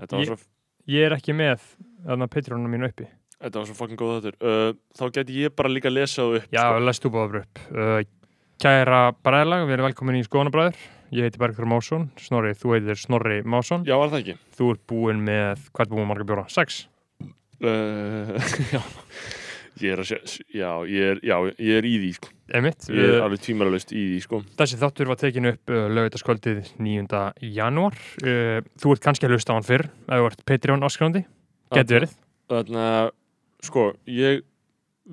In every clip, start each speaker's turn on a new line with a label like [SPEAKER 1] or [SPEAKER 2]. [SPEAKER 1] Þetta var, svo,
[SPEAKER 2] Ég er ekki með þarna Patreonum mínu uppi.
[SPEAKER 1] þetta var svo fucking góð þetta uh, Þá geti ég bara líka að lesa þú upp
[SPEAKER 2] Já,
[SPEAKER 1] sko.
[SPEAKER 2] lest þú báður upp. Uh, kæra bræðlag, við erum velkomin í Skoðanabræður. Ég heiti Bergþór Másson. Snorri, þú heitir Snorri Másson.
[SPEAKER 1] Já, var það ekki
[SPEAKER 2] Þú ert búinn með, hvað er búinn með marga bjóra? Sex.
[SPEAKER 1] uh, Já Ég er að sé, já, ég er, já, ég er í því sko.
[SPEAKER 2] Emitt.
[SPEAKER 1] Ég er alveg tímaralaust í því sko.
[SPEAKER 2] Uh, Þessi þáttur var tekin upp uh, lögutaskvöldið 9. janúar. Uh, þú ert kannski að hlusta á hann fyrr, ef þú ert Patreon áskrándi. Getur verið.
[SPEAKER 1] Þannig að sko, ég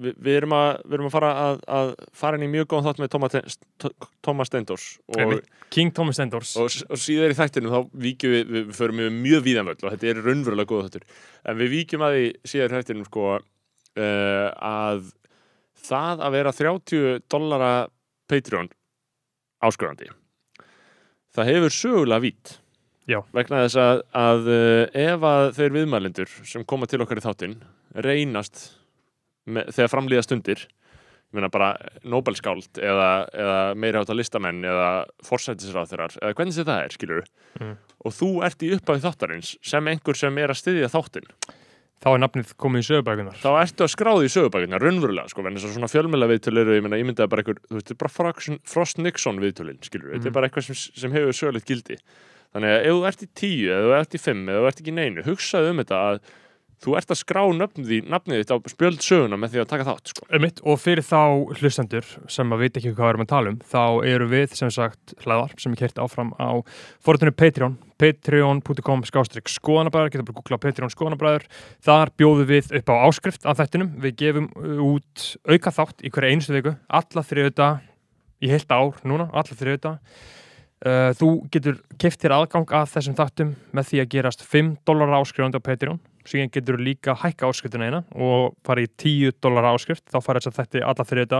[SPEAKER 1] vi- við erum að, við erum að fara að, að fara inn í mjög góðan þátt með Thomas Ten- Th- Thomas Stendors og,
[SPEAKER 2] Einmitt. King Thomas Endors.
[SPEAKER 1] og, s- og síðar í þættinum þá víkjum við, við, við förum við mjög víðan völl og þetta er raunverulega góð þáttur en við víkjum að því síðar í þættinum sko uh, að það að vera 30 dollara Patreon áskurandi það hefur sögulega vít
[SPEAKER 2] Já.
[SPEAKER 1] vegna þess að, að eh, ef að þeir viðmælendur sem koma til okkar í þáttinn reynast með, þegar framlýða stundir ég meina bara Nobelskáld eða, eða meira átta listamenn eða forsætisráþurar eða hvernig sem það er skilur
[SPEAKER 2] Mm.
[SPEAKER 1] og þú ert í upphafi þáttarins sem einhver sem er að styðja þáttinn
[SPEAKER 2] Þá er nafnið komið í sögubækunar.
[SPEAKER 1] þá ertu að skráði í sögubækunar raunverulega sko, en þess að svona fjölmjöla viðtöl eru ég, meina, ég myndaði bara einhver, þú veist, þetta er bara Frox- Frost Nixon viðtölin, skilur, þetta
[SPEAKER 2] Mhm.
[SPEAKER 1] er bara eitthvað sem, sem hefur sögulegt gildi þannig að ef þú ert í tíu, eða þú ert í fimm eða þú ert ekki í neinu, hugsaðu um þetta að þú ert að skrá nöfnið, þín- nafnið þitt á spjöld söguna með því að taka þátt sko.
[SPEAKER 2] Einmitt, og fyrir þá hlustendur sem að vita ekki hvað við erum að tala um, þá eru við sem sagt hlaðvarp sem er kert áfram á forutinu Patreon, patreon.com skástrík skoðanabræður, geta bara að googla Patreon skoðanabræður, þar bjóðum við upp á áskrift af þættinum, við gefum uh, út auka þátt í hverja einustu viku, alla þriðuta, í heilt ár núna, alla þriðuta, uh, þú getur keft þér aðgang að þessum þáttum með því að gerast 5 dólar áskrifandi á Patreon, síðan getur þú líka hækka áskriftina eina og fara í 10 dólar áskrift þá fara þess að þetta alla fyrir þetta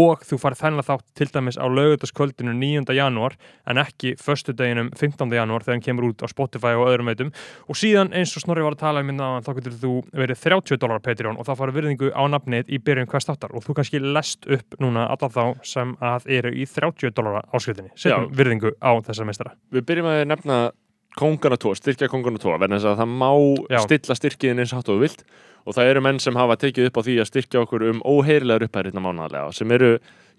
[SPEAKER 2] og þú farið þennan þátt til dæmis á lögutaskvöldinu 9. janúar en ekki föstudeginum 15. janúar þegar hann kemur út á Spotify og öðrum veitum og síðan eins og Snorri var að tala um minna þá getur þú verið 30 dólar á Patreon og þá farið virðingu á nafnið í byrjun hvers þáttar og þú kannski lest upp núna alla þá sem að eru í 30 dólar áskriftinni setjum virðingu á þessar meistara
[SPEAKER 1] við byrjum að nefna kongana tvo, styrkja kongana tvo verðan þess að það má
[SPEAKER 2] Já.
[SPEAKER 1] stilla styrkiðin eins hátt og þú vilt og það eru menn sem hafa tekið upp á því að styrkja okkur um óheirilegar upphæðirna mánaðlega sem eru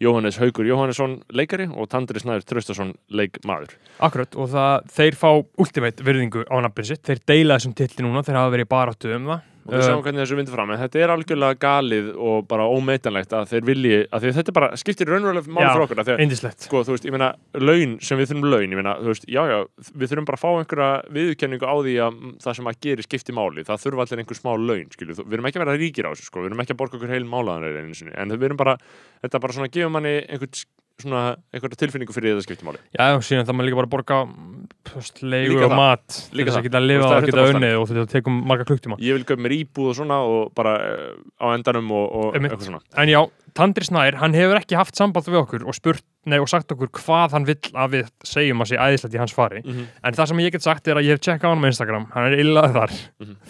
[SPEAKER 1] Jóhannes Haugur Jóhannesson leikari og Tandri Snæður Traustason leikmaður
[SPEAKER 2] Akkurat og það, þeir fá ultimate virðingu á nafnið sitt, þeir deila þessum titli núna, þeir hafa verið í baráttu um það
[SPEAKER 1] og við
[SPEAKER 2] Uh,
[SPEAKER 1] sjáum hvernig þessu vindur fram en þetta er algjörlega galið og bara ómeitanlegt að þeir vilji, að þeir, þetta bara skiptir raunverulega máli
[SPEAKER 2] Eh, Já.
[SPEAKER 1] um fyrir okkur að þegar
[SPEAKER 2] Indislegt.
[SPEAKER 1] sko, þú veist, ég meina, laun sem við þurfum laun, ég meina, þú veist, já, já, við þurfum bara að fá einhverja viðurkenningu á því að mm, það sem að gera skipti máli, það þurfa allir einhver smá laun, skilju, Þú- við erum ekki að vera ríkir á þessu, sko, við erum ekki að borga okkur heil málaðanir einu sinni, en við erum bara, þetta bara svona gefur manni einhvern, s- svona, einhverja tilfinningu fyrir því að það skipti máli.
[SPEAKER 2] Já, síðan það maður líka bara að borga mm, pst, leigu
[SPEAKER 1] Líka
[SPEAKER 2] og
[SPEAKER 1] það. Líka
[SPEAKER 2] mat til þess
[SPEAKER 1] það.
[SPEAKER 2] að geta að lifa
[SPEAKER 1] Og það
[SPEAKER 2] og
[SPEAKER 1] er
[SPEAKER 2] geta
[SPEAKER 1] 100%
[SPEAKER 2] unnið og þetta tekum marga klukktíma.
[SPEAKER 1] Ég vil köpa mér íbúð og svona og bara eh, á endanum og, og
[SPEAKER 2] Einmitt.
[SPEAKER 1] eitthvað svona.
[SPEAKER 2] En já, Tandri Snær, hann hefur ekki haft samband við okkur og spurt, nei, og sagt okkur hvað hann vill að við segjum að sé æðislegt í hans fari.
[SPEAKER 1] Mhm.
[SPEAKER 2] En það sem ég get sagt er að ég hef tjekkað á hann á Instagram, hann er illaður þar,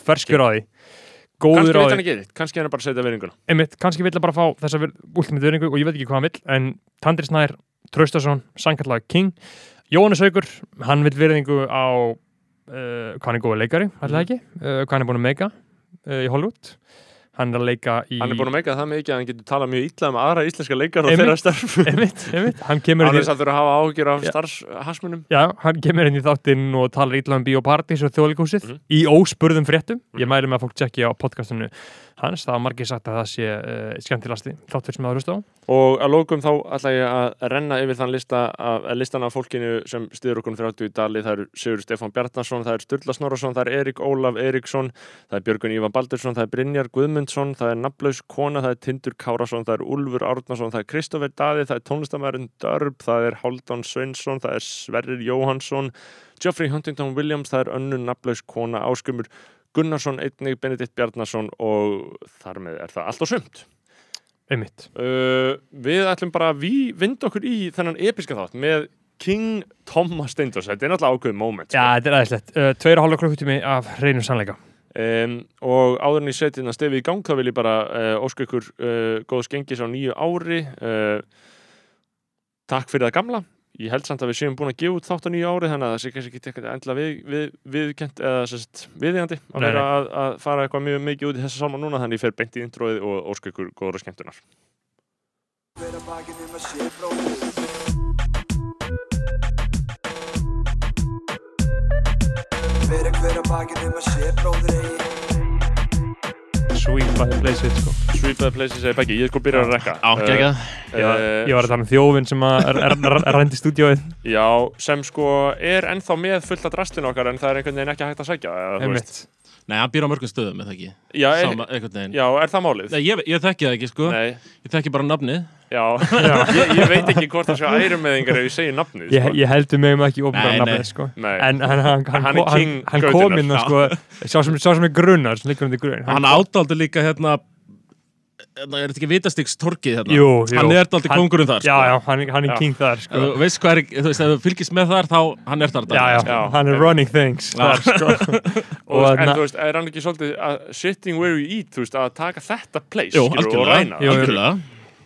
[SPEAKER 2] ferskur á því,
[SPEAKER 1] Mhm. Kannski
[SPEAKER 2] góður á
[SPEAKER 1] veit
[SPEAKER 2] því.
[SPEAKER 1] hann ekki þitt, kannski hann er bara að setja veringun.
[SPEAKER 2] einmitt, kannski vill að bara fá þessa últimið vöringu og ég veit ekki hvað hann vill en Tandri Snær, Traustason, Sankallag King Jóhannes Haugur, hann vill verðingu á uh, hvað hann er góða leikari,
[SPEAKER 1] Mhm.
[SPEAKER 2] alltaf ekki uh, hvað hann er búin að meika uh, í Hollywood hann er að leika í
[SPEAKER 1] Hann er búin að meika það mikið að hann getur talað mjög illa um aðra íslenska leikar og
[SPEAKER 2] Einmitt.
[SPEAKER 1] þeirra starf.
[SPEAKER 2] einmitt, einmitt, hann kemur
[SPEAKER 1] Hann
[SPEAKER 2] inn
[SPEAKER 1] er
[SPEAKER 2] í,
[SPEAKER 1] satt að hafa ágjur af
[SPEAKER 2] Já.
[SPEAKER 1] starfshagsmunum.
[SPEAKER 2] já, hann kemur inn í þáttinn og talar ítla um biopartís og þjóðleikúsið
[SPEAKER 1] Mhm.
[SPEAKER 2] í óspurðum fréttum ég
[SPEAKER 1] Mhm.
[SPEAKER 2] mæli með að fólk tjekki á podcastinu hans, það var margir sagt að það sé uh, skemmtilasti þáttur sem að hlusta á
[SPEAKER 1] Og að lókum þá ætla ég að renna yfir þann lista af, að listan af fólkinu sem stiður okkur um 30 í dali. Það eru Sigur Stefán Bjarnason, það er Sturla Snorason, það er Erik Ólaf Eriksson, það er Björgun Ívan Baldursson, það er Brynjar Guðmundsson, það er Naflaus Kona, það er Tindur Kárasson, það er Úlfur Árnason, það er Kristoffer Daði, það er tónlistamærin Dörb, það er Háldan Sveinsson, það er Sverrir Jóhansson, Geoffrey Huntington Williams, það er önnur Naflaus Kona, Áskumur Gunnarsson, einnig Benedikt Bjarnason og þar með er það allt og sumt.
[SPEAKER 2] einmitt,
[SPEAKER 1] Uh, við ætlum bara að við vinda okkur í þennan episka þátt með King Thomas Steindors þetta er náttúrulega ákveðið moment sko.
[SPEAKER 2] já, þetta er aðeinslegt uh, tveir og hálfa klukkutimi af reynum sannleika
[SPEAKER 1] um, og áður en ég seti þetta stefið í gang þá vil ég bara uh, óska ykkur uh, góðs gengis á nýju ári uh, takk fyrir það gamla ég held samt að við séum búin að gefa út þátt á nýju ári þannig að það sé kannski ekki eitthvað endla við, við, viðkent eða sérst viðjandi að
[SPEAKER 2] Nei,
[SPEAKER 1] vera að, að fara eitthvað mjög mikið út í þessa salma núna þannig ég fer beint í introið og óska ykkur góðra skemmtunar
[SPEAKER 3] Better bargain in my Chevrolet. Fyrir hver að bakinn um að sé bróðir eigi
[SPEAKER 2] Sweet by the place it, sko.
[SPEAKER 1] Sweepaði pleysi segir Beggi, ég er sko byrjar að rekka Eh,
[SPEAKER 4] Á, geggjað.
[SPEAKER 2] Ég var, ég var að tala um þjófinn sem að r- r- r- rændi stúdíóið.
[SPEAKER 1] Já, sem sko er ennþá með fullt af drastinu okkar en það er einhvern veginn ekki hægt að sækja eða, þú veist.
[SPEAKER 2] Einmitt.
[SPEAKER 4] Nei, hann býr á mörgum stöðum, eða ekki?
[SPEAKER 1] já, er,
[SPEAKER 4] Sama, einhvern veginn.
[SPEAKER 1] já, er það málið?
[SPEAKER 4] Nei, ég, ég þekki það ekki, sko.
[SPEAKER 1] Nei,
[SPEAKER 4] Ég þekki bara nafnið.
[SPEAKER 1] já, ég, ég veit ekki hvort það sé ærumeðingar ef ég segi nafnið
[SPEAKER 2] Ég,
[SPEAKER 1] sko.
[SPEAKER 2] ég heldur mig um ekki ofnbæra
[SPEAKER 4] Nei, nei.
[SPEAKER 2] nafnið, sko.
[SPEAKER 1] Nei.
[SPEAKER 2] En hann, hann, hann,
[SPEAKER 1] Hann
[SPEAKER 2] hann,
[SPEAKER 1] er
[SPEAKER 2] hann,
[SPEAKER 1] king
[SPEAKER 2] hann kom
[SPEAKER 1] götunnar,
[SPEAKER 2] inn og sko, sá sem, sá sem er grunnar, sem liggur um því grun.
[SPEAKER 4] Hann átáldi líka, hérna, hérna, er þetta ekki vitastíks torkið, hérna?
[SPEAKER 2] jú, jú.
[SPEAKER 4] Hann er daldi
[SPEAKER 2] Hann-
[SPEAKER 4] kongurinn þar,
[SPEAKER 2] Já,
[SPEAKER 4] sko.
[SPEAKER 2] já, hann, hann er
[SPEAKER 1] Já.
[SPEAKER 2] king þar, sko.
[SPEAKER 4] Ef Þú veist hvað er, þú veist, ef þú fylgist með þar, þá hann er þar sko.
[SPEAKER 2] já, já,
[SPEAKER 1] Já.
[SPEAKER 2] hann er running things
[SPEAKER 4] Já.
[SPEAKER 2] þar, sko.
[SPEAKER 1] og,
[SPEAKER 2] og
[SPEAKER 1] en
[SPEAKER 2] na-
[SPEAKER 1] þú veist, er hann ekki svolítið að sitting where you eat, þú veist, að taka þetta place
[SPEAKER 4] Jú,
[SPEAKER 1] skilurðu, og
[SPEAKER 4] algjörlega,
[SPEAKER 1] ræna það?
[SPEAKER 2] Jú, jú.
[SPEAKER 4] algjörlega.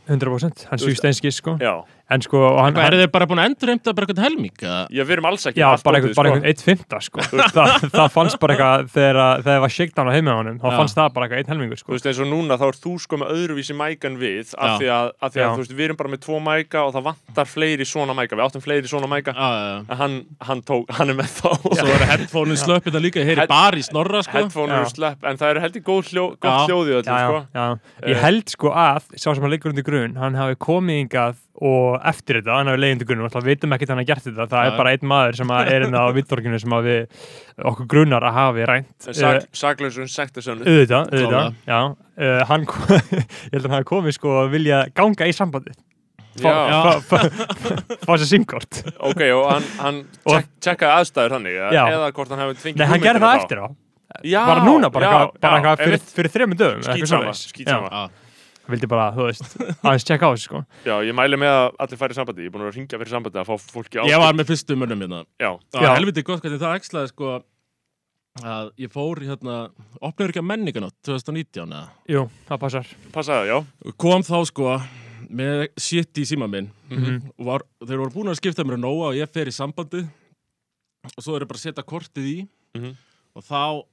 [SPEAKER 2] 100% hann
[SPEAKER 1] Þú veist-
[SPEAKER 2] svíst einskis, sko
[SPEAKER 1] Já,
[SPEAKER 2] en sko, og hann,
[SPEAKER 4] Hvað,
[SPEAKER 2] hann
[SPEAKER 4] eru þeir bara búin að endurheimta bara eitthvað helming? eða?
[SPEAKER 1] já, við erum alls ekki
[SPEAKER 2] já,
[SPEAKER 1] allt
[SPEAKER 2] bara
[SPEAKER 1] opið,
[SPEAKER 2] einhvern, bara einhvern eitt fymta, sko það, það fannst bara eitthvað, þegar, að- þegar það var shakedown á heima á honum, þá
[SPEAKER 4] Já.
[SPEAKER 2] fannst það bara eitthvað eitt helmingur,
[SPEAKER 1] Þú
[SPEAKER 2] sko
[SPEAKER 1] veist, eins og núna þá er þú sko með öðruvísi mækan við af
[SPEAKER 4] Já.
[SPEAKER 1] því að, af því að
[SPEAKER 2] Já.
[SPEAKER 1] þú veist, við erum bara með tvo mæka og það vantar fleiri svona mæka, við áttum fleiri svona mæka
[SPEAKER 4] Já, já, já.
[SPEAKER 1] en hann, hann, tók, hann er með þá
[SPEAKER 4] Svo eru headphone-in slöppið það líka, ég heyri
[SPEAKER 1] Head-
[SPEAKER 4] bara í snorra, sko.
[SPEAKER 1] headphone
[SPEAKER 2] Já.
[SPEAKER 1] og slepp en það eru heldur góð hljó, gott
[SPEAKER 4] Já.
[SPEAKER 1] hljóð í
[SPEAKER 2] já,
[SPEAKER 1] öllu
[SPEAKER 2] já,
[SPEAKER 1] sko.
[SPEAKER 2] já, ég held sko að sá sem hann liggur undir grun, hann hafi komið yngað og eftir þetta, hann hafi leið undir grun og alltaf vitum ekki að hann hafi gert þetta, það
[SPEAKER 4] Já.
[SPEAKER 2] er bara einn maður sem að er inn á vittorkinu sem að við okkur grunar að hafi rænt Eh,
[SPEAKER 1] En sak, saklausun sektasönu
[SPEAKER 2] auðvitað, auðvitað, já uh, hann, kom- ég held að hann hafi komið sko að vilja ganga í sambandi
[SPEAKER 1] Já,
[SPEAKER 4] Já.
[SPEAKER 2] Eh, fá sér simkort
[SPEAKER 1] ok, og hann, hann
[SPEAKER 2] Og-
[SPEAKER 1] tek, tjekkaði aðstæður þannig eða,
[SPEAKER 2] Já.
[SPEAKER 1] eða hvort hann hefði tvingið
[SPEAKER 2] Nei, hann gerði það eftir á
[SPEAKER 1] já,
[SPEAKER 2] bara núna, bara
[SPEAKER 1] já,
[SPEAKER 2] eitthvað-
[SPEAKER 1] já,
[SPEAKER 2] bara eitthvað fyrir,
[SPEAKER 1] einmitt.
[SPEAKER 2] fyrir þremur dögum eitthvað
[SPEAKER 1] Skítsama,
[SPEAKER 2] svoleiðis.
[SPEAKER 1] skítsama.
[SPEAKER 4] Já.
[SPEAKER 2] Já, hann vildi bara, þú veist, aðeins tjekka á þessu sko
[SPEAKER 1] Já, ég mæli með að allir færi sambandi. Ég er búin að ringja fyrir sambandi að fá fólki á.
[SPEAKER 4] Ég var með fyrstu mönnum hérna.
[SPEAKER 1] Já,
[SPEAKER 4] Já,
[SPEAKER 2] Já.
[SPEAKER 4] helviti gott hvernig það æxlaði sko að ég fór í hérna opnaður ekki að menninganótt 2019 eða?
[SPEAKER 2] Jú, það passar
[SPEAKER 1] passaði, já.
[SPEAKER 4] og kom þá sko með shit í síma minn
[SPEAKER 2] Mhm.
[SPEAKER 4] og var, þeir voru búin að skipta mér að nóa og ég fer í sambandi og svo er ég bara að setja kortið í
[SPEAKER 1] Mhm.
[SPEAKER 4] og þá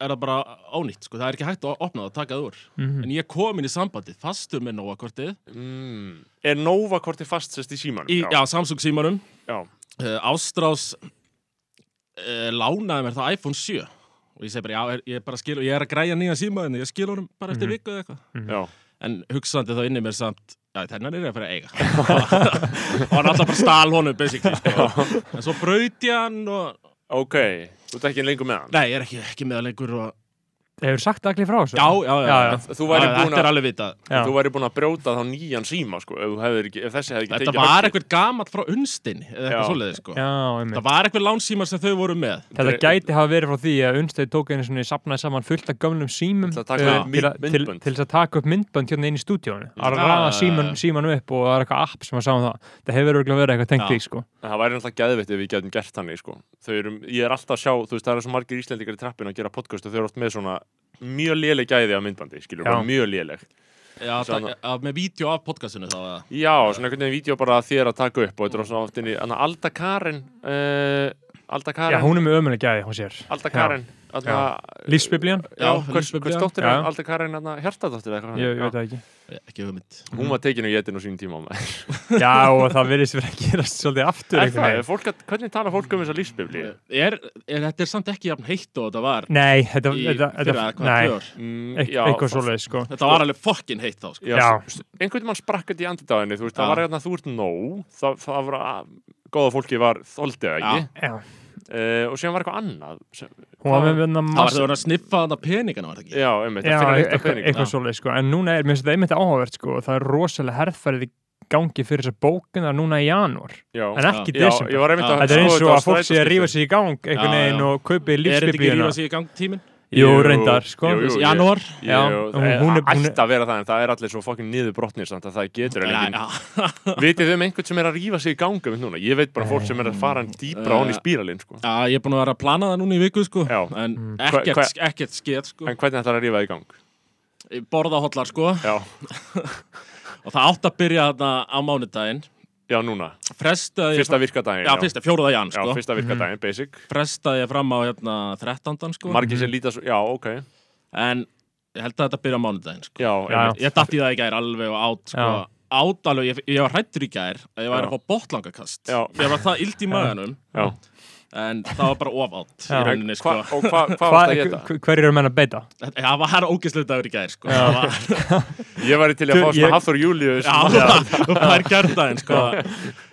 [SPEAKER 4] er það bara ónýtt sko, það er ekki hægt að opna það, taka það úr
[SPEAKER 2] Mhm.
[SPEAKER 4] en ég kom inn í sambandið, fastur með nóa kortið
[SPEAKER 1] Mm. Er Nova korti fast sérst í símanum?
[SPEAKER 4] í, já, Samsung símanum
[SPEAKER 1] já.
[SPEAKER 4] uh, Ástrás uh, lánaði mér það iPhone 7 og ég segi bara, já, er, ég, bara skil, ég er að græja nýja síma en ég skil honum bara eftir
[SPEAKER 2] Mhm.
[SPEAKER 4] viku eða eitthvað
[SPEAKER 1] Já,
[SPEAKER 4] en hugsaðandi þá inni mér samt já, þennan er ég að fara að eiga og hann alltaf bara stal honum basically sko. en svo braut ég hann og
[SPEAKER 1] ok. Þú ert ekki lengur með hann?
[SPEAKER 4] nei, ég er ekki, ekki með að lengur og
[SPEAKER 2] Hefur sagt allir frá þessu?
[SPEAKER 4] já, já, já,
[SPEAKER 2] Já,
[SPEAKER 4] já,
[SPEAKER 2] já.
[SPEAKER 1] Þú væri
[SPEAKER 4] Já,
[SPEAKER 1] búin
[SPEAKER 4] þetta er
[SPEAKER 1] að...
[SPEAKER 4] alveg vitað
[SPEAKER 2] Já.
[SPEAKER 1] Þú væri búin að brjóta þá nýjan síma, sko, ef, þú hefðir ekki, ef þessi hefði ekki
[SPEAKER 4] þetta
[SPEAKER 1] tekið
[SPEAKER 4] var
[SPEAKER 1] höggið.
[SPEAKER 4] eitthvað gamall frá unstinni eða
[SPEAKER 1] Já.
[SPEAKER 4] eitthvað svoleiðið sko
[SPEAKER 2] Já, einmitt.
[SPEAKER 4] það var eitthvað lánsímar sem þau voru með
[SPEAKER 2] Þetta gæti hafa verið frá því að Unstead tók einu svona sapnaði saman fullt af gömlum símum
[SPEAKER 1] Til að taka
[SPEAKER 2] eh,
[SPEAKER 1] upp
[SPEAKER 2] til að-
[SPEAKER 1] mynd-
[SPEAKER 2] til-
[SPEAKER 1] myndbönd.
[SPEAKER 2] til þess að taka upp myndbönd hérna inn í stúdíónu að
[SPEAKER 4] Já,
[SPEAKER 2] raða
[SPEAKER 4] já,
[SPEAKER 2] síman,
[SPEAKER 4] já.
[SPEAKER 2] símanum upp og það er eitthvað app sem að sá um það það hefur örugglega verið eitthvað tengt
[SPEAKER 4] Já.
[SPEAKER 2] því sko
[SPEAKER 1] En það væri náttúrulega gæðvitt ef við getum gert þannig, sko. Þau eru, ég er alltaf að sjá, þú veist, það eru svo margir íslendingar í trappinu að gera podcast og þau eru oft með svona mjög léleg gæði af myndbandi, skiljum,
[SPEAKER 2] Já.
[SPEAKER 1] mjög léleg.
[SPEAKER 4] já,
[SPEAKER 1] Sjá
[SPEAKER 4] það, að, með vídeo af podcastinu þá eða?
[SPEAKER 1] Já, svona einhvern veginn vídeo bara að þér að taka upp og þetta er svona oft inn í, þannig Alda Karen, uh, Alda Karen,
[SPEAKER 2] Já, hún er með ömuleg gæði, hún sér
[SPEAKER 1] Alda Karen, þarna,
[SPEAKER 2] Lífsbiblían?
[SPEAKER 1] já,
[SPEAKER 4] Já,
[SPEAKER 1] hvers,
[SPEAKER 4] Lífsbiblían.
[SPEAKER 1] hvers dóttir
[SPEAKER 2] Já.
[SPEAKER 1] er Alda Karen, þarna, Hjartadóttir eða eitthvað
[SPEAKER 2] Ég, ég
[SPEAKER 1] Já.
[SPEAKER 2] veit það ekki
[SPEAKER 4] ekki hugmynd
[SPEAKER 1] Hún var tekinu í etinu sín tíma maður.
[SPEAKER 2] Já, og það virðist verið að gerast svolítið aftur
[SPEAKER 1] Er
[SPEAKER 2] einhvern
[SPEAKER 1] það, er
[SPEAKER 2] veginn.
[SPEAKER 1] fólk, að- hvernig tala fólk um þessa lífsbibli?
[SPEAKER 4] er, er, þetta er samt ekki jafn heitt og þetta var
[SPEAKER 2] Nei, þetta,
[SPEAKER 4] í
[SPEAKER 2] þetta,
[SPEAKER 4] fyrra,
[SPEAKER 2] þetta
[SPEAKER 4] hvað,
[SPEAKER 2] nei,
[SPEAKER 4] tvö ár?
[SPEAKER 1] Mm,
[SPEAKER 2] eit- eitthvað svoleiðið sko
[SPEAKER 4] Þetta var alveg fokkin heitt þá, sko.
[SPEAKER 1] Já,
[SPEAKER 2] Já.
[SPEAKER 1] s- einhvern mann sprakk þetta í andindáðinni, þú veist, það
[SPEAKER 4] Já.
[SPEAKER 1] var eitthvað þú ert nóg, það, það var að, góða fólki var þoldið ekki,
[SPEAKER 2] Já,
[SPEAKER 1] uh, og síðan var eitthvað annað, sem,
[SPEAKER 2] hún var með vinna
[SPEAKER 4] Það var
[SPEAKER 2] massa
[SPEAKER 4] það að sniffa þarna peningana, var það ekki?
[SPEAKER 1] já, einmitt,
[SPEAKER 2] Já,
[SPEAKER 1] að finna nýtt af
[SPEAKER 2] eitthvað,
[SPEAKER 1] peningum.
[SPEAKER 2] eitthvað svoleið sko En núna er, mér finnst þetta einmitt áhugavert sko og Það er rosalega herðfærið í gangi fyrir þessar bókunar núna í janúar
[SPEAKER 1] Já,
[SPEAKER 2] En ekki í
[SPEAKER 1] já, ég
[SPEAKER 2] desember
[SPEAKER 1] var einmitt að
[SPEAKER 2] Þetta er eins
[SPEAKER 1] skoða þetta
[SPEAKER 2] og
[SPEAKER 1] á
[SPEAKER 2] að fólk sé að
[SPEAKER 1] strætóskilti.
[SPEAKER 2] rífa sig í gang einhvern
[SPEAKER 4] Já,
[SPEAKER 2] veginn
[SPEAKER 4] já.
[SPEAKER 2] og kaupi
[SPEAKER 4] Er þetta ekki
[SPEAKER 2] lífsbiblíuna
[SPEAKER 4] rífa sig í gang tíminn?
[SPEAKER 2] Jú, reyndar, sko
[SPEAKER 1] Jú, jú,
[SPEAKER 4] Janúar?
[SPEAKER 1] jú,
[SPEAKER 2] Já,
[SPEAKER 1] jú,
[SPEAKER 2] hún- hún er-
[SPEAKER 1] það
[SPEAKER 2] hún er-
[SPEAKER 1] ætti að vera það en það er allir svo fokkin niður brotnir samt að það getur en enginn
[SPEAKER 4] Já,
[SPEAKER 1] vitið þið um einhvern sem er að rífa sig í ganga við núna ég veit bara fólk sem er að fara hann dýbra
[SPEAKER 4] Eh,
[SPEAKER 1] án í spíralinn sko.
[SPEAKER 4] Já, ég er búin að vera að plana það núna í viku, sko.
[SPEAKER 1] Já. Mm.
[SPEAKER 4] En
[SPEAKER 1] Hva-
[SPEAKER 4] ekkert,
[SPEAKER 1] hva-
[SPEAKER 4] ekkert skeð, sko.
[SPEAKER 1] en hvernig ætlar að rífa í gang
[SPEAKER 4] Borða hotlar, sko.
[SPEAKER 1] já,
[SPEAKER 4] Og það átt að byrja þarna á mánudaginn.
[SPEAKER 1] já núna,
[SPEAKER 4] frestaði ég
[SPEAKER 1] fyrsta virkadaginn
[SPEAKER 4] já, fyrsta, fjóruða jan
[SPEAKER 1] já,
[SPEAKER 4] sko.
[SPEAKER 1] fyrsta virkadaginn, basic
[SPEAKER 4] frestaði ég fram á hérna, 13. Sko.
[SPEAKER 1] margir sem líta svo, já ok
[SPEAKER 4] en ég held að þetta byrja á mánudaginn sko.
[SPEAKER 1] já,
[SPEAKER 2] Já.
[SPEAKER 1] einmitt.
[SPEAKER 4] ég datt í það í gær alveg og átt sko.
[SPEAKER 2] Já.
[SPEAKER 4] átt alveg, ég, ég var hrættur í gær að ég væri
[SPEAKER 1] Já.
[SPEAKER 4] að fá botlangakast
[SPEAKER 1] Já.
[SPEAKER 4] ég var það illt í maganum
[SPEAKER 1] já.
[SPEAKER 4] en það var bara ofátt í
[SPEAKER 2] Já.
[SPEAKER 4] rauninni sko.
[SPEAKER 1] Hva, og hva, hvað varst
[SPEAKER 2] Hvað,
[SPEAKER 1] að geta?
[SPEAKER 2] hver, hver eru menn að beita?
[SPEAKER 4] það var ógislega dagur í gær sko. það var
[SPEAKER 1] Ég væri til að fá
[SPEAKER 2] Ég-
[SPEAKER 1] svona Hafþór Július
[SPEAKER 4] Já, það það er kjartaðin sko.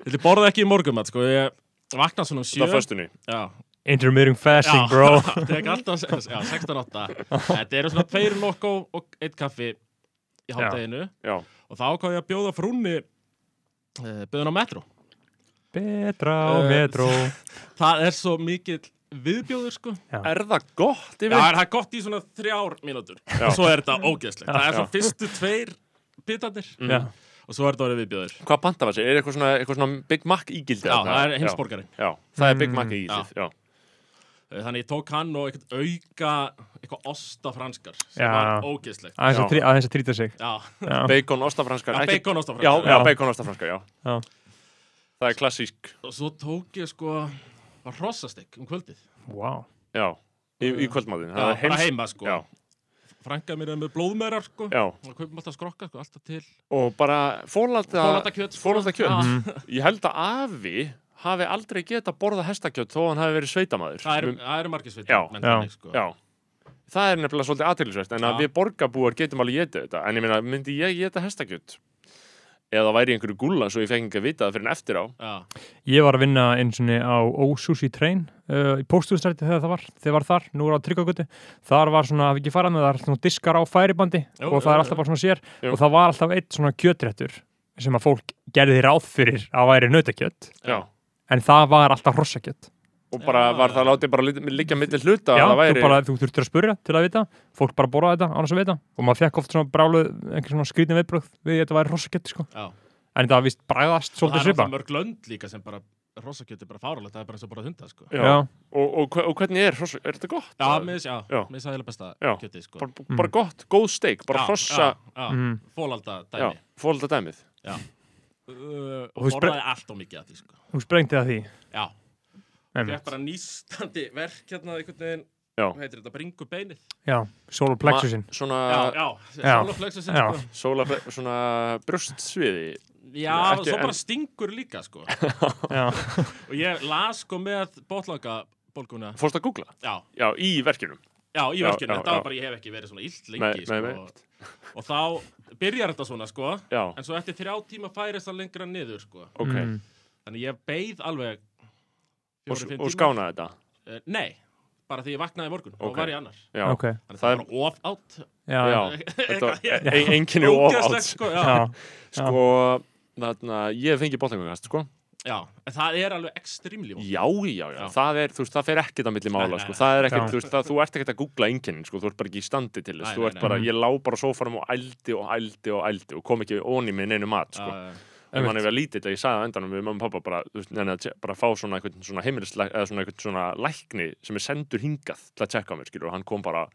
[SPEAKER 4] Ég borða ekki í morgumat sko. Ég vakna svona um
[SPEAKER 1] á
[SPEAKER 4] sjö
[SPEAKER 1] föstunni
[SPEAKER 4] Já,
[SPEAKER 2] Intermitting fasting,
[SPEAKER 4] já
[SPEAKER 2] bro
[SPEAKER 4] Tek alltaf, já, 16.8 Þetta eru svona tveir nokko og eitt kaffi í hátteginu
[SPEAKER 1] Já,
[SPEAKER 4] og þá ákvað ég að bjóða frúnni uh, bjóðin á metro
[SPEAKER 2] Betra,
[SPEAKER 4] Eh,
[SPEAKER 2] metro
[SPEAKER 4] Það er svo mikill viðbjóður sko
[SPEAKER 1] er það gott
[SPEAKER 4] Já,
[SPEAKER 1] yfir?
[SPEAKER 4] það er gott í svona þrjár mínútur og svo er þetta ógeðslegt Það er
[SPEAKER 1] Já.
[SPEAKER 4] svo fyrstu tveir bitarnir
[SPEAKER 2] Já,
[SPEAKER 4] Mm. og svo er þetta orðið viðbjóður
[SPEAKER 1] Hvað panta var sér? Er eitthvað svona, eitthvað svona Big Mac ígildi?
[SPEAKER 4] Já, það er Mm. heimsborgari
[SPEAKER 1] Já, það er Big Mac ígildið, já.
[SPEAKER 4] Eh, Þannig ég tók hann og eitthvað auka eitthvað osta franskar sem
[SPEAKER 2] Já.
[SPEAKER 4] var ógeðslegt.
[SPEAKER 2] aðeins
[SPEAKER 1] Já.
[SPEAKER 2] að trí- aðeins að trýta sig
[SPEAKER 4] Já,
[SPEAKER 2] Já,
[SPEAKER 1] Bacon, ostafranskar
[SPEAKER 4] já
[SPEAKER 1] ekki-
[SPEAKER 4] bacon osta
[SPEAKER 1] Já, já,
[SPEAKER 4] franskar.
[SPEAKER 2] Já.
[SPEAKER 1] bacon, ostafranskar, já
[SPEAKER 2] já,
[SPEAKER 1] Það er klassísk,
[SPEAKER 4] Og svo tók ég sko var hrossastek um kvöldið.
[SPEAKER 2] wow
[SPEAKER 1] já Í, í kvöldmáðin
[SPEAKER 4] Uh, Já, bara heima sko.
[SPEAKER 1] Já,
[SPEAKER 4] Frænka mér er með blóðmerar sko.
[SPEAKER 1] já
[SPEAKER 4] Og kaupum alltaf skrokka sko, alltaf til.
[SPEAKER 1] Og bara fórlata
[SPEAKER 4] Fólatakjöt.
[SPEAKER 1] Fórlatakjöt
[SPEAKER 2] Mhm.
[SPEAKER 1] Ég held að afi hafi aldrei geta borða hestakjöt þó hann hafi verið sveitamaður
[SPEAKER 4] Það eru
[SPEAKER 1] Við-
[SPEAKER 4] er margir sveitir.
[SPEAKER 1] Já,
[SPEAKER 4] menn
[SPEAKER 2] já,
[SPEAKER 4] þannig, sko.
[SPEAKER 1] Já Það er nefnilega svolítið aðtýrlisvægt en að
[SPEAKER 4] Já.
[SPEAKER 1] við borgarbúar getum alveg getið þetta en ég meina, myndi ég geta hestakjöt? Eða væri í einhverju gúlla svo ég fekk ekki að vita það fyrir en eftir á
[SPEAKER 4] Já.
[SPEAKER 2] Ég var að vinna eins og á Ósushi Train uh, í póstúðstrætti þegar það var þegar var þar, nú er það tryggagötu þar var svona, hafi ekki farað með það, er svona diskar á færibandi
[SPEAKER 4] Jú,
[SPEAKER 2] og það
[SPEAKER 4] jú,
[SPEAKER 2] er
[SPEAKER 4] jú.
[SPEAKER 2] alltaf bara svona sér
[SPEAKER 1] Jú.
[SPEAKER 2] og það var alltaf eitt svona kjötréttur sem að fólk gerði ráð fyrir að væri nautakjött
[SPEAKER 1] Já,
[SPEAKER 2] en það var alltaf hrossakjött
[SPEAKER 1] og bara
[SPEAKER 4] Já.
[SPEAKER 1] var það látið bara lit- liggja millir hluta
[SPEAKER 2] Já,
[SPEAKER 1] að það væri
[SPEAKER 2] þú, bara, þú þurftur að spurja til að vita fólk bara borða þetta, annars að vita og maður fekk oft svona bráluð, einhver svona skrítin viðbröð við að þetta væri hrossakjött sko.
[SPEAKER 4] Já.
[SPEAKER 2] en það vist bræðast
[SPEAKER 4] Og það
[SPEAKER 2] svolítið
[SPEAKER 4] er
[SPEAKER 2] svipa
[SPEAKER 4] alltaf mörg lönd líka sem bara hrossakjöt er bara fáralegt. Það er bara eins og bara hunda sko.
[SPEAKER 1] Já.
[SPEAKER 2] Já,
[SPEAKER 1] og, og, hve- og hvernig er, hross- er þetta gott?
[SPEAKER 4] Já, mér finnst- já,
[SPEAKER 1] Já.
[SPEAKER 4] mér finnst það heila besta
[SPEAKER 1] Já.
[SPEAKER 4] kjötið sko.
[SPEAKER 1] bara, bara gott, góð steik, bara
[SPEAKER 4] Já,
[SPEAKER 1] hrossa
[SPEAKER 4] já, já,
[SPEAKER 2] Mm.
[SPEAKER 4] Fólalda
[SPEAKER 1] já,
[SPEAKER 4] dæmi.
[SPEAKER 1] fólita dæmið
[SPEAKER 4] uh,
[SPEAKER 2] Og þú
[SPEAKER 4] og
[SPEAKER 2] spre-
[SPEAKER 4] borðaði allt á mikið af því sko.
[SPEAKER 2] þú sprengti það því
[SPEAKER 4] já, ég
[SPEAKER 2] Einmitt.
[SPEAKER 4] bara nýstandi verk hérna einhvern veginn
[SPEAKER 1] Já.
[SPEAKER 4] hvað heitir þetta, bringu beinið
[SPEAKER 2] Já, solar plexusinn
[SPEAKER 1] Ma- svona,
[SPEAKER 4] já, já,
[SPEAKER 2] Já.
[SPEAKER 4] sálaflexu sem
[SPEAKER 2] Já.
[SPEAKER 4] sko
[SPEAKER 1] sóla, svona brjóstsviði
[SPEAKER 4] já,
[SPEAKER 1] Ekki-
[SPEAKER 4] svo
[SPEAKER 1] en-
[SPEAKER 4] bara stingur líka sko
[SPEAKER 2] Já.
[SPEAKER 4] og ég las sko með botlanga bólguna,
[SPEAKER 1] fórst að googla,
[SPEAKER 4] já,
[SPEAKER 1] já, í verkinum
[SPEAKER 4] já, í
[SPEAKER 1] Já,
[SPEAKER 4] verkinu
[SPEAKER 1] já,
[SPEAKER 4] þetta
[SPEAKER 1] já.
[SPEAKER 4] var bara, ég hef ekki verið svona illt lengi
[SPEAKER 1] Nei, nei, nei.
[SPEAKER 4] sko og þá byrjar þetta svona sko
[SPEAKER 1] já,
[SPEAKER 4] en svo eftir þrjá tíma færist það lengra niður sko
[SPEAKER 1] ok,
[SPEAKER 2] Mm.
[SPEAKER 4] þannig ég beið alveg
[SPEAKER 1] og,
[SPEAKER 4] fjórir,
[SPEAKER 1] s-
[SPEAKER 4] fimm
[SPEAKER 1] og
[SPEAKER 4] tíma.
[SPEAKER 1] skána þetta
[SPEAKER 4] Eh, nei, bara því ég vaknaði í morgun
[SPEAKER 1] Ok.
[SPEAKER 4] og var í annar
[SPEAKER 1] já,
[SPEAKER 2] Ok,
[SPEAKER 1] Það
[SPEAKER 4] þannig það
[SPEAKER 1] er-
[SPEAKER 4] er bara of átt
[SPEAKER 2] já,
[SPEAKER 1] já,
[SPEAKER 2] já.
[SPEAKER 1] þetta
[SPEAKER 4] Ég-
[SPEAKER 1] e- e- enginni of
[SPEAKER 4] Ógeðslegt,
[SPEAKER 1] átt
[SPEAKER 4] sko, já.
[SPEAKER 2] já.
[SPEAKER 1] sko, þarna, ég fengi bóttangangast, sko
[SPEAKER 4] Já, en það er alveg extremely vond.
[SPEAKER 1] já, já, já,
[SPEAKER 4] Já.
[SPEAKER 1] það er, þú veist, það fer ekkert á milli mála,
[SPEAKER 4] Nei, nei,
[SPEAKER 1] sko,
[SPEAKER 4] nei.
[SPEAKER 1] það er ekkert,
[SPEAKER 2] Já.
[SPEAKER 1] þú veist, það, þú ert ekkert að googla enginn, sko, þú ert bara ekki í standi til þess,
[SPEAKER 4] Nei,
[SPEAKER 1] þú
[SPEAKER 4] nei,
[SPEAKER 1] ert
[SPEAKER 4] nei.
[SPEAKER 1] bara, ég lá bara á sófanum og ældi og ældi og ældi og kom ekki onni með neinu mat, sko,
[SPEAKER 4] Já, já,
[SPEAKER 1] en mann hefur lítill að ég sagði á endanum við mamma og pappa bara, þú veist, neina, bara fá svona einhvern svona heimilislæk, eða svona einhvern svona lækni sem er sendur hingað til að tjekka á mér, skilur, og hann kom bara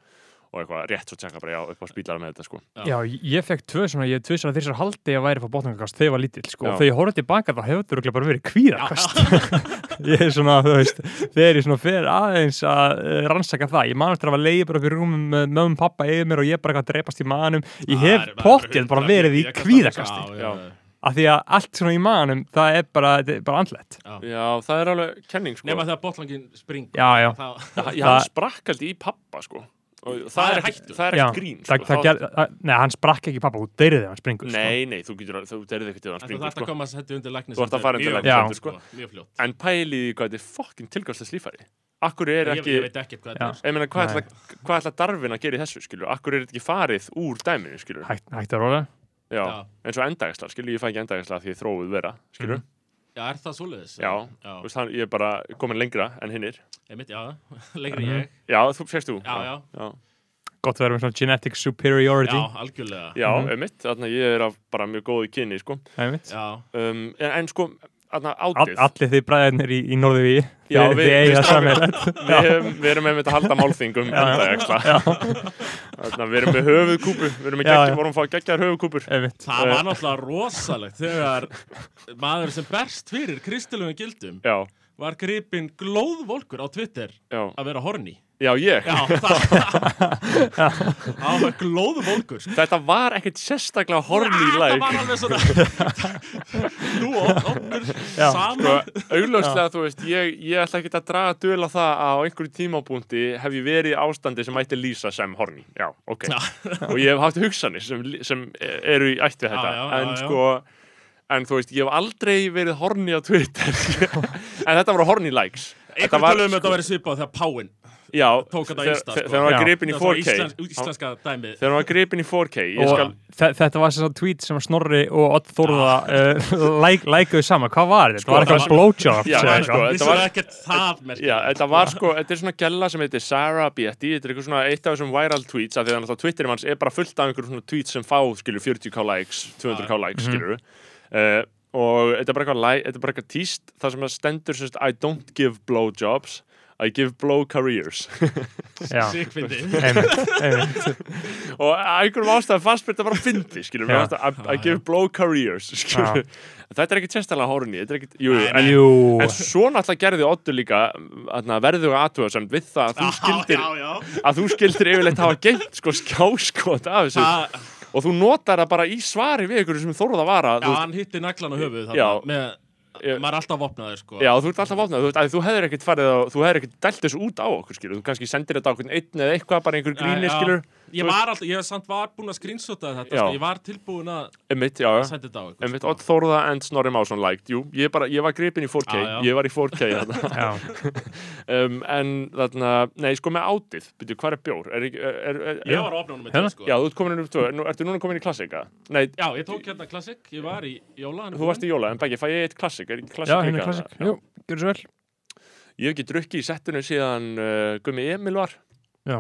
[SPEAKER 1] og eitthvað rétt svo tjekka bara, já, upp á spílara með þetta, sko,
[SPEAKER 2] Já, ég fekk tvö svona, ég tvö svona þessar haldi að væri frá bótningakast þegar ég var lítill, sko,
[SPEAKER 1] Já.
[SPEAKER 2] og þegar ég horfði tilbaka þá hefur þetta örugglega bara verið kvíðakast. ég er svona, þú veist, þegar ég svona fer aðeins að eh, rannsaka það, ég manast að var leið bara upp í rúmum með mögum pappa yfir mér og ég bara eitthvað að drepast í manum, ég
[SPEAKER 4] það
[SPEAKER 2] hef
[SPEAKER 4] er- það er
[SPEAKER 2] pottið bara
[SPEAKER 4] 100
[SPEAKER 2] verið í
[SPEAKER 4] ég kasta-
[SPEAKER 2] kvíðakasti,
[SPEAKER 4] Já, já,
[SPEAKER 1] Já.
[SPEAKER 4] já.
[SPEAKER 2] af því að allt svona í manum, það er bara, þetta er bara andlegt.
[SPEAKER 1] já, það er alveg kenning, sko,
[SPEAKER 4] Nefna þegar botlangin springur.
[SPEAKER 2] Já, já.
[SPEAKER 4] Það,
[SPEAKER 1] það, já,
[SPEAKER 2] það-
[SPEAKER 1] hann sprakk aldrei í pappa, sko, og það,
[SPEAKER 4] Það
[SPEAKER 1] er
[SPEAKER 4] er
[SPEAKER 1] ekkert,
[SPEAKER 4] hættu.
[SPEAKER 1] það er
[SPEAKER 2] Já,
[SPEAKER 1] ekkert grín, sko.
[SPEAKER 2] það, það,
[SPEAKER 1] þá-
[SPEAKER 2] ger, það, neða, hann sprakk ekki pappa, hún deyrið þegar hann springur, sko.
[SPEAKER 1] Nei, nei, þú getur, þú derði ekkert til hann
[SPEAKER 4] en þú
[SPEAKER 1] springur,
[SPEAKER 4] þarft að
[SPEAKER 1] sko.
[SPEAKER 4] koma að setja undir læknis.
[SPEAKER 1] Þú ert að fara undir
[SPEAKER 2] læknishendur,
[SPEAKER 4] sko.
[SPEAKER 1] sko.
[SPEAKER 4] Mjög fljótt.
[SPEAKER 1] En pælið í hvað þetta er fokkin tilgjáðslega slífæri. Akkur er
[SPEAKER 4] Ég,
[SPEAKER 1] ekki,
[SPEAKER 4] ég veit ekkert hvað
[SPEAKER 2] Já.
[SPEAKER 4] þetta er. sko.
[SPEAKER 1] ég meina, hvað
[SPEAKER 2] Nei.
[SPEAKER 1] ætla, hvað ætla darfin að gera í þessu, skilur? Akkur er þetta ekki farið úr dæminu, skilur?
[SPEAKER 2] Hægt, hægt að róla.
[SPEAKER 1] Já.
[SPEAKER 4] Já.
[SPEAKER 1] En svo endægisla, skilur, ég fæ ekki endægisla því ég þróið vera, skilur?
[SPEAKER 4] Já, er það svoleiðis?
[SPEAKER 1] Já,
[SPEAKER 4] Mhm. Já,
[SPEAKER 1] þú veist, hann, ég er bara komin lengra en hinnir.
[SPEAKER 4] ég mitt, já.
[SPEAKER 1] Mhm.
[SPEAKER 4] Lengri en ég.
[SPEAKER 1] Já, þú fyrst þú.
[SPEAKER 4] Já, já.
[SPEAKER 1] Já,
[SPEAKER 2] Gott að vera með svona genetic superiority,
[SPEAKER 4] Já, algjörlega.
[SPEAKER 2] Mhm.
[SPEAKER 1] já einmitt, þarna ég er af bara mjög góðu kynni, sko.
[SPEAKER 2] einmitt.
[SPEAKER 4] Já.
[SPEAKER 1] Um, en, en sko, aðna,
[SPEAKER 2] All,
[SPEAKER 1] átið
[SPEAKER 2] allir þið bræðinir í, í Norðuví
[SPEAKER 1] Já, við-
[SPEAKER 2] þið, þið
[SPEAKER 1] við
[SPEAKER 2] eiga
[SPEAKER 1] strákar-
[SPEAKER 2] sammeilegt
[SPEAKER 1] við, höfum- við erum með þetta halda málþing um endajaksla Þarna, við erum með höfuðkúpu við erum með
[SPEAKER 2] Já,
[SPEAKER 1] geggja,
[SPEAKER 2] já.
[SPEAKER 1] vorum að fá geggjaðar höfuðkúpur
[SPEAKER 2] einmitt
[SPEAKER 4] Það
[SPEAKER 1] Eh.
[SPEAKER 4] var náttúrulega rosalegt þegar maður sem berst fyrir kristilöfum gildum
[SPEAKER 1] já,
[SPEAKER 4] var gripinn glóðvolkur á Twitter
[SPEAKER 1] já,
[SPEAKER 4] að vera horni.
[SPEAKER 1] já, ég
[SPEAKER 4] Já, það það var glóðvolkur. sko.
[SPEAKER 1] þetta var ekkert sérstaklega horni í
[SPEAKER 4] Ah, Það
[SPEAKER 1] læk
[SPEAKER 4] var alveg svona, þú og okkur
[SPEAKER 2] Já.
[SPEAKER 4] saman.
[SPEAKER 1] sko, augljóslega, þú veist, ég, ég ætla ekki að draga döl á það að á einhverju tímabúndi hef ég verið í ástandi sem ætti lýsa sem horni, já, ok
[SPEAKER 4] Já.
[SPEAKER 1] og ég hef haft hugsanir sem, sem eru í ætt við þetta,
[SPEAKER 4] Já, já, já,
[SPEAKER 1] en
[SPEAKER 4] já.
[SPEAKER 1] sko en þú veist, ég hef aldrei verið horni á Twitter en þetta voru horni likes
[SPEAKER 4] Einhvern
[SPEAKER 1] sko,
[SPEAKER 4] tölum þetta um að vera svipað þegar Páinn
[SPEAKER 1] já,
[SPEAKER 4] tók þetta
[SPEAKER 1] þegar-
[SPEAKER 4] insta, sko.
[SPEAKER 1] þegar hann var
[SPEAKER 2] Já.
[SPEAKER 1] gripin í
[SPEAKER 4] Það var
[SPEAKER 1] 4K
[SPEAKER 4] íslensk, íslenska dæmið.
[SPEAKER 1] þegar hann var gripin í 4K ég
[SPEAKER 2] og
[SPEAKER 1] skal, Ah.
[SPEAKER 2] þe- þetta var þess að tweet sem að Snorri og Odd Þórða uh, læk, lækuðu saman, hvað var þetta? það
[SPEAKER 1] Sko,
[SPEAKER 2] var
[SPEAKER 1] það
[SPEAKER 2] eitthvað blowjob
[SPEAKER 1] Já, sko,
[SPEAKER 2] segja eitthvað.
[SPEAKER 1] þetta
[SPEAKER 4] Vissu
[SPEAKER 1] var-
[SPEAKER 4] það ekkert það merkja?
[SPEAKER 1] Já, þetta var sko, þetta er svona gælla sem heitir Sarah Bietti, þetta er eitthvað svona eitt af þessum viral tweets, af því að náttúrulega Twitterum hans er bara fullt af einhverjum svona tweets sem fá, skilur, 40k likes, 200k likes, skilur uh, og þetta er bara eitthvað, li- þetta er bara eitthvað tíst, það sem að stendur sérst, I don't give blowjobs, I give blow careers
[SPEAKER 2] Já,
[SPEAKER 4] Sikfindi.
[SPEAKER 2] einmitt, einmitt.
[SPEAKER 1] og að einhverjum ástæðum fannst mér þetta bara fyndi, skilur,
[SPEAKER 2] Já.
[SPEAKER 1] mér fannst að- I, I give blow careers, skilur þetta er ekki testalega hórni, þetta er ekki, jú, jú, en
[SPEAKER 2] Jú,
[SPEAKER 1] En svo náttúrulega gerði Oddur líka mm, aðna, verðuga aðtöðasönd við það að þú skildir,
[SPEAKER 4] Já, já, já.
[SPEAKER 1] að þú skildir yfirleitt hafa geimt sko skjáskot af þessu
[SPEAKER 4] Það,
[SPEAKER 1] og þú notar það bara í svari við ykkur sem þorða vara
[SPEAKER 4] já,
[SPEAKER 1] þú, veist,
[SPEAKER 4] hann hitti naglan á höfuð
[SPEAKER 1] Já.
[SPEAKER 4] þarna með,
[SPEAKER 1] Ég-
[SPEAKER 4] maður er alltaf vopnaður sko
[SPEAKER 1] já, þú ert alltaf vopnað, þú, veist, að þú hefðir ekkert farið á, þú hefðir ekkert dælt þessu út á okkur skilur, þú kannski sendir þetta á okkur einn eða eitthvað bara einhver gríni
[SPEAKER 4] Já, já.
[SPEAKER 1] skilur
[SPEAKER 4] Ég var alltaf, ég samt var búinn að screenshota þetta
[SPEAKER 1] Já.
[SPEAKER 4] sko. Ég var tilbúinn að
[SPEAKER 1] einmitt, já, já,
[SPEAKER 4] senda þetta á ykkur sko.
[SPEAKER 1] einmitt Odd Þorða and Snorri Másson liked, jú, ég, bara, ég var gripin í 4K
[SPEAKER 4] Já, já.
[SPEAKER 1] ég var í 4K þarna.
[SPEAKER 2] já,
[SPEAKER 1] um, en þarna, nei, sko með átið byrju, hvað er bjór? Er, ekki- er, er, er,
[SPEAKER 4] Ég var ofnánum með
[SPEAKER 2] Hérna?
[SPEAKER 4] þetta sko
[SPEAKER 1] Já, þú ert komin inn um tvö, nú, ertu núna komin í klassika? Nei,
[SPEAKER 4] Já, ég tók hérna klassik, ég var í jóla
[SPEAKER 1] þú varst í jóla, en Beggi, fæ ég eitt klassik? Er ekki klassik
[SPEAKER 2] já, hérna
[SPEAKER 1] líka?
[SPEAKER 2] er klassik Jú, gjörðu svo vel
[SPEAKER 1] Ég hef ekki drukkið í settinu síðan uh, Gummi Emil var,
[SPEAKER 4] Já,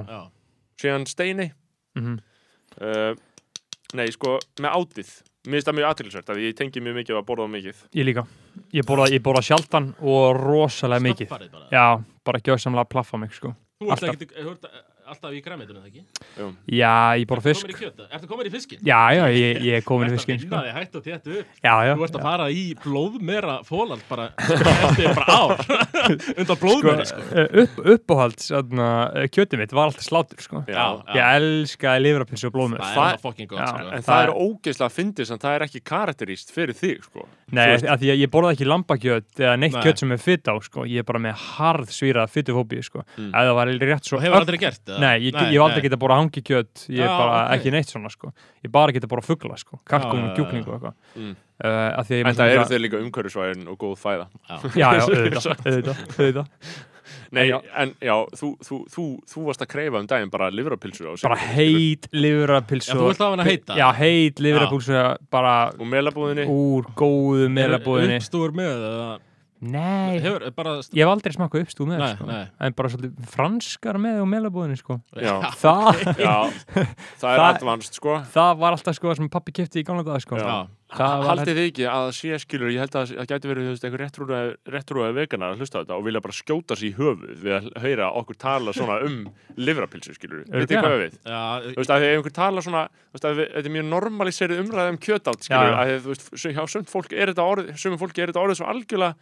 [SPEAKER 1] síðan Steini.
[SPEAKER 2] Mhm.
[SPEAKER 1] uh, nei, sko, með átið. Mér finnst það mjög aðtilsvært, að ég tengi mjög mikið og að borða of mikið.
[SPEAKER 2] Ég líka, ég borða, ég borða sjaldan og rosalega mikið
[SPEAKER 4] Staffarið bara.
[SPEAKER 2] Já, bara gjössamlega að plaffa mig sko
[SPEAKER 4] Þú ert
[SPEAKER 2] alltaf.
[SPEAKER 4] ekki, þú ert eh, alltaf í græmitunum það ekki
[SPEAKER 2] Já, ég borða
[SPEAKER 4] Fisk
[SPEAKER 2] fisk
[SPEAKER 4] Komir í kjöta, ertu komin í fiskin?
[SPEAKER 2] Já, já, ég, ég er komin í fiskinn
[SPEAKER 4] Þetta
[SPEAKER 2] sko.
[SPEAKER 4] vinnaði hægt og tétt upp
[SPEAKER 2] Já, já,
[SPEAKER 4] Þú ert að fara í blóðmera fólald bara eftir bara ár undan blóðmeri sko
[SPEAKER 2] Eh, upp, uppáhald svona, eh, kjötið mitt var alltaf slátur sko.
[SPEAKER 4] Já,
[SPEAKER 2] ég elskaði livrapilsu og blóðmjöl
[SPEAKER 4] Það er
[SPEAKER 1] Það-
[SPEAKER 4] það fucking gott
[SPEAKER 2] Já,
[SPEAKER 4] sko
[SPEAKER 1] En það,
[SPEAKER 2] það
[SPEAKER 1] er
[SPEAKER 2] er-
[SPEAKER 1] ógeðslega fyndið sem það er ekki karakteríst fyrir þig, sko.
[SPEAKER 2] nei,
[SPEAKER 1] þú veist-
[SPEAKER 2] af því að ég borðaði ekki lambakjöt eða neitt
[SPEAKER 4] Nei.
[SPEAKER 2] kjöt sem er fytt á sko. ég er bara með harð svýrað fytufóbíu sko.
[SPEAKER 1] Mm.
[SPEAKER 2] ef það var rétt svo
[SPEAKER 4] Þú hefur aldrei gert það?
[SPEAKER 2] nei, ég, ég hef aldrei getað borða hangikjöt ég er
[SPEAKER 4] Já,
[SPEAKER 2] bara
[SPEAKER 4] ok.
[SPEAKER 2] ekki neitt svona sko. ég bara getað borða fuggla sko. kalkum og
[SPEAKER 4] Já, já,
[SPEAKER 2] kjúklingu og eitthvað
[SPEAKER 1] Mm.
[SPEAKER 2] uh, af því að ég
[SPEAKER 1] En
[SPEAKER 2] er með
[SPEAKER 1] það eru
[SPEAKER 2] svona-
[SPEAKER 1] þeir líka umhverfisvæðin og góð fæða.
[SPEAKER 4] Já.
[SPEAKER 2] já, já, auðvitað, auðvitað, auðvitað.
[SPEAKER 1] Nei,
[SPEAKER 2] Já.
[SPEAKER 1] en já, þú, þú, þú, þú varst að kreifa um daginn bara livrapilsu á sig.
[SPEAKER 2] bara heit livrapilsu
[SPEAKER 4] Já, þú vilt hafa hana heita?
[SPEAKER 2] já, heit livrapilsu bara
[SPEAKER 1] Og melabúðinni.
[SPEAKER 2] úr góðu meilabúðinni
[SPEAKER 4] Uppstúr með eða
[SPEAKER 2] Nei,
[SPEAKER 4] Hefur bara st-
[SPEAKER 2] ég hef aldrei smakkað uppstúð með
[SPEAKER 4] Nei,
[SPEAKER 2] sko.
[SPEAKER 4] nei.
[SPEAKER 2] en bara svolítið franskar með og meilabúðinni sko.
[SPEAKER 1] Já.
[SPEAKER 4] Ah,
[SPEAKER 2] það,
[SPEAKER 1] Já, það er
[SPEAKER 2] Það-
[SPEAKER 1] advanced sko
[SPEAKER 2] það var alltaf sko, það sem pappi kipti í gamla dag sko.
[SPEAKER 4] Já.
[SPEAKER 2] það var
[SPEAKER 1] Haldið þið ekki að sé skilur ég held að það gæti verið þú veist, einhver réttrúlega, réttrúlega veganar að hlusta á þetta og vilja bara skjóta sér í höfuð við að heyra okkur tala svona um livrapilsu skilur Veit þið
[SPEAKER 2] Örugglega.
[SPEAKER 1] hvað ég við?
[SPEAKER 4] Já,
[SPEAKER 1] Þú veist að því ef einhver tala svona þú veist að við- þetta er mjög normaliserið umræðið um kjötátt skilur
[SPEAKER 2] Já, já.
[SPEAKER 1] að því, þú veist sum- hjá sumt fólk er þetta orð sumum fólki er þetta orðið svo algjörlega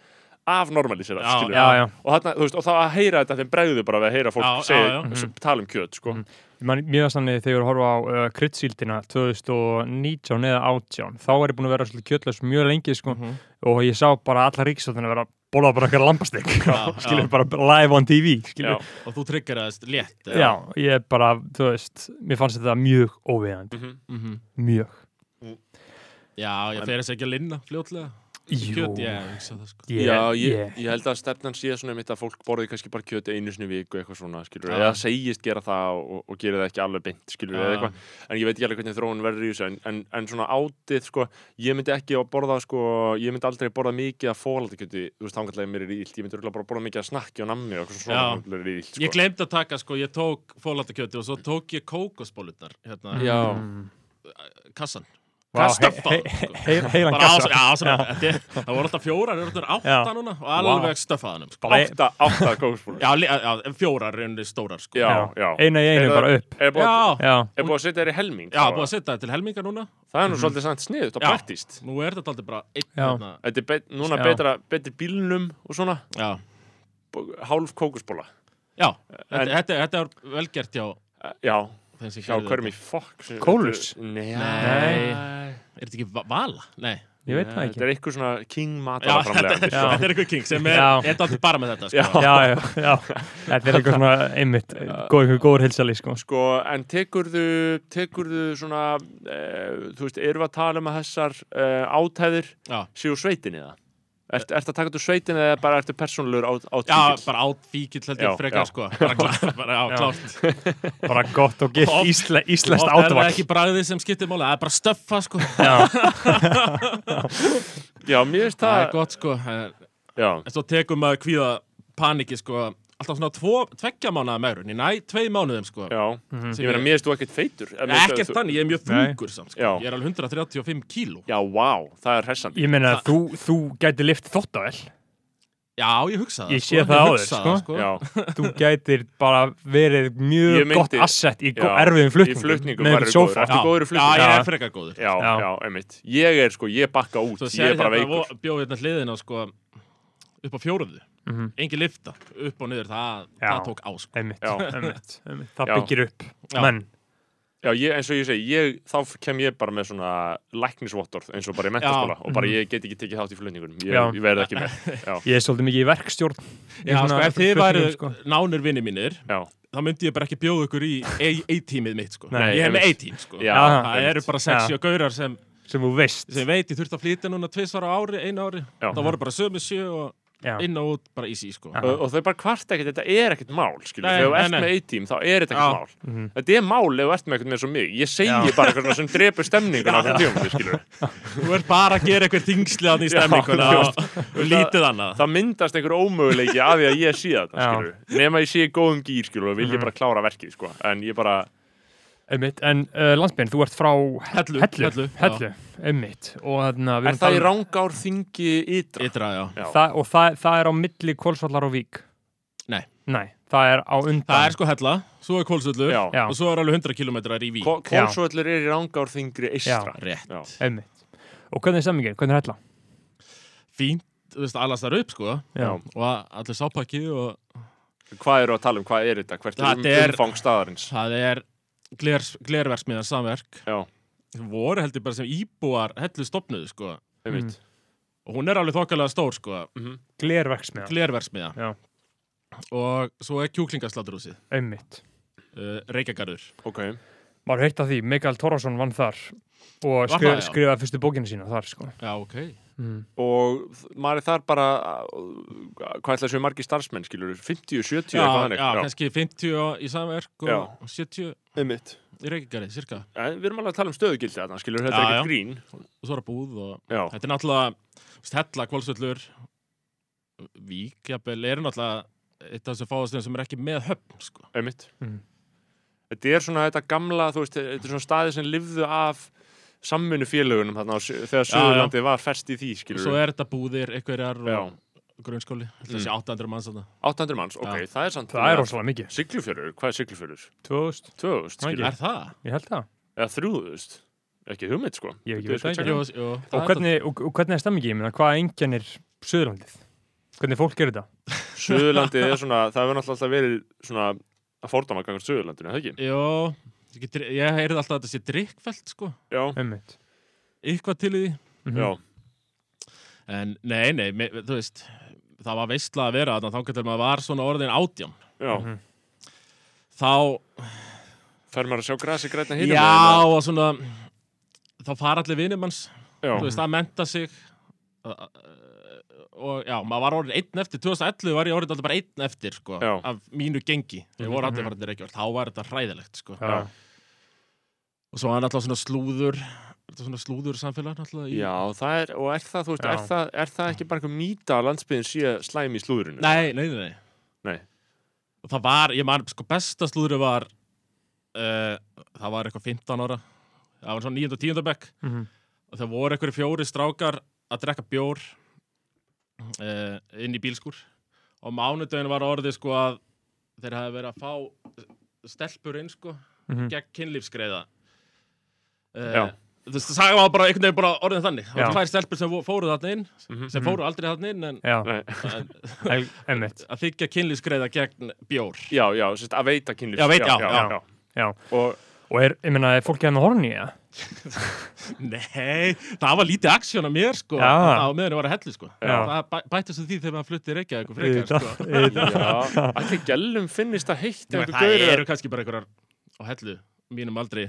[SPEAKER 1] afnormaliserað
[SPEAKER 4] Já,
[SPEAKER 1] skilur
[SPEAKER 2] já, já.
[SPEAKER 1] og þarna þú veist og þá að heyra þetta þeim bregðu bara við að heyra fólk
[SPEAKER 4] Já, já,
[SPEAKER 1] segja,
[SPEAKER 4] já.
[SPEAKER 1] sem- tala um kjöt sko
[SPEAKER 2] Mm, Man, mjög þannig þegar ég var að horfa á uh, kryddsíldina 2019 eða 18 þá var ég búin að vera svolítið kjötlaus mjög lengi sko,
[SPEAKER 4] Mhm.
[SPEAKER 2] og ég sá bara alla ríksáttina vera að bóla bara eitthvað lambastik skilur bara live on TV skilur.
[SPEAKER 1] Já,
[SPEAKER 4] og þú tryggeraðist létt
[SPEAKER 2] Já. ég bara, þú veist mér fannst þetta mjög óviðandi
[SPEAKER 4] Mhm.
[SPEAKER 2] mjög
[SPEAKER 4] Já, ég fer þess ekki að linna fljótlega Kjöt, já, ég hugsa það sko
[SPEAKER 2] ég,
[SPEAKER 1] Já, ég,
[SPEAKER 2] ég,
[SPEAKER 1] ég held að stefnan sé svona mitt að fólk borði kannski bara kjöt einu sinni í viku eitthvað svona, skilur,
[SPEAKER 4] Já.
[SPEAKER 1] eða segist gera það og, og gera það ekki alveg beint, skilur, eða
[SPEAKER 4] Já.
[SPEAKER 1] eitthvað en ég veit ekki alveg hvernig þróun verður í þessu en, en, en svona átið, sko, ég myndi ekki að borða, sko, ég myndi aldrei borða mikið að fólaldakjöti, þú veist, þangatlega mér er ílt ég myndi örugglega bara borða mikið að snakki og nammi og eitthvað svona
[SPEAKER 4] Já.
[SPEAKER 1] mér er ílt, sko
[SPEAKER 4] Ég glemt að taka sko, ég tók fólættakjöti og svo tók ég kókosbólutar hérna,
[SPEAKER 1] Já,
[SPEAKER 2] Mm.
[SPEAKER 4] kassan Kasta
[SPEAKER 2] he-
[SPEAKER 4] þá.
[SPEAKER 2] he- he- he- heilan
[SPEAKER 4] Bara ás,
[SPEAKER 2] kassa
[SPEAKER 4] já, svona, þetta, er- það voru alltaf fjórar, það voru
[SPEAKER 2] Já.
[SPEAKER 4] átta núna og alveg stöffað hann sko.
[SPEAKER 2] Bara-
[SPEAKER 1] Átta, átta kókspúlar
[SPEAKER 4] Já, li- já, fjórar rauninni stórar sko.
[SPEAKER 1] Já, já
[SPEAKER 2] eina í
[SPEAKER 1] Er
[SPEAKER 2] einu
[SPEAKER 1] það-
[SPEAKER 2] bara upp
[SPEAKER 1] Er búið að-
[SPEAKER 4] já,
[SPEAKER 2] já,
[SPEAKER 1] er búið að setja þér í helming sko.
[SPEAKER 4] já, búið að setja þetta til helminga núna
[SPEAKER 1] Það er nú svolítið samt sniðut og
[SPEAKER 4] Já.
[SPEAKER 1] praktíst
[SPEAKER 4] Nú er þetta aldrei bara einn
[SPEAKER 2] Já.
[SPEAKER 4] hérna,
[SPEAKER 1] Þetta er bet, núna
[SPEAKER 2] Já.
[SPEAKER 1] betra, betri bílnum og svona
[SPEAKER 4] já,
[SPEAKER 1] b- hálf kókspúla
[SPEAKER 4] já. Þetta, þetta, þetta er vel gert hjá
[SPEAKER 1] Eh, Já,
[SPEAKER 4] þeim sem
[SPEAKER 1] hjá
[SPEAKER 4] gerðu
[SPEAKER 1] hverjum í fokk
[SPEAKER 2] Kólus?
[SPEAKER 1] Nei,
[SPEAKER 4] Nei. þetta. Er þetta ekki va- vala? Nei
[SPEAKER 2] ég veit það
[SPEAKER 1] Þetta
[SPEAKER 2] ekki
[SPEAKER 1] er eitthvað svona king
[SPEAKER 4] Já,
[SPEAKER 1] matala
[SPEAKER 4] þetta
[SPEAKER 1] framlegandi
[SPEAKER 4] þetta er eitthvað king sem er,
[SPEAKER 2] Já.
[SPEAKER 4] þetta er aldrei bara með þetta sko.
[SPEAKER 1] sko. Já.
[SPEAKER 2] já, já, já, þetta er eitthvað svona einmitt, góður, góður hilsali sko.
[SPEAKER 1] Sko, en tekurðu, tekurðu svona, e, þú veist, erum við að tala um að þessar e, átæðir
[SPEAKER 4] Já.
[SPEAKER 1] séu úr sveitinni það? Ert, ert að taka þetta úr sveitinni eða bara ertu persónulegur át,
[SPEAKER 4] Já,
[SPEAKER 1] átvíkil?
[SPEAKER 4] bara átfíkill held
[SPEAKER 1] Já,
[SPEAKER 4] ég frekar
[SPEAKER 1] já.
[SPEAKER 4] sko Bara, klá, bara já,
[SPEAKER 2] Já.
[SPEAKER 4] klárt
[SPEAKER 2] bara gott og gilt
[SPEAKER 4] Og-
[SPEAKER 2] ísle, íslenskt
[SPEAKER 4] Og er það
[SPEAKER 2] átvall
[SPEAKER 4] ekki bragðið sem skiptir máli, það er bara stöffa sko
[SPEAKER 1] Já, mér finnst
[SPEAKER 4] Það er
[SPEAKER 1] það,
[SPEAKER 4] gott sko En
[SPEAKER 1] já,
[SPEAKER 4] en svo tekum maður kvíða paniki sko Alltaf svona tvo, tveggja mánuða megrun Í næ, tvei mánuðum sko
[SPEAKER 1] já, ég meina, mér finnst þú ekkert feitur. eða
[SPEAKER 4] Nei,
[SPEAKER 1] mér finnst
[SPEAKER 4] Ekkert
[SPEAKER 1] þú-
[SPEAKER 4] þannig, ég er mjög
[SPEAKER 2] Nei.
[SPEAKER 4] þungur samt sko
[SPEAKER 1] Já.
[SPEAKER 4] Ég er alveg 135 kíló
[SPEAKER 1] Já, vá, það er hressandi.
[SPEAKER 2] ég meina að þú, þú gæti lift þóttavel
[SPEAKER 4] Já, ég hugsa það
[SPEAKER 2] Ég
[SPEAKER 4] sko.
[SPEAKER 2] sé það á þér,
[SPEAKER 4] hugsa
[SPEAKER 2] sko.
[SPEAKER 4] það, sko.
[SPEAKER 1] Já,
[SPEAKER 2] þú gætir bara verið
[SPEAKER 1] Ég
[SPEAKER 2] mjög
[SPEAKER 1] myndi-
[SPEAKER 2] gott asset í go-
[SPEAKER 1] Já,
[SPEAKER 2] erfiðum
[SPEAKER 1] í
[SPEAKER 2] flutningum
[SPEAKER 1] flutningum
[SPEAKER 2] með
[SPEAKER 1] væri
[SPEAKER 2] einhvern
[SPEAKER 1] góður.
[SPEAKER 2] sófa
[SPEAKER 1] Ertu góður í
[SPEAKER 4] Já,
[SPEAKER 1] flutningum?
[SPEAKER 4] ég
[SPEAKER 2] Já.
[SPEAKER 4] er frekar góður
[SPEAKER 1] já,
[SPEAKER 2] Já.
[SPEAKER 1] já, einmitt. Ég er, sko, ég bakka út,
[SPEAKER 4] Svo
[SPEAKER 1] ég
[SPEAKER 4] sér
[SPEAKER 1] er bara veikur.
[SPEAKER 4] hérna vo- bjó hérna hliðina sko upp á fjóruðu Engi lifta, upp og niður, það,
[SPEAKER 2] Já.
[SPEAKER 4] það tók á sko
[SPEAKER 2] einmitt,
[SPEAKER 1] Já.
[SPEAKER 2] einmitt, einmitt. það
[SPEAKER 1] Já.
[SPEAKER 2] byggir upp
[SPEAKER 4] Já.
[SPEAKER 2] menn,
[SPEAKER 1] Já, ég, eins og ég segi, ég, þá kem ég bara með svona læknisvottorð eins og bara í mentaskóla og bara ég get ekki tekið þátt í flutningunum, ég,
[SPEAKER 2] Já.
[SPEAKER 1] ég verð ekki með. Já,
[SPEAKER 2] ég er svolítið mikið í verkstjórn í
[SPEAKER 4] Já, sko,
[SPEAKER 2] svona
[SPEAKER 4] ef þið væru
[SPEAKER 2] flutningum, sko.
[SPEAKER 4] nánir vinni mínir
[SPEAKER 1] já,
[SPEAKER 4] þá myndi ég bara ekki bjóða ykkur í A-teamið mitt sko.
[SPEAKER 2] Nei,
[SPEAKER 4] ég hef með
[SPEAKER 1] einmitt.
[SPEAKER 4] A-team sko.
[SPEAKER 1] Já,
[SPEAKER 4] það
[SPEAKER 1] einmitt.
[SPEAKER 4] eru bara 60 gaurar sem,
[SPEAKER 2] sem þú veist
[SPEAKER 4] sem veit ég þurfti að flytja núna tvisvar á ári, einu ári
[SPEAKER 1] Já.
[SPEAKER 4] það voru bara sömu sjö og
[SPEAKER 2] Já.
[SPEAKER 4] inn og út bara easy sko.
[SPEAKER 1] og, og þau bara kvart ekkert, þetta er ekkert mál skilur,
[SPEAKER 4] Nei,
[SPEAKER 1] þegar þú
[SPEAKER 4] nei,
[SPEAKER 1] ert
[SPEAKER 4] nei.
[SPEAKER 1] með eitt tím þá er þetta
[SPEAKER 4] Já.
[SPEAKER 1] ekkert mál þetta er mál ef þú ert með ekkert með svo mig ég segi
[SPEAKER 2] Já.
[SPEAKER 1] bara eitthvað svona sem drepur stemningun á þessum tíum skilur.
[SPEAKER 4] þú er bara að gera eitthvað þingsli þannig í stemninguna
[SPEAKER 1] þú
[SPEAKER 4] og, og lítið annað
[SPEAKER 1] það myndast einhver ómöguleiki af því að ég sé þetta
[SPEAKER 2] Já.
[SPEAKER 1] skilur. nema ég sé í góðum gýr skilur, og vil ég bara klára verkið sko. en ég bara,
[SPEAKER 2] einmitt, en uh, landsbyrn, þú ert frá
[SPEAKER 4] Hellu,
[SPEAKER 2] hellu,
[SPEAKER 4] Hellu, já.
[SPEAKER 2] hellu einmitt og, þarna,
[SPEAKER 1] er
[SPEAKER 2] við
[SPEAKER 1] það
[SPEAKER 2] erum
[SPEAKER 1] í
[SPEAKER 2] talað um-
[SPEAKER 1] rángár þingi ytra?
[SPEAKER 4] ytra, já.
[SPEAKER 1] Já.
[SPEAKER 2] það, og það, það er á milli Kolsvallar og Vík
[SPEAKER 4] Nei.
[SPEAKER 2] Nei, það er á
[SPEAKER 4] það
[SPEAKER 2] undan
[SPEAKER 4] er sko hella, svo er kólsullur
[SPEAKER 1] Já.
[SPEAKER 2] Já.
[SPEAKER 4] og svo er alveg 100 kilometrar í vík
[SPEAKER 1] Ko- Kólsvöllur er í rángár þingri eystra
[SPEAKER 4] rétt,
[SPEAKER 1] Já.
[SPEAKER 2] einmitt og hvernig er stemmingin, hvernig er hella?
[SPEAKER 4] fínt, þú veist, allast þar upp sko
[SPEAKER 1] Já.
[SPEAKER 4] og allir sápakki og
[SPEAKER 1] Hvað eru að tala um? Hvað er þetta? Hvert er, um,
[SPEAKER 4] Þetta er-
[SPEAKER 1] umfang staðarins?
[SPEAKER 4] það er gler, glerverksmiðan samverk
[SPEAKER 1] Já,
[SPEAKER 4] voru heldur bara sem íbúar hellu stopnuðu sko
[SPEAKER 1] einmitt
[SPEAKER 4] og hún er alveg þokkalega stór sko
[SPEAKER 2] Glerverksmiða,
[SPEAKER 4] glerversmiða
[SPEAKER 2] Já.
[SPEAKER 4] og svo er kjúklingasláturhúsið
[SPEAKER 2] einmitt
[SPEAKER 4] uh, Reykjagarður
[SPEAKER 1] Ok,
[SPEAKER 2] maður heitt að því, Mikael Torrason vann þar og
[SPEAKER 4] Var
[SPEAKER 2] skri,
[SPEAKER 4] það, já? Mm.
[SPEAKER 2] skrifaði fyrstu bókina sína þar sko.
[SPEAKER 4] já ok
[SPEAKER 1] og þ- maður er þar bara uh, hvað ætla að séu margir starfsmenn skilur 50, 70
[SPEAKER 4] já,
[SPEAKER 1] eitthvað þannig
[SPEAKER 4] já, kannski 50 á- í samverk og
[SPEAKER 1] Já.
[SPEAKER 4] 70
[SPEAKER 1] einmitt
[SPEAKER 4] í Reykjagarði cirka
[SPEAKER 1] en við erum alveg að tala um stöðugildi þarna skilur þetta
[SPEAKER 4] Já,
[SPEAKER 1] er ekkert
[SPEAKER 4] já.
[SPEAKER 1] grín
[SPEAKER 4] og svo er að búð og
[SPEAKER 1] já,
[SPEAKER 4] þetta er náttúrulega þú veist, hella kvöldsvöllur vík jafnvel er náttúrulega eitt af þessu fáastöðum sem er ekki með höfn sko.
[SPEAKER 1] einmitt
[SPEAKER 2] Mhm.
[SPEAKER 1] þetta er svona þetta gamla þú veist, þetta er svona staði sem lifðu af samminu félögunum þarna á Su- þegar
[SPEAKER 4] Já, já.
[SPEAKER 1] Suðurlandið var fest í því
[SPEAKER 4] og
[SPEAKER 1] skilur
[SPEAKER 4] svo er þetta búðir einhverjar
[SPEAKER 1] já,
[SPEAKER 4] og grunnskóli
[SPEAKER 1] Mm.
[SPEAKER 4] þessi 800 manns þarna
[SPEAKER 1] 800 manns, ok,
[SPEAKER 4] Já.
[SPEAKER 1] það er samt
[SPEAKER 2] það er rosalega mikið
[SPEAKER 1] Siglufjörður, hvað er Siglufjörður?
[SPEAKER 2] 2000,
[SPEAKER 1] 2000
[SPEAKER 2] Það er
[SPEAKER 1] skilur,
[SPEAKER 4] er það?
[SPEAKER 2] ég held það
[SPEAKER 1] eða 3000 ekki hugmynd sko
[SPEAKER 2] Ég ekki
[SPEAKER 1] Við
[SPEAKER 2] veit
[SPEAKER 1] skulum
[SPEAKER 2] það ekki.
[SPEAKER 1] checka.
[SPEAKER 4] Jú, jú, það
[SPEAKER 2] og
[SPEAKER 4] er
[SPEAKER 2] hvernig, og, og hvernig er stemmingin, ég meina, hvað engjarnir Suðurlandið, hvernig fólk gerir þetta
[SPEAKER 1] Suðurlandið er svona, það hefur náttúrulega alltaf verið svona að fordama gangar Suðurlandinu, er það ekki?
[SPEAKER 4] Jó, ég, get- ég heyrði alltaf að þetta sé drikkfelt sko,
[SPEAKER 1] Já,
[SPEAKER 2] einmitt
[SPEAKER 4] eitthvað til í því
[SPEAKER 2] Mhm.
[SPEAKER 1] já,
[SPEAKER 4] En nei, nei, me, þú veist, það var veistla að vera þannig að þá getur maður var svona orðin átján
[SPEAKER 1] já.
[SPEAKER 2] Mhm.
[SPEAKER 4] Þá,
[SPEAKER 1] Fer maður að sjá grasi græna hínum?
[SPEAKER 4] já, og svona, þá fara allir vinum hans,
[SPEAKER 1] já,
[SPEAKER 4] þú veist, það menta sig uh, uh, Og já, maður var orðin einn eftir, 2011 var ég orðin alltaf bara einn eftir sko
[SPEAKER 1] Já.
[SPEAKER 4] Af mínu gengi, þegar voru allir farinir ekki Þá var þetta hræðilegt sko
[SPEAKER 2] Já.
[SPEAKER 4] Og svo var hann alltaf svona slúður, þetta svona slúður samfélag alltaf í
[SPEAKER 1] já, það er, og er það, þú veist,
[SPEAKER 2] Já.
[SPEAKER 1] er það, er það ekki bara einhver mýta að landsbyðin sé slæm í slúðurinu?
[SPEAKER 4] Nei, nei, nei, nei.
[SPEAKER 1] Nei.
[SPEAKER 4] Og það var, ég man, sko besta slúðri var uh, það var eitthvað 15 ára það var svona 9. og 10. bekk
[SPEAKER 2] Mhm.
[SPEAKER 4] og það voru einhverju fjóri strákar að drekka bjór uh, inn í bílskur og mánudaginn var orðið sko að þeir hafi verið að fá stelpur inn sko
[SPEAKER 2] Mhm.
[SPEAKER 4] gegn kynlífsgreiða
[SPEAKER 1] Já.
[SPEAKER 4] uh, þú veist, það sagði maður bara einhvern veginn bara orðin þannig það
[SPEAKER 2] Já.
[SPEAKER 4] var tvær stelpur sem vo- fóru þarna inn
[SPEAKER 1] Mhm.
[SPEAKER 4] sem fóru aldrei þarna inn en,
[SPEAKER 2] Já,
[SPEAKER 1] Nei.
[SPEAKER 4] en
[SPEAKER 2] en- einmitt
[SPEAKER 4] að þykja kynlífsgreiða gegn bjór
[SPEAKER 1] Já, já, sérst, að veita kynlýst
[SPEAKER 4] Já, veit- já,
[SPEAKER 2] já. Já,
[SPEAKER 1] Og,
[SPEAKER 2] og er, ég meina, er fólkið hérna hann að horna í það?
[SPEAKER 4] Nei, það var lítið aksjón að mér sko
[SPEAKER 2] Já.
[SPEAKER 4] á meðan ég var að hellu sko
[SPEAKER 2] Já.
[SPEAKER 4] það bæ- bættist við því þegar maður flutti reykjað eitthvað frekar sko
[SPEAKER 1] já, allir gælum finnist það heitt
[SPEAKER 4] Nei, það eru kannski bara einhverjar á hellu mínum aldri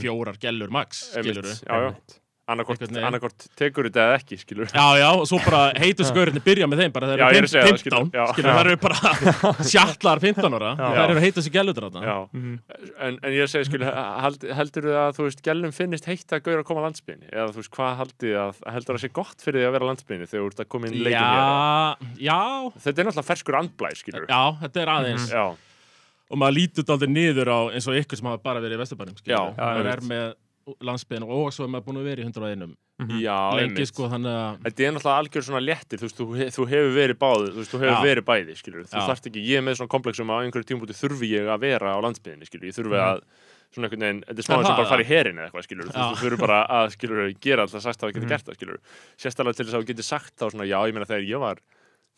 [SPEAKER 4] fjórar gellur max skilur
[SPEAKER 1] Einmitt, já, já, annarkort,
[SPEAKER 4] Einhvern veginn.
[SPEAKER 1] annarkort tekur þetta eða ekki, skilur
[SPEAKER 4] Já, já, og svo bara heitu skörðinni byrja með þeim bara
[SPEAKER 1] Já,
[SPEAKER 4] þegar
[SPEAKER 1] ég er
[SPEAKER 4] þeir eru
[SPEAKER 1] að segja það,
[SPEAKER 4] 15,
[SPEAKER 1] skilur, já.
[SPEAKER 4] skilur, það eru bara sjallar 15 ára,
[SPEAKER 2] Já.
[SPEAKER 4] það eru heitu þessi gælutur á þetta.
[SPEAKER 1] Já, en, en ég segi skil held, heldur þið að þú veist gælum finnist heitt að gauður að koma á landsbyrni eða þú veist hvað haldið þið að heldur það sé gott fyrir því að vera á landsbyrni þegar þú ert að koma inn í leikin hér
[SPEAKER 4] Já, já,
[SPEAKER 1] þetta er náttúrulega ferskur andblæð skilur
[SPEAKER 4] já, þetta er aðeins
[SPEAKER 1] já,
[SPEAKER 4] og maður lítur þetta aldrei niður á eins og ykkur sem hafa bara verið í Vesturbænum, skilur,
[SPEAKER 1] Já,
[SPEAKER 4] maður
[SPEAKER 2] einmitt.
[SPEAKER 4] er með landsbyrn og svo er maður búin að vera í 100 einum
[SPEAKER 1] já
[SPEAKER 4] lengi,
[SPEAKER 1] einmitt.
[SPEAKER 4] sko, þannig að
[SPEAKER 1] þetta er náttúrulega algjör svona léttir þú veist, þú, he- þú hefur verið báði þú veist, þú hefur
[SPEAKER 4] Já.
[SPEAKER 1] verið bæði skilur þú
[SPEAKER 4] Já.
[SPEAKER 1] þarft ekki, ég er með svona komplexum að á einhverju tímpúti þurfi ég að vera á landsbyrni skilur ég þurfi að svona einhvern veginn, þetta er smá
[SPEAKER 4] Er
[SPEAKER 1] eins og
[SPEAKER 4] það,
[SPEAKER 1] bara að fara í herin eða eitthvað skilur, þú,
[SPEAKER 4] Mhm. Já. Mhm.
[SPEAKER 1] þú þurfur bara að skilur gera alltaf sagt að það geti gert það skilur sérstæðlega til þess að þú geti sagt þá svona já, ég meina þegar ég var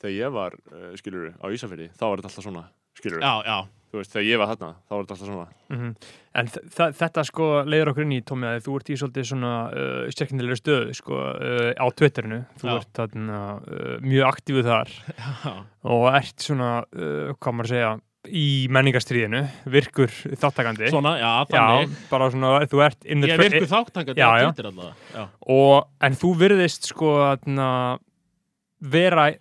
[SPEAKER 1] þegar ég var, uh, skilur, á Ísafirði þá var þetta alltaf svona, skilur,
[SPEAKER 4] já, já,
[SPEAKER 1] þú veist, þegar ég var þarna þá var þetta alltaf svona,
[SPEAKER 2] Mhm. En þ- þa- þetta sko leiður okkur inn í, Tómi, að þú ert í svolítið svona uh, stjekkindilega stöðu sko, uh, á Twitterinu, þú
[SPEAKER 4] Já.
[SPEAKER 2] ert þarna, uh, mjög aktífuð þar
[SPEAKER 4] já,
[SPEAKER 2] og ert svona, uh, hvað maður að segja, í menningastriðinu, virkur þáttakandi.
[SPEAKER 4] svona,
[SPEAKER 2] Já,
[SPEAKER 4] já, þannig,
[SPEAKER 2] bara svona, þú ert in the
[SPEAKER 4] ég
[SPEAKER 2] twi-
[SPEAKER 4] virku þáttangandi
[SPEAKER 2] Já,
[SPEAKER 4] á
[SPEAKER 2] já.
[SPEAKER 4] Twitter allavega, já.
[SPEAKER 2] og, en þú virðist sko þarna, vera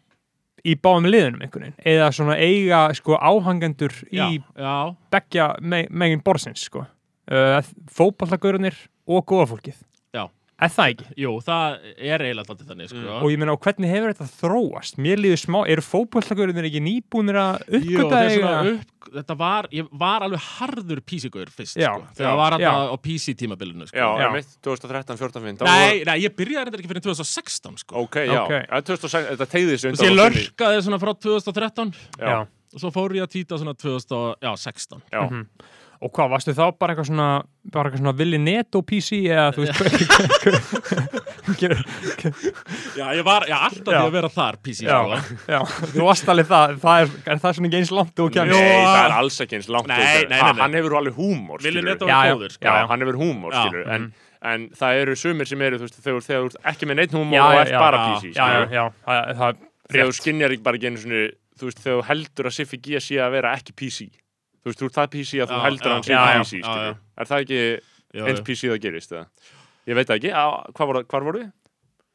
[SPEAKER 2] í báðum liðunum einhvern veginn, eða svona eiga sko áhangendur
[SPEAKER 4] já,
[SPEAKER 2] í
[SPEAKER 4] já,
[SPEAKER 2] begja me megin borsins sko. uh, fótballagörunir og góða fólkið
[SPEAKER 4] Já.
[SPEAKER 2] er það ekki?
[SPEAKER 4] Jú, það er eiginlega alltaf þannig, sko.
[SPEAKER 2] Mm. og ég meina, og hvernig hefur þetta þróast? mér líður smá, eru fótballagörunir ekki nýbúnir að
[SPEAKER 4] Jú,
[SPEAKER 2] uppgöta
[SPEAKER 4] þetta er
[SPEAKER 2] eiga?
[SPEAKER 4] svona upp, þetta var, ég var alveg harður písigur fyrst,
[SPEAKER 2] Já,
[SPEAKER 4] sko.
[SPEAKER 1] já,
[SPEAKER 4] Þegar það var
[SPEAKER 2] já.
[SPEAKER 4] þetta á písitímabilinu, sko.
[SPEAKER 1] já,
[SPEAKER 2] Já.
[SPEAKER 1] einmitt, 2013, 14, 15
[SPEAKER 4] Nei, nei, ég byrjaði þetta ekki fyrir 2016, sko.
[SPEAKER 1] ok, já,
[SPEAKER 2] Ok.
[SPEAKER 1] okay. 2006, þetta tegði sig undan
[SPEAKER 4] Þú veist, ég
[SPEAKER 1] og þunni.
[SPEAKER 4] lörkaði svona frá 2013
[SPEAKER 1] já,
[SPEAKER 2] Já.
[SPEAKER 4] og svo fór ég að týta svona 2016.
[SPEAKER 1] já,
[SPEAKER 2] og hvað, varstu þá bara eitthvað svona bara eitthvað svona villi netto PC eða þú veist hvað- hvað-
[SPEAKER 4] Já, ég var, já, alltaf
[SPEAKER 2] Já.
[SPEAKER 4] því að vera þar, písi,
[SPEAKER 2] já,
[SPEAKER 4] sko.
[SPEAKER 2] já, þú varst alveg það það er, er það svona ekki eins langt og
[SPEAKER 1] Nei,
[SPEAKER 2] kemur
[SPEAKER 1] það er alls ekki eins langt
[SPEAKER 4] Nei,
[SPEAKER 1] út fyrir.
[SPEAKER 4] nei, nei,
[SPEAKER 1] Ha,
[SPEAKER 4] nei.
[SPEAKER 1] Hann hefur alveg húmór
[SPEAKER 4] Viljið
[SPEAKER 1] skilurðu.
[SPEAKER 4] netta
[SPEAKER 2] Já, já,
[SPEAKER 4] var góður, sko.
[SPEAKER 2] já,
[SPEAKER 1] já,
[SPEAKER 2] já.
[SPEAKER 1] hann hefur húmór,
[SPEAKER 4] Já.
[SPEAKER 1] skilur en, en það eru sumir sem eru, þú veist, þegar, þegar þú ert ekki með neitt húmór
[SPEAKER 2] Já,
[SPEAKER 1] og
[SPEAKER 2] já,
[SPEAKER 1] ert
[SPEAKER 2] já,
[SPEAKER 1] bara
[SPEAKER 4] já.
[SPEAKER 1] písi,
[SPEAKER 2] já, já,
[SPEAKER 1] skilur
[SPEAKER 2] já, það er- það er
[SPEAKER 1] þegar þú skinjar ekki bara genið svona þú veist, þegar þú heldur að Siffi G sé að vera ekki písi þú veist, þú ert það písi að þú
[SPEAKER 4] Já,
[SPEAKER 1] heldur
[SPEAKER 4] já.
[SPEAKER 1] að hann sé
[SPEAKER 2] Já, já,
[SPEAKER 1] písi,
[SPEAKER 4] já,
[SPEAKER 1] skilur er það ekki
[SPEAKER 4] Já,
[SPEAKER 1] eins
[SPEAKER 4] já.
[SPEAKER 1] písi það gerist, eða? Ég veit það ekki, á, hvað voru, hvar voru þið?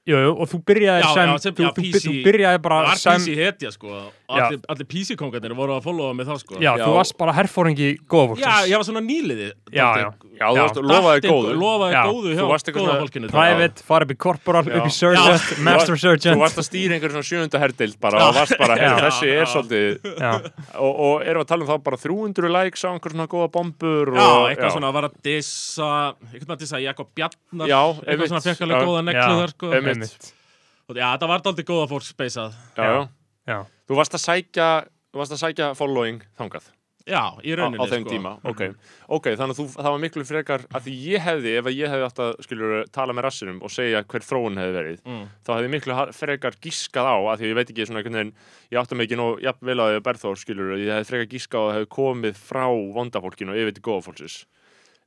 [SPEAKER 2] Jú, jú, og þú byrjaði
[SPEAKER 4] Já,
[SPEAKER 2] sem,
[SPEAKER 4] já, sem-
[SPEAKER 2] þú,
[SPEAKER 4] já,
[SPEAKER 2] þú,
[SPEAKER 4] PC
[SPEAKER 2] þú byrjaði bara
[SPEAKER 4] Það var
[SPEAKER 2] sem,
[SPEAKER 4] písi hetja, sko. og
[SPEAKER 2] Já.
[SPEAKER 4] Allir, allir písikongarnir voru að followa mig þá, sko.
[SPEAKER 2] já, þú
[SPEAKER 1] Já.
[SPEAKER 2] varst bara herfóringi góðvólksins.
[SPEAKER 4] Já, ég var svona nýliði.
[SPEAKER 2] Já, já.
[SPEAKER 1] Já, þú
[SPEAKER 2] Já.
[SPEAKER 1] varst, lofaði góðu
[SPEAKER 4] Lofaði
[SPEAKER 2] Já.
[SPEAKER 4] góðu hjá
[SPEAKER 1] Þú varst eitthvað
[SPEAKER 4] góða
[SPEAKER 1] svona
[SPEAKER 4] fólkinu.
[SPEAKER 2] Private, fara upp í corporal, upp í
[SPEAKER 1] Já.
[SPEAKER 2] sergeant,
[SPEAKER 1] Já. Þú varst-
[SPEAKER 2] master
[SPEAKER 1] Þú
[SPEAKER 2] sergeant.
[SPEAKER 1] varst að stýra einhverjum svona sjöfunda herdeild bara og varst bara, "Heyrðu,
[SPEAKER 2] Já.
[SPEAKER 1] þessi er
[SPEAKER 4] Já.
[SPEAKER 1] svolítið
[SPEAKER 2] Já,
[SPEAKER 1] og, og erum við að tala um þá bara 300 likes á einhver svona góða bombur
[SPEAKER 4] Já,
[SPEAKER 1] og,
[SPEAKER 4] eitthvað svona var að dissa eitthvað að dissa Jakob Bjarnar
[SPEAKER 1] Já,
[SPEAKER 4] eitthvað
[SPEAKER 1] einmitt.
[SPEAKER 4] svona fekk alveg
[SPEAKER 1] Já,
[SPEAKER 4] góða
[SPEAKER 2] já,
[SPEAKER 4] neglu þar sko
[SPEAKER 1] einmitt.
[SPEAKER 2] einmitt.
[SPEAKER 4] Og Já, það var aldrei góða fólk speysað
[SPEAKER 1] já, já.
[SPEAKER 2] Já,
[SPEAKER 1] Þú varst að sækja Þú varst að sækja following þangað
[SPEAKER 4] Já, í
[SPEAKER 1] á,
[SPEAKER 4] rauninni
[SPEAKER 1] á þeim
[SPEAKER 4] sko.
[SPEAKER 1] tíma, ok Ok, þannig að þú, það var miklu frekar að því ég hefði, ef að ég hefði átt að, skiljur, tala með rassinum og segja hver þróun hefði verið
[SPEAKER 4] Mm.
[SPEAKER 1] þá hefði ég miklu ha- frekar gískað á að því ég veit ekki svona einhvern veginn, ég átti mig ekki nóg jafn vel að því að Berþór skilur, ég hefði frekar gískað á að það hefði komið frá vondafólkinu og yfir til góðafólksins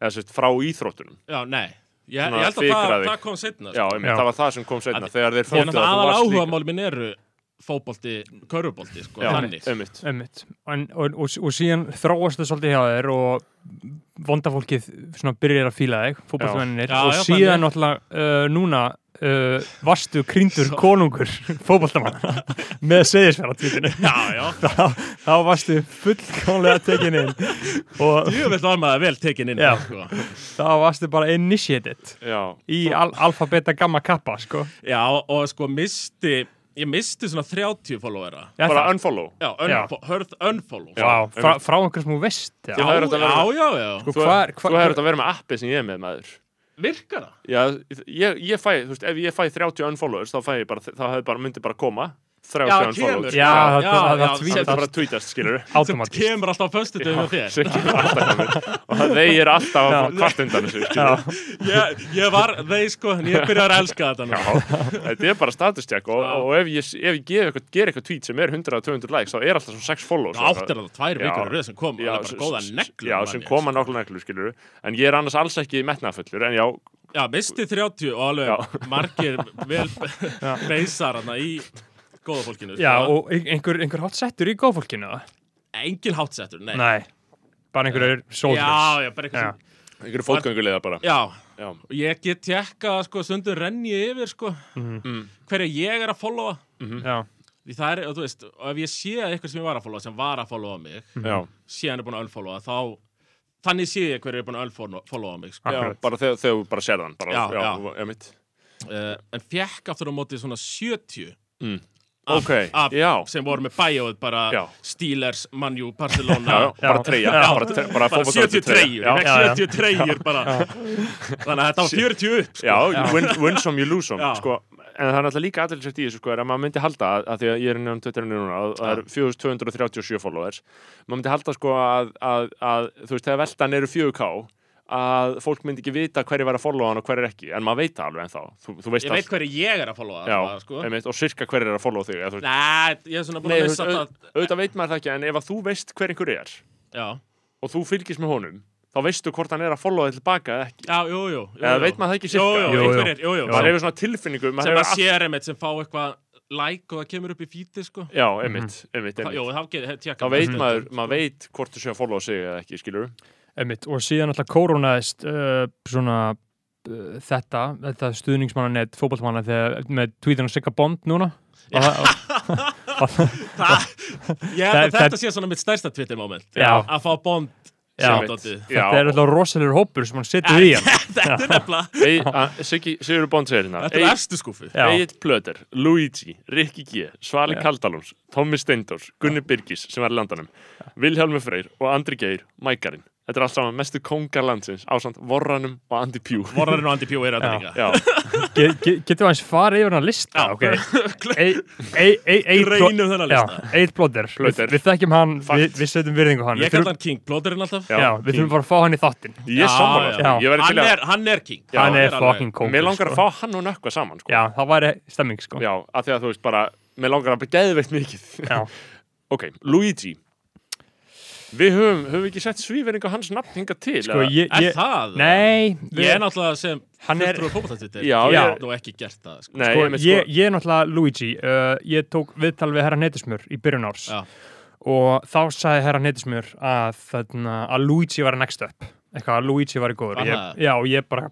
[SPEAKER 1] eða sérst frá íþróttunum
[SPEAKER 4] Já, nei Ég, ég
[SPEAKER 1] Svona
[SPEAKER 4] held að það,
[SPEAKER 1] fikra þig.
[SPEAKER 4] það kom sko. setna
[SPEAKER 1] Já, einmitt,
[SPEAKER 2] Já.
[SPEAKER 1] það var það sem kom setna
[SPEAKER 4] Að-
[SPEAKER 1] þegar þeir
[SPEAKER 4] Þannig
[SPEAKER 1] fóttu að
[SPEAKER 4] að
[SPEAKER 1] þú
[SPEAKER 4] aðal
[SPEAKER 1] varst
[SPEAKER 4] áhuga
[SPEAKER 1] líka
[SPEAKER 4] mál minn eru fótbolti, körfubolti sko,
[SPEAKER 1] Já,
[SPEAKER 4] þannig
[SPEAKER 1] einmitt.
[SPEAKER 2] einmitt. En, og, og, og síðan þróast það svolítið hjá þér og vondafólkið svona byrjar að fíla þig, fótballtvenninir,
[SPEAKER 4] Já,
[SPEAKER 2] og
[SPEAKER 4] já,
[SPEAKER 2] síðan
[SPEAKER 4] þannig.
[SPEAKER 2] náttúrulega uh, núna uh, varstu krýndur konungur fótballtamanna með seðisfjara
[SPEAKER 4] Já, já,
[SPEAKER 2] þá, þá varstu fullkomlega tekin inn og
[SPEAKER 4] ég veit var maður vel tekin inn
[SPEAKER 2] Já.
[SPEAKER 4] sko.
[SPEAKER 2] þá varstu bara initiated
[SPEAKER 1] Já,
[SPEAKER 2] í al alfa, beta, gamma, kappa sko.
[SPEAKER 4] Já, og sko misti Ég misti svona 30 followera
[SPEAKER 2] Já,
[SPEAKER 1] bara
[SPEAKER 2] það-
[SPEAKER 1] unfollow
[SPEAKER 4] Já,
[SPEAKER 2] Já.
[SPEAKER 4] unfo hörð unfollow
[SPEAKER 1] Já.
[SPEAKER 2] Vá, frá, frá einhver sem þú veist
[SPEAKER 4] já,
[SPEAKER 1] það er hægt að
[SPEAKER 4] já,
[SPEAKER 1] vera-
[SPEAKER 4] já, já.
[SPEAKER 2] Sko,
[SPEAKER 1] Þú
[SPEAKER 2] hvar-
[SPEAKER 1] hefur
[SPEAKER 2] hvar-
[SPEAKER 1] þetta að vera með appi sem ég er með maður
[SPEAKER 4] virkar það?
[SPEAKER 1] Já, ég, ég fæ, þú veist, ef ég fæ 30 unfollowers þá fæ ég bara, þá hefði bara, myndi bara koma 30
[SPEAKER 4] Já,
[SPEAKER 1] unfollowers
[SPEAKER 4] kemur.
[SPEAKER 2] Já, það- það- það
[SPEAKER 4] sem
[SPEAKER 1] það
[SPEAKER 2] tweetast.
[SPEAKER 1] er bara að tweetast, skilur
[SPEAKER 4] sem
[SPEAKER 2] automatist
[SPEAKER 4] kemur alltaf á föstudum með þér
[SPEAKER 1] sem kemur alltaf að mér og það þeir alltaf
[SPEAKER 2] Já.
[SPEAKER 1] að kvart undan þessu, skilur
[SPEAKER 2] Já,
[SPEAKER 4] ég, ég var þeir sko, en ég byrjar að elska þetta nú
[SPEAKER 1] þetta er bara status check og,
[SPEAKER 4] Já.
[SPEAKER 1] og ef ég, ef ég gef eitthvað, ger eitthvað tweet sem er 100-200 likes þá er alltaf svona 6 followers
[SPEAKER 4] Nú áttir það tvær
[SPEAKER 1] Já.
[SPEAKER 4] vikur í röð sem kom já, bara
[SPEAKER 1] sem-
[SPEAKER 4] góða
[SPEAKER 1] sem-
[SPEAKER 4] neglur
[SPEAKER 1] já,
[SPEAKER 4] man
[SPEAKER 1] sem
[SPEAKER 4] ég.
[SPEAKER 1] koma nákvæmlega neglur, skilur en ég er annars alls ekki metnafullur en já,
[SPEAKER 4] já, misti 30 og alveg
[SPEAKER 1] Já.
[SPEAKER 4] margir vel beisar hana í góða fólkinu
[SPEAKER 2] já
[SPEAKER 4] sko.
[SPEAKER 2] og ein- einhver, einhver hátt settur í góðfólkinu eða?
[SPEAKER 4] engin hátsettur, nei,
[SPEAKER 2] Nei, bara einhverjur
[SPEAKER 4] já,
[SPEAKER 2] soldiers
[SPEAKER 4] já, bara eitthvað
[SPEAKER 2] Já.
[SPEAKER 4] sem
[SPEAKER 1] einhverju fótgöngulega bara
[SPEAKER 4] já,
[SPEAKER 1] já,
[SPEAKER 4] og ég get tjekka sko, stundum renni ég yfir sko,
[SPEAKER 2] Mhm.
[SPEAKER 1] Mm.
[SPEAKER 4] hverja ég er að followa
[SPEAKER 2] Já.
[SPEAKER 4] því það er, og þú veist, og ef ég sé að eitthvað sem ég var að followa, sem var að followa mig
[SPEAKER 1] já,
[SPEAKER 4] sé hann er búin að unfollowa, þá þannig sé ég hverju er búin að unfollowa mig sko.
[SPEAKER 2] Já.
[SPEAKER 1] já
[SPEAKER 2] Akkurat.
[SPEAKER 1] bara þegar þegar þú bara sér þann bara,
[SPEAKER 4] Já,
[SPEAKER 1] já,
[SPEAKER 4] já.
[SPEAKER 1] já, mitt
[SPEAKER 4] uh, en fekk aftur á móti svona 70
[SPEAKER 1] Mm.
[SPEAKER 4] af,
[SPEAKER 1] Ókei,
[SPEAKER 4] af,
[SPEAKER 1] já.
[SPEAKER 4] sem voru með bæjóð bara
[SPEAKER 1] Já.
[SPEAKER 4] Steelers, Manju,
[SPEAKER 1] já, já,
[SPEAKER 4] Barcelona
[SPEAKER 1] bara treyja
[SPEAKER 2] Já.
[SPEAKER 1] bara, tre- bara,
[SPEAKER 4] bara
[SPEAKER 1] fótboltavelli
[SPEAKER 4] 70 treyjur
[SPEAKER 1] já,
[SPEAKER 2] Já,
[SPEAKER 4] ég
[SPEAKER 2] já.
[SPEAKER 4] fékk 70 treyjur bara þannig að þetta var 40 upp sko.
[SPEAKER 1] já, you win, win some, you lose some
[SPEAKER 4] Já.
[SPEAKER 1] sko, en það er náttúrulega líka aðeinsvægt í þessu sko, er að maður myndi halda að, að því að ég er nefnum Twitterinu núna að það eru 4237 followers maður myndi halda sko að, að, að þú veist, þegar veltan eru 4K að fólk myndi ekki vita hverju var að followa hann og hverju ekki, en maður veit það alveg ennþá þú, þú veist
[SPEAKER 4] ég veit
[SPEAKER 1] að,
[SPEAKER 4] hverju ég er að followa
[SPEAKER 1] já,
[SPEAKER 4] það, sko.
[SPEAKER 1] einmitt, og sirka hverju er að followa þig eða, þú veist,
[SPEAKER 4] Nei, ég er svona búin
[SPEAKER 1] nei,
[SPEAKER 4] að
[SPEAKER 1] þú veist,
[SPEAKER 4] missa
[SPEAKER 1] au,
[SPEAKER 4] það
[SPEAKER 1] auðvitað veit maður það ekki en ef að þú veist hver einhver er
[SPEAKER 4] já,
[SPEAKER 1] og þú fylgist með honum þá veistu hvort hann er að followa þig tilbaka eða ekki
[SPEAKER 4] já, jú, jú, jú, jú.
[SPEAKER 1] Eða veit maður það ekki
[SPEAKER 4] jú,
[SPEAKER 1] sirka?
[SPEAKER 2] Jú,
[SPEAKER 4] jú,
[SPEAKER 2] jú.
[SPEAKER 4] einhverjir, jú, jú,
[SPEAKER 2] Já.
[SPEAKER 1] maður hefur svona tilfinningu maður
[SPEAKER 4] sem
[SPEAKER 1] hefur
[SPEAKER 4] að sér einmitt sem fá eitthvað like og það kemur upp í fíti sko
[SPEAKER 1] Já, einmitt, einmitt,
[SPEAKER 4] Þa- Jó,
[SPEAKER 1] einmitt.
[SPEAKER 4] þá get- hef-
[SPEAKER 1] Þá
[SPEAKER 4] tjekka
[SPEAKER 1] veit
[SPEAKER 4] það.
[SPEAKER 1] maður, maður veit hvort þú sé að followa sig eða ekki, skilur
[SPEAKER 2] Einmitt, og síðan alltaf koronaðist uh, svona uh, þetta, þetta stuðningsmannanett fótballmanna þegar með tweetinu Sigga Bond núna og, og,
[SPEAKER 4] Það, Mhm. ég held að
[SPEAKER 2] Það-
[SPEAKER 4] þetta sé svona mitt stærsta Twitter moment
[SPEAKER 2] Já.
[SPEAKER 4] að fá bond
[SPEAKER 2] Já.
[SPEAKER 4] shoutoutið.
[SPEAKER 2] þetta er alltaf rosalegur hópur sem hann setur í hann
[SPEAKER 4] þetta er nefnilega
[SPEAKER 1] alltaf Sigur Bond segir
[SPEAKER 4] þetta er
[SPEAKER 1] hérna
[SPEAKER 4] erstu skúfi
[SPEAKER 2] Já.
[SPEAKER 1] Egil Plöter, Luigi, Rikki G Svali Kaldalons, Tommi Steindors Gunni Birgis sem var í landanum Vilhjálmur Freyr og Andri Geir, Mækarinn Þetta er allt saman mestu kongar landsins ásamt Vorranum og Andi Pjú
[SPEAKER 4] Vorrarinn og Andy Pjú er þetta
[SPEAKER 2] Já.
[SPEAKER 4] líka
[SPEAKER 1] Já,
[SPEAKER 2] Ge, ge, getur við aðeins farið yfir hann að lista
[SPEAKER 4] Já.
[SPEAKER 2] reynum
[SPEAKER 4] Greinum þennan lista.
[SPEAKER 2] eitt blóttir, við,
[SPEAKER 1] Plodder.
[SPEAKER 2] við þekkjum hann við,
[SPEAKER 1] Fakt.
[SPEAKER 2] við setjum virðingu á hann
[SPEAKER 4] ég
[SPEAKER 2] við
[SPEAKER 4] kallt
[SPEAKER 2] þurfum,
[SPEAKER 4] hann King, plóterinn alltaf
[SPEAKER 1] Já.
[SPEAKER 2] já, við þurfum bara að fá hann í þáttin
[SPEAKER 1] ég er sammála
[SPEAKER 4] já.
[SPEAKER 1] sko. Ég væri
[SPEAKER 4] hann
[SPEAKER 1] til
[SPEAKER 4] er, hann er King
[SPEAKER 2] hann er
[SPEAKER 4] alveg-
[SPEAKER 2] fucking
[SPEAKER 1] að
[SPEAKER 2] kóngur
[SPEAKER 1] Mér langar
[SPEAKER 2] sko.
[SPEAKER 1] að fá hann og nökkva saman sko.
[SPEAKER 2] já, það væri stemming sko
[SPEAKER 1] Já, af því að þú veist bara Mér langar að begeðu veitt mikið
[SPEAKER 2] Já.
[SPEAKER 1] Ok, Luigi Við höfum, höfum við ekki sett svífering á hans nafn hingað til
[SPEAKER 2] Sko, ég, ég,
[SPEAKER 4] er það?
[SPEAKER 2] nei, við-
[SPEAKER 4] ég er náttúrulega sem
[SPEAKER 2] Hann er-
[SPEAKER 4] fulltrúi fótboltatittir
[SPEAKER 1] Já,
[SPEAKER 4] ég
[SPEAKER 2] já.
[SPEAKER 4] hef nú ekki gert það sko.
[SPEAKER 1] Nei,
[SPEAKER 2] sko,
[SPEAKER 1] einmitt,
[SPEAKER 2] ég,
[SPEAKER 1] sko,
[SPEAKER 2] ég er náttúrulega Luigi uh, ég tók viðtal við herra Neytismur í byrjun árs
[SPEAKER 4] Já.
[SPEAKER 2] og þá sagði herra Neytismur að, þarna, að Luigi var next up eitthvað að Luigi var í góður
[SPEAKER 4] Var
[SPEAKER 2] ég,
[SPEAKER 4] það?
[SPEAKER 2] já, og ég bara,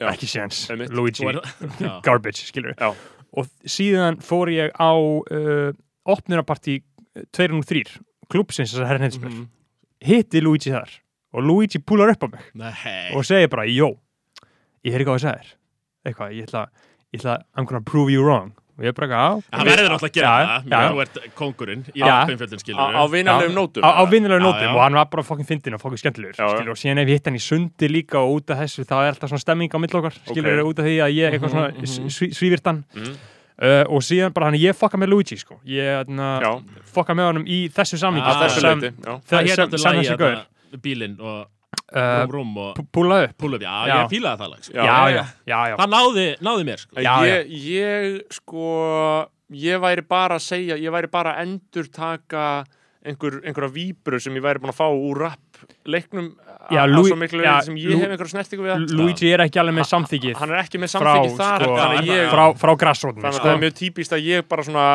[SPEAKER 1] Já.
[SPEAKER 2] ekki séns
[SPEAKER 1] Einmitt.
[SPEAKER 2] Luigi,
[SPEAKER 4] Þú er- Já.
[SPEAKER 2] garbage, skilur
[SPEAKER 1] Já.
[SPEAKER 2] og síðan fór ég á uh, eh, opnunarparti 203 klúpsins þessar herra Neytismur
[SPEAKER 4] Mhm.
[SPEAKER 2] hitti Luigi þar og Luigi púlar upp á mig
[SPEAKER 4] Nei.
[SPEAKER 2] og segir bara, jó, ég er ekki á þess aðeir eitthvað, ég ætla, ég ætla I'm gonna prove you wrong og ég er bara, já,
[SPEAKER 4] hann verður náttúrulega að
[SPEAKER 2] Já,
[SPEAKER 4] gera
[SPEAKER 2] já.
[SPEAKER 4] það þú ert kongurinn í
[SPEAKER 2] Já.
[SPEAKER 4] rappinfjöldin
[SPEAKER 1] Á, á
[SPEAKER 4] skilur
[SPEAKER 1] vinarlegum
[SPEAKER 2] Já,
[SPEAKER 1] nótum
[SPEAKER 2] á, á vinnulegum
[SPEAKER 4] Já,
[SPEAKER 2] nótum
[SPEAKER 4] já.
[SPEAKER 2] og hann var bara fokkin fyndin og fokkin skemmtilegur
[SPEAKER 1] Já, já.
[SPEAKER 2] skilur, og síðan ef ég hitt hann í sundi líka og út af þessu þá er alltaf svona stemming á mill okkar skilur út af því að ég eitthvað
[SPEAKER 4] Mhm,
[SPEAKER 2] svona mm svífirt hann
[SPEAKER 1] Mhm.
[SPEAKER 2] uh, og síðan bara hann ég fokka með Luigi sko ég
[SPEAKER 1] Já,
[SPEAKER 2] na, fokka með honum í þessu samlingi
[SPEAKER 1] að
[SPEAKER 4] Að
[SPEAKER 1] þessu
[SPEAKER 2] sem,
[SPEAKER 1] leiti já.
[SPEAKER 4] það
[SPEAKER 2] sem,
[SPEAKER 4] hér
[SPEAKER 2] sem,
[SPEAKER 4] náttúrulega
[SPEAKER 2] sem
[SPEAKER 4] lagi
[SPEAKER 2] þessi gaur
[SPEAKER 4] þarna, bílinn og
[SPEAKER 2] uh,
[SPEAKER 4] rúm, rúm og
[SPEAKER 2] púla upp
[SPEAKER 4] pull-up, já,
[SPEAKER 2] Já.
[SPEAKER 4] ég fílaði það lag sko.
[SPEAKER 1] Já,
[SPEAKER 2] já, já, já, já.
[SPEAKER 4] það náði, náði mér sko.
[SPEAKER 1] En
[SPEAKER 2] Já,
[SPEAKER 1] ég, ég, sko Ég væri bara að segja Ég væri bara að endur taka einhver, einhverja víbrur sem ég væri búin að fá úr rapp leiknum
[SPEAKER 2] Já,
[SPEAKER 1] á
[SPEAKER 2] Lu-
[SPEAKER 1] svo miklu
[SPEAKER 2] já,
[SPEAKER 1] leiti sem ég
[SPEAKER 2] Lu-
[SPEAKER 1] hef einhverja snertingu við það
[SPEAKER 2] Luigi er ekki alveg með samþykið
[SPEAKER 1] hann er ekki með
[SPEAKER 2] frá,
[SPEAKER 1] samþyggi þar
[SPEAKER 2] sko,
[SPEAKER 1] þannig, að ég,
[SPEAKER 2] frá, frá grassrótni
[SPEAKER 1] þannig að
[SPEAKER 2] sko.
[SPEAKER 1] það er mjög típist að ég bara svona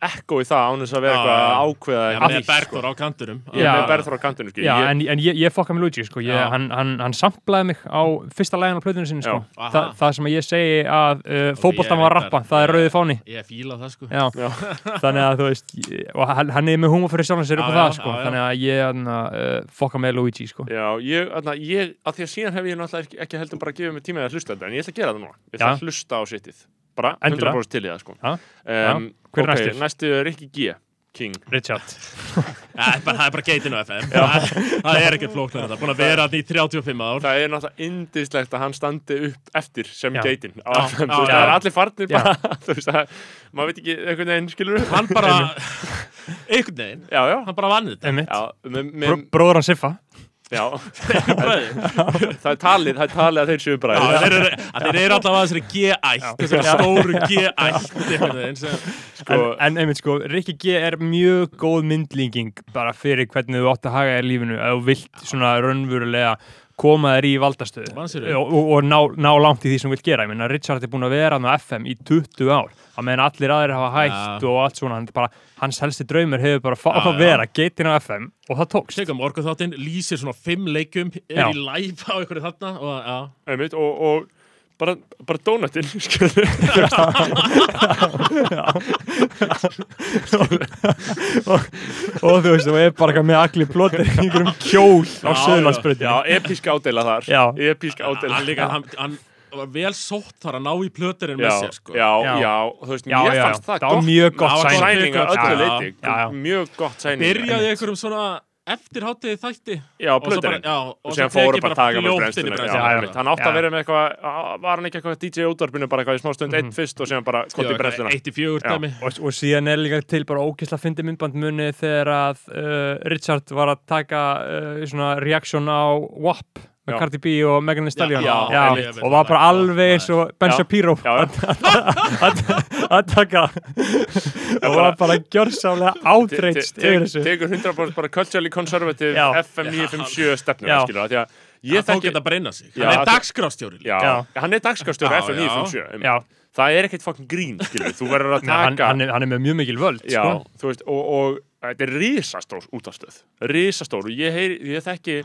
[SPEAKER 1] ekko í það án þess að vera
[SPEAKER 4] Já,
[SPEAKER 1] eitthvað
[SPEAKER 4] já.
[SPEAKER 1] að ákveða
[SPEAKER 4] Já,
[SPEAKER 1] eitthvað
[SPEAKER 4] með
[SPEAKER 1] nýtt,
[SPEAKER 4] Bergþór á kanturum
[SPEAKER 1] ég er
[SPEAKER 2] sko. Já.
[SPEAKER 1] með berður á kantinu sko.
[SPEAKER 2] Já,
[SPEAKER 1] ég,
[SPEAKER 2] en, en ég, ég fokka með Luigi, sko, ég,
[SPEAKER 4] Já.
[SPEAKER 2] hann, hann, hann samplaði mig á fyrsta lægin á plötunum sinni, sko,
[SPEAKER 1] Já.
[SPEAKER 4] Aha.
[SPEAKER 2] Þa, það sem ég segi að uh, fótboltan
[SPEAKER 4] ég
[SPEAKER 2] var að
[SPEAKER 4] reyndar-
[SPEAKER 2] rappa, það er rauði fáni,
[SPEAKER 4] Ég fíla það sko
[SPEAKER 2] já,
[SPEAKER 1] Já.
[SPEAKER 2] þannig að þú veist, ég- og hann, hann er með húma fyrir sjálfum sér upp á
[SPEAKER 4] Já,
[SPEAKER 2] það,
[SPEAKER 4] já,
[SPEAKER 2] sko,
[SPEAKER 4] já, já.
[SPEAKER 2] þannig að ég hann, uh, fokka með Luigi, sko.
[SPEAKER 1] já, ég, þarna, ég að því að síðan hef ég náttúrulega ekki, ekki heldur bara að gefa mig tíma í að hlusta þetta en ég ætla að gera það núna, ég ætla
[SPEAKER 2] Já.
[SPEAKER 1] að hlusta á sittið bara
[SPEAKER 2] Endilega.
[SPEAKER 1] 100% til í það sko.
[SPEAKER 2] Já.
[SPEAKER 1] um,
[SPEAKER 2] Hver er
[SPEAKER 1] ok,
[SPEAKER 2] næstur?
[SPEAKER 1] næstu er Rikki G King
[SPEAKER 2] Richard.
[SPEAKER 4] Já, Það er bara- það er bara geitin á FM Það- Það er ekkert flóknar þetta Búin að vera þarna í 35 ár
[SPEAKER 1] Það er náttúrulega indislegt að hann standi upp eftir sem
[SPEAKER 2] Já.
[SPEAKER 1] geitin á
[SPEAKER 4] Já,
[SPEAKER 1] FM,
[SPEAKER 4] já,
[SPEAKER 1] þú veist,
[SPEAKER 4] já.
[SPEAKER 1] það er allir farnir bara, þú veist, það, maður veit ekki einhvern veginn, skilur
[SPEAKER 4] Hann bara Einhvern veginn
[SPEAKER 1] Já, já,
[SPEAKER 4] Hann bara vann þetta
[SPEAKER 2] Einmitt.
[SPEAKER 1] já, með, með,
[SPEAKER 2] Br bróður hann Siffa
[SPEAKER 1] já,
[SPEAKER 4] Bræður.
[SPEAKER 1] það er talið, það er talið að þeir séu
[SPEAKER 4] Já,
[SPEAKER 1] bræðir.
[SPEAKER 4] Þeir eru að þeir eru allavega þessari G-ætt Þessari stóru G-ætt einhvern veginn sem-
[SPEAKER 2] en,
[SPEAKER 1] Sko-
[SPEAKER 2] en einmitt sko, Rikki G er mjög góð myndlíking bara fyrir hvernig þú átt að haga þér í lífinu ef þú vilt svona raunvörulega koma þér í valdastöðu
[SPEAKER 4] Mannsýru.
[SPEAKER 2] og, og, og ná, ná langt í því sem þú vilt gera ég meina Richard er búin að vera með FM í 20 ár að meðan allir aðrir hafa hægt og allt svona, hann er bara, hans helsti draumur hefur bara fá
[SPEAKER 4] Já,
[SPEAKER 2] að
[SPEAKER 4] já.
[SPEAKER 2] vera geitin á FM og það tókst
[SPEAKER 4] Tekum orkuð þáttinn, lýsir svona fimm leikjum Er
[SPEAKER 2] Já.
[SPEAKER 4] í live á einhverju þarna og, já.
[SPEAKER 1] einmitt, og, og bara, bara dónatinn skilur
[SPEAKER 2] og þú veist, þú er bara eitthvað með allir plotir í einhverjum kjól á
[SPEAKER 4] Já, já.
[SPEAKER 2] söðlandsbröndinu
[SPEAKER 1] já, episk ádela þar
[SPEAKER 2] Já.
[SPEAKER 1] episk ádela
[SPEAKER 4] Ah, Hann líka, hann, hann var vel sótt þar að ná í plöturinn
[SPEAKER 1] já,
[SPEAKER 4] með sér sko.
[SPEAKER 1] já,
[SPEAKER 2] Já.
[SPEAKER 1] já, þú veist,
[SPEAKER 2] Já,
[SPEAKER 1] mér
[SPEAKER 2] já,
[SPEAKER 1] fannst
[SPEAKER 2] já.
[SPEAKER 1] það
[SPEAKER 2] Það var
[SPEAKER 1] gott
[SPEAKER 2] mjög gott
[SPEAKER 1] það var
[SPEAKER 4] sæning.
[SPEAKER 1] sæning að
[SPEAKER 4] Já,
[SPEAKER 1] öllu
[SPEAKER 4] já.
[SPEAKER 1] leiti
[SPEAKER 2] Já, já.
[SPEAKER 1] mjög gott sæning
[SPEAKER 4] Byrjaði í einhverjum svona eftirháttið þætti
[SPEAKER 1] já,
[SPEAKER 4] og svo bara,
[SPEAKER 1] plöðurinn
[SPEAKER 4] já, og
[SPEAKER 1] og
[SPEAKER 4] svo
[SPEAKER 1] sem fóru
[SPEAKER 4] tekið
[SPEAKER 1] bara að taka með
[SPEAKER 4] fljótt inn í
[SPEAKER 1] brennslunni
[SPEAKER 4] brennsluna.
[SPEAKER 1] Já,
[SPEAKER 2] Já,
[SPEAKER 1] einmitt. hann átti að
[SPEAKER 2] Já.
[SPEAKER 1] vera með eitthvað var hann ekki eitthvað DJ útvarpinu bara eitthvað í smá stund einn fyrst og síðan bara
[SPEAKER 4] Já,
[SPEAKER 1] kott í brennsluna
[SPEAKER 4] eitt í fjögur
[SPEAKER 1] Já.
[SPEAKER 4] dæmi
[SPEAKER 2] og, og síðan er líka til bara ókysla fyndi myndband muni þegar að uh, Richard var að taka uh, svona reaksjón á WAP með
[SPEAKER 1] Já.
[SPEAKER 2] Cardi B og Megan Thee Stallion
[SPEAKER 4] já, einmitt.
[SPEAKER 2] og var bara alveg eins og Ben
[SPEAKER 1] Já.
[SPEAKER 2] Shapiro
[SPEAKER 1] Já, já.
[SPEAKER 2] að að- að taka og var bara gjörsálega átreitst
[SPEAKER 1] Te- te-
[SPEAKER 2] yfir þessu
[SPEAKER 1] tekur 100% bara culturally conservative
[SPEAKER 2] Já.
[SPEAKER 1] FM 957 stefnum
[SPEAKER 2] Já.
[SPEAKER 1] skilur því að ég
[SPEAKER 4] Ég þekki
[SPEAKER 1] þekki
[SPEAKER 4] þetta að breyna sig
[SPEAKER 1] Já,
[SPEAKER 4] Hann er
[SPEAKER 1] það-
[SPEAKER 4] dagskrástjóri líka.
[SPEAKER 1] Já,
[SPEAKER 2] Já.
[SPEAKER 1] hann er dagskastjóri
[SPEAKER 4] Já,
[SPEAKER 1] FM
[SPEAKER 4] já.
[SPEAKER 1] 957 einmitt.
[SPEAKER 2] já,
[SPEAKER 1] það er ekkert fokkin grín, skilur, þú verður að
[SPEAKER 2] Nei, hann,
[SPEAKER 1] taka
[SPEAKER 2] hann, er, hann er með mjög mikil völd
[SPEAKER 1] já,
[SPEAKER 2] sko.
[SPEAKER 1] þú veist, og, og þetta er risastór útastöð, risastór og ég, heyri, ég þekki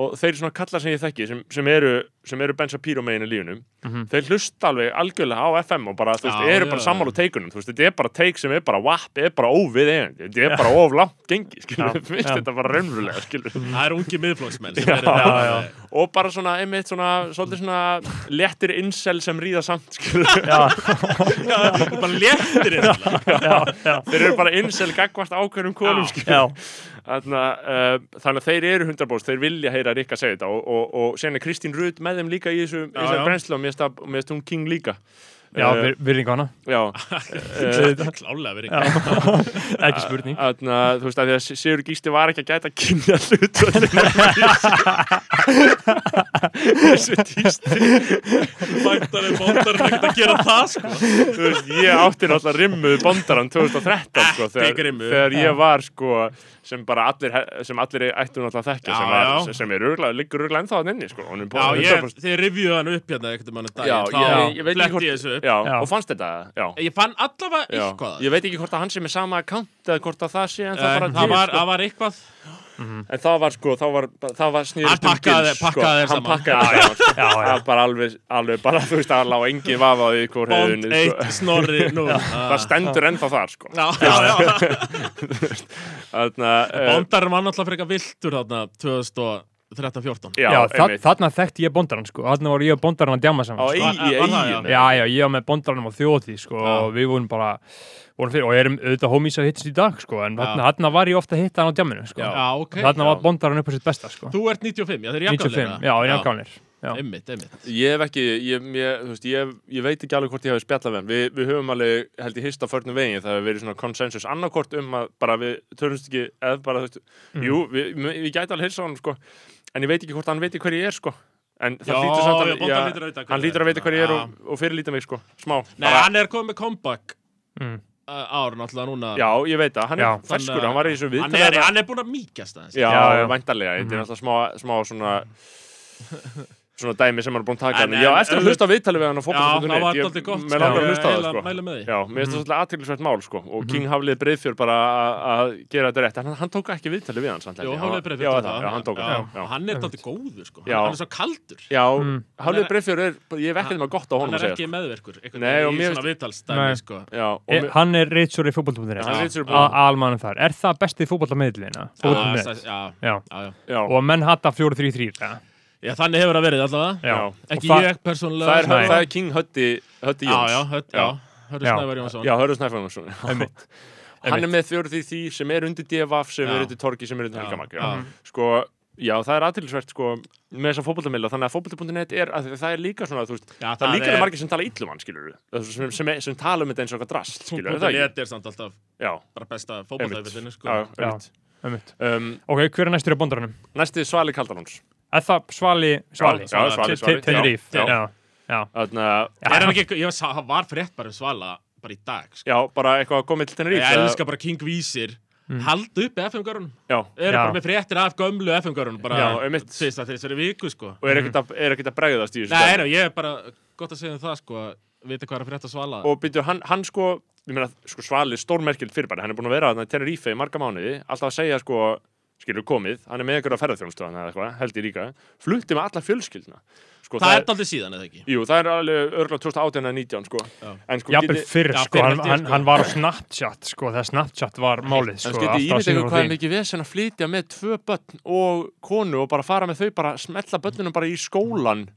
[SPEAKER 1] og þeir svona kallar sem ég þekki sem, sem eru, sem eru Ben Shapiro meginu lífunum
[SPEAKER 2] Mhm.
[SPEAKER 1] þeir hlusta alveg algjörlega á FM og bara, þú veist,
[SPEAKER 4] Já,
[SPEAKER 1] eru
[SPEAKER 4] já,
[SPEAKER 1] bara
[SPEAKER 4] já.
[SPEAKER 1] sammála teikunum, þú veist, þetta er bara teik sem er bara vapp, er bara óvið eigandi, þetta er bara of langt gengi, skilur,
[SPEAKER 2] Já,
[SPEAKER 1] finnst
[SPEAKER 2] já.
[SPEAKER 1] þetta bara raunverulega, skilur
[SPEAKER 4] Það er hérna. ungi miðflóksmenn sem
[SPEAKER 1] Já,
[SPEAKER 4] eru það.
[SPEAKER 2] já, já.
[SPEAKER 1] og bara svona, einmitt svona, svolítið svona léttir insel sem ríða samt, skilur
[SPEAKER 4] Það er bara léttir hérna. eiginlega.
[SPEAKER 1] þeir eru bara insel gagvart ákveðnum konum, skilur
[SPEAKER 2] já,
[SPEAKER 1] Þarna, uh, þannig að þeir eru hundrabóst, þeir vilja heyra Rikka segja þetta og, og, og sen er Kristín Rutt með þeim líka í þessu, í
[SPEAKER 4] já.
[SPEAKER 1] þessu brennslu og mér finnst það- mér finnst hún King líka
[SPEAKER 2] já
[SPEAKER 1] Eh,
[SPEAKER 2] vir, virðing á hana
[SPEAKER 1] já,
[SPEAKER 4] Klálega verið ekki.
[SPEAKER 2] ekki spurning
[SPEAKER 1] þarna, þú veist að því að Sigur Gísti var ekki að gæta kynja hlut þessu tísti
[SPEAKER 4] Bæntar er bóndar er ekkert að gera það sko.
[SPEAKER 1] þú veist, ég átti náttúrulega rimmuð bondaran 2013 sko,
[SPEAKER 4] Ekki
[SPEAKER 1] þegar,
[SPEAKER 4] rimmuð.
[SPEAKER 1] þegar ég var sko, sem bara allir, sem allir ættu náttúrulega að þekkja
[SPEAKER 4] Já,
[SPEAKER 1] sem, var,
[SPEAKER 4] já.
[SPEAKER 1] sem er rugla, liggur rugla ennþá hann inni sko, honum
[SPEAKER 4] Já, ég,
[SPEAKER 1] 100%.
[SPEAKER 4] þið revjuðu hann upp hérna einhvern mann
[SPEAKER 1] já,
[SPEAKER 4] daginn.
[SPEAKER 1] ég, ég
[SPEAKER 4] Þá
[SPEAKER 1] veit ekki
[SPEAKER 4] fletti
[SPEAKER 1] hvort
[SPEAKER 4] ég þessu upp.
[SPEAKER 1] já,
[SPEAKER 2] Já.
[SPEAKER 1] og fannst þetta, já
[SPEAKER 4] Ég fann allavega
[SPEAKER 1] Já.
[SPEAKER 4] eitthvað.
[SPEAKER 1] Ég veit ekki hvort að hann sé með sama account eða hvort að sko. það sé en það
[SPEAKER 4] Eh,
[SPEAKER 1] bara
[SPEAKER 4] Það var, það var eitthvað
[SPEAKER 1] En það var sko, það var, það var snýrist
[SPEAKER 4] Hann pakkaði-
[SPEAKER 1] Gils,
[SPEAKER 4] pakkaði þér
[SPEAKER 1] Hann
[SPEAKER 4] saman.
[SPEAKER 1] pakkaði þér saman sko.
[SPEAKER 2] já, já,
[SPEAKER 1] Það var bara alveg, alveg bara þú veist að hann lá engin vafa á því hvort hefði
[SPEAKER 4] Bond
[SPEAKER 1] unnið sko.
[SPEAKER 4] 1 snorri nú.
[SPEAKER 1] Það stendur ennþá þar sko
[SPEAKER 4] stendur.
[SPEAKER 1] Þarna, eh,
[SPEAKER 4] Bondar var náttúrulega frekar viltur þarna 2013-14
[SPEAKER 1] eh, Já,
[SPEAKER 2] já, þa
[SPEAKER 1] einmitt
[SPEAKER 2] þarna þekkti ég bondaran sko. þarna var ég og bondaran að djama
[SPEAKER 1] Á
[SPEAKER 2] saman
[SPEAKER 1] eigi,
[SPEAKER 4] Var- var það,
[SPEAKER 1] eigin
[SPEAKER 2] Já, já, ég var með bondaranum á þjóti sko, og við vorum bara vorum fyrir, og erum auðvitað homies að hittast í dag sko, en þarna, þarna var ég ofta að hitta hann á djamminu sko.
[SPEAKER 4] Já, ok
[SPEAKER 2] þarna var
[SPEAKER 1] já.
[SPEAKER 2] bondaran upp á sitt besta sko.
[SPEAKER 4] Þú ert hérna? 95, já þeir eru jafngamlir
[SPEAKER 2] 95, já, er jafnkánir já.
[SPEAKER 4] Einmitt, einmitt
[SPEAKER 1] Ég hef ekki, ég, ég, þú veist, ég, ég veit ekki alveg hvort ég hefði spjallað við hann. Við, við höfum alveg, held ég, hist á förnum veginn. Það hefur verið svona konsensus annarkort um að bara við törnumst ekki, eða bara, þú veist,
[SPEAKER 4] Mm.
[SPEAKER 1] jú, við, við, við gæti alveg hilsa á hann, sko, en ég veit ekki hvort hann veit hver ég er, sko. En það
[SPEAKER 4] Já,
[SPEAKER 1] lítur samt
[SPEAKER 4] já, Bondar hlýtur að vita hver
[SPEAKER 1] hann
[SPEAKER 4] þú
[SPEAKER 1] lítur að
[SPEAKER 4] ert,
[SPEAKER 1] vita hver ég er
[SPEAKER 4] já.
[SPEAKER 1] og, og fyrirlíta mig, sko, smá.
[SPEAKER 4] Nei, hann er komið með comeback
[SPEAKER 2] Mm.
[SPEAKER 4] uh, ár náttúrulega núna
[SPEAKER 1] Já, ég veit það, hann
[SPEAKER 2] Já.
[SPEAKER 1] er ferskur, hann var í þessu
[SPEAKER 4] Hann er,
[SPEAKER 1] viðtalið.
[SPEAKER 4] hann er búin að mýkast aðeins
[SPEAKER 1] Já,
[SPEAKER 2] Já, já.
[SPEAKER 1] væntanlega, þetta
[SPEAKER 4] Mhm.
[SPEAKER 1] er alltaf smá, smá svona svona dæmi sem hann er búin að taka
[SPEAKER 4] En-
[SPEAKER 1] en, Já,
[SPEAKER 4] en-
[SPEAKER 1] eftir að hlusta á viðtalið við hann á
[SPEAKER 4] Já, það
[SPEAKER 1] fótbolta.net
[SPEAKER 4] var
[SPEAKER 1] Ég-
[SPEAKER 4] alltaf gott
[SPEAKER 1] Mér langar að
[SPEAKER 4] Ég
[SPEAKER 1] hlusta á
[SPEAKER 4] eiginlega
[SPEAKER 1] það, sko
[SPEAKER 4] Mæla með því Mhm.
[SPEAKER 1] Já, mér finnst það svolítið aðtryggilisvert mál sko og King Haflið Breiðfjör bara að- að gera þetta rétt en hann, hann tók ekki viðtalið við hann samt held
[SPEAKER 4] Jó,
[SPEAKER 1] ég.
[SPEAKER 4] hann
[SPEAKER 1] var-
[SPEAKER 4] er breið
[SPEAKER 1] Já, það, já, hann tók hann Já, já.
[SPEAKER 4] Hann er dálítið góður, sko
[SPEAKER 1] Já.
[SPEAKER 4] Hann er svo kaldur
[SPEAKER 1] já
[SPEAKER 2] Mm.
[SPEAKER 1] Haflið Breiðfjör er, bara- ég hef ekkert maður gott á honum
[SPEAKER 4] Mhm.
[SPEAKER 1] að
[SPEAKER 4] Hann er
[SPEAKER 1] segja
[SPEAKER 4] ekki
[SPEAKER 1] sko.
[SPEAKER 4] meðverkur einhvern
[SPEAKER 1] Nei, og
[SPEAKER 4] veginn
[SPEAKER 1] mér
[SPEAKER 4] Í svona
[SPEAKER 1] Nei.
[SPEAKER 4] viðtalsdæmi, sko
[SPEAKER 1] Já, og
[SPEAKER 2] E,
[SPEAKER 1] mér-
[SPEAKER 2] hann er reitsjóri fótboltabundir
[SPEAKER 1] hann er ritsur
[SPEAKER 2] almanum þar, er það besti fótboltamiðlina
[SPEAKER 4] Já,
[SPEAKER 2] fótboltabundir,
[SPEAKER 4] það- já,
[SPEAKER 2] já
[SPEAKER 4] já, já.
[SPEAKER 1] Já,
[SPEAKER 2] og menn hatta 4-3-3 já,
[SPEAKER 4] Já, þannig hefur það verið
[SPEAKER 2] já.
[SPEAKER 4] allavega
[SPEAKER 1] Já.
[SPEAKER 4] Ekki
[SPEAKER 2] Og það-
[SPEAKER 4] ég persónulega sko.
[SPEAKER 1] það er,
[SPEAKER 2] Nei.
[SPEAKER 1] það er King Hötti Hötti
[SPEAKER 4] Já,
[SPEAKER 1] Jóns
[SPEAKER 4] já, hörð- já Hörðu
[SPEAKER 2] Já.
[SPEAKER 4] Snævar Jónsson
[SPEAKER 1] Já, Hörður Snæfæðunarsson
[SPEAKER 2] Einmitt.
[SPEAKER 1] hann er með fjóruð í því sem er undir DFF sem
[SPEAKER 4] Já.
[SPEAKER 1] er undir Torgi sem er undir
[SPEAKER 4] Já.
[SPEAKER 1] Helgamag já.
[SPEAKER 4] Já.
[SPEAKER 1] sko, já, það er aðtilsvert sko, með þessa fótboltamilla, þannig að fótbolti.net er, að það er líka svona, þú veist
[SPEAKER 4] Já,
[SPEAKER 1] það er líka er... margir sem tala íllum hann, skilur sem, sem, sem tala um þetta eins og eitthvað drast, skilur það ekki?
[SPEAKER 4] Fútbollet er samt alltaf
[SPEAKER 1] Já,
[SPEAKER 4] bara besta
[SPEAKER 1] einmitt
[SPEAKER 4] fótballtæfiðinu sko.
[SPEAKER 1] Já,
[SPEAKER 2] Já.
[SPEAKER 1] einmitt.
[SPEAKER 2] einmitt.
[SPEAKER 1] Um,
[SPEAKER 2] Ok, hver er næstur í bondaranum?
[SPEAKER 1] næsti Svali Kaldalóns
[SPEAKER 2] Er það Svali? Svali,
[SPEAKER 1] já, Svali, Svali,
[SPEAKER 2] Tenerife,
[SPEAKER 1] já, já.
[SPEAKER 2] já. já.
[SPEAKER 1] Þarna,
[SPEAKER 4] Er hann ekki, ég sá, hann var frétt bara um Svala bara í dag sko.
[SPEAKER 1] já, bara eitthvað komið til Tenerife
[SPEAKER 4] Ég elska bara King Vísir
[SPEAKER 2] Mm.
[SPEAKER 4] Hald upp FM-görunum
[SPEAKER 1] Já,
[SPEAKER 4] Eru
[SPEAKER 2] Já.
[SPEAKER 4] bara með fréttir af gömlu FM-görunum bara
[SPEAKER 1] Já, einmitt.
[SPEAKER 4] síðasta þessari viku sko.
[SPEAKER 1] og er ekkert að, er ekkert að bregðast í þessu
[SPEAKER 4] Nei,
[SPEAKER 1] dæmi.
[SPEAKER 4] nei, ég er bara gott að segja um það sko að vita hvað er að frétta af Svala
[SPEAKER 1] og byrju, hann, hann sko, ég meina, sko Svali er stórmerkild fyrirbæri, hann er búin að vera þarna í Tenerife í marga mánuði, alltaf að segja sko skilur komið, hann er með einhverja ferðarþjónustu hann eða eitthvað, held ég líka, flutti með alla fjölskyldna sko,
[SPEAKER 4] Það er daldið síðan eða ekki
[SPEAKER 1] Jú, það er alveg örgulega 2018 eða 19 sko.
[SPEAKER 4] Já.
[SPEAKER 1] en sko,
[SPEAKER 2] Jafnvel fyrr,
[SPEAKER 4] Já,
[SPEAKER 2] sko,
[SPEAKER 4] fyrr
[SPEAKER 2] hann,
[SPEAKER 4] held ég,
[SPEAKER 2] hann,
[SPEAKER 4] sko.
[SPEAKER 2] hann var á Snapchat, sko, þegar Snapchat var málið, sko.
[SPEAKER 1] en sketi
[SPEAKER 2] alltaf á
[SPEAKER 1] ímynd
[SPEAKER 2] sínum
[SPEAKER 1] eitthvað
[SPEAKER 2] og
[SPEAKER 1] hvað er
[SPEAKER 2] því.
[SPEAKER 1] mikið vesen að flytja með tvö börn og konu og bara fara með þau bara smetla börnunum bara í skólan
[SPEAKER 4] Ég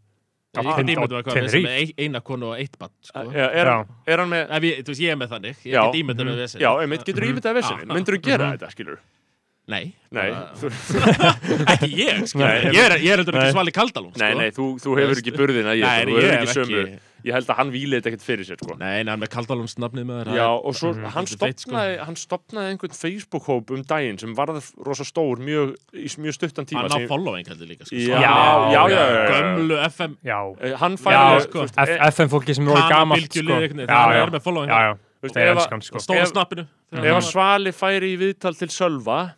[SPEAKER 2] Ten-
[SPEAKER 4] get ímyndað mér hvað
[SPEAKER 2] Tenerife.
[SPEAKER 4] við sem með ein- eina konu og eitt bann sko.
[SPEAKER 1] er, er,
[SPEAKER 2] Já.
[SPEAKER 1] er hann með
[SPEAKER 4] Ef ég, þú veist, ég er með þannig Ég
[SPEAKER 1] Já. Mhm.
[SPEAKER 4] get ímyndað með þessi
[SPEAKER 1] Já, einmitt, getur ímyndað að vesinni,
[SPEAKER 4] Já.
[SPEAKER 1] myndur þú gera
[SPEAKER 2] Mhm.
[SPEAKER 1] þetta, skilur?
[SPEAKER 4] Nei,
[SPEAKER 1] Nei,
[SPEAKER 4] bara-
[SPEAKER 1] þú,
[SPEAKER 4] ekki ég sko.
[SPEAKER 2] Nei.
[SPEAKER 4] Ég er, ég er heldur
[SPEAKER 2] Nei.
[SPEAKER 4] ekki Svali Kaldalón sko.
[SPEAKER 1] nei, nei, þú, þú hefur ekki burðina, ég,
[SPEAKER 4] Nei,
[SPEAKER 1] þú hefur
[SPEAKER 4] ég
[SPEAKER 1] ekki
[SPEAKER 4] hef
[SPEAKER 1] sömu
[SPEAKER 4] ekki-
[SPEAKER 1] Ég held að hann víli þetta ekkert fyrir sér, sko
[SPEAKER 4] Nei, nei, hann með Kaldalóns nafnið með þér
[SPEAKER 1] Já, og svo hann,
[SPEAKER 4] þetta er feitt, sko.
[SPEAKER 1] stopnaði, hann stopnaði einhvern Facebook-hóp um daginn sem varð rosa stór mjög, í s- mjög stuttan tíma
[SPEAKER 4] Hann á
[SPEAKER 1] sem-
[SPEAKER 4] following heldur líka sko.
[SPEAKER 1] Já,
[SPEAKER 4] Svala.
[SPEAKER 2] já, já,
[SPEAKER 1] já, já.
[SPEAKER 4] Gömlu FM
[SPEAKER 2] Já,
[SPEAKER 1] Eh, Hann fær
[SPEAKER 2] já,
[SPEAKER 1] alveg,
[SPEAKER 2] sko,
[SPEAKER 1] þú veist, eh,
[SPEAKER 2] F- FM fólki sem er orðið gamalt, sko.
[SPEAKER 4] Kanabylgjulið,
[SPEAKER 1] hérna,
[SPEAKER 4] einhvern
[SPEAKER 2] Já,
[SPEAKER 4] veginn, það
[SPEAKER 2] já,
[SPEAKER 4] er með following.
[SPEAKER 2] Já, já,
[SPEAKER 1] veist,
[SPEAKER 2] það er
[SPEAKER 1] ef að-
[SPEAKER 2] elskan, sko.
[SPEAKER 4] Stóra
[SPEAKER 1] Ef-
[SPEAKER 4] snappinu
[SPEAKER 1] ef
[SPEAKER 4] þegar hann
[SPEAKER 1] að
[SPEAKER 4] var-
[SPEAKER 1] Svali færi í viðtal til Sölva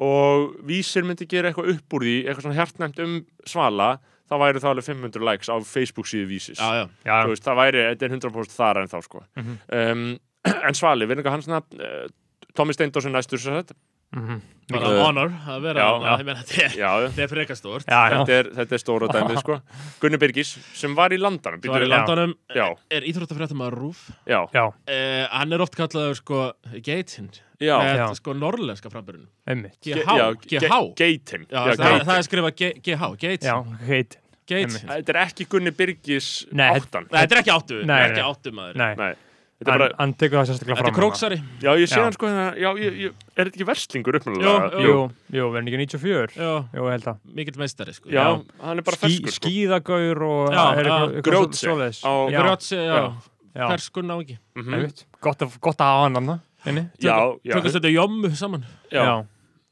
[SPEAKER 1] og vísir myndi gera eitthvað upp úr því eitthvað svona hjartnæmt um Svala þá væri það alveg 500 likes á Facebook síðu vísis
[SPEAKER 4] Já, já
[SPEAKER 2] Já,
[SPEAKER 1] Þú veist, það væri, þetta er 100% þar en þá sko. um, en Svali, verður eitthvað hans nafn uh, Tommy Steindórsson næstur sem sagt.
[SPEAKER 2] mhm.
[SPEAKER 4] Bara
[SPEAKER 1] Mikið-
[SPEAKER 4] honor að vera
[SPEAKER 1] Já,
[SPEAKER 4] þarna,
[SPEAKER 1] já.
[SPEAKER 4] ég meina, þetta er-
[SPEAKER 1] já,
[SPEAKER 4] Þetta er frekar stórt
[SPEAKER 2] já, já.
[SPEAKER 1] þetta er, þetta er stóra dæmið sko. Gunni Birgis, sem var í landanum
[SPEAKER 4] Svo er í
[SPEAKER 1] býttu-
[SPEAKER 2] land-
[SPEAKER 4] landanum
[SPEAKER 1] já,
[SPEAKER 4] Er íþróttafréttum að rúf
[SPEAKER 1] já,
[SPEAKER 2] Já,
[SPEAKER 4] Uh, hann er oft kallaður sko geitinn
[SPEAKER 1] já,
[SPEAKER 4] með
[SPEAKER 2] Já.
[SPEAKER 4] sko norrlenska framburðin
[SPEAKER 2] einmitt.
[SPEAKER 1] Ge-
[SPEAKER 4] GH,
[SPEAKER 1] já, ge-
[SPEAKER 4] GH
[SPEAKER 1] Geitin
[SPEAKER 4] Já,
[SPEAKER 1] Já,
[SPEAKER 4] það,
[SPEAKER 1] Geitin.
[SPEAKER 4] það er skrifað G- GH, geit
[SPEAKER 2] Já, heit.
[SPEAKER 4] geit,
[SPEAKER 2] einmitt.
[SPEAKER 1] Þetta er ekki Gunni Birgis
[SPEAKER 2] Nei,
[SPEAKER 1] áttan
[SPEAKER 4] Nei, þetta er ekki áttu,
[SPEAKER 2] Nei,
[SPEAKER 4] þetta er ekki
[SPEAKER 2] nei.
[SPEAKER 4] áttu maður
[SPEAKER 2] Nei,
[SPEAKER 1] Nei, þetta er
[SPEAKER 2] hann,
[SPEAKER 1] bara
[SPEAKER 2] hann tekur það sérstaklega
[SPEAKER 4] Þetta
[SPEAKER 2] fram. hérna.
[SPEAKER 4] er króksari
[SPEAKER 1] Já, ég sé
[SPEAKER 2] Já.
[SPEAKER 1] hann sko hérna, já, ég, ég, er þetta ekki verslingur uppnáðulega?
[SPEAKER 2] Jú, jú, jú, verður ekki 94?
[SPEAKER 4] Já,
[SPEAKER 2] Jú, ég held að.
[SPEAKER 4] mikill meistari sko
[SPEAKER 1] Já, hann er bara
[SPEAKER 2] Skí,
[SPEAKER 1] ferskur sko.
[SPEAKER 2] skíðagaur og
[SPEAKER 4] Já,
[SPEAKER 2] er
[SPEAKER 4] já.
[SPEAKER 2] eitthvað- eitthvað
[SPEAKER 1] Grjótsi.
[SPEAKER 2] svoleiðis.
[SPEAKER 1] Á
[SPEAKER 2] Já,
[SPEAKER 4] Grjótsi, já,
[SPEAKER 1] Já.
[SPEAKER 2] já,
[SPEAKER 4] ferskun á ekki
[SPEAKER 1] Mhm.
[SPEAKER 2] einmitt. Gott að gott að hafa hann annað, inni.
[SPEAKER 1] Já, já,
[SPEAKER 4] Tökum þetta jommu saman,
[SPEAKER 1] já, já,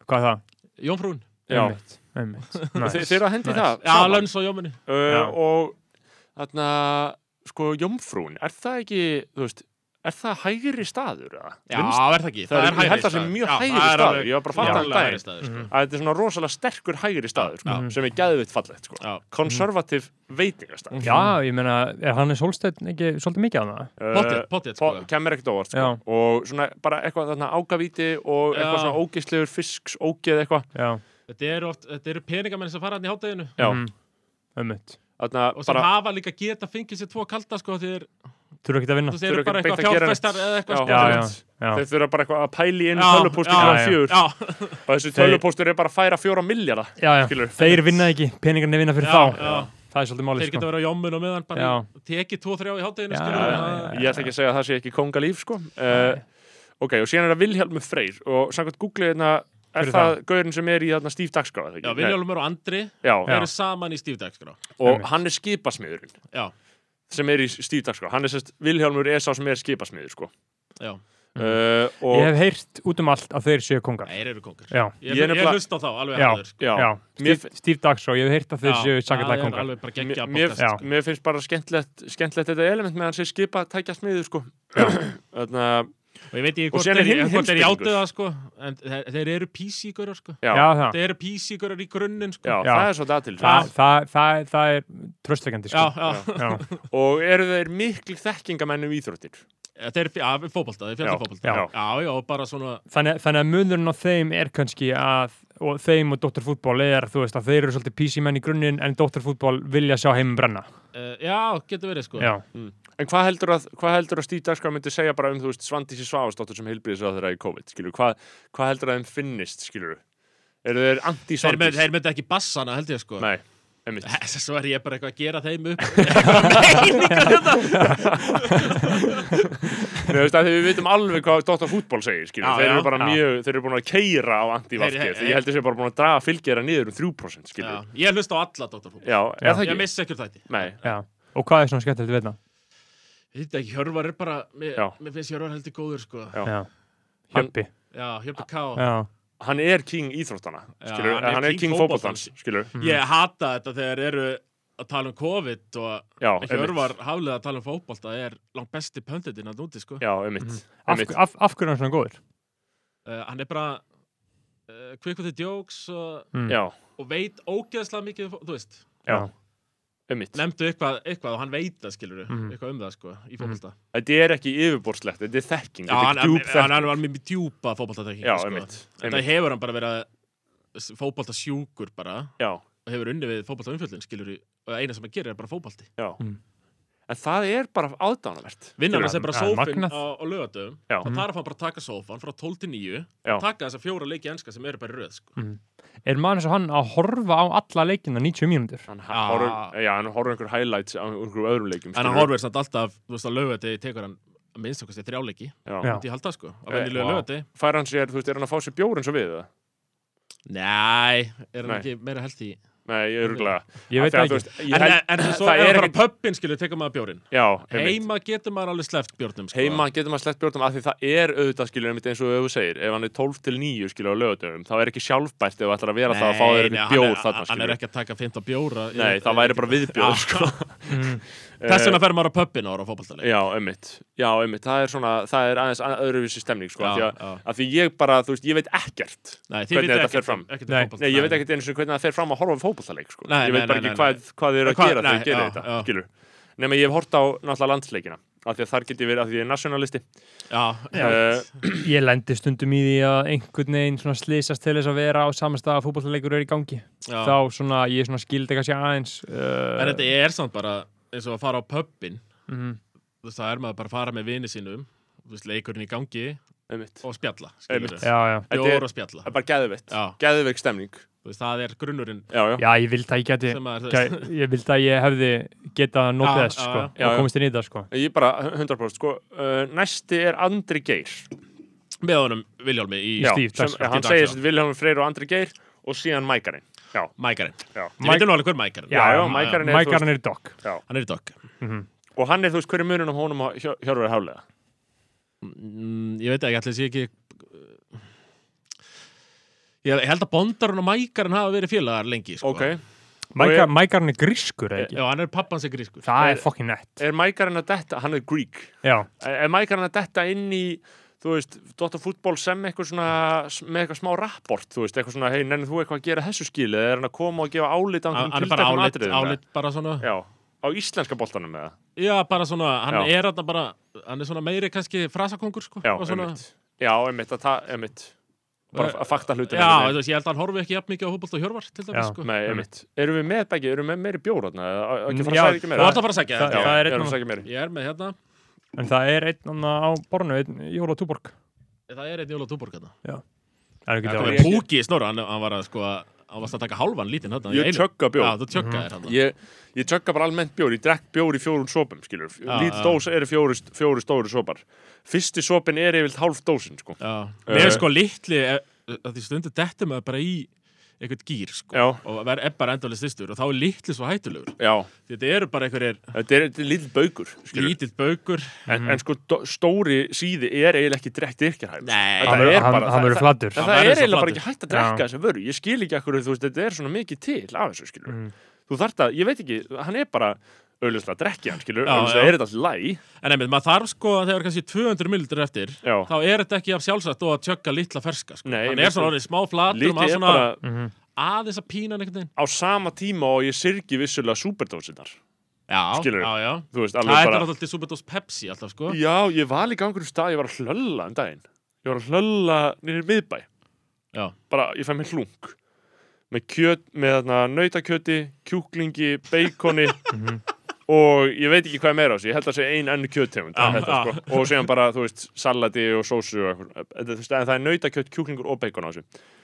[SPEAKER 2] Hvað er það?
[SPEAKER 4] jomfrúin
[SPEAKER 1] já.
[SPEAKER 2] Einmitt, einmitt. Nice.
[SPEAKER 1] Þe, Þeir eru að hendi
[SPEAKER 2] Nice.
[SPEAKER 1] það
[SPEAKER 4] Já,
[SPEAKER 1] saman.
[SPEAKER 4] lönns á jommunni
[SPEAKER 1] uh,
[SPEAKER 2] Já.
[SPEAKER 1] Og þarna, sko, jómfrún, er það ekki, þú veist, er það hægri staður? eða?
[SPEAKER 4] Já,
[SPEAKER 1] Vinstri-
[SPEAKER 4] er það ekki,
[SPEAKER 1] Það er- ég held það
[SPEAKER 4] hægri
[SPEAKER 1] sé
[SPEAKER 4] staður.
[SPEAKER 1] mjög
[SPEAKER 4] Já,
[SPEAKER 1] hægri
[SPEAKER 4] það er
[SPEAKER 1] staður.
[SPEAKER 4] alveg-
[SPEAKER 1] Ég var bara að fatta
[SPEAKER 4] Já,
[SPEAKER 1] hann
[SPEAKER 4] alveg
[SPEAKER 1] daginn.
[SPEAKER 4] hægri staður, sko.
[SPEAKER 1] að þetta er svona rosalega sterkur hægri staður sko,
[SPEAKER 2] Já.
[SPEAKER 1] sem er gæðvitt fallegt, sko.
[SPEAKER 4] Já. Mhm.
[SPEAKER 1] Konservativ veitingastað.
[SPEAKER 2] Já, ég meina, er hann er svolítið ekki svolítið mikið að það?
[SPEAKER 1] Eh,
[SPEAKER 4] Pottþétt, pottþétt, sko.
[SPEAKER 1] Kemur Uh, ekkert óvart, sko.
[SPEAKER 2] Já.
[SPEAKER 1] Og svona bara eitthvað þarna ágavíti og eitthvað
[SPEAKER 4] Já.
[SPEAKER 1] svona ógeislegur fisks, ógeð eitthvað.
[SPEAKER 2] Já,
[SPEAKER 4] Þetta eru oft, þetta eru peningamenn sem fara hann í hátæðinu
[SPEAKER 1] Já,
[SPEAKER 2] Mhm. einmitt.
[SPEAKER 1] þarna
[SPEAKER 4] og sem
[SPEAKER 1] bara
[SPEAKER 4] hafa líka geta fengið sér tvo kalda sko þegar
[SPEAKER 2] Þú eru ekki að vinna?
[SPEAKER 4] þú veist,
[SPEAKER 1] Þurfa
[SPEAKER 4] eru
[SPEAKER 1] ekki
[SPEAKER 4] bara
[SPEAKER 1] beint
[SPEAKER 4] eitthvað
[SPEAKER 1] að gera
[SPEAKER 4] fjárfestar
[SPEAKER 1] neitt.
[SPEAKER 4] eða eitthvað
[SPEAKER 1] Já,
[SPEAKER 2] Já,
[SPEAKER 4] sko.
[SPEAKER 2] já, já.
[SPEAKER 1] þeir þurfa bara eitthvað að pæli inn
[SPEAKER 4] Já,
[SPEAKER 1] tölupósti
[SPEAKER 4] já,
[SPEAKER 1] klukkan
[SPEAKER 2] já.
[SPEAKER 1] fjör
[SPEAKER 4] Já,
[SPEAKER 1] og þessi
[SPEAKER 2] Þeir-
[SPEAKER 1] tölupóstur er bara að færa fjóra milljarða
[SPEAKER 2] já, já.
[SPEAKER 1] skilur.
[SPEAKER 2] Þeir vinna ekki, peningarnir vinna fyrir
[SPEAKER 4] Já,
[SPEAKER 2] þá.
[SPEAKER 4] já.
[SPEAKER 2] Það er svolítið málið,
[SPEAKER 4] þeir geta
[SPEAKER 2] sko.
[SPEAKER 4] verið á jommun og meðan bara í- tekið tvo þrjá í hátæðinu
[SPEAKER 2] Já,
[SPEAKER 4] sko
[SPEAKER 2] já,
[SPEAKER 4] já,
[SPEAKER 1] ég ætla ekki að segja að það sé ekki kongalíf sko. uh, ok, og síðan er það Vilhelmur Freyr og samkvæmt Google hérna er
[SPEAKER 2] Hver er
[SPEAKER 1] það, gaurinn sem er í þarna Steve Dagskrá
[SPEAKER 4] já Viljálfur og Andri
[SPEAKER 1] já,
[SPEAKER 4] eru saman í stífdagskrá
[SPEAKER 1] og hann er skipasmiðurinn
[SPEAKER 4] Já,
[SPEAKER 1] sem er í Steve Dagskrá, hann er sérst Vilhelmur er sá sem er skipasmiður sko.
[SPEAKER 4] já,
[SPEAKER 1] uh, og
[SPEAKER 2] Mm. Ég hef heyrt út um allt að þeir séu kongar.
[SPEAKER 4] þeir eru kongar
[SPEAKER 2] Já,
[SPEAKER 4] Ég,
[SPEAKER 1] Ég er
[SPEAKER 4] ég,
[SPEAKER 1] nefnilega-
[SPEAKER 4] hlust á þá, alveg
[SPEAKER 2] Já.
[SPEAKER 4] harður, sko.
[SPEAKER 1] já,
[SPEAKER 2] já.
[SPEAKER 1] Mér,
[SPEAKER 2] Steve- Steve Dagshaw, ég hef heyrt að þeir séu
[SPEAKER 4] það er
[SPEAKER 2] sangatlega kongar.
[SPEAKER 4] alveg
[SPEAKER 1] mér,
[SPEAKER 4] bara geggja
[SPEAKER 1] mér,
[SPEAKER 4] podcast
[SPEAKER 2] Já.
[SPEAKER 1] mér finnst bara skemmtlegt, skemmtlegt þetta element með hann sé skipa tækja smiður sko. þarna,
[SPEAKER 4] og ég veit ekki
[SPEAKER 1] Og
[SPEAKER 4] hvort
[SPEAKER 1] síðan er
[SPEAKER 4] þeir,
[SPEAKER 1] hinn
[SPEAKER 4] hvort þeir
[SPEAKER 1] heimspekingur.
[SPEAKER 4] játtu það sko en þeir, þeir eru PC-görar sko
[SPEAKER 1] já,
[SPEAKER 2] Já, það.
[SPEAKER 4] þeir eru PC-görar í grunninn sko
[SPEAKER 1] já,
[SPEAKER 2] Já.
[SPEAKER 1] það er svo datil
[SPEAKER 2] Það, það, það, það er tröstveikandi,
[SPEAKER 4] já,
[SPEAKER 2] sko.
[SPEAKER 4] já.
[SPEAKER 2] Já,
[SPEAKER 1] og eru þeir miklu þekkingamenn um íþróttir
[SPEAKER 4] þeir eru fótbolta, þeir
[SPEAKER 1] Já,
[SPEAKER 4] fjallið fótbolta
[SPEAKER 1] já.
[SPEAKER 4] já, já, og bara svona
[SPEAKER 2] Þannig, þannig að munurinn á þeim er kannski að og þeim og dóttarfútból er þú veist að þeir eru svolítið PC menn í grunninn en dóttarfútból vilja sjá heimum brenna
[SPEAKER 4] uh, já, getur verið sko
[SPEAKER 2] Já,
[SPEAKER 1] En hvað heldur að, hvað heldur að Steve Dagskrá myndi segja bara um, þú veist, Svandísi Svavastóttur sem heilbriðis að þeirra í COVID, skilur, hvað, hvað heldur að þeim finnist, skilur, eru þeir
[SPEAKER 4] þeir, mynd,
[SPEAKER 1] anti-Svandís?
[SPEAKER 4] þeir myndi ekki bassana held ég sko
[SPEAKER 1] Nei, einmitt.
[SPEAKER 4] Svo er ég bara eitthvað að gera þeim upp eitthvað meiningar þetta
[SPEAKER 1] Nei, veist, að því við vitum alveg hvað Dóttar fútból segir skilur.
[SPEAKER 4] Já,
[SPEAKER 1] þeir eru
[SPEAKER 4] já,
[SPEAKER 1] bara
[SPEAKER 2] já.
[SPEAKER 1] mjög, þeir eru búin að keira á anti-vafkir
[SPEAKER 4] Þeir-
[SPEAKER 1] þegar ég held að þeir eru bara búin að draga fylgjera niður um 3% skilur.
[SPEAKER 4] Já,
[SPEAKER 1] já,
[SPEAKER 4] ég hlusta á alla Dr. Fútbol
[SPEAKER 1] er það
[SPEAKER 4] Ég
[SPEAKER 1] ekki?
[SPEAKER 4] missi ekkert þætti
[SPEAKER 1] Nei,
[SPEAKER 2] Já. Og hvað er svona skemmtilegt við þetta?
[SPEAKER 4] Þetta ekki, Hjörvar er bara Mér,
[SPEAKER 1] Já.
[SPEAKER 4] mér finnst Hjörvar heldur góður sko
[SPEAKER 1] Já.
[SPEAKER 2] Já.
[SPEAKER 1] Hann-
[SPEAKER 2] Hjöppi.
[SPEAKER 4] Já, Hjörvar K
[SPEAKER 2] Já.
[SPEAKER 1] hann er king íþróttana
[SPEAKER 4] Já,
[SPEAKER 1] skilur, hann, er king, king fótboltans skilur,
[SPEAKER 4] Ég hata þetta þegar eru að tala um COVID og
[SPEAKER 1] já,
[SPEAKER 4] Hjörvar haflega að tala um fótbolta er langt besti pönditinn að núti sko
[SPEAKER 1] já, einmitt,
[SPEAKER 2] Af,
[SPEAKER 1] einmitt.
[SPEAKER 2] af, af hverju er hann svona góður?
[SPEAKER 4] uh, Hann er bara uh, quick with the jokes og,
[SPEAKER 2] Mm.
[SPEAKER 1] já,
[SPEAKER 4] og veit ógeðslega mikið, um fó- þú veist
[SPEAKER 1] já, einmitt
[SPEAKER 4] Nefndu eitthvað, eitthvað og hann veit það skilur
[SPEAKER 2] Mhm.
[SPEAKER 4] eitthvað um það sko, í fótbolta
[SPEAKER 1] þetta er ekki yfirborslegt, þetta er þekking
[SPEAKER 4] Já,
[SPEAKER 1] þetta
[SPEAKER 4] hann,
[SPEAKER 1] er djúp
[SPEAKER 4] hann,
[SPEAKER 1] þekking
[SPEAKER 4] hann var mjög djúpa fótboltatæking
[SPEAKER 1] já,
[SPEAKER 4] sko.
[SPEAKER 1] einmitt,
[SPEAKER 4] Þetta
[SPEAKER 1] einmitt.
[SPEAKER 4] hefur hann bara verið fótboltasjúkur bara
[SPEAKER 1] já,
[SPEAKER 4] og hefur unni við fótboltaumfjöldin skilur í, og eina sem hann gerir er bara fótbolti
[SPEAKER 1] já
[SPEAKER 2] Mm.
[SPEAKER 1] en það er bara aðdánavert Skilur,
[SPEAKER 4] vinnan hans er bara
[SPEAKER 2] hann- hann er magnað.
[SPEAKER 4] sófinn á, á lögatum
[SPEAKER 1] Já.
[SPEAKER 4] þá þarf hann bara að taka sófan frá 12 til 9
[SPEAKER 1] Já.
[SPEAKER 4] taka þessa fjóra leiki enska sem eru bara í röð sko.
[SPEAKER 2] Er mann eins og hann að horfa á alla leikina 90 mínútur?
[SPEAKER 1] hann
[SPEAKER 4] Ah.
[SPEAKER 1] horfur, já, hann horfur einhver highlights á einhverjum öðrum leikum
[SPEAKER 4] en hann
[SPEAKER 1] skilur.
[SPEAKER 4] horfir samt alltaf þú veist að lögati tekur hann að minnst okkar þrjá leiki
[SPEAKER 1] já.
[SPEAKER 2] Já.
[SPEAKER 4] til halda sko á
[SPEAKER 1] Eh,
[SPEAKER 4] venjulega
[SPEAKER 2] vá.
[SPEAKER 4] lögati
[SPEAKER 1] fær hann sér, þú veist, er hann að fá sér bjór eins og við það?
[SPEAKER 4] næ, er hann
[SPEAKER 1] Nei.
[SPEAKER 4] ekki meira held í
[SPEAKER 1] nei, ég er rúglega
[SPEAKER 2] Ég veit það ekki.
[SPEAKER 4] en,
[SPEAKER 1] held,
[SPEAKER 4] en svo
[SPEAKER 1] það
[SPEAKER 4] er
[SPEAKER 1] er
[SPEAKER 4] hann bara
[SPEAKER 1] ekki
[SPEAKER 4] pöppin skilur tekur maður bjórin
[SPEAKER 1] já, einmitt.
[SPEAKER 4] heima getur maður alveg sleppt bjórnum sko.
[SPEAKER 1] heima getur maður slett bjórnum að því það er auðvitað skilur einmitt eins og þú segir ef hann er 12 til 9 skilur á lögadöfum þá er ekki sjálfbært ef það ætlar að vera það að fá þér
[SPEAKER 4] Nei,
[SPEAKER 1] einhvern
[SPEAKER 4] nei,
[SPEAKER 1] bjór
[SPEAKER 4] hann er-
[SPEAKER 1] þarna
[SPEAKER 4] hann er
[SPEAKER 1] skilur
[SPEAKER 4] ekki að taka 15 bjóra í- Ah,
[SPEAKER 1] nei það væri bara viðbjór sko.
[SPEAKER 2] Mm.
[SPEAKER 4] þess vegna fer maður á pöppin og ára fótballtaleik
[SPEAKER 1] já einmitt já einmitt það er svona það er aðeins að- öðruvísi stemning sko af því að, að því ég bara þú veist ég veit ekkert
[SPEAKER 4] Nei, þið
[SPEAKER 1] Hvernig
[SPEAKER 4] vitið
[SPEAKER 1] þetta
[SPEAKER 4] ekkert
[SPEAKER 1] fer fram?
[SPEAKER 4] um- ekkert um
[SPEAKER 2] Nei.
[SPEAKER 4] fótbolta.
[SPEAKER 1] Nei, ég veit ekkert einu sinni hvernig það fer fram að horfa á fótballtaleik sko.
[SPEAKER 4] Nei,
[SPEAKER 1] ég
[SPEAKER 4] nei,
[SPEAKER 1] veit bara
[SPEAKER 4] nei,
[SPEAKER 1] ekki
[SPEAKER 4] nei,
[SPEAKER 1] hvað, hvað þið eru að
[SPEAKER 4] Hvað-
[SPEAKER 1] gera þegar
[SPEAKER 4] nei,
[SPEAKER 1] þið gerir
[SPEAKER 4] já,
[SPEAKER 1] þetta
[SPEAKER 4] já.
[SPEAKER 1] skilur. nema ég hef hort á náttúrulega landsleikina af því að þar get ég verið af því ég er nationalisti
[SPEAKER 4] Já, já,
[SPEAKER 1] Eh,
[SPEAKER 2] Ég lendi stundum í því að einhvern veginn svona slýsast til þess að vera á samastað að fútbollleikur er í gangi.
[SPEAKER 4] já.
[SPEAKER 2] Þá svona, ég svona skildi kannski aðeins. Uh,
[SPEAKER 4] En þetta er samt bara eins og að fara á pöppin
[SPEAKER 2] mm,
[SPEAKER 4] Þú veist, það er maður bara að fara með vini sínum Þú veist, leikurinn í gangi
[SPEAKER 1] einmitt.
[SPEAKER 4] og spjalla skilurðu.
[SPEAKER 1] Einmitt.
[SPEAKER 2] Já, já.
[SPEAKER 1] Þetta er-
[SPEAKER 4] Bjór og spjalla
[SPEAKER 1] það er bara geðveitt
[SPEAKER 4] Já.
[SPEAKER 1] geðveik stemning
[SPEAKER 4] Þú veist, það er grunnurinn
[SPEAKER 1] já, já.
[SPEAKER 2] Já, ég vildi að ég geti,
[SPEAKER 4] sem maður
[SPEAKER 2] gæ, ég vildi að ég hefði getað notið
[SPEAKER 4] Já,
[SPEAKER 2] þess,
[SPEAKER 4] já,
[SPEAKER 2] sko,
[SPEAKER 4] já.
[SPEAKER 1] Já, já.
[SPEAKER 2] og komist inn í þetta, sko.
[SPEAKER 1] Ég bara 100% sko, uh, næsti er Andri Geir
[SPEAKER 4] með honum Viljálmi í
[SPEAKER 1] Já,
[SPEAKER 2] Steve
[SPEAKER 1] sem,
[SPEAKER 2] Dagsson.
[SPEAKER 1] hann
[SPEAKER 4] Steve
[SPEAKER 1] segir
[SPEAKER 4] Dagsson.
[SPEAKER 1] sem Vilhelm Freyr og Andri Geir og síðan Mækarinn Já,
[SPEAKER 4] Mækarinn
[SPEAKER 1] já,
[SPEAKER 4] Ég veit nú alveg hver Mækarinn
[SPEAKER 1] já, já
[SPEAKER 2] já,
[SPEAKER 1] Mækarinn er, þú
[SPEAKER 2] Mækarinn er í dokk.
[SPEAKER 1] veist, já.
[SPEAKER 4] Hann er í dog
[SPEAKER 1] og hann er þú veist hverju munum um honum og Hjör- Hjörvar Hálega
[SPEAKER 4] Mm, Ég veit ekki, allir sé ekki Ég held að Bondarinn og Mækarinn hafa verið félagar lengi sko.
[SPEAKER 1] Ok,
[SPEAKER 2] Mæka- Mækarinn er grískur, eða ekki?
[SPEAKER 4] Já, hann er pappan sem grískur
[SPEAKER 2] Það
[SPEAKER 1] Er-
[SPEAKER 2] er fucking nett.
[SPEAKER 1] er Mækarinn að detta hann er Greek,
[SPEAKER 2] Já,
[SPEAKER 1] er er Mækarinn að detta inn í þú veist, Dota fútból sem eitthvað svona, með eitthvað smá rapport þú veist, eitthvað svona, hei, nennið þú eitthvað að gera þessu skili eða er hann að koma og gefa álit á
[SPEAKER 4] Hann
[SPEAKER 1] einhverjum
[SPEAKER 4] hann er bara
[SPEAKER 1] tilteknum
[SPEAKER 4] álit,
[SPEAKER 1] atriðum, eða?
[SPEAKER 4] álit bara svona
[SPEAKER 1] Já, á íslenska boltanum með það
[SPEAKER 4] Já, bara svona,
[SPEAKER 1] Já.
[SPEAKER 4] hann er þarna bara hann er svona meiri kannski frasakongur sko,
[SPEAKER 1] Já,
[SPEAKER 4] og svona,
[SPEAKER 1] einmitt Já, einmitt, að það, einmitt bara
[SPEAKER 4] Eh,
[SPEAKER 1] að fakta hlutin
[SPEAKER 4] Já, þú veist, ég held að hann horfi ekki jafn mikið á fótbolt og hjörvar til dæmis
[SPEAKER 2] Já,
[SPEAKER 4] sko.
[SPEAKER 1] Nei, einmitt. Erum við með begge, erum við með meiri bjór þarna? eða á- á Ekki að fara
[SPEAKER 2] Já,
[SPEAKER 1] að sækja
[SPEAKER 4] Mm, Þú
[SPEAKER 1] meira?
[SPEAKER 4] ætla að fara að segja
[SPEAKER 2] það-
[SPEAKER 1] Já,
[SPEAKER 4] þetta
[SPEAKER 2] er
[SPEAKER 1] ég
[SPEAKER 2] einn
[SPEAKER 1] að
[SPEAKER 2] og-
[SPEAKER 1] sækja meiri.
[SPEAKER 4] Ég er með hérna,
[SPEAKER 2] en það er einn anna á bornu, einn Jóla Túborg.
[SPEAKER 4] það er einn Jóla Túborg hérna
[SPEAKER 2] Það er
[SPEAKER 1] Já,
[SPEAKER 2] ekki það.
[SPEAKER 1] ég-
[SPEAKER 4] Púki í snorra, hann, hann var að sko hann varst að taka hálfan lítinn hérna
[SPEAKER 1] Ég tjögga bjór. Mhm.
[SPEAKER 4] Já, þú tjögga þér hérna
[SPEAKER 1] Ég, ég tjögga bara almennt bjór, ég drekk bjór í fjórun sopum, skilur.
[SPEAKER 4] Já,
[SPEAKER 1] Lítið
[SPEAKER 4] já.
[SPEAKER 1] dós eru fjóri, fjóri stóri sopar. Fyrsti sopin er yfirlt hálf dósin, sko.
[SPEAKER 4] Já,
[SPEAKER 1] Eh.
[SPEAKER 4] mér er sko litli eh, að því stundu dettum að bara í eitthvað gýr sko
[SPEAKER 1] Já.
[SPEAKER 4] og verð er bara endalist styrstur og þá er litli svo hættulegur
[SPEAKER 1] Já,
[SPEAKER 4] Því þetta eru bara einhverjir
[SPEAKER 1] þetta er, þetta er lítið baukur, skilur.
[SPEAKER 4] lítill Mhm. baukur
[SPEAKER 1] En, en sko, dó- stóri síði er eiginlega ekki drekkt yrkjarhæf.
[SPEAKER 4] Nei.
[SPEAKER 1] Þetta
[SPEAKER 2] Hann
[SPEAKER 1] er
[SPEAKER 2] verður-
[SPEAKER 1] bara-
[SPEAKER 2] hann- hann
[SPEAKER 1] það-
[SPEAKER 2] verður flatur.
[SPEAKER 1] En
[SPEAKER 4] Hann
[SPEAKER 1] það
[SPEAKER 4] verður
[SPEAKER 1] er
[SPEAKER 4] svo
[SPEAKER 1] eiginlega bara
[SPEAKER 4] flatur.
[SPEAKER 1] ekki hægt að drekka
[SPEAKER 2] Já.
[SPEAKER 1] þessa vöru. Ég skil ekki akkur, þú veist, þetta er svona mikið til af þessu, skilur.
[SPEAKER 4] Mhm.
[SPEAKER 2] Mm.
[SPEAKER 1] Þú þarft að, ég veit ekki, hann er bara auðvitað að drekki hann, skilur,
[SPEAKER 4] Já,
[SPEAKER 1] auðvitað
[SPEAKER 4] já.
[SPEAKER 1] er þetta alltaf læg.
[SPEAKER 4] En einmitt, maður þarf sko að þegar kannski 200 millilitrar eftir
[SPEAKER 1] Já.
[SPEAKER 4] þá er þetta ekki af sjálfsagt og að tjögga litla ferska sko.
[SPEAKER 1] Nei,
[SPEAKER 4] Hann
[SPEAKER 1] mér
[SPEAKER 4] er svona
[SPEAKER 1] finnst-
[SPEAKER 4] orðið smá flatur og
[SPEAKER 1] Lítið
[SPEAKER 4] maður
[SPEAKER 1] er
[SPEAKER 4] svona
[SPEAKER 1] bara
[SPEAKER 4] aðeins að pína hann einhvern veginn
[SPEAKER 1] á sama tíma og ég syrgi vissulega superdósinnar.
[SPEAKER 4] Já,
[SPEAKER 1] Skilurðu?
[SPEAKER 4] já, já
[SPEAKER 1] Þú veist,
[SPEAKER 4] Það
[SPEAKER 1] alveg
[SPEAKER 4] er
[SPEAKER 1] bara...
[SPEAKER 4] alltaf til Superdose Pepsi alltaf sko
[SPEAKER 1] Já, ég var líka á einhverjum stað, ég var að hlölla um daginn. Ég var að hlölla nýrið miðbæ.
[SPEAKER 4] Já.
[SPEAKER 1] Bara, ég fæ mér hlung. Með kjöt, með þarna nautakjöti, kjúklingi, beikoni og ég veit ekki hvað er meira á þessu. Ég held að segja ein ennu kjöttegund.
[SPEAKER 4] Já,
[SPEAKER 1] það er þetta,
[SPEAKER 4] já.
[SPEAKER 1] Sko. Og síðan bara, þú veist, salati og sósu og eitthvað. En þú veist, en það er nautakjött, kjúklingur og beikon á um þessu.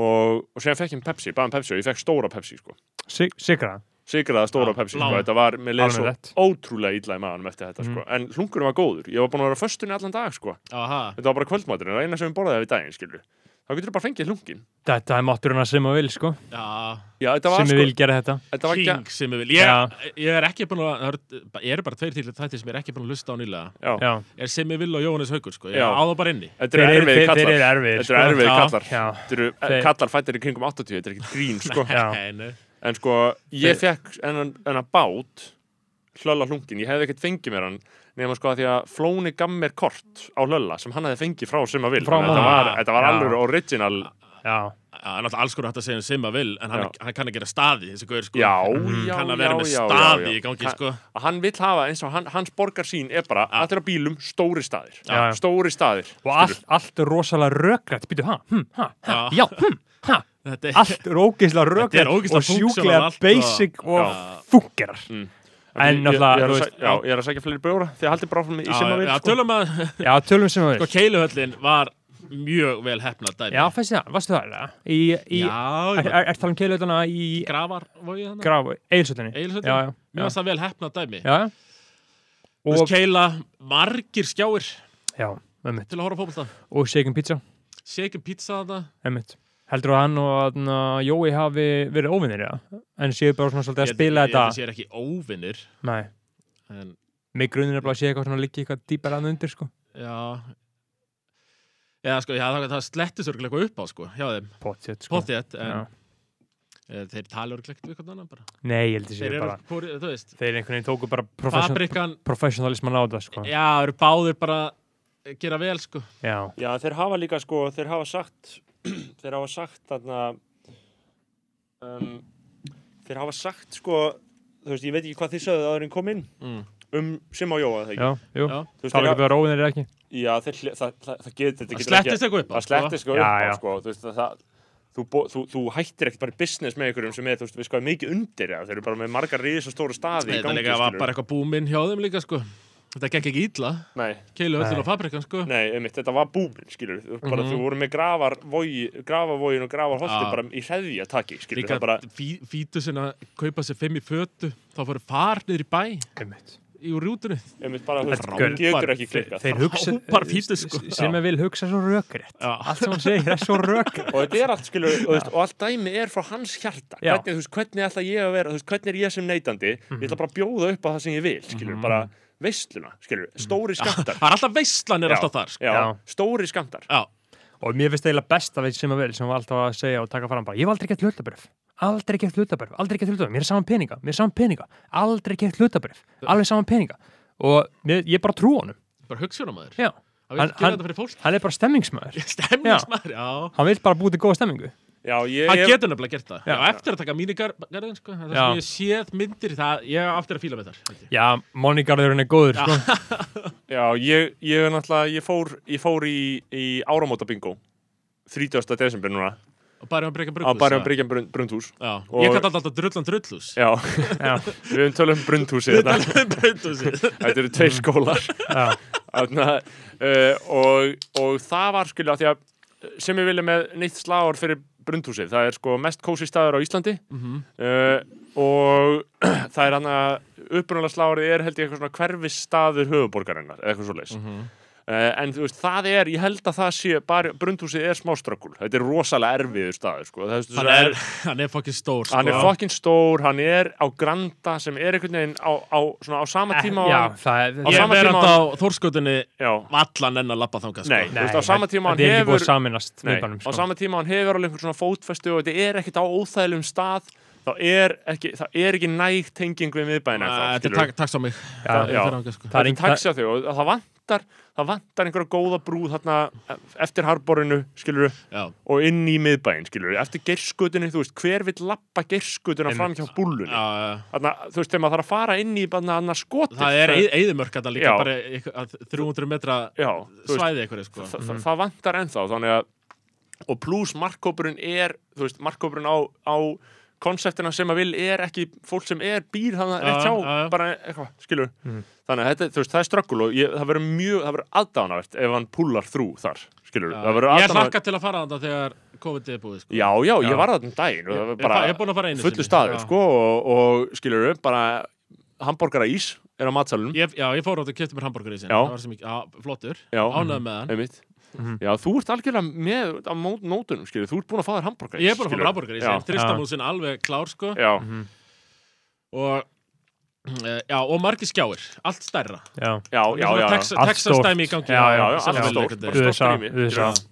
[SPEAKER 1] Og, og síðan fekk ég Pepsi, bara Pepsi og ég fekk stóra Pepsi, sko.
[SPEAKER 2] Sigra.
[SPEAKER 1] sigraða stóra
[SPEAKER 4] Já,
[SPEAKER 1] Pepsi sko.
[SPEAKER 4] blá.
[SPEAKER 1] þetta var, mér leið
[SPEAKER 2] Alveg
[SPEAKER 1] svo
[SPEAKER 2] rétt. Mm.
[SPEAKER 1] ótrúlega illa í maðanum eftir þetta sko. en hlungurum var góður, ég var búin að vera á föstunni allan dag sko.
[SPEAKER 4] Aha,
[SPEAKER 1] þetta var bara kvöldmáturinn, það var eina sem við borðaði við daginn skilur. þá getur þú bara fengið hlungin
[SPEAKER 2] Þetta er mátturinn að sem að vil, sko.
[SPEAKER 4] já,
[SPEAKER 1] Já, þetta var
[SPEAKER 2] Sem
[SPEAKER 1] sko,
[SPEAKER 2] vil gera þetta.
[SPEAKER 1] þetta var
[SPEAKER 4] King
[SPEAKER 1] ekki
[SPEAKER 4] sem ég vil ég,
[SPEAKER 2] Já.
[SPEAKER 4] ég er ekki búin að, það eru bara tveir til þættir sem ég er ekki búin að hlusta á nýlega
[SPEAKER 1] Já,
[SPEAKER 2] Já.
[SPEAKER 4] er sem ég vil og Jóhannes Haugur sko, ég
[SPEAKER 1] Já.
[SPEAKER 4] á það bara inni
[SPEAKER 1] þetta eru
[SPEAKER 2] Þeir eru-
[SPEAKER 1] erfiði
[SPEAKER 2] þeir-
[SPEAKER 1] kallar
[SPEAKER 2] Þeir eru erfiðir, sko.
[SPEAKER 1] Þetta eru erfiðir
[SPEAKER 4] Já.
[SPEAKER 1] kallar
[SPEAKER 2] Já.
[SPEAKER 1] Þetta eru e-
[SPEAKER 2] Þeir-
[SPEAKER 1] kallar fættir í kringum 80, þetta er ekkert grín sko.
[SPEAKER 2] Já.
[SPEAKER 4] Nei, nei.
[SPEAKER 1] En sko, ég fekk enn að bát hlölla hlungin, ég hefði ekkert fengið mér hann nema sko að því að Flóni gaf mér kort á hlölla sem hann hefði fengið frá sem að vil
[SPEAKER 2] Frá
[SPEAKER 1] þetta
[SPEAKER 2] honum.
[SPEAKER 1] var, þetta var
[SPEAKER 2] Já.
[SPEAKER 1] alveg original
[SPEAKER 2] Já.
[SPEAKER 4] Það er náttúrulega alls konar hægt að segja sem að vil en hann, hann kann að gera staði þessi gaur sko
[SPEAKER 1] Já,
[SPEAKER 4] Hann
[SPEAKER 1] já,
[SPEAKER 4] kann að
[SPEAKER 1] já,
[SPEAKER 4] vera
[SPEAKER 1] já,
[SPEAKER 4] með staði
[SPEAKER 1] já, já.
[SPEAKER 4] í gangi
[SPEAKER 1] Hann-
[SPEAKER 4] sko
[SPEAKER 1] að hann vill hafa eins og hann, hans borgar sín er bara allir á bílum stóri staðir
[SPEAKER 2] Já, já.
[SPEAKER 1] stóri staðir
[SPEAKER 2] Og allt, allt er rosalega rökrætt, býtu, ha, hm, ha, ha,
[SPEAKER 4] Já.
[SPEAKER 2] já, hm, ha,
[SPEAKER 4] Þetta er-
[SPEAKER 2] allt er ógeðslega
[SPEAKER 4] Þetta er
[SPEAKER 2] rökrætt
[SPEAKER 4] ógeðslega
[SPEAKER 2] og
[SPEAKER 4] funktional
[SPEAKER 2] sjúklega
[SPEAKER 4] allt og-
[SPEAKER 2] basic og
[SPEAKER 4] Já. Mm.
[SPEAKER 2] fungerar. En
[SPEAKER 1] Ég- ég-
[SPEAKER 2] náttúrulega,
[SPEAKER 1] ég er
[SPEAKER 2] þú
[SPEAKER 1] að
[SPEAKER 2] veist,
[SPEAKER 1] sæ- já, ég er að sækja fleiri bjóra því að haldi bara áfram í
[SPEAKER 4] Já,
[SPEAKER 1] sem að
[SPEAKER 4] já,
[SPEAKER 1] vil sko.
[SPEAKER 4] tölum að
[SPEAKER 2] já, tölum sem að
[SPEAKER 4] sko,
[SPEAKER 2] vil.
[SPEAKER 4] keiluhöllin var mjög vel hefnað dæmi
[SPEAKER 2] Já, fæst það, varstu það, eða? Í, í,
[SPEAKER 4] já,
[SPEAKER 2] er,
[SPEAKER 4] já.
[SPEAKER 2] er, er talað um keilutana í
[SPEAKER 4] grafar vogi þannig
[SPEAKER 2] graf, eilsutinni?
[SPEAKER 4] Egilshöllin,
[SPEAKER 2] Já, já,
[SPEAKER 4] mjög
[SPEAKER 2] já.
[SPEAKER 4] að það vel hefnað dæmi
[SPEAKER 2] Já, já.
[SPEAKER 4] Þú veist,
[SPEAKER 2] Og,
[SPEAKER 4] keila margir skjáir
[SPEAKER 2] já, emmitt.
[SPEAKER 4] til að horfa á fótbolta
[SPEAKER 2] Og shaken pizza,
[SPEAKER 4] Shaken pizza þarna
[SPEAKER 2] emmitt. Heldur að hann og þarna, Jói hafi verið óvinnir, já? En séu bara svona svolítið að spila
[SPEAKER 4] Ég held að
[SPEAKER 2] þetta.
[SPEAKER 4] sé ekki óvinnir
[SPEAKER 2] Nei.
[SPEAKER 4] en
[SPEAKER 2] Mig grunir nefnilega að sé eitthvað svona líki eitthvað dýpar að undir, sko.
[SPEAKER 4] já Já, sko, já, það, það slettur sörgulega eitthvað upp á, sko, hjá þeim,
[SPEAKER 2] Pottet, sko.
[SPEAKER 4] potið, en
[SPEAKER 2] Já.
[SPEAKER 4] e, þeir tala örgulegt við hvernig annan bara.
[SPEAKER 2] Nei, ég held að
[SPEAKER 4] Þeir
[SPEAKER 2] sé
[SPEAKER 4] eru,
[SPEAKER 2] bara,
[SPEAKER 4] hvori, þú veist,
[SPEAKER 2] þeir einhvern veginn tóku bara profession,
[SPEAKER 4] fabrikan,
[SPEAKER 2] professionalisman á þetta, sko.
[SPEAKER 4] já, eru báðir bara að gera vel, sko.
[SPEAKER 2] Já,
[SPEAKER 1] Já, þeir hafa líka sko, þeir hafa sagt þeir hafa sagt þarna um, þeir hafa sagt sko þú veist, ég veit ekki hvað þið sögðu áður en kom inn
[SPEAKER 4] Mm.
[SPEAKER 1] um sem á Jóa, það ekki
[SPEAKER 2] já, jú.
[SPEAKER 4] Já.
[SPEAKER 1] Þú veist, þeir
[SPEAKER 2] Tala ekki
[SPEAKER 1] hafa-
[SPEAKER 2] bara róinir ekki.
[SPEAKER 1] Já, þeir, hli- það, það, það getur þetta
[SPEAKER 4] Það
[SPEAKER 1] getur
[SPEAKER 4] slettist eitthvað upp á,
[SPEAKER 1] Það slettist sko
[SPEAKER 2] Já,
[SPEAKER 1] upp á
[SPEAKER 2] já.
[SPEAKER 1] sko, þú veist, það, það Þú, bo- þú, þú hættir ekkert bara í business með einhverjum sem er, þú veist, við sko er mikið undir, já, þeir eru bara með margar ríðis og stóru staði í
[SPEAKER 4] Þetta
[SPEAKER 1] gangi,
[SPEAKER 4] líka var
[SPEAKER 1] skilurðu.
[SPEAKER 4] bara eitthvað búminn hjá þeim líka, sko. Þetta gekk ekki illa,
[SPEAKER 1] Nei,
[SPEAKER 4] keilu
[SPEAKER 2] Nei.
[SPEAKER 4] öllur á fabrikan, sko.
[SPEAKER 1] Nei, einmitt, þetta var búmin, skilur við, bara
[SPEAKER 2] Mhm.
[SPEAKER 1] þú voru með gravar, vogi, gravarvogin og gravarholti
[SPEAKER 4] Já.
[SPEAKER 1] bara í hreðja taki, skilur
[SPEAKER 4] Líka
[SPEAKER 1] það bara,
[SPEAKER 4] fí, fítu sinna kaupa sér fimm í fötu, þá fóru far niður í bæ
[SPEAKER 2] Einmitt.
[SPEAKER 4] í úr rútunni.
[SPEAKER 1] einmitt bara, þú
[SPEAKER 2] Þetta
[SPEAKER 1] veist, getur ekki
[SPEAKER 2] Þeir,
[SPEAKER 1] klikkað.
[SPEAKER 2] þeir hugsa,
[SPEAKER 4] Frábær fítur, sko.
[SPEAKER 2] s- sem er vil hugsa svo rökrétt.
[SPEAKER 4] Já.
[SPEAKER 2] Allt sem hann segir er svo rökrétt.
[SPEAKER 1] Og þetta er allt, skilur, og, þú veist, og allt dæmi er frá hans hjarta,
[SPEAKER 2] Já.
[SPEAKER 1] hvernig, þú veist, hvernig ætla ég að vera, þú veist, hvernig er ég sem neytandi,
[SPEAKER 4] Mhm.
[SPEAKER 1] ég ætla bara að bjóða upp á það sem ég vil, skilur, bara veisluna, skilur, stóri skamtar.
[SPEAKER 4] Mhm. Það er alltaf veistlan er alltaf þar, sko.
[SPEAKER 1] Já,
[SPEAKER 2] Já.
[SPEAKER 1] stóri skamtar.
[SPEAKER 4] Já,
[SPEAKER 2] Og mér finnst eiginlega best að við sem að vil, sem var alltaf að segja og taka fram bara, ég hef aldrei gett hlutabrif. Aldrei gett hlutabrif, aldrei gett hlutabrif. Mér er saman peninga, mér er saman peninga. Aldrei gett hlutabrif, alveg saman peninga. Og mér, ég bara trú honum.
[SPEAKER 4] bara hugsunamæður.
[SPEAKER 2] Já.
[SPEAKER 4] Það
[SPEAKER 2] Hann-
[SPEAKER 4] vil gera
[SPEAKER 2] hann-
[SPEAKER 4] þetta fyrir fólk.
[SPEAKER 2] Hann er bara stemmingsmaður.
[SPEAKER 4] Stemningsmaður, já.
[SPEAKER 2] Hann vil bara búið til góða stemmingu.
[SPEAKER 1] Já, ég,
[SPEAKER 4] Hann
[SPEAKER 1] ég,
[SPEAKER 4] getur nefnilega gert það. Já,
[SPEAKER 2] Já.
[SPEAKER 4] eftir að taka mínigarðin, sko. Það
[SPEAKER 2] Já.
[SPEAKER 4] sem ég séð myndir, það, ég á aftur að fíla með þar. held ég.
[SPEAKER 2] Já, Monigarðurinn er góður, sko.
[SPEAKER 1] já, ég, ég, er náttúrulega, ég fór, ég fór í, í áramóta 30. desember núna,
[SPEAKER 4] Og bara um að breyka
[SPEAKER 1] á
[SPEAKER 4] brugghús.
[SPEAKER 1] Barjón Bryggjan Brundhús.
[SPEAKER 4] Já,
[SPEAKER 1] Og-
[SPEAKER 4] ég kallt alltaf drullan drullhús.
[SPEAKER 1] Já,
[SPEAKER 2] Já,
[SPEAKER 1] við höfum tölum um Brundhúsið þetta.
[SPEAKER 4] Brunnhúsið.
[SPEAKER 1] Þetta eru
[SPEAKER 4] Mm.
[SPEAKER 1] tveir skólar
[SPEAKER 2] já,
[SPEAKER 1] Þarna, uh, og, og það var skilja því að sem ég vilja með neitt slagur fyrir Brundhúsið, það er sko mest kósi staður á Íslandi
[SPEAKER 4] Mhm.
[SPEAKER 1] uh, og það er hann að upprunalega slagurðið er held ég eitthvað svona hverfisstaður höfuborgarinnar eða eitthvað svoleiðis
[SPEAKER 4] Mhm.
[SPEAKER 1] uh, en þú veist, það er, ég held að það sé bara, Brundhúsið er smá strökkul þetta er rosalega erfiður staður sko. það,
[SPEAKER 4] Hann er, hann er fokkin stór, sko.
[SPEAKER 1] Hann er fokkin stór, hann er á Granda sem er einhvern veginn á, á, svona, á
[SPEAKER 4] Eh,
[SPEAKER 1] sama tíma og
[SPEAKER 2] Eh, já,
[SPEAKER 1] hann-
[SPEAKER 2] það er...
[SPEAKER 1] á
[SPEAKER 4] Ég
[SPEAKER 1] sama
[SPEAKER 4] verði
[SPEAKER 1] tíma-
[SPEAKER 4] á þórskötunni
[SPEAKER 1] já,
[SPEAKER 4] allan enn að lappa þangað, sko.
[SPEAKER 1] Nei. Þú veist, á sama tíma hann
[SPEAKER 2] þetta er ekki búið
[SPEAKER 1] hefur-
[SPEAKER 2] að sko. saminast
[SPEAKER 1] Nei,
[SPEAKER 2] miðbænum,
[SPEAKER 1] á sama tíma hann hefur alveg einhvern svona fótfestu og þetta er ekkert á óþægilegum stað þá er ekki, það er ekki næg tenging við miðbæðina
[SPEAKER 4] Æ, Þetta er tak- takk svo mig.
[SPEAKER 2] Já,
[SPEAKER 4] Það-
[SPEAKER 1] já.
[SPEAKER 4] þetta er þangað,
[SPEAKER 2] Það
[SPEAKER 4] sko.
[SPEAKER 2] er
[SPEAKER 1] það er
[SPEAKER 2] engin-
[SPEAKER 1] taxa þau og það vantar það vantar einhverja góða brú þarna eftir harborinu, skilur
[SPEAKER 4] Já.
[SPEAKER 1] og inn í miðbæin, skilur eftir gerskutinu, þú veist, hver vill lappa gerskutuna fram hjá búllunni
[SPEAKER 4] Já, já.
[SPEAKER 1] þarna, þú veist, þegar maður þarf að fara inn í bara annað skotið
[SPEAKER 4] Það er eðimörk að það líka
[SPEAKER 1] Já.
[SPEAKER 4] bara eitthvað- að 300 metra
[SPEAKER 1] já, þú veist,
[SPEAKER 4] svæði eitthvað, sko.
[SPEAKER 1] Þa, þa, það vantar ennþá þannig að og pluss markkópurinn er þú veist, markkópurinn á, á konseptina sem að vil er ekki fólk sem er býr þannig að
[SPEAKER 4] Já,
[SPEAKER 1] rétt hjá,
[SPEAKER 4] já, Mhm. já.
[SPEAKER 1] bara eitthvað, skilur þannig að þetta, þú veist, það er ströggul og ég, það verður mjög, það verður aðdánavert ef hann pullar þrú þar, skilur,
[SPEAKER 4] Já,
[SPEAKER 1] það verður
[SPEAKER 4] Ég
[SPEAKER 1] aðdánavert
[SPEAKER 4] hlakka til að fara þarna þegar COVID er búið sko.
[SPEAKER 1] Já, já,
[SPEAKER 2] Já.
[SPEAKER 1] ég var þarna um daginn og það var
[SPEAKER 4] ég,
[SPEAKER 1] bara
[SPEAKER 4] ég er búin að fara einu
[SPEAKER 1] fullu
[SPEAKER 4] sinni.
[SPEAKER 1] staður,
[SPEAKER 4] Já.
[SPEAKER 1] sko, og, og skilur upp bara hambúrgara ís er á matsalunum,
[SPEAKER 4] Ég, já, ég fór átt og kefti mér hambúrgur í sinni.
[SPEAKER 1] Já.
[SPEAKER 4] Það var sem ekki, já, flottur.
[SPEAKER 1] Já.
[SPEAKER 4] Ánægð með hann.
[SPEAKER 1] einmitt.
[SPEAKER 2] Mhm.
[SPEAKER 1] Já, þú ert algjörlega með á mót, nótunum, skilur, þú ert búin að fá þér hambúrgara ís.
[SPEAKER 4] Ég er búin að fá mér hambúrgur í sinni.
[SPEAKER 1] Já,
[SPEAKER 4] Tristamúsin alveg klár, sko.
[SPEAKER 1] já,
[SPEAKER 4] Og, eh, já, og margir skjáir. Allt stærra.
[SPEAKER 1] já,
[SPEAKER 2] já,
[SPEAKER 1] já, já, já.
[SPEAKER 2] Allt
[SPEAKER 4] Texas
[SPEAKER 2] stórt.
[SPEAKER 4] dæmi í gangi.
[SPEAKER 2] Já, já,
[SPEAKER 1] já, allt
[SPEAKER 4] Sem
[SPEAKER 1] stórt,
[SPEAKER 4] leikandi.
[SPEAKER 1] bara
[SPEAKER 2] við
[SPEAKER 1] stórt
[SPEAKER 2] þess að,
[SPEAKER 1] rými.
[SPEAKER 2] við þess
[SPEAKER 4] Já.
[SPEAKER 2] að,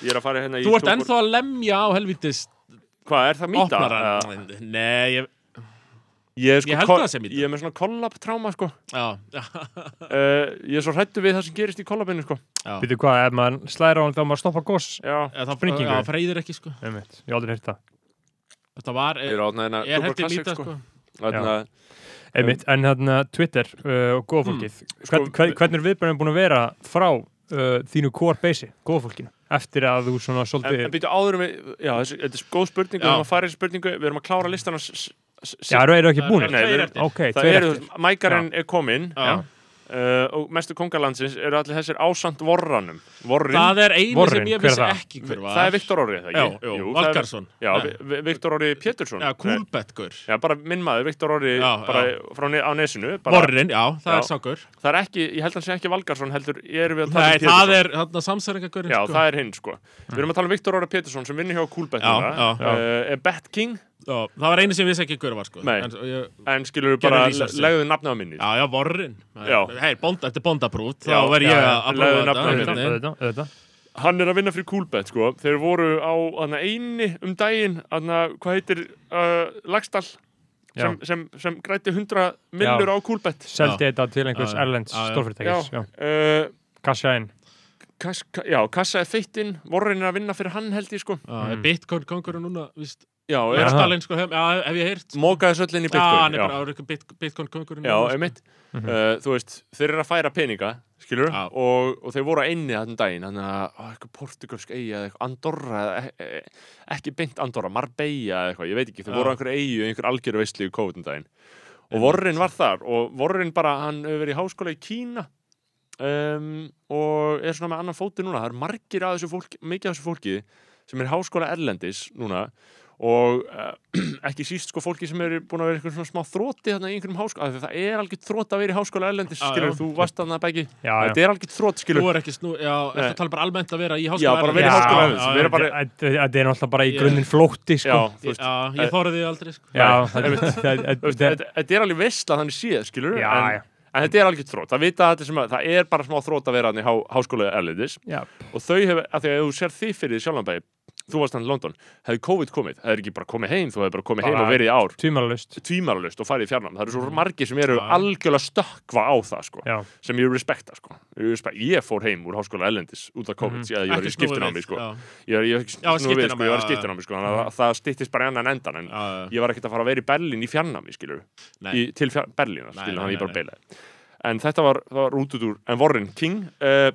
[SPEAKER 1] Ég er að fara hérna í
[SPEAKER 4] Þú ert
[SPEAKER 1] Túborg.
[SPEAKER 4] ennþá að lemja á helvitist
[SPEAKER 1] Hvað, er það mýta? Eh, Já.
[SPEAKER 4] opnaran. Nei, ég,
[SPEAKER 1] Ég, er sko
[SPEAKER 4] Ég held
[SPEAKER 1] ko-
[SPEAKER 4] það sé mýta.
[SPEAKER 1] Ég er með svona kollab-tráma, sko.
[SPEAKER 4] já, já,
[SPEAKER 1] Uh, ég er svo hrættu við það sem gerist í kollabinu, sko.
[SPEAKER 4] já.
[SPEAKER 2] býtu hvað, ef maður slæðir á hann þá maður stoppa gos,
[SPEAKER 1] Já.
[SPEAKER 4] Eh, Það
[SPEAKER 2] Sprengingu.
[SPEAKER 4] já, freyðir ekki, sko.
[SPEAKER 2] einmitt, ég hef aldrei hýrt það,
[SPEAKER 4] Þetta var,
[SPEAKER 1] Ég
[SPEAKER 4] er,
[SPEAKER 1] er átnað hérna
[SPEAKER 4] er
[SPEAKER 1] Túborg
[SPEAKER 4] hægt í
[SPEAKER 1] Classic,
[SPEAKER 4] mýta, sko.
[SPEAKER 1] Þarna,
[SPEAKER 2] einmitt, en hérna Twitter uh, og góðfólkið,
[SPEAKER 1] sko,
[SPEAKER 2] hvern, hvern, hvernig er viðbjörnum búin að vera frá uh, þínu core base, góðfólkinu, eftir að þú svona
[SPEAKER 1] En,
[SPEAKER 2] svolítið,
[SPEAKER 1] en býtu áður um við, já, þessi, þetta er góð spurning, við
[SPEAKER 4] Já.
[SPEAKER 1] erum að fara í þessu spurningu, við erum að klára listan hans. s- s- s-
[SPEAKER 2] já, eru eru ekki
[SPEAKER 4] Það
[SPEAKER 2] búin,
[SPEAKER 1] Nei, við
[SPEAKER 4] tveir
[SPEAKER 1] erum-
[SPEAKER 4] eftir.
[SPEAKER 2] ok,
[SPEAKER 1] það
[SPEAKER 2] tveir
[SPEAKER 1] eru,
[SPEAKER 2] eftir,
[SPEAKER 1] mækarinn er kominn
[SPEAKER 4] Já.
[SPEAKER 1] uh, og mestu kongalandsins eru allir þessir ásamt vorranum. Vorrin, það,
[SPEAKER 4] Það er einu
[SPEAKER 2] Vorrin,
[SPEAKER 4] sem ég
[SPEAKER 2] hver er
[SPEAKER 4] vissi
[SPEAKER 2] það?
[SPEAKER 4] ekki hver var.
[SPEAKER 1] er Viktor Orri, er það ekki?
[SPEAKER 4] Já, jú,
[SPEAKER 1] það er-
[SPEAKER 4] Valgarðsson.
[SPEAKER 1] Já,
[SPEAKER 4] Nei.
[SPEAKER 1] Vi- Vi- Viktor Orri Pétursson.
[SPEAKER 4] Já,
[SPEAKER 1] Nei,
[SPEAKER 4] Kúlbettgur.
[SPEAKER 1] Já, bara minn maður, Viktor Orri,
[SPEAKER 4] Já,
[SPEAKER 1] bara
[SPEAKER 4] já.
[SPEAKER 1] frá ne á nesinu. Bara,
[SPEAKER 4] Vorrin, já, það
[SPEAKER 1] Já.
[SPEAKER 4] er sákur.
[SPEAKER 1] Það er ekki, ég held hann sé ekki Valgarsson, heldur, erum við að tala
[SPEAKER 4] Nei,
[SPEAKER 1] um Pétursson.
[SPEAKER 4] það er þarna samsæringagurinn,
[SPEAKER 1] Já,
[SPEAKER 4] sko.
[SPEAKER 1] það er hinn, sko. Við erum að tala um Viktor Orri Pétursson sem vinnur hjá Coolbet.
[SPEAKER 4] Já,
[SPEAKER 1] núna.
[SPEAKER 4] já.
[SPEAKER 1] Uh, er Bet King,
[SPEAKER 4] Já, það var einu sem ég vissi ekki hver var, sko.
[SPEAKER 1] Nei.
[SPEAKER 4] En, ég,
[SPEAKER 1] en skilur við
[SPEAKER 4] Gerðu
[SPEAKER 1] bara,
[SPEAKER 4] research.
[SPEAKER 1] legðu nafna á minni.
[SPEAKER 4] já, já, Vorrin.
[SPEAKER 1] Já.
[SPEAKER 4] Hei, bond, eftir bondabrút, þá
[SPEAKER 1] Já,
[SPEAKER 4] verð
[SPEAKER 2] já,
[SPEAKER 4] ég
[SPEAKER 2] já,
[SPEAKER 4] að að
[SPEAKER 1] lagði
[SPEAKER 4] prófa
[SPEAKER 1] nafnið
[SPEAKER 4] þetta.
[SPEAKER 1] mitt.
[SPEAKER 4] einhvern veginn.
[SPEAKER 2] auðvitað, auðvitað,
[SPEAKER 1] hann er að vinna fyrir Coolbet sko. þeir voru á hana, eini um daginn hana, hvað heitir uh, Lagstall
[SPEAKER 2] Já.
[SPEAKER 1] sem, sem, sem græti 100 millur
[SPEAKER 2] Já.
[SPEAKER 1] á Coolbet
[SPEAKER 2] seldi þetta til einhvers
[SPEAKER 4] Já, já.
[SPEAKER 2] erlends
[SPEAKER 4] Já, já.
[SPEAKER 2] stórfyrirtækis, já,
[SPEAKER 1] Uh,
[SPEAKER 2] kassa inn,
[SPEAKER 1] kas, ka, já, kassa er feittinn vorrin er að vinna fyrir hann held ég sko
[SPEAKER 4] Já,
[SPEAKER 2] Mm.
[SPEAKER 4] Bitcoin konkurinn núna, víst.
[SPEAKER 1] já,
[SPEAKER 4] Er
[SPEAKER 1] er,
[SPEAKER 2] Aha.
[SPEAKER 4] Stalin, sko, hef, já, hef ég heyrt.
[SPEAKER 1] mókaði söllin í
[SPEAKER 4] Já, hann
[SPEAKER 1] Bitcoin
[SPEAKER 4] er
[SPEAKER 1] já,
[SPEAKER 4] bara á rökkum Bitcoin sko. konkurinn
[SPEAKER 1] já einmitt uh, þú veist, þeir eru að færa peninga skilur,
[SPEAKER 4] Mhm. Já.
[SPEAKER 1] og, og þeir voru að einni þannig um daginn, þannig að á, eitthvað portugalsk eigi eða eitthvað Andorra eða e- e- ekki beint Andorra, Marbella eða eitthvað, ég veit ekki, þeir
[SPEAKER 4] Já.
[SPEAKER 1] voru á einhver eigi einhver algjöru veistli í COVID um daginn og vorrin var þar og vorrin bara, hann hefur verið í háskóla í Kína um, og er svona með annan fóti núna, það eru margir af þessu fólki mikið af þessu fólki sem er í háskóla erlendis núna og uh, ekki síst sko fólki sem eru búin að vera eitthvað svona smá þróti þarna í einhverjum háskóla af því það er algjör þrót að vera í háskóla erlendis
[SPEAKER 4] Já,
[SPEAKER 1] skilur,
[SPEAKER 4] já.
[SPEAKER 1] þú varst þarna að bæki
[SPEAKER 2] já, já.
[SPEAKER 1] þetta er algjör þrót skilur
[SPEAKER 4] Þú er ekki snú, já,
[SPEAKER 1] Nei.
[SPEAKER 4] þetta tala bara almennt að vera í
[SPEAKER 1] Já,
[SPEAKER 4] háskóla.
[SPEAKER 1] bara
[SPEAKER 4] Erlendis.
[SPEAKER 1] vera í
[SPEAKER 4] Já,
[SPEAKER 1] háskóla erlendis,
[SPEAKER 4] já,
[SPEAKER 1] vera
[SPEAKER 4] já.
[SPEAKER 1] bara-
[SPEAKER 2] Þetta þetta er náttúrulega bara í
[SPEAKER 4] Ég-
[SPEAKER 2] grunninn flótti sko.
[SPEAKER 1] já, þú veist,
[SPEAKER 4] Já, ég þóraði aldrei, sko.
[SPEAKER 2] já
[SPEAKER 1] Nei,
[SPEAKER 2] það-
[SPEAKER 1] einmitt.
[SPEAKER 2] það- þetta-
[SPEAKER 1] þetta þetta er alveg veist að þannig séð skilur
[SPEAKER 2] Já,
[SPEAKER 1] en,
[SPEAKER 2] já.
[SPEAKER 1] en þetta er algjör þrót það vita allir sem að það er bara smá þrót að vera hann í há, háskóla erlendis
[SPEAKER 2] já,
[SPEAKER 1] og þau hefur, af því að ef þú sér því fyrir því sjálfanbæði þú varst hann í London, hefði COVID komið hefði ekki bara komið heim, þú hefði bara komið heim
[SPEAKER 2] Bara-
[SPEAKER 1] og verið í ár
[SPEAKER 2] tvímalalust
[SPEAKER 1] tvímaralust og farið í fjarnam það eru svo margir sem eru
[SPEAKER 4] Mm. Já.
[SPEAKER 1] algjörlega stökkva á það sko,
[SPEAKER 2] já,
[SPEAKER 1] sem ég respekta sko. Ég respekt, ég fór heim úr háskóla ellendis út af COVID, mm. ég var
[SPEAKER 4] Mhm.
[SPEAKER 1] í
[SPEAKER 4] Ekki snúið við,
[SPEAKER 1] skiptinámi sko.
[SPEAKER 4] já.
[SPEAKER 1] ég var, ég var, snúið
[SPEAKER 4] Já,
[SPEAKER 1] við, sko, ég
[SPEAKER 4] skiptinámi,
[SPEAKER 1] var í
[SPEAKER 4] já, já.
[SPEAKER 1] skiptinámi sko, þannig að það styttist bara í annan endan en
[SPEAKER 4] Já, já.
[SPEAKER 1] ég var ekkert að fara að vera í Berlín í fjarnami skilur,
[SPEAKER 4] Nei.
[SPEAKER 1] í, til fjar, Berlín
[SPEAKER 4] Nei,
[SPEAKER 1] skilur,
[SPEAKER 4] nei,
[SPEAKER 1] hann ég
[SPEAKER 4] nei,
[SPEAKER 1] bara beilaði en þetta var, það var rútutúr, en Warren King uh,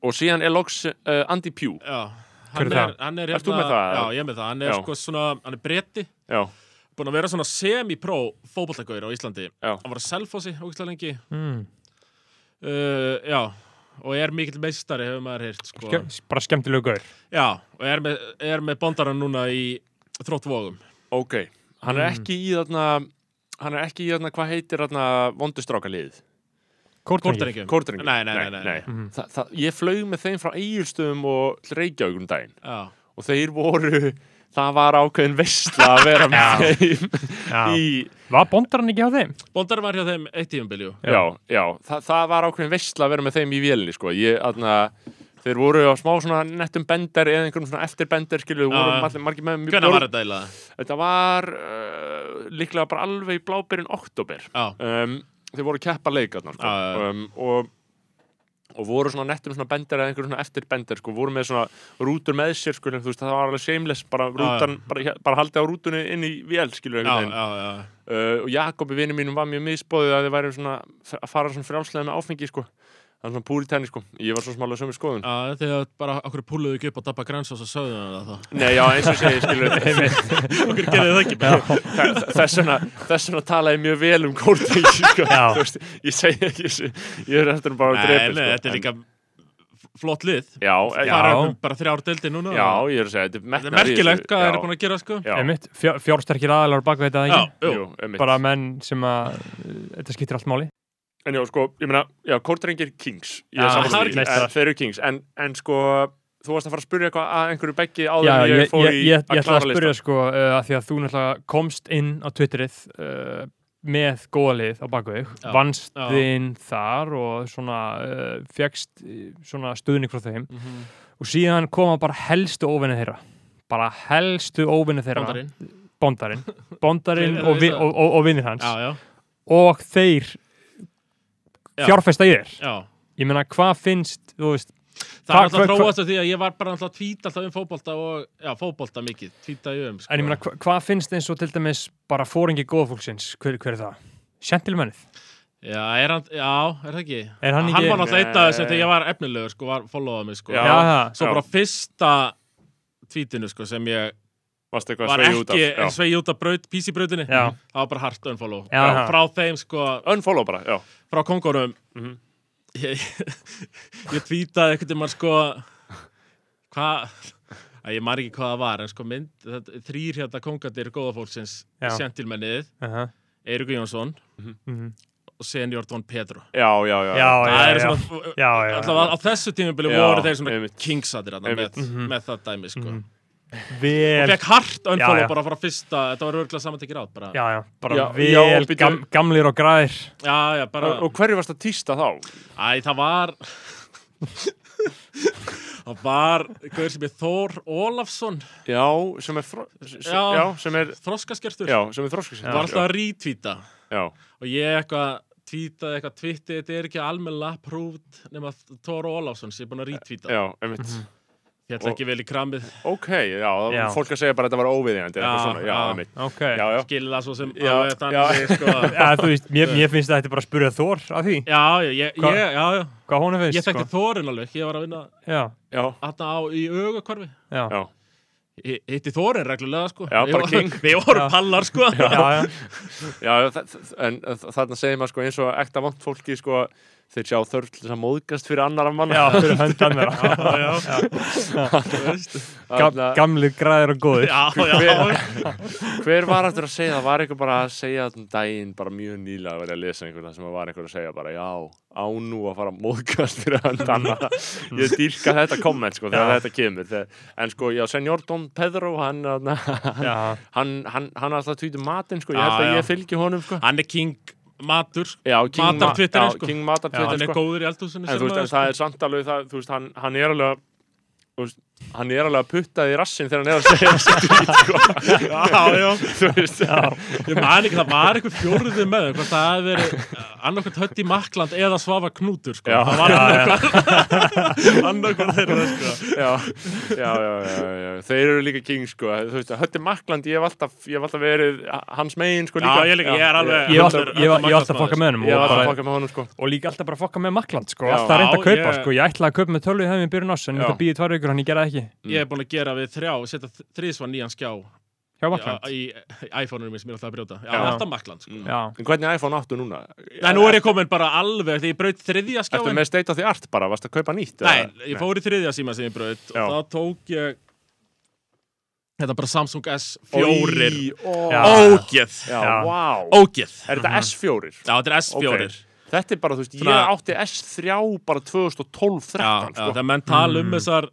[SPEAKER 1] og síðan er loks uh, Andy Pugh
[SPEAKER 4] Já,
[SPEAKER 2] Hver
[SPEAKER 4] hann
[SPEAKER 2] er
[SPEAKER 4] er,
[SPEAKER 2] það?
[SPEAKER 4] hann er hérna-
[SPEAKER 1] Ert þú með það, eða?
[SPEAKER 4] Já, ég er með það, hann er
[SPEAKER 1] Já.
[SPEAKER 4] sko svona, hann er bretti
[SPEAKER 1] já,
[SPEAKER 4] Búin að vera svona semi-pro fótballtakaur á Íslandi
[SPEAKER 1] Já.
[SPEAKER 4] Hann var að selfósi ógæslega lengi
[SPEAKER 2] mm.
[SPEAKER 4] uh, Já, og er mikill meistari hefur maður heyrt sko.
[SPEAKER 2] Ske, bara skemmtilegu gaur
[SPEAKER 4] Já, og er með, er með bondaran núna í þróttvogum
[SPEAKER 1] ok hann
[SPEAKER 4] Mm.
[SPEAKER 1] er ekki í þarna hann er ekki í þarna, hvað heitir þarna vondustrákaliðið
[SPEAKER 2] Kórtringi
[SPEAKER 4] Kortarengjum
[SPEAKER 1] Kórdrengjum
[SPEAKER 4] Nei, nei, nei, nei, Mhm.
[SPEAKER 1] Þa, það, Ég flög með þeim frá Egilstöðum og Reykjavík um daginn
[SPEAKER 4] Já,
[SPEAKER 1] og þeir voru, það var ákveðin veistla að vera með þeim í,
[SPEAKER 2] Var bondar hann ekki á þeim?
[SPEAKER 4] bondaran var hjá þeim eitt tíumbiljú
[SPEAKER 1] já, já, það, það var ákveðin veistla að vera með þeim í vélinni sko. ég, aðna, þeir voru á smá svona nettum bender eða einhverjum svona eftirbender skilju,
[SPEAKER 4] Já,
[SPEAKER 1] voru
[SPEAKER 4] já.
[SPEAKER 1] allir margir með mjög
[SPEAKER 4] Hvernig var
[SPEAKER 1] bjór-
[SPEAKER 4] þetta eiginlega?
[SPEAKER 1] Þetta var uh, líklega bara alveg í blábyrjun oktober
[SPEAKER 4] Já,
[SPEAKER 1] um, þeir voru að keppa leikarnar sko.
[SPEAKER 4] Já, já, já.
[SPEAKER 1] um, og, og voru svona nettum svona bender eða einhverjum svona eftir bender sko, voru með svona rútur með sér sko, þú veist, það var alveg seamless bara, rútan, bara, bara haldið á rútunni inn í vél skilur
[SPEAKER 4] já,
[SPEAKER 1] einhvern veginn
[SPEAKER 4] já, já
[SPEAKER 1] uh, og Jakobi vinnu mínum var mjög misbóðið að þið væri svona að fara svona frjálslega með áfengi sko. það var svona púri tenni sko. ég var svo smálega sömu skoðun
[SPEAKER 4] Já, þegar bara okkur púluðu ekki upp á Dabba Grænsás og sögðu hann það þá.
[SPEAKER 1] Nei, já, eins og segið, skilur
[SPEAKER 4] Okkur gerði það ekki bara.
[SPEAKER 1] Þa- þess vegna, þess vegna tala ég mjög vel um kórdrengi sko.
[SPEAKER 2] Já.
[SPEAKER 1] Þú veist, ég segi ekki ég er eftir bara að
[SPEAKER 4] Nei,
[SPEAKER 1] drepa
[SPEAKER 4] nei, þetta er líka flott lið
[SPEAKER 1] Já,
[SPEAKER 4] Það
[SPEAKER 1] sko, já,
[SPEAKER 4] fara upp um bara þrjár deildi núna
[SPEAKER 1] já,
[SPEAKER 4] og
[SPEAKER 1] ég er að segja, þetta er
[SPEAKER 4] Þetta er
[SPEAKER 1] metnaður í þessu.
[SPEAKER 4] merkilegt hvað
[SPEAKER 1] Já,
[SPEAKER 4] þeir eru búin að gera sko
[SPEAKER 1] Já,
[SPEAKER 2] Einmitt, fjár, fjársterkir aðalar baka þetta
[SPEAKER 4] Já,
[SPEAKER 2] ekki?
[SPEAKER 4] jú.
[SPEAKER 1] jú, einmitt.
[SPEAKER 2] bara menn sem að uh, þetta skiptir allt máli
[SPEAKER 1] En já, sko, ég meina, já, kórdrengir Kings Ég
[SPEAKER 2] Já,
[SPEAKER 1] er sammála því,
[SPEAKER 2] meistarar.
[SPEAKER 1] en þeir eru Kings en, en sko, þú varst að fara að spyrja eitthvað að einhverju beggi áður
[SPEAKER 2] Já,
[SPEAKER 1] en
[SPEAKER 2] ég,
[SPEAKER 1] ég,
[SPEAKER 2] ég,
[SPEAKER 1] fór
[SPEAKER 2] ég,
[SPEAKER 1] í
[SPEAKER 2] ég,
[SPEAKER 1] að
[SPEAKER 2] ætla að
[SPEAKER 1] klára
[SPEAKER 2] spyrja
[SPEAKER 1] lista
[SPEAKER 2] sko uh, að því að þú náttúrulega komst inn á Twitterið uh, með góða lið á baku þig,
[SPEAKER 4] Já,
[SPEAKER 2] vannst
[SPEAKER 4] já.
[SPEAKER 2] þinn þar og svona uh, fegst svona stuðning frá þeim
[SPEAKER 4] Mhm.
[SPEAKER 2] og síðan koma bara helstu óvinni þeirra bara helstu óvinni þeirra
[SPEAKER 4] Bóndarinn
[SPEAKER 2] Bondarinn, Bondarinn
[SPEAKER 4] Þeir-
[SPEAKER 2] og, vi,
[SPEAKER 4] þeir-
[SPEAKER 2] og, og, og vinnir hans
[SPEAKER 4] Já, já,
[SPEAKER 2] og þeir
[SPEAKER 4] Já.
[SPEAKER 2] fjárfesta í þér
[SPEAKER 4] já
[SPEAKER 2] ég meina hvað finnst, þú veist Hva-
[SPEAKER 4] Það er alltaf
[SPEAKER 2] hva-
[SPEAKER 4] að þróast af því að ég var bara alltaf að tvíta alltaf um fótbolta og, já, fótbolta mikið, tvíta um, sko.
[SPEAKER 2] En ég meina, hva, hvað finnst eins og til dæmis bara fóringi góðfólksins, hver, hver er það? Sentilmennið?
[SPEAKER 4] Já, er hann, já, er það ekki?
[SPEAKER 2] Er hann ekki-
[SPEAKER 4] var náttúrulega einn af þessu
[SPEAKER 1] Nei.
[SPEAKER 4] þegar ég var efnilegur, sko, var followað mig, sko.
[SPEAKER 1] Já.
[SPEAKER 2] það.
[SPEAKER 4] Svo
[SPEAKER 1] já.
[SPEAKER 4] bara fyrsta tvítinu, sko, sem ég
[SPEAKER 1] Varst eitthvað
[SPEAKER 4] var
[SPEAKER 1] að sveigja út
[SPEAKER 4] ekki
[SPEAKER 1] af já.
[SPEAKER 4] sveið út af braut, písibrautinni,
[SPEAKER 2] Já.
[SPEAKER 4] það var bara hart unfollow.
[SPEAKER 2] Já.
[SPEAKER 4] Já, Frá þeim, sko,
[SPEAKER 1] Unfollow bara, já
[SPEAKER 4] frá kongurum,
[SPEAKER 1] Mhm.
[SPEAKER 4] ég, ég tvítaði einhvern veginn, sko, hvað... að Ég maður ekki hvað það var, en sko mynd, þetta, þrýr hérna kongadir góðafólksins,
[SPEAKER 2] Já.
[SPEAKER 4] sentilmennið,
[SPEAKER 2] Aha.
[SPEAKER 4] Eiríku Jónsson
[SPEAKER 2] Mhm.
[SPEAKER 4] og senior Don Pedro.
[SPEAKER 1] Já, já, já,
[SPEAKER 2] Já, já,
[SPEAKER 4] það
[SPEAKER 2] já.
[SPEAKER 4] er svona,
[SPEAKER 2] Já, já,
[SPEAKER 4] alltaf á þessu tímabili
[SPEAKER 1] Já,
[SPEAKER 4] voru þeir svona
[SPEAKER 1] einmitt.
[SPEAKER 4] kingsatir með,
[SPEAKER 1] Einmitt.
[SPEAKER 4] með það dæmi sko.
[SPEAKER 2] Mhm.
[SPEAKER 4] og
[SPEAKER 2] Vel,
[SPEAKER 4] fekk hart
[SPEAKER 2] Já, já.
[SPEAKER 4] unfollow bara frá fyrsta þetta var örgulega samantekir át bara. Já.
[SPEAKER 2] já, já, bara
[SPEAKER 1] Já,
[SPEAKER 2] vel
[SPEAKER 1] já, býtu.
[SPEAKER 2] gam, gamlir og græðir.
[SPEAKER 4] Já, bara,
[SPEAKER 1] Og, og hverju varst að týsta þá?
[SPEAKER 4] æ, það var það var hver sem er Þór Ólafsson
[SPEAKER 1] Já, sem er fro- s- s-
[SPEAKER 4] Já.
[SPEAKER 1] Já, sem er
[SPEAKER 4] þroskaskertur,
[SPEAKER 1] Já, sem er þróskasinn
[SPEAKER 4] var alltaf að rítvíta
[SPEAKER 1] Já,
[SPEAKER 4] og ég eitthvað tvítaði eitthvað tvitti, þetta er ekki almennilega prúft nema Þór Ólafsson sem ég er búin að rítvíta,
[SPEAKER 1] já, einmitt
[SPEAKER 4] ég ætla ekki vel í krammið
[SPEAKER 1] Ok, já, það
[SPEAKER 2] Já.
[SPEAKER 1] var fólk að segja bara að þetta var óviðjandi
[SPEAKER 4] Já,
[SPEAKER 1] Já, svona, já,
[SPEAKER 4] já.
[SPEAKER 1] einmitt
[SPEAKER 2] Ok.
[SPEAKER 1] Já, já,
[SPEAKER 4] skilja það svo sem
[SPEAKER 1] Já,
[SPEAKER 4] alveg
[SPEAKER 1] já.
[SPEAKER 4] þannig sko,
[SPEAKER 2] Ja, þú veist, mér, mér finnst að þetta er bara að spyrja Þór að því,
[SPEAKER 4] Já, já, ég,
[SPEAKER 2] Hva-
[SPEAKER 4] ég, já, já.
[SPEAKER 2] hvað honum finnst. sko.
[SPEAKER 4] ég
[SPEAKER 1] sko.
[SPEAKER 4] þekkti Þórin alveg, ég var að vinna
[SPEAKER 2] Já,
[SPEAKER 1] já,
[SPEAKER 4] þarna á í augakvarfi.
[SPEAKER 2] já, já,
[SPEAKER 1] já,
[SPEAKER 4] Ég hitti Þórin reglulega, sko.
[SPEAKER 1] Já,
[SPEAKER 4] Við
[SPEAKER 1] bara
[SPEAKER 4] vorum-
[SPEAKER 1] king.
[SPEAKER 4] Við
[SPEAKER 2] Já.
[SPEAKER 4] vorum pallar, sko.
[SPEAKER 2] já, já,
[SPEAKER 1] já þa- þa- En þarna segir maður sko eins og ekta vant fólki sko Þeir sjá þörf til þess að móðgast fyrir annar af manna
[SPEAKER 2] fyrir hönd annara.
[SPEAKER 4] já, já. Þú veist.
[SPEAKER 2] Gam,
[SPEAKER 1] Þarna-
[SPEAKER 2] gamlir græðir og góðir.
[SPEAKER 4] já, já,
[SPEAKER 1] Hver-
[SPEAKER 4] já.
[SPEAKER 1] Hver var aftur að segja það? Var eitthvað bara að segja þann daginn bara mjög nýlega að vera að lesa einhvern það sem var einhver að segja bara já, á nú að fara að móðgast fyrir hann annað. Ég dýrka þetta komment sko þegar
[SPEAKER 2] Já.
[SPEAKER 1] þetta kemur. Þegar, en sko, já, senjór Don Pedro, hann, þarna, hann,
[SPEAKER 2] Já,
[SPEAKER 1] hann, hann, hann alltaf tvítum matinn sko, ég
[SPEAKER 4] Já,
[SPEAKER 1] held að
[SPEAKER 4] já.
[SPEAKER 1] ég fylgi honum sko.
[SPEAKER 4] Hann er king matur, sko.
[SPEAKER 1] Já, King
[SPEAKER 4] Matar
[SPEAKER 1] Ma-
[SPEAKER 4] Twitterinn,
[SPEAKER 1] já,
[SPEAKER 4] sko.
[SPEAKER 1] King
[SPEAKER 4] Hann
[SPEAKER 1] Matartwitter
[SPEAKER 4] er
[SPEAKER 1] sko.
[SPEAKER 4] góður í eldhúsinu
[SPEAKER 1] En þú veist, en það
[SPEAKER 4] sko-
[SPEAKER 1] er samt alveg það, þú veist, hann, hann er alveg að- þú veist, hann er alveg að putta því rassin þegar hann er að segja þessi tweet, sko.
[SPEAKER 4] Já, já.
[SPEAKER 1] Þú veist,
[SPEAKER 4] Ég man ekki, það var eitthvað fjórðið með þeim, hvort það hefði verið annarkvæmt hött í Makland eða Svafa Knútur, sko.
[SPEAKER 1] Já.
[SPEAKER 4] Það var annarkvæmt annarkvæmt þeirra, sko.
[SPEAKER 1] já, já, já, já, já, þeir eru líka king sko, þú veist, Hötti Makland ég hef alltaf, ég hef alltaf verið hans megin sko líka,
[SPEAKER 4] Já, ég líka, ég er alveg-
[SPEAKER 2] ég var
[SPEAKER 4] hann er-
[SPEAKER 2] alltaf- ég var-
[SPEAKER 4] hann er
[SPEAKER 2] ég var alltaf að
[SPEAKER 4] markaðsmaður.
[SPEAKER 2] fokka með hennum
[SPEAKER 1] ég hef
[SPEAKER 2] og,
[SPEAKER 1] alltaf
[SPEAKER 2] bara-
[SPEAKER 1] fokkað með honum sko
[SPEAKER 2] og líka alltaf bara að fokka með Makland, sko.
[SPEAKER 1] Já.
[SPEAKER 2] Alltaf reynda að
[SPEAKER 4] Já,
[SPEAKER 2] kaupa,
[SPEAKER 4] ég-
[SPEAKER 2] sko. Ég ætlaði að kaupa með tölvið hefði byrjun ás, en
[SPEAKER 1] Já.
[SPEAKER 2] þetta býði tvær vikur, hann ég gera það ekki.
[SPEAKER 1] Mm.
[SPEAKER 4] Ég hef búin að gera við þrjá, setja þrísvar nýjan skjá
[SPEAKER 2] Hjá
[SPEAKER 4] Já,
[SPEAKER 2] Makland.
[SPEAKER 4] í, í iPhone-unum minn sem ég er alltaf að brjóta. Já,
[SPEAKER 1] Já. Mm.
[SPEAKER 4] alltaf makland, sko.
[SPEAKER 2] Já.
[SPEAKER 1] en hvernig iPhone áttu núna?
[SPEAKER 4] Nei, nú er ég komin bara alveg, þegar ég braut þriðja
[SPEAKER 1] Ertu
[SPEAKER 4] skjáin.
[SPEAKER 1] með state of the art bara, varst að kaupa nýtt?
[SPEAKER 4] Nei,
[SPEAKER 1] eða?
[SPEAKER 4] ég fór í þriðja síma sem ég braut
[SPEAKER 1] Já.
[SPEAKER 4] og þá tók ég þetta er bara Samsung S4.
[SPEAKER 1] Í- ó,
[SPEAKER 2] Já.
[SPEAKER 4] Ógeð.
[SPEAKER 1] já,
[SPEAKER 2] Já.
[SPEAKER 1] vá
[SPEAKER 4] Ógeð.
[SPEAKER 1] er þetta S4?
[SPEAKER 4] Já, þetta er S4.
[SPEAKER 1] Ok. Þetta er bara, þú veist,
[SPEAKER 4] Mhm. Svona-
[SPEAKER 1] ég átti S3 bara
[SPEAKER 4] Já,
[SPEAKER 1] 2012-13
[SPEAKER 4] já,
[SPEAKER 1] sko.
[SPEAKER 4] þegar menn tala um þessar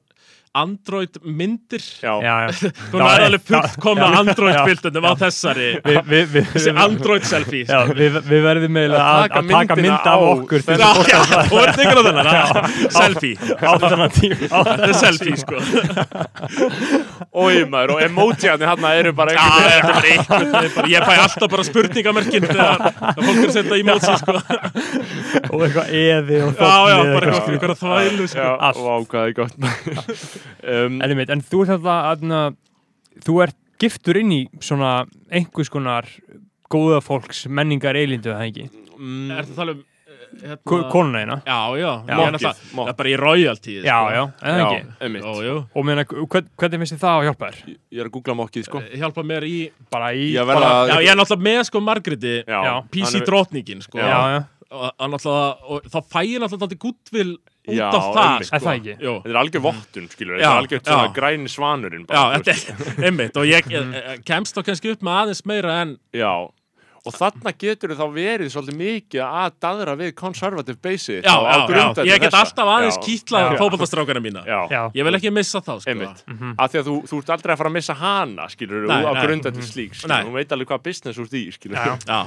[SPEAKER 4] Android myndir.
[SPEAKER 1] já,
[SPEAKER 2] Já, já.
[SPEAKER 4] Hún er alveg fullkomna
[SPEAKER 2] já.
[SPEAKER 4] Android-bildunum á þessari.
[SPEAKER 2] Við- við- við-
[SPEAKER 4] Þessi Android-selfie.
[SPEAKER 2] Já, við, við verðum eiginlega
[SPEAKER 1] Að
[SPEAKER 2] að,
[SPEAKER 1] taka
[SPEAKER 2] að taka
[SPEAKER 1] myndina
[SPEAKER 2] mynd af
[SPEAKER 1] á
[SPEAKER 2] okkur
[SPEAKER 1] þennan-
[SPEAKER 2] þegar
[SPEAKER 4] Já, já, þú ert ekki á þennan. já. Selfie.
[SPEAKER 2] á þennan tíma
[SPEAKER 4] Þetta er selfie, sko.
[SPEAKER 1] Ói, maður, og emojiðanir hann eru bara
[SPEAKER 4] Já,
[SPEAKER 1] einhvern
[SPEAKER 4] það er bara eitthvað, það er bara- ég fæ alltaf bara spurningamerkin þegar þegar fólk er að setja í mótsi sko.
[SPEAKER 2] og eitthvað eði og
[SPEAKER 4] Já, já,
[SPEAKER 2] þóttni
[SPEAKER 4] bara eitthvað ykkur að þvælu
[SPEAKER 1] Já,
[SPEAKER 4] sko.
[SPEAKER 2] allt.
[SPEAKER 1] vá, hvað er gott um,
[SPEAKER 2] en, einmitt, en þú ert alltaf að na, þú ert giftur inn í svona einhvers konar góða fólks menningar eilindu það ekki
[SPEAKER 1] mm,
[SPEAKER 4] Er það tala um eh,
[SPEAKER 2] Ko-
[SPEAKER 4] hérna
[SPEAKER 2] konuna eina
[SPEAKER 4] Já, já,
[SPEAKER 2] Já.
[SPEAKER 4] ég er
[SPEAKER 1] Mokkið,
[SPEAKER 4] náttúrulega-
[SPEAKER 1] mokk.
[SPEAKER 4] það er bara í royalty sko.
[SPEAKER 2] já, já, en það
[SPEAKER 1] Já,
[SPEAKER 2] ekki
[SPEAKER 1] einmitt.
[SPEAKER 4] Ó, jú,
[SPEAKER 2] og meina, hvern, hvernig finnst þið það að hjálpa þér?
[SPEAKER 1] Ég er að googla mokkið, sko
[SPEAKER 4] Eh, hjálpa mér í
[SPEAKER 2] bara í
[SPEAKER 1] Ég verð
[SPEAKER 2] bara,
[SPEAKER 1] að
[SPEAKER 4] Já, ég er náttúrulega með sko Margréti
[SPEAKER 1] Já,
[SPEAKER 2] Já,
[SPEAKER 1] hann
[SPEAKER 4] PC
[SPEAKER 1] er-
[SPEAKER 4] drottningin sko
[SPEAKER 2] já, já,
[SPEAKER 4] og, og náttúrulega, og þá fæ ég náttúrulega alltaf guttvill út
[SPEAKER 1] Já,
[SPEAKER 4] af það, sko.
[SPEAKER 1] einmitt.
[SPEAKER 2] Er það ekki?
[SPEAKER 4] Jú.
[SPEAKER 1] Þetta er algjör vottun, skilur,
[SPEAKER 4] Já,
[SPEAKER 1] þetta er algjör svona
[SPEAKER 4] já.
[SPEAKER 1] græni svanurinn
[SPEAKER 4] Já,
[SPEAKER 1] bara, þú
[SPEAKER 4] þetta
[SPEAKER 1] veist.
[SPEAKER 4] er einmitt og ég eh, eh, kemst þá kannski upp með aðeins meira en
[SPEAKER 1] já. Og þarna getur þá verið svolítið mikið að daðra við conservative base
[SPEAKER 4] Já, já, já, ég get alltaf aðeins kýtlað
[SPEAKER 1] Já.
[SPEAKER 4] fótballastrákana mína
[SPEAKER 1] Já,
[SPEAKER 2] Já.
[SPEAKER 4] Ég vil ekki missa þá, sko
[SPEAKER 1] einmitt Af því að þú, þú ert aldrei að fara að missa hana, skilur,
[SPEAKER 4] Nei,
[SPEAKER 1] á
[SPEAKER 4] nei. Mhm.
[SPEAKER 1] grundandi slík, skilur,
[SPEAKER 4] Nei.
[SPEAKER 1] hún veit alveg hvað business úr því, skilur
[SPEAKER 2] Já.
[SPEAKER 4] Já,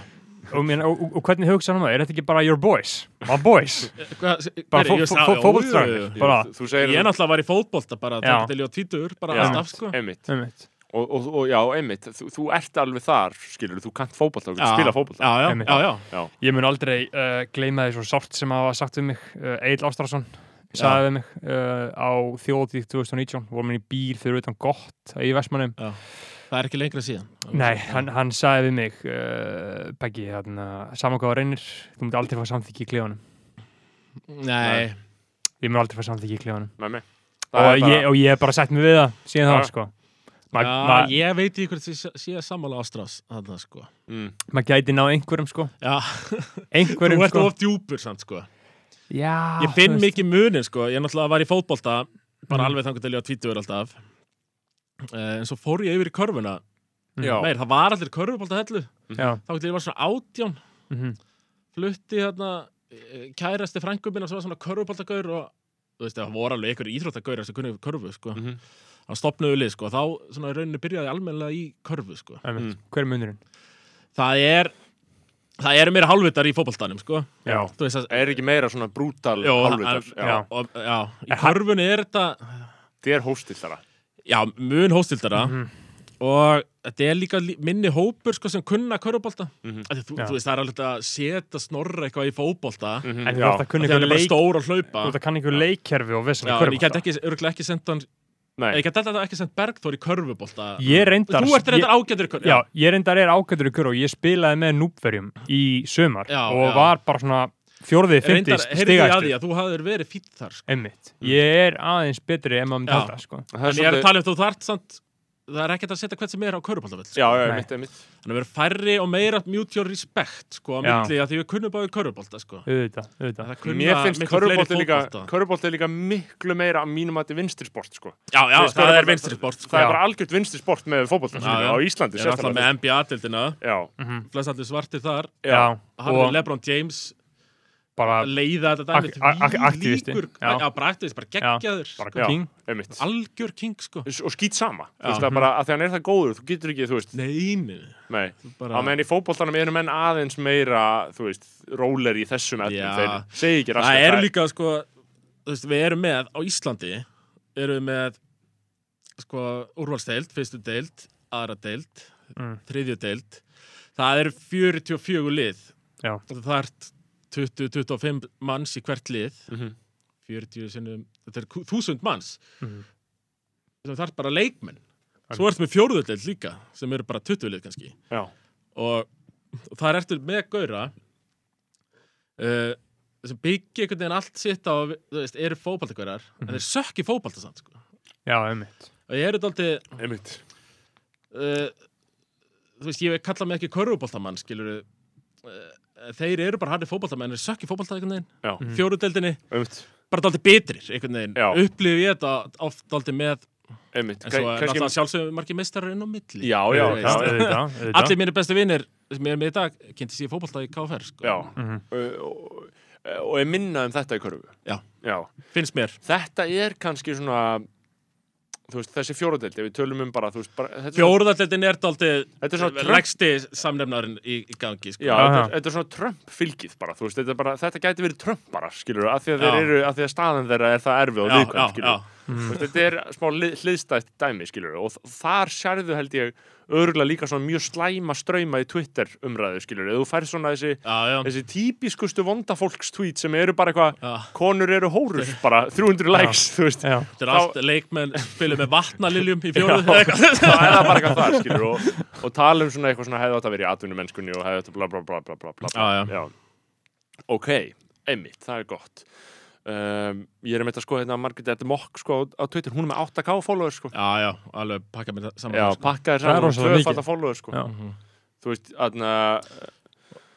[SPEAKER 2] Og, meina, og, og, og hvernig hugsa hann það? Er þetta ekki bara your boys? My boys?
[SPEAKER 4] Hvað-
[SPEAKER 2] Bara
[SPEAKER 4] Heyrðu,
[SPEAKER 2] fó- fó- fó-
[SPEAKER 4] ég- já, já, jú, jú,
[SPEAKER 2] fótboltstrákar?
[SPEAKER 4] jú.
[SPEAKER 2] Bara,
[SPEAKER 1] Þú segir
[SPEAKER 4] Ég náttúrulega var í fótbolta bara
[SPEAKER 2] Já.
[SPEAKER 4] til ég á títur, bara
[SPEAKER 1] Já.
[SPEAKER 4] alltaf, sko
[SPEAKER 1] einmitt
[SPEAKER 2] einmitt.
[SPEAKER 1] og, og, og já, einmitt, þú, þú ert alveg þar skilur, þú kannt fótballta, þú
[SPEAKER 4] Já.
[SPEAKER 1] getur spila fótballta
[SPEAKER 4] Já, já,
[SPEAKER 2] Einmitt.
[SPEAKER 4] já, já
[SPEAKER 2] Ég mun aldrei uh, gleyma því svo sárt sem hafa sagt við mig, uh, Egil Ástrásson sagði við mig uh, á þjóðtíð 2019, vorum við í bíl fyrir utan gott eh, í Vestmannum
[SPEAKER 4] Það er ekki lengra síðan
[SPEAKER 2] Nei, hann, hann sagði við mig uh, Beggi, hérna, saman hvað á reynir þú mútt aldrei fá samþykki í klefanum
[SPEAKER 4] Nei,
[SPEAKER 2] ég mun aldrei fá samþykki í klefanum
[SPEAKER 1] með mig
[SPEAKER 2] og, ég, og ég hef bara sett mig við það síðan
[SPEAKER 1] Já.
[SPEAKER 2] þá, sko maður
[SPEAKER 4] já,
[SPEAKER 2] ma,
[SPEAKER 4] ég veit í hvert því sé sammála ástrás Þannig, sko
[SPEAKER 1] mm,
[SPEAKER 2] ma gæti ná einhverjum, sko
[SPEAKER 4] Já, þú
[SPEAKER 2] einhverjum,
[SPEAKER 4] ert
[SPEAKER 2] sko
[SPEAKER 4] of djúpur samt, sko
[SPEAKER 2] já,
[SPEAKER 4] Ég finn
[SPEAKER 2] þú veist.
[SPEAKER 4] mikið munin, sko Ég náttúrulega var í fótbolta Bara
[SPEAKER 2] Mm.
[SPEAKER 4] alveg þangur til ég á títur alltaf Eh, En svo fór ég yfir í körfuna
[SPEAKER 2] Mm.
[SPEAKER 1] já,
[SPEAKER 4] Meir, það var allir körfubolta hellu
[SPEAKER 2] já,
[SPEAKER 4] Þá til ég var svona átján
[SPEAKER 2] mm
[SPEAKER 4] flutti hérna eh, kærasti frængum minna sem var svona körfuboltagaur og þú veist, það voru alveg ykkur íþróttagaur sem kunni körfu, sko,
[SPEAKER 1] Mhm.
[SPEAKER 4] hann stopnaði lið, sko, þá svona í rauninni byrjaði ég almennilega í körfu, sko
[SPEAKER 2] einmitt. hver er munurinn?
[SPEAKER 4] það er, það eru meira hálfvitar í fótboltanum, sko
[SPEAKER 2] Já.
[SPEAKER 4] þú veist að
[SPEAKER 1] er ekki meira svona brútal
[SPEAKER 4] Jó,
[SPEAKER 1] hálfvitar,
[SPEAKER 4] hann-
[SPEAKER 1] já,
[SPEAKER 2] já.
[SPEAKER 4] og, já, í
[SPEAKER 2] Er hann-
[SPEAKER 4] körfunni er þetta
[SPEAKER 1] þið er hóstilltara
[SPEAKER 4] já, mun hóstildara
[SPEAKER 2] Mhm.
[SPEAKER 4] og þetta er líka lí- minni hópur, sko, sem kunna körfubolta mm
[SPEAKER 1] Mhm.
[SPEAKER 4] þú,
[SPEAKER 2] Já.
[SPEAKER 4] þú veist, það er alveg hægt að setja snorra eitthvað í fótbolta mm -hmm.
[SPEAKER 2] en þú ert að kunna
[SPEAKER 4] Það er
[SPEAKER 2] ykkur
[SPEAKER 4] bara
[SPEAKER 2] leik
[SPEAKER 4] stór að hlaupa
[SPEAKER 2] þú ert að kann ykkur leikkerfi og vissin
[SPEAKER 4] Já, en ég get ekki, örgulega ekki sendt hann
[SPEAKER 1] nei,
[SPEAKER 4] Ég get þetta ekki sendt Bergþór í körfubolta
[SPEAKER 2] Ég reyndar-
[SPEAKER 4] Þú ert reyndar
[SPEAKER 2] ég-
[SPEAKER 4] ágætur í körfubolta
[SPEAKER 2] Já, ég reyndar er ágættur í kuru og ég spilaði með núpverjum í sömar
[SPEAKER 4] Já,
[SPEAKER 2] og
[SPEAKER 4] já.
[SPEAKER 2] var bara svona fjórðið,
[SPEAKER 4] reyndar
[SPEAKER 2] fymtið,
[SPEAKER 4] heyrði ég að
[SPEAKER 2] stigastur
[SPEAKER 4] því að þú hafðir verið fýtt þar sko.
[SPEAKER 2] Einmitt. Ég er aðeins betri en maður myndi
[SPEAKER 4] Já.
[SPEAKER 2] halda, sko.
[SPEAKER 1] það
[SPEAKER 4] En ég er að tala um þú þart samt Það er ekkert að setja hvert sem er á körfuboltavöld sko.
[SPEAKER 1] já, já,
[SPEAKER 2] Nei.
[SPEAKER 1] einmitt, einmitt
[SPEAKER 4] Þannig að vera færri og meira mutual respect sko, á
[SPEAKER 2] Já.
[SPEAKER 4] milli að því við kunnum báðið körfubolta sko.
[SPEAKER 2] Auðvitað, auðvitað.
[SPEAKER 4] Það kunna
[SPEAKER 1] mér finnst
[SPEAKER 4] miklu
[SPEAKER 1] körubólti
[SPEAKER 4] fleiri
[SPEAKER 1] líka,
[SPEAKER 4] fótbolta.
[SPEAKER 1] körubólti líka miklu meira að mínum að þetta er vinstri sport sko.
[SPEAKER 4] Já, já,
[SPEAKER 1] Þú veist,
[SPEAKER 4] það er
[SPEAKER 1] körfubolta-
[SPEAKER 4] vinstri sport
[SPEAKER 1] það
[SPEAKER 4] sko.
[SPEAKER 1] er
[SPEAKER 2] Já.
[SPEAKER 1] bara algjört vinstri sport með fótballta
[SPEAKER 4] Já, já.
[SPEAKER 1] á Íslandi
[SPEAKER 4] Ég er alltaf
[SPEAKER 1] sérstaklega
[SPEAKER 4] með Mhm. NBA-dildina
[SPEAKER 1] já,
[SPEAKER 4] Flest allir svartir þar
[SPEAKER 1] já,
[SPEAKER 2] Já,
[SPEAKER 4] Harfið
[SPEAKER 2] og
[SPEAKER 4] Lebron James
[SPEAKER 2] bara,
[SPEAKER 4] leiða þetta dæmi
[SPEAKER 2] Ak- ak- ak- aktivisti.
[SPEAKER 4] þvílíkur-
[SPEAKER 2] Já.
[SPEAKER 4] Já, bara aktivisti, bara geggjaður
[SPEAKER 2] bara
[SPEAKER 1] já,
[SPEAKER 2] king.
[SPEAKER 1] einmitt
[SPEAKER 4] algjör king sko
[SPEAKER 1] og skýt sama, þú veist það er bara að því hann er það góður þú getur ekki, þú veist,
[SPEAKER 4] neini
[SPEAKER 1] nei
[SPEAKER 4] bara,
[SPEAKER 1] Á meðan í fótboltanum eru menn aðeins meira, þú veist, róler í þessum
[SPEAKER 4] Já.
[SPEAKER 1] efnum, þeir segi ekki raskat.
[SPEAKER 4] það eru líka sko þú veist, við erum með á Íslandi erum við með sko úrvalsteild, fyrstu deild aðra deild,
[SPEAKER 2] Mm.
[SPEAKER 4] þriðju deild það eru 44 lið
[SPEAKER 2] Já.
[SPEAKER 4] og það er 20-25 manns í hvert lið
[SPEAKER 1] Mhm.
[SPEAKER 4] 40 sinnum, þetta er 1000 manns
[SPEAKER 2] Mhm.
[SPEAKER 4] það er bara leikmenn svo ertu með fjórðu deild líka sem eru bara 20 lið kannski
[SPEAKER 1] Já,
[SPEAKER 4] og, og þar ertu með gauðra uh, sem byggja einhvern veginn allt sitt á, þú veist, eru fótballtagauðar
[SPEAKER 1] Mhm.
[SPEAKER 4] en þeir sökki fótballta samt sko.
[SPEAKER 2] Já, einmitt.
[SPEAKER 4] og ég eru dálítið
[SPEAKER 1] einmitt.
[SPEAKER 4] uh, þú veist, ég kalla mig ekki körfuboltamann, skilur uh, þeir eru bara harri fótballtamenn en þeir sökki fótballta einhvern veginn,
[SPEAKER 1] Já,
[SPEAKER 4] mm. fjóruðdeldinni
[SPEAKER 1] einmitt.
[SPEAKER 4] bara dálítið bitrir, einhvern veginn
[SPEAKER 1] Mhm. Já.
[SPEAKER 4] upplifi ég þetta oft dálítið með
[SPEAKER 1] Einmitt.
[SPEAKER 4] en svo er
[SPEAKER 1] Kannski-
[SPEAKER 4] náttúrulega sjálfsögum margir meistarar inn á milli
[SPEAKER 1] Já, já,
[SPEAKER 4] Þú veist.
[SPEAKER 1] já, já.
[SPEAKER 2] Auðvitað, auðvitað.
[SPEAKER 4] allir mínir bestu vinir sem ég er með í dag, kynnti sér fótballta í KFR sko.
[SPEAKER 1] já.
[SPEAKER 2] Mhm.
[SPEAKER 1] Uh, og- Og ég minna um þetta í körfu.
[SPEAKER 4] Já.
[SPEAKER 1] Já.
[SPEAKER 4] finnst mér
[SPEAKER 1] Þetta er kannski svona, þú veist, þessi fjóradeild, ef við tölum um bara, þú veist, bara, þetta er svona,
[SPEAKER 4] Fjóruðalletin er
[SPEAKER 1] Þetta er svona
[SPEAKER 4] daldið
[SPEAKER 1] Trump-
[SPEAKER 4] legsti samnefnarinn í, í gangi sko.
[SPEAKER 1] já,
[SPEAKER 2] Aha.
[SPEAKER 1] þetta, er- þetta er svona Trump-fylgið bara, þú veist, þetta, er bara, þetta gæti verið Trump bara, skilur, af því að þeir
[SPEAKER 4] Já.
[SPEAKER 1] eru, af því að staðan þeirra er það erfið og
[SPEAKER 4] já, já,
[SPEAKER 1] viðkvæm, skilur.
[SPEAKER 4] já.
[SPEAKER 1] Þú veist, þetta er smá hlið- hliðstætt dæmi skilur og þ- þar sérðu held ég örgulega líka svona mjög slæma ströyma í Twitter umræðu skilur eða þú færð svona þessi,
[SPEAKER 4] Já, já.
[SPEAKER 1] þessi típiskustu vondafólks tweet sem eru bara eitthvað
[SPEAKER 4] Já.
[SPEAKER 1] konur eru hórur bara 300 likes þú veist
[SPEAKER 2] Já,
[SPEAKER 4] Þetta er
[SPEAKER 1] Þá-
[SPEAKER 4] allt leikmenn spilum með vatnaliljum í fjóruð
[SPEAKER 1] það er það bara eitthvað þar skilur og, og tala um svona eitthvað svona hefði átt að vera í atvinnumennskunni og hefði átt að bla bla bla bla bla, bla.
[SPEAKER 4] Já, já.
[SPEAKER 1] ok, einmitt, það er gott um, ég er meitt að sko hérna Margrét Edda Mokk sko á- á Twitter, hún er með 8k followers sko
[SPEAKER 4] Já, já, alveg pakka mér það saman
[SPEAKER 1] Já,
[SPEAKER 4] sko.
[SPEAKER 1] pakkaði
[SPEAKER 2] Mm. Það er
[SPEAKER 1] saman og
[SPEAKER 2] rosalega mikið.
[SPEAKER 1] tvöfald
[SPEAKER 4] Mhm.
[SPEAKER 1] að followers sko.
[SPEAKER 2] Já.
[SPEAKER 1] Þú veist, aðna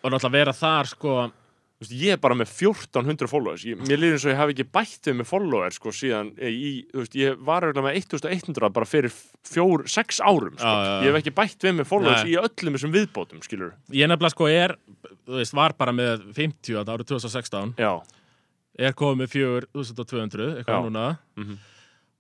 [SPEAKER 4] Og náttúrulega vera þar sko
[SPEAKER 1] Þú veist, ég er bara með 1400 followers ég, mér líður eins og ég hafi ekki bætt við með followers sko, síðan eh, í, þú veist, ég var örugglega með 1100 bara fyrir fjór, sex árum sko.
[SPEAKER 4] Já, já, já.
[SPEAKER 1] ég hef ekki bætt við með followers
[SPEAKER 4] Nei.
[SPEAKER 1] í öllum þessum viðbótum, skilur
[SPEAKER 4] Ég nefnilega sko er, þú veist, var bara með 50 að árið 2016
[SPEAKER 1] já,
[SPEAKER 4] er komið með 4200 eitthvað
[SPEAKER 1] Já.
[SPEAKER 4] núna
[SPEAKER 1] Mhm.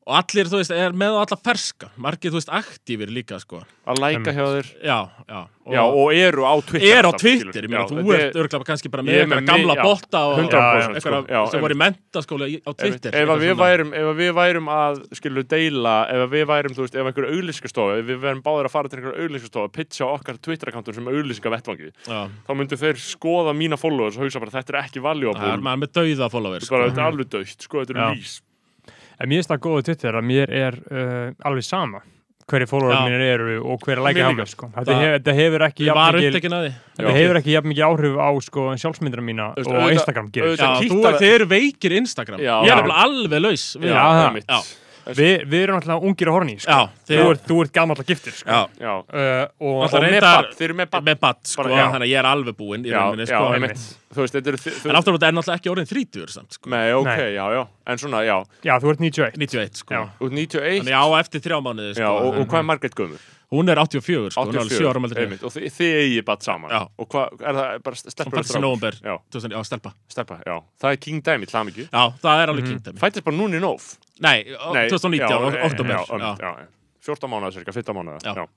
[SPEAKER 4] og allir, þú veist, er með á alla ferska margir, þú veist, aktífir líka, sko
[SPEAKER 1] að læka
[SPEAKER 2] Einmitt.
[SPEAKER 1] hjá þér
[SPEAKER 4] Já, já
[SPEAKER 1] já, og eru á Twitter
[SPEAKER 4] er á
[SPEAKER 1] alltaf,
[SPEAKER 4] Twitter,
[SPEAKER 1] skilur.
[SPEAKER 4] ég meina,
[SPEAKER 1] Já,
[SPEAKER 4] þú
[SPEAKER 1] þetta er-
[SPEAKER 4] ert örgulega kannski bara með
[SPEAKER 1] Ég er með
[SPEAKER 4] eitthvað gamla
[SPEAKER 1] mi- já,
[SPEAKER 4] botta og
[SPEAKER 1] 100% sko. Já,
[SPEAKER 4] eitthvað sem
[SPEAKER 1] einmitt.
[SPEAKER 4] voru í mentaskóla í- á Twitter
[SPEAKER 1] ef, að
[SPEAKER 4] eitthvað
[SPEAKER 1] við
[SPEAKER 4] svona.
[SPEAKER 1] værum, ef að við værum að skilur deila, ef að við værum þú veist, ef einhver auglýsingastofa, ef við værum báðir að fara til einhver auglýsingastofa, pitcha okkar Twitter-akkantur sem auglýsingavettvangi,
[SPEAKER 4] Já,
[SPEAKER 1] þá myndu þeir skoða mína followers og hugsa bara þetta er ekki valuable,
[SPEAKER 4] það er
[SPEAKER 1] bara,
[SPEAKER 4] maður með dauða follower sko.
[SPEAKER 1] þetta er alveg dögt sko, þetta
[SPEAKER 2] Já.
[SPEAKER 1] er lýs
[SPEAKER 2] En mér finnst það góða Twitter að mér er uh, alveg sama hverju fólórar
[SPEAKER 4] Já.
[SPEAKER 2] mínir eru og hverju lækja
[SPEAKER 1] Mér
[SPEAKER 2] á
[SPEAKER 1] líka.
[SPEAKER 2] mig sko. þetta,
[SPEAKER 4] Það-
[SPEAKER 2] hef, þetta hefur ekki
[SPEAKER 4] Ég var
[SPEAKER 2] jafn mikil-
[SPEAKER 4] upptekinn að því
[SPEAKER 2] þetta
[SPEAKER 1] Já.
[SPEAKER 2] hefur ekki jafn mikið áhrif á sko, sjálfsmyndina
[SPEAKER 1] Þú
[SPEAKER 2] mína
[SPEAKER 1] veist,
[SPEAKER 2] og
[SPEAKER 1] auðvitað-
[SPEAKER 2] Instagram gerir
[SPEAKER 1] auðvitað-
[SPEAKER 4] Já,
[SPEAKER 1] kíkti
[SPEAKER 4] þú
[SPEAKER 1] á
[SPEAKER 4] er,
[SPEAKER 1] það.
[SPEAKER 4] þið eru veikir Instagram
[SPEAKER 1] Já.
[SPEAKER 4] Ég er nefnilega alveg laus við-
[SPEAKER 2] Já. það.
[SPEAKER 1] einmitt.
[SPEAKER 4] Já.
[SPEAKER 2] Vi, Við erum alltaf ungir og horni sko.
[SPEAKER 4] Já,
[SPEAKER 2] þú,
[SPEAKER 4] þið eru
[SPEAKER 2] ert, þú ert gamall að giftir sko.
[SPEAKER 4] Já,
[SPEAKER 1] já,
[SPEAKER 2] uh, og,
[SPEAKER 4] Alltaf
[SPEAKER 1] og
[SPEAKER 2] og
[SPEAKER 1] með
[SPEAKER 4] reyndar-
[SPEAKER 1] bann, þeir eru með bann
[SPEAKER 4] með batt, sko,
[SPEAKER 1] Bara- já.
[SPEAKER 4] þannig að ég er alveg búinn í
[SPEAKER 1] já,
[SPEAKER 4] rauninni,
[SPEAKER 1] já,
[SPEAKER 4] sko
[SPEAKER 1] einmitt. þú veist, þetta eru þi- þú
[SPEAKER 4] En
[SPEAKER 1] veist,
[SPEAKER 4] aftur á þetta er náttúrulega ekki orðin 30 samt, sko
[SPEAKER 1] nei, ok,
[SPEAKER 2] Nei.
[SPEAKER 1] já, já en svona, já,
[SPEAKER 2] já, þú ert 91
[SPEAKER 4] 91, sko
[SPEAKER 2] Já.
[SPEAKER 1] út 91 já,
[SPEAKER 4] Þannig já, eftir þrjá mánuði, sko
[SPEAKER 1] og, og hvað er Margaret Guðmur?
[SPEAKER 4] Hún er 84, sko, hún er alveg 7
[SPEAKER 1] 84,
[SPEAKER 4] ára meldur
[SPEAKER 1] einmitt, og þi- þið eigi bara saman
[SPEAKER 4] Já.
[SPEAKER 1] og hvað, er það bara
[SPEAKER 4] Hún
[SPEAKER 1] stelpur og
[SPEAKER 4] fættist í
[SPEAKER 1] strákar?
[SPEAKER 4] nóvember
[SPEAKER 1] Já.
[SPEAKER 4] 2000, Já, stelpa
[SPEAKER 1] Steppa, já. Það er King Dæmi, hlað mikið.
[SPEAKER 4] Já, það er alveg
[SPEAKER 1] Mhm.
[SPEAKER 4] mm. kynnt
[SPEAKER 1] Fættist bara núna í nóf.
[SPEAKER 4] Nei, ó- 2019,
[SPEAKER 1] já,
[SPEAKER 4] ok-
[SPEAKER 1] eh,
[SPEAKER 4] oktober
[SPEAKER 1] Já,
[SPEAKER 4] já.
[SPEAKER 1] um, já. já. 14 mánuða cirka, 15 mánuða.
[SPEAKER 4] Já.
[SPEAKER 1] Já.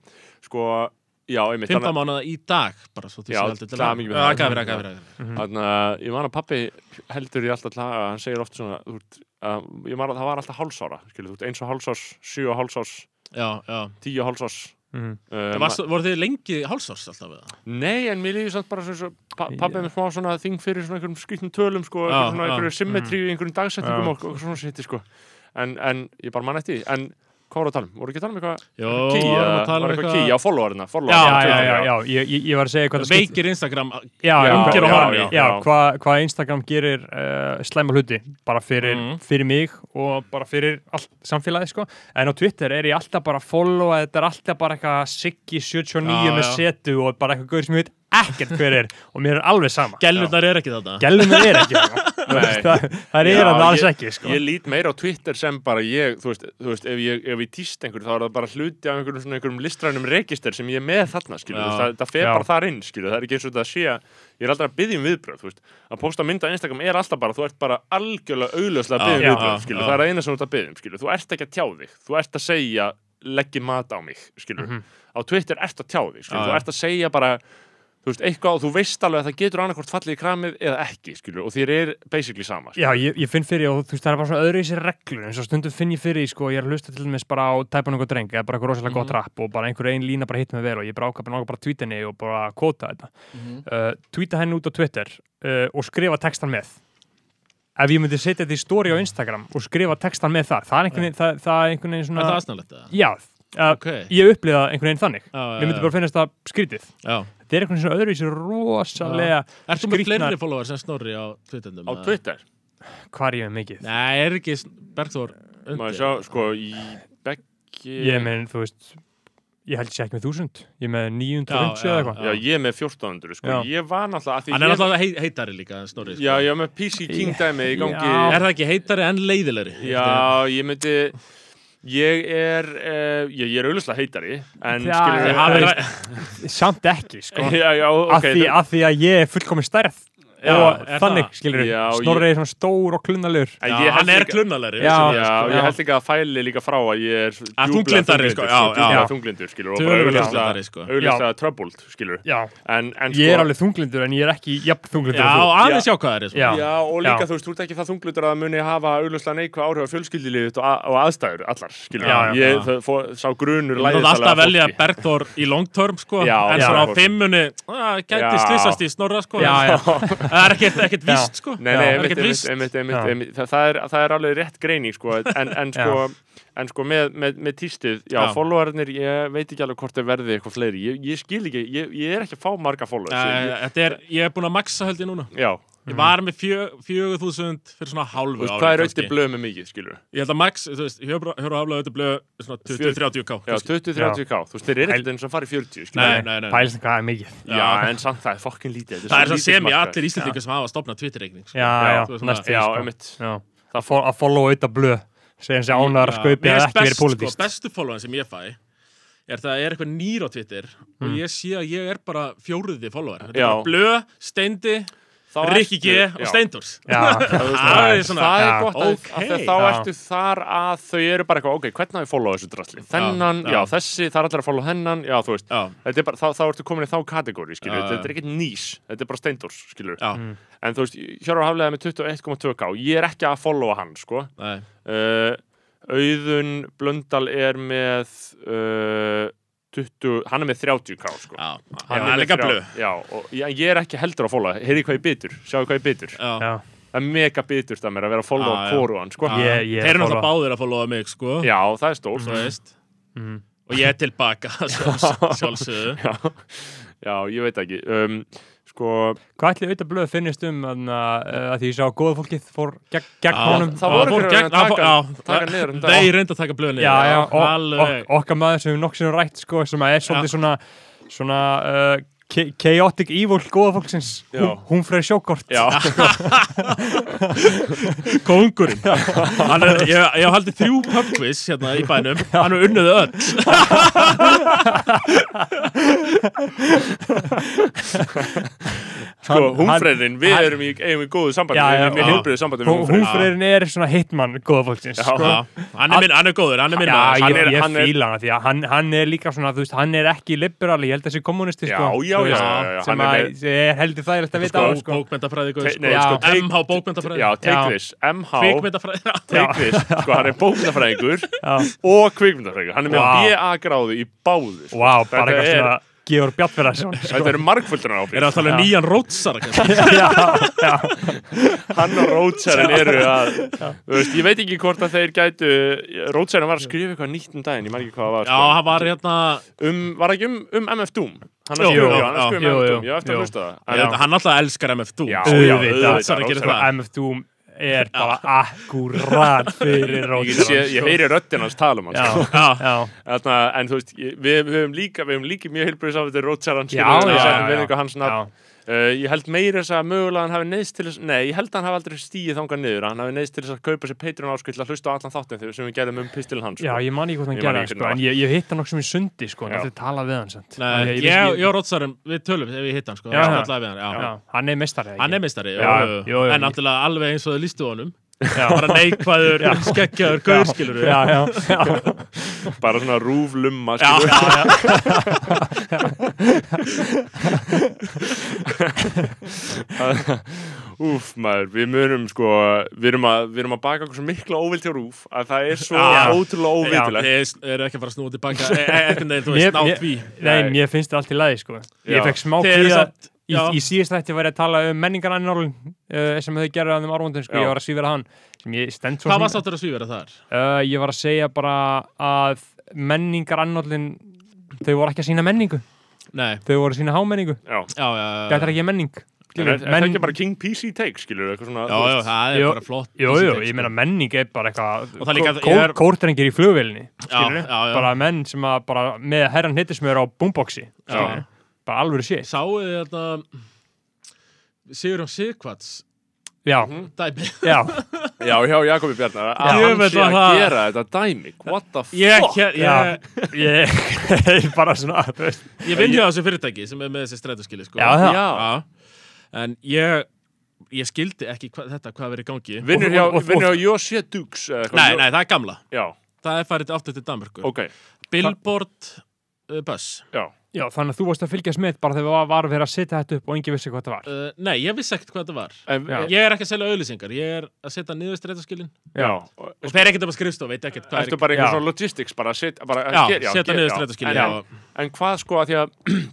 [SPEAKER 1] Sko, já, einmitt.
[SPEAKER 4] 15 mánuða í dag, bara svo því
[SPEAKER 1] Já,
[SPEAKER 4] sem heldur til
[SPEAKER 1] það er
[SPEAKER 4] að-
[SPEAKER 1] mikið
[SPEAKER 4] Já,
[SPEAKER 1] með það.
[SPEAKER 4] gafir, gafir, gafir
[SPEAKER 1] Þannig að ég man að pappi heldur í alltaf laga, hann segir oft svona, þú ert, að, ég man að það var alltaf hálsára, skilur, þú ert eins og hálsás, sjö og hálsás,
[SPEAKER 4] Já, já
[SPEAKER 1] tíu og hálsás.
[SPEAKER 2] Mhm.
[SPEAKER 1] Um,
[SPEAKER 4] En varst- Voru þið lengi hálsars alltaf við það?
[SPEAKER 1] Nei, en mér líður samt bara svo, svo pa, pappi er með smá svona þing fyrir svona einhverjum skrýtnum tölum sko,
[SPEAKER 4] Já,
[SPEAKER 1] einhverjum svona
[SPEAKER 4] já.
[SPEAKER 1] einhverjum symmetríu, einhverjum dagsetningum
[SPEAKER 2] Já.
[SPEAKER 1] og, og svona sétti sko en, en ég bara man eftir því, en hvað voru að tala um? Voru ekki að tala um eitthvað
[SPEAKER 4] Jó,
[SPEAKER 1] ký,
[SPEAKER 4] vorum
[SPEAKER 1] eða-
[SPEAKER 4] að tala um
[SPEAKER 1] var eitthvað
[SPEAKER 4] eitthvað-
[SPEAKER 1] ký á followerina
[SPEAKER 2] Já,
[SPEAKER 1] followerina á
[SPEAKER 2] já,
[SPEAKER 1] Twitter,
[SPEAKER 2] já, já, ég, ég- ég var að segja hvað það skiptir
[SPEAKER 4] Veikir Instagram
[SPEAKER 2] Já,
[SPEAKER 1] Já,
[SPEAKER 2] ungir og
[SPEAKER 1] já,
[SPEAKER 2] horni
[SPEAKER 1] já,
[SPEAKER 2] Já,
[SPEAKER 1] já.
[SPEAKER 2] hvað hva Instagram gerir uh, slæma hluti bara fyrir,
[SPEAKER 4] Mhm.
[SPEAKER 2] fyrir mig og bara fyrir allt samfélagi sko. en á Twitter er ég alltaf bara að followa þetta er alltaf bara eitthvað Siggi 79
[SPEAKER 4] Já,
[SPEAKER 2] með
[SPEAKER 4] já.
[SPEAKER 2] setu og bara eitthvað gaur sem ég veit ekkert hver er og mér er alveg sama
[SPEAKER 4] Gellurnar er ekki þetta
[SPEAKER 2] Gellum er ekki þarna. Þú
[SPEAKER 1] Nei.
[SPEAKER 2] veist, það, það
[SPEAKER 1] Já,
[SPEAKER 2] er það alls
[SPEAKER 1] ég-
[SPEAKER 2] ekki sko.
[SPEAKER 1] Ég lít meira á Twitter sem bara ég, þú veist, þú veist ef, ég, ef ég týst einhverju þá er það bara hluti af einhverjum, svona einhverjum listrænum register sem ég er með þarna, skilju,
[SPEAKER 4] Já.
[SPEAKER 1] það, það fer
[SPEAKER 2] Já.
[SPEAKER 1] bara þar inn, skilju, það er ekki eins og það sé að ég er aldrei að byggja um viðbröð, þú veist, að posta mynd á Instagram er alltaf bara, þú ert bara algjörlega augljóslega að
[SPEAKER 4] Já,
[SPEAKER 1] byggja um
[SPEAKER 4] já,
[SPEAKER 1] viðbröð, skilju,
[SPEAKER 4] já.
[SPEAKER 1] það er að eina sem þú ert að byggja um, skilju, þú ert ekki að tjá þig, þú ert að segja, leggji mat á mig, skilju, á Twitter ert að tjá þig, skilju,
[SPEAKER 4] Mhm. Já,
[SPEAKER 1] þú
[SPEAKER 4] já.
[SPEAKER 1] ert að segja bara, þú veist, eitthvað og þú veist alveg að það getur annarkvort fallið í kramið eða ekki, skilju, og þér er basically sama, skilju.
[SPEAKER 2] Já, ég, ég finn fyrir, og þú veist, það er bara svona öðru í sér reglur, eins og stundum finn ég fyrir, því, sko, ég er að hlusta til dæmis bara á tæpan einhver dreng, eða bara einhver rosalega
[SPEAKER 4] Mhm.
[SPEAKER 2] gott rap og bara einhver ein lína bara hitt með vel og ég bara ákvæm náttúrulega bara tweeta henni og bara kvota þetta.
[SPEAKER 4] Mhm.
[SPEAKER 2] uh, tweeta henni út á Twitter uh, og skrifa textan með. Ef ég myndi setja þetta í story á Instagram og skrifa textan með þar, það er einhvern veginn, það, það er einhvern veginn
[SPEAKER 4] Er það
[SPEAKER 2] svona,
[SPEAKER 4] aðsnálegt það?
[SPEAKER 2] já, uh,
[SPEAKER 4] Ok Já,
[SPEAKER 2] ég upplifa það einhvern veginn þannig.
[SPEAKER 4] já,
[SPEAKER 2] Mér myndi bara finnast það skrítið.
[SPEAKER 4] já
[SPEAKER 2] Þetta er einhvern veginn svona öðru í sér rosalega,
[SPEAKER 4] Ertu með
[SPEAKER 2] Skrýtnar-
[SPEAKER 4] fleiri follower sem snorri á Twitterndum?
[SPEAKER 1] á Twitter
[SPEAKER 2] hvað er ég með mikið?
[SPEAKER 4] Nei, er ekki Bergþór
[SPEAKER 1] maður
[SPEAKER 4] undir?
[SPEAKER 1] sjá, sko, í beggi
[SPEAKER 2] Ég er með, þú veist, ég held ég sé ekki með þúsund, ég er með 950
[SPEAKER 4] Já,
[SPEAKER 2] eða
[SPEAKER 4] já,
[SPEAKER 2] eitthvað.
[SPEAKER 1] já, ég er með 1400, sko,
[SPEAKER 2] Já.
[SPEAKER 1] ég var náttúrulega að því
[SPEAKER 4] Hann er
[SPEAKER 1] ég-
[SPEAKER 4] alltaf hei- heitari líka en Snorri sko.
[SPEAKER 1] já, ég er með PC King dæmi í gangi
[SPEAKER 2] Já.
[SPEAKER 4] Er það ekki heitari en leiðilegri?
[SPEAKER 1] já, ég myndi ég er uh, ég, ég er auðvitað heitari en
[SPEAKER 2] Já,
[SPEAKER 1] skilur
[SPEAKER 2] já,
[SPEAKER 1] við
[SPEAKER 2] það
[SPEAKER 4] Hann
[SPEAKER 2] er-
[SPEAKER 4] er,
[SPEAKER 2] Samt ekki, sko.
[SPEAKER 1] já, já,
[SPEAKER 2] Af
[SPEAKER 1] ok
[SPEAKER 2] því,
[SPEAKER 1] þú-
[SPEAKER 2] af því að ég er fullkomin stærð
[SPEAKER 4] Já,
[SPEAKER 2] og
[SPEAKER 4] er
[SPEAKER 2] þannig,
[SPEAKER 4] það?
[SPEAKER 2] skilur við,
[SPEAKER 1] Já, ég-
[SPEAKER 2] snorrið er svona stór og klunnalur.
[SPEAKER 1] en ég
[SPEAKER 4] já,
[SPEAKER 1] held
[SPEAKER 4] hann er
[SPEAKER 1] líka-
[SPEAKER 4] klunnalegri
[SPEAKER 2] Já.
[SPEAKER 1] Já, ég held ekki að fæli líka frá að ég er djúplega
[SPEAKER 4] þunglindari, sko, já,
[SPEAKER 1] sko, djúplega
[SPEAKER 2] já.
[SPEAKER 1] þunglindur, skilur og
[SPEAKER 4] Tölulega
[SPEAKER 1] bara
[SPEAKER 4] þunglindari, sko.
[SPEAKER 1] auðvitað troubled, skilur
[SPEAKER 2] Já,
[SPEAKER 1] en, en
[SPEAKER 2] ég er
[SPEAKER 1] sko-
[SPEAKER 2] alveg þunglindur en ég er ekki jafn þunglindur
[SPEAKER 4] Já,
[SPEAKER 2] en
[SPEAKER 4] aðeins sjá hvað það er sko.
[SPEAKER 2] Já.
[SPEAKER 1] Já, og líka
[SPEAKER 2] Já.
[SPEAKER 1] þú veist, þú ert ekki það þunglutur að það muni hafa auðvitað neikvað áhrif á fjölskyldilið þitt og, a- og aðstæður allar, skilur
[SPEAKER 2] Já, já,
[SPEAKER 1] ég
[SPEAKER 4] já.
[SPEAKER 1] þau- fó- sá grunur
[SPEAKER 4] Þú
[SPEAKER 1] læðist
[SPEAKER 4] þarf alltaf
[SPEAKER 1] alveg
[SPEAKER 4] að velja
[SPEAKER 1] fólki.
[SPEAKER 4] Bergþór í long term sko.
[SPEAKER 1] Já,
[SPEAKER 4] En
[SPEAKER 2] já.
[SPEAKER 4] svona á fimmunni Það
[SPEAKER 1] Já.
[SPEAKER 4] gæti slýsast í snorra sko.
[SPEAKER 2] Já, já.
[SPEAKER 4] Það er ekkert, ekkert
[SPEAKER 2] Já.
[SPEAKER 4] víst sko.
[SPEAKER 1] Nei,
[SPEAKER 2] Já.
[SPEAKER 1] nei,
[SPEAKER 4] Það er
[SPEAKER 1] einmitt,
[SPEAKER 4] ekkert
[SPEAKER 1] einmitt,
[SPEAKER 4] víst
[SPEAKER 1] einmitt, einmitt,
[SPEAKER 2] Já.
[SPEAKER 1] einmitt, það, það, er, það er alveg rétt greining sko, en, en sko en sko með, með, með tístið, já,
[SPEAKER 4] Já.
[SPEAKER 1] followarnir ég veit ekki alveg hvort þau verði eitthvað fleiri ég, ég skil ekki, ég, ég er ekki að fá marga followers
[SPEAKER 4] Eh,
[SPEAKER 1] ég,
[SPEAKER 4] Þetta er, ég er búin að maxa held ég núna
[SPEAKER 1] ég, já,
[SPEAKER 4] Ég var með fjö, fjögur þúsund fyrir svona
[SPEAKER 1] Mm. þú
[SPEAKER 4] hálfu
[SPEAKER 1] veist,
[SPEAKER 4] ári
[SPEAKER 1] hvað er auðvitað blöð með mikið, skilur
[SPEAKER 4] Ég held að max, þú veist, hjöfru hálfu auðvitað blöð svona 20-30k
[SPEAKER 1] já,
[SPEAKER 4] kannski.
[SPEAKER 1] 20-30k, þú veist, þeir eru ekkert eins og farið 40 skilur
[SPEAKER 4] Nei, nei, nei
[SPEAKER 2] Pælst hvað er mikið
[SPEAKER 1] já,
[SPEAKER 4] Já.
[SPEAKER 1] en samt það er fokkin lítið þetta
[SPEAKER 4] Það er
[SPEAKER 1] svo
[SPEAKER 4] svo sem
[SPEAKER 1] lítill
[SPEAKER 4] í
[SPEAKER 1] markaður.
[SPEAKER 4] allir Íslandingar sem hafa stopnað Twitter-reikning
[SPEAKER 2] Já,
[SPEAKER 4] sko.
[SPEAKER 2] já,
[SPEAKER 4] þú veist,
[SPEAKER 2] næst því
[SPEAKER 1] já,
[SPEAKER 2] sko.
[SPEAKER 1] einmitt,
[SPEAKER 2] Já. Að fo- að followa auðvitað blöð segja hans ég ánar að
[SPEAKER 4] Já,
[SPEAKER 2] skaupi
[SPEAKER 4] mér
[SPEAKER 2] að
[SPEAKER 4] finnst
[SPEAKER 2] ekki
[SPEAKER 4] best,
[SPEAKER 2] verið pólitíst
[SPEAKER 4] Sko, bestu followin sem ég fæ er það er eitthvað nýr á Twitter
[SPEAKER 2] Mm.
[SPEAKER 4] og ég sé að ég er bara fjóruði follower. Þetta er
[SPEAKER 1] Já.
[SPEAKER 4] bara Blö, Steindi,
[SPEAKER 1] Þá
[SPEAKER 4] Rikki G
[SPEAKER 1] ertu-
[SPEAKER 4] og
[SPEAKER 1] já.
[SPEAKER 4] Steindors.
[SPEAKER 2] Já,
[SPEAKER 4] Það er svona,
[SPEAKER 1] það er
[SPEAKER 2] Já,
[SPEAKER 1] gott að,
[SPEAKER 4] ok.
[SPEAKER 1] að þeir- þá
[SPEAKER 2] Já.
[SPEAKER 1] ertu þar að þau eru bara eitthvað, ok, hvernig að ég followa þessu drasli þennan,
[SPEAKER 4] já.
[SPEAKER 1] já, þessi, það er allir að followa hennan já, þú veist,
[SPEAKER 4] já,
[SPEAKER 1] þetta er bara, þá, þá ertu komin í þá kategóri, skilur,
[SPEAKER 4] Já, já.
[SPEAKER 1] þetta er ekkert nýs þetta er bara steindors, skilur
[SPEAKER 4] já,
[SPEAKER 2] Mm.
[SPEAKER 1] en þú veist, Hjörvar Haflega með 21,2k ég er ekki að followa hann, sko
[SPEAKER 4] nei,
[SPEAKER 1] uh, Auðun Blöndal er með uh, 20, hann er með 30k, sko
[SPEAKER 4] já,
[SPEAKER 1] Hann
[SPEAKER 4] hann er
[SPEAKER 1] með
[SPEAKER 4] líka
[SPEAKER 1] þrjá-
[SPEAKER 4] Blö.
[SPEAKER 1] Já, og ég, ég er ekki heldur að followa, heyrðu hvað ég bitur, sjáðu hvað ég bitur
[SPEAKER 4] Já.
[SPEAKER 2] já,
[SPEAKER 1] Það er mega biturt að mér að vera að followa
[SPEAKER 4] Ah, Já, já.
[SPEAKER 1] koruan, sko
[SPEAKER 4] Já.
[SPEAKER 2] Ég- ég
[SPEAKER 4] Þeir eru
[SPEAKER 2] followa.
[SPEAKER 4] náttúrulega báðir að followa mig, sko.
[SPEAKER 1] Já, það er stórt
[SPEAKER 4] Þú veist.
[SPEAKER 2] Mhm.
[SPEAKER 4] Og ég er tilbaka, sjálfs- sjálfsögðu.
[SPEAKER 1] já, já, ég veit ekki um, Sko,
[SPEAKER 2] Hvað ætli auðvitað blöð finnist um að, að því ég sá að góða fólkið fór gegn, gegn
[SPEAKER 4] Já,
[SPEAKER 2] honum
[SPEAKER 1] það
[SPEAKER 4] Já,
[SPEAKER 1] voru
[SPEAKER 4] fór
[SPEAKER 1] einhverjir
[SPEAKER 4] gegn-
[SPEAKER 1] að
[SPEAKER 4] já,
[SPEAKER 1] taka-
[SPEAKER 4] já,
[SPEAKER 1] taka
[SPEAKER 4] það-
[SPEAKER 1] niður um dag.
[SPEAKER 4] Þeir reynda að taka blöð niður.
[SPEAKER 2] já, já, og, og,
[SPEAKER 4] alveg.
[SPEAKER 2] okkar maður sem við nokk sinni rætt sko, sem að er svolítið svona, svona uh, cha- chaotic evil góða fólksins
[SPEAKER 1] Já.
[SPEAKER 2] hún, hún fyrir sjókort
[SPEAKER 1] já,
[SPEAKER 4] Kongurinn. Hann er, ég, ég hef haldið þrjú pubquiz hérna í bænum. Hann er unnuðu öll.
[SPEAKER 1] sko, húnfreðin, við erum í, eigum í góðu sambandi
[SPEAKER 2] Já,
[SPEAKER 1] Við
[SPEAKER 2] já,
[SPEAKER 1] erum í
[SPEAKER 4] já.
[SPEAKER 1] heilbrið sambandi við
[SPEAKER 2] hún
[SPEAKER 1] húnfreðin
[SPEAKER 2] fyrir er svona hitman góða fólksins
[SPEAKER 1] Já.
[SPEAKER 2] sko.
[SPEAKER 4] Já, hann er, minn, hann er góður, hann er minn
[SPEAKER 2] Já, ég,
[SPEAKER 4] maður. hann er,
[SPEAKER 2] ég
[SPEAKER 1] hann er-
[SPEAKER 2] fíla hana því að hann, hann er líka svona, þú veist, hann er ekki liberal, ég held að þessi kommunisti
[SPEAKER 1] Já,
[SPEAKER 2] sko,
[SPEAKER 1] já,
[SPEAKER 2] þú
[SPEAKER 1] já,
[SPEAKER 2] veist,
[SPEAKER 1] já, já,
[SPEAKER 2] sem
[SPEAKER 1] hann er
[SPEAKER 2] að ég heldur þægilegt að vita
[SPEAKER 4] sko,
[SPEAKER 2] á
[SPEAKER 4] sko.
[SPEAKER 2] sko.
[SPEAKER 4] bókmentafræði góður,
[SPEAKER 1] Te-
[SPEAKER 4] sko.
[SPEAKER 1] nei, sko,
[SPEAKER 4] Já.
[SPEAKER 1] take-
[SPEAKER 4] MH bókmentafræði
[SPEAKER 1] Já,
[SPEAKER 2] Já.
[SPEAKER 1] take this, MH
[SPEAKER 4] Kvikmyndafræði
[SPEAKER 1] Take this, sko, hann er bókmyndafræðingur og kvikmyndafræðingur Hann er með
[SPEAKER 2] Vá.
[SPEAKER 1] BA gráðu í báðu sko.
[SPEAKER 2] Vá, bara
[SPEAKER 1] Þetta
[SPEAKER 2] eitthvað
[SPEAKER 1] er-
[SPEAKER 2] svona Georg Bjartverðarsson sko.
[SPEAKER 1] Þetta eru markvöldunar áfrið
[SPEAKER 4] Er það talað um
[SPEAKER 2] Já.
[SPEAKER 4] nýjan rótsara hérna. kannski?
[SPEAKER 2] Já, já,
[SPEAKER 1] hann og Rótsærin eru að þú veist, ég veit ekki hvort að þeir gætu Rótsærin var að skrifa eitthvað nýtt um daginn ég maður ekki hvað það
[SPEAKER 4] Já,
[SPEAKER 1] var
[SPEAKER 4] hann var hérna
[SPEAKER 1] sko. um, var það ekki um, um MF Doom hann er
[SPEAKER 4] Jú,
[SPEAKER 1] skrifað hann
[SPEAKER 4] já,
[SPEAKER 1] er skrifað um MF
[SPEAKER 2] jú, jú,
[SPEAKER 1] Doom, ég á eftir
[SPEAKER 2] jú.
[SPEAKER 1] að hlusta það
[SPEAKER 2] Já.
[SPEAKER 1] En-
[SPEAKER 4] Hann alltaf elskar MF2
[SPEAKER 1] já, já,
[SPEAKER 4] sko.
[SPEAKER 2] Auðvitað.
[SPEAKER 1] auðvitað
[SPEAKER 4] Rótsari gerir
[SPEAKER 1] Rótsari.
[SPEAKER 4] það.
[SPEAKER 2] MF Doom er bara akkurat fyrir
[SPEAKER 1] Ég get
[SPEAKER 2] Rótsson
[SPEAKER 1] séð- ég heyri röddinn hans tala um hann
[SPEAKER 2] Já,
[SPEAKER 1] sko.
[SPEAKER 4] Já,
[SPEAKER 2] já,
[SPEAKER 1] Þarna, en þú veist, ég- við við höfum líka við höfum líka mjög heilbrið samvættir Rótsæran
[SPEAKER 2] Já,
[SPEAKER 4] já,
[SPEAKER 1] setjum
[SPEAKER 4] já,
[SPEAKER 1] við
[SPEAKER 2] já.
[SPEAKER 1] eitthvað hans nafn
[SPEAKER 2] já,
[SPEAKER 1] Uh, ég held meira þess að mögulega hann hafi neyðst til þess Nei, ég held að hann hafi aldrei stíið þangað niður Hann hafi neyðst til þess að kaupa sér Patreon áskil að hlusta á allan þáttin þegar sem við gerðum um pistil hans
[SPEAKER 2] já, ég man ekki hvort hann
[SPEAKER 1] Ég man
[SPEAKER 2] gerði
[SPEAKER 1] ekki hvernig
[SPEAKER 2] það, sko,
[SPEAKER 1] það
[SPEAKER 2] en ég, ég hitt hann okkur sem í sundi sko, en
[SPEAKER 1] Já.
[SPEAKER 2] allir tala við hann sent
[SPEAKER 4] Nei, ég, ég, og rótsarum, við tölum þegar við hittum hann sko.
[SPEAKER 2] Já, já.
[SPEAKER 4] Spjallaði við hann, já.
[SPEAKER 2] já, hann er mestari
[SPEAKER 4] Hann er meistari,
[SPEAKER 2] Já,
[SPEAKER 4] jú, jú,
[SPEAKER 2] jú, jú.
[SPEAKER 4] en náttúrulega alveg eins og þau lístu honum
[SPEAKER 2] mestari
[SPEAKER 4] bara neikvæður, skeggjaður, gaurskilur
[SPEAKER 2] já, já, já,
[SPEAKER 1] Bara svona rúflumma
[SPEAKER 4] já,
[SPEAKER 1] skilur.
[SPEAKER 4] já, já.
[SPEAKER 1] Úf, maður, við munum sko Við erum að, við erum að baka okkur svo mikla óvild hjá rúf að það er svo
[SPEAKER 4] Já.
[SPEAKER 1] ótrúlega óvildilegt
[SPEAKER 4] Þið eru ekki að fara að snúa tilbaka e- e- einhvern veginn, þú
[SPEAKER 2] Mér-
[SPEAKER 4] veist, ná
[SPEAKER 2] mér-
[SPEAKER 4] tví
[SPEAKER 2] nei, mér finnst það allt í lagi sko.
[SPEAKER 1] Já.
[SPEAKER 2] ég fekk smá
[SPEAKER 4] Þeir eru
[SPEAKER 2] kvíða í,
[SPEAKER 4] samt- já.
[SPEAKER 2] í síðast þetta var ég að tala um menningar annar uh, sem þau gerðu að þeim árvöndum sko,
[SPEAKER 1] Já.
[SPEAKER 2] ég var að svífara hann sem ég stend svo
[SPEAKER 4] Hvað
[SPEAKER 2] sem-
[SPEAKER 4] varst áttur að svífara þar?
[SPEAKER 2] Uh, ég var að segja bara að menningar annarlinn þau voru ekki að sína menningu
[SPEAKER 4] Nei,
[SPEAKER 2] þau voru að sína hámenningu
[SPEAKER 1] Já,
[SPEAKER 4] já, já, já, já.
[SPEAKER 2] þetta er ekki
[SPEAKER 1] en
[SPEAKER 2] menning
[SPEAKER 1] er, er
[SPEAKER 2] Men-
[SPEAKER 1] það ekki bara King PC take, skilur eitthvað svona
[SPEAKER 4] Já,
[SPEAKER 1] þú
[SPEAKER 4] já,
[SPEAKER 1] veist?
[SPEAKER 4] það er
[SPEAKER 2] Jú,
[SPEAKER 4] bara flott
[SPEAKER 2] jú,
[SPEAKER 4] vísindex,
[SPEAKER 2] jú,
[SPEAKER 4] sko.
[SPEAKER 2] ég meina menning er bara eitthvað
[SPEAKER 4] Og það líka-
[SPEAKER 2] kó-
[SPEAKER 4] ég er-
[SPEAKER 2] kórdrengir í flugvélni
[SPEAKER 4] sko. já, já.
[SPEAKER 2] bara menn sem að bara með herran hittismör á boomboxi skilurðu. bara alveg sétt
[SPEAKER 4] Sáu þið þetta Sigurum Sigvats
[SPEAKER 2] já,
[SPEAKER 4] dæmi
[SPEAKER 2] já,
[SPEAKER 1] já, hjá Jakobi Bjarnar
[SPEAKER 2] Já.
[SPEAKER 1] að
[SPEAKER 2] Ég
[SPEAKER 1] hann
[SPEAKER 4] veit
[SPEAKER 1] sé
[SPEAKER 4] að
[SPEAKER 1] að
[SPEAKER 4] það-
[SPEAKER 1] gera þetta dæmi What the fuck
[SPEAKER 4] Ég, ég,
[SPEAKER 2] já
[SPEAKER 4] ég,
[SPEAKER 2] ég, ég bara svona þú veist.
[SPEAKER 4] ég vinn hjá þessu fyrirtæki sem er með þessi strætóskili sko.
[SPEAKER 2] Já, það.
[SPEAKER 4] Já. En ég ég skildi ekki hva, þetta hvað verið í gangi
[SPEAKER 1] Vinnur hjá,
[SPEAKER 2] Og- og- og-
[SPEAKER 1] vinnur hjá Josie Dukes
[SPEAKER 4] Nei, nei, það er gamla
[SPEAKER 1] Já,
[SPEAKER 4] Það er farið aftur til Danmörku
[SPEAKER 1] ok,
[SPEAKER 4] Billboard uh, Bus
[SPEAKER 1] já
[SPEAKER 2] já, þannig að þú varst að fylgjast með bara þegar var, var verið að setja þetta upp og enginn vissi hvað þetta var
[SPEAKER 4] uh, Nei, ég vissi ekkert hvað þetta var
[SPEAKER 1] En,
[SPEAKER 2] Já.
[SPEAKER 4] Ég er ekki að selja auðlýsingar Ég er að setja niður strætóskilin
[SPEAKER 1] Já, og-
[SPEAKER 4] Og fer ekkert um að skrifstofa, veit ekkert hvað
[SPEAKER 1] Ertu bara einhver
[SPEAKER 2] Já.
[SPEAKER 1] svona logistics bara að setja bara,
[SPEAKER 4] Já,
[SPEAKER 1] ger-
[SPEAKER 4] setja
[SPEAKER 1] ger-
[SPEAKER 4] niður
[SPEAKER 1] já.
[SPEAKER 4] strætóskilin
[SPEAKER 1] En- en, en hvað sko að því að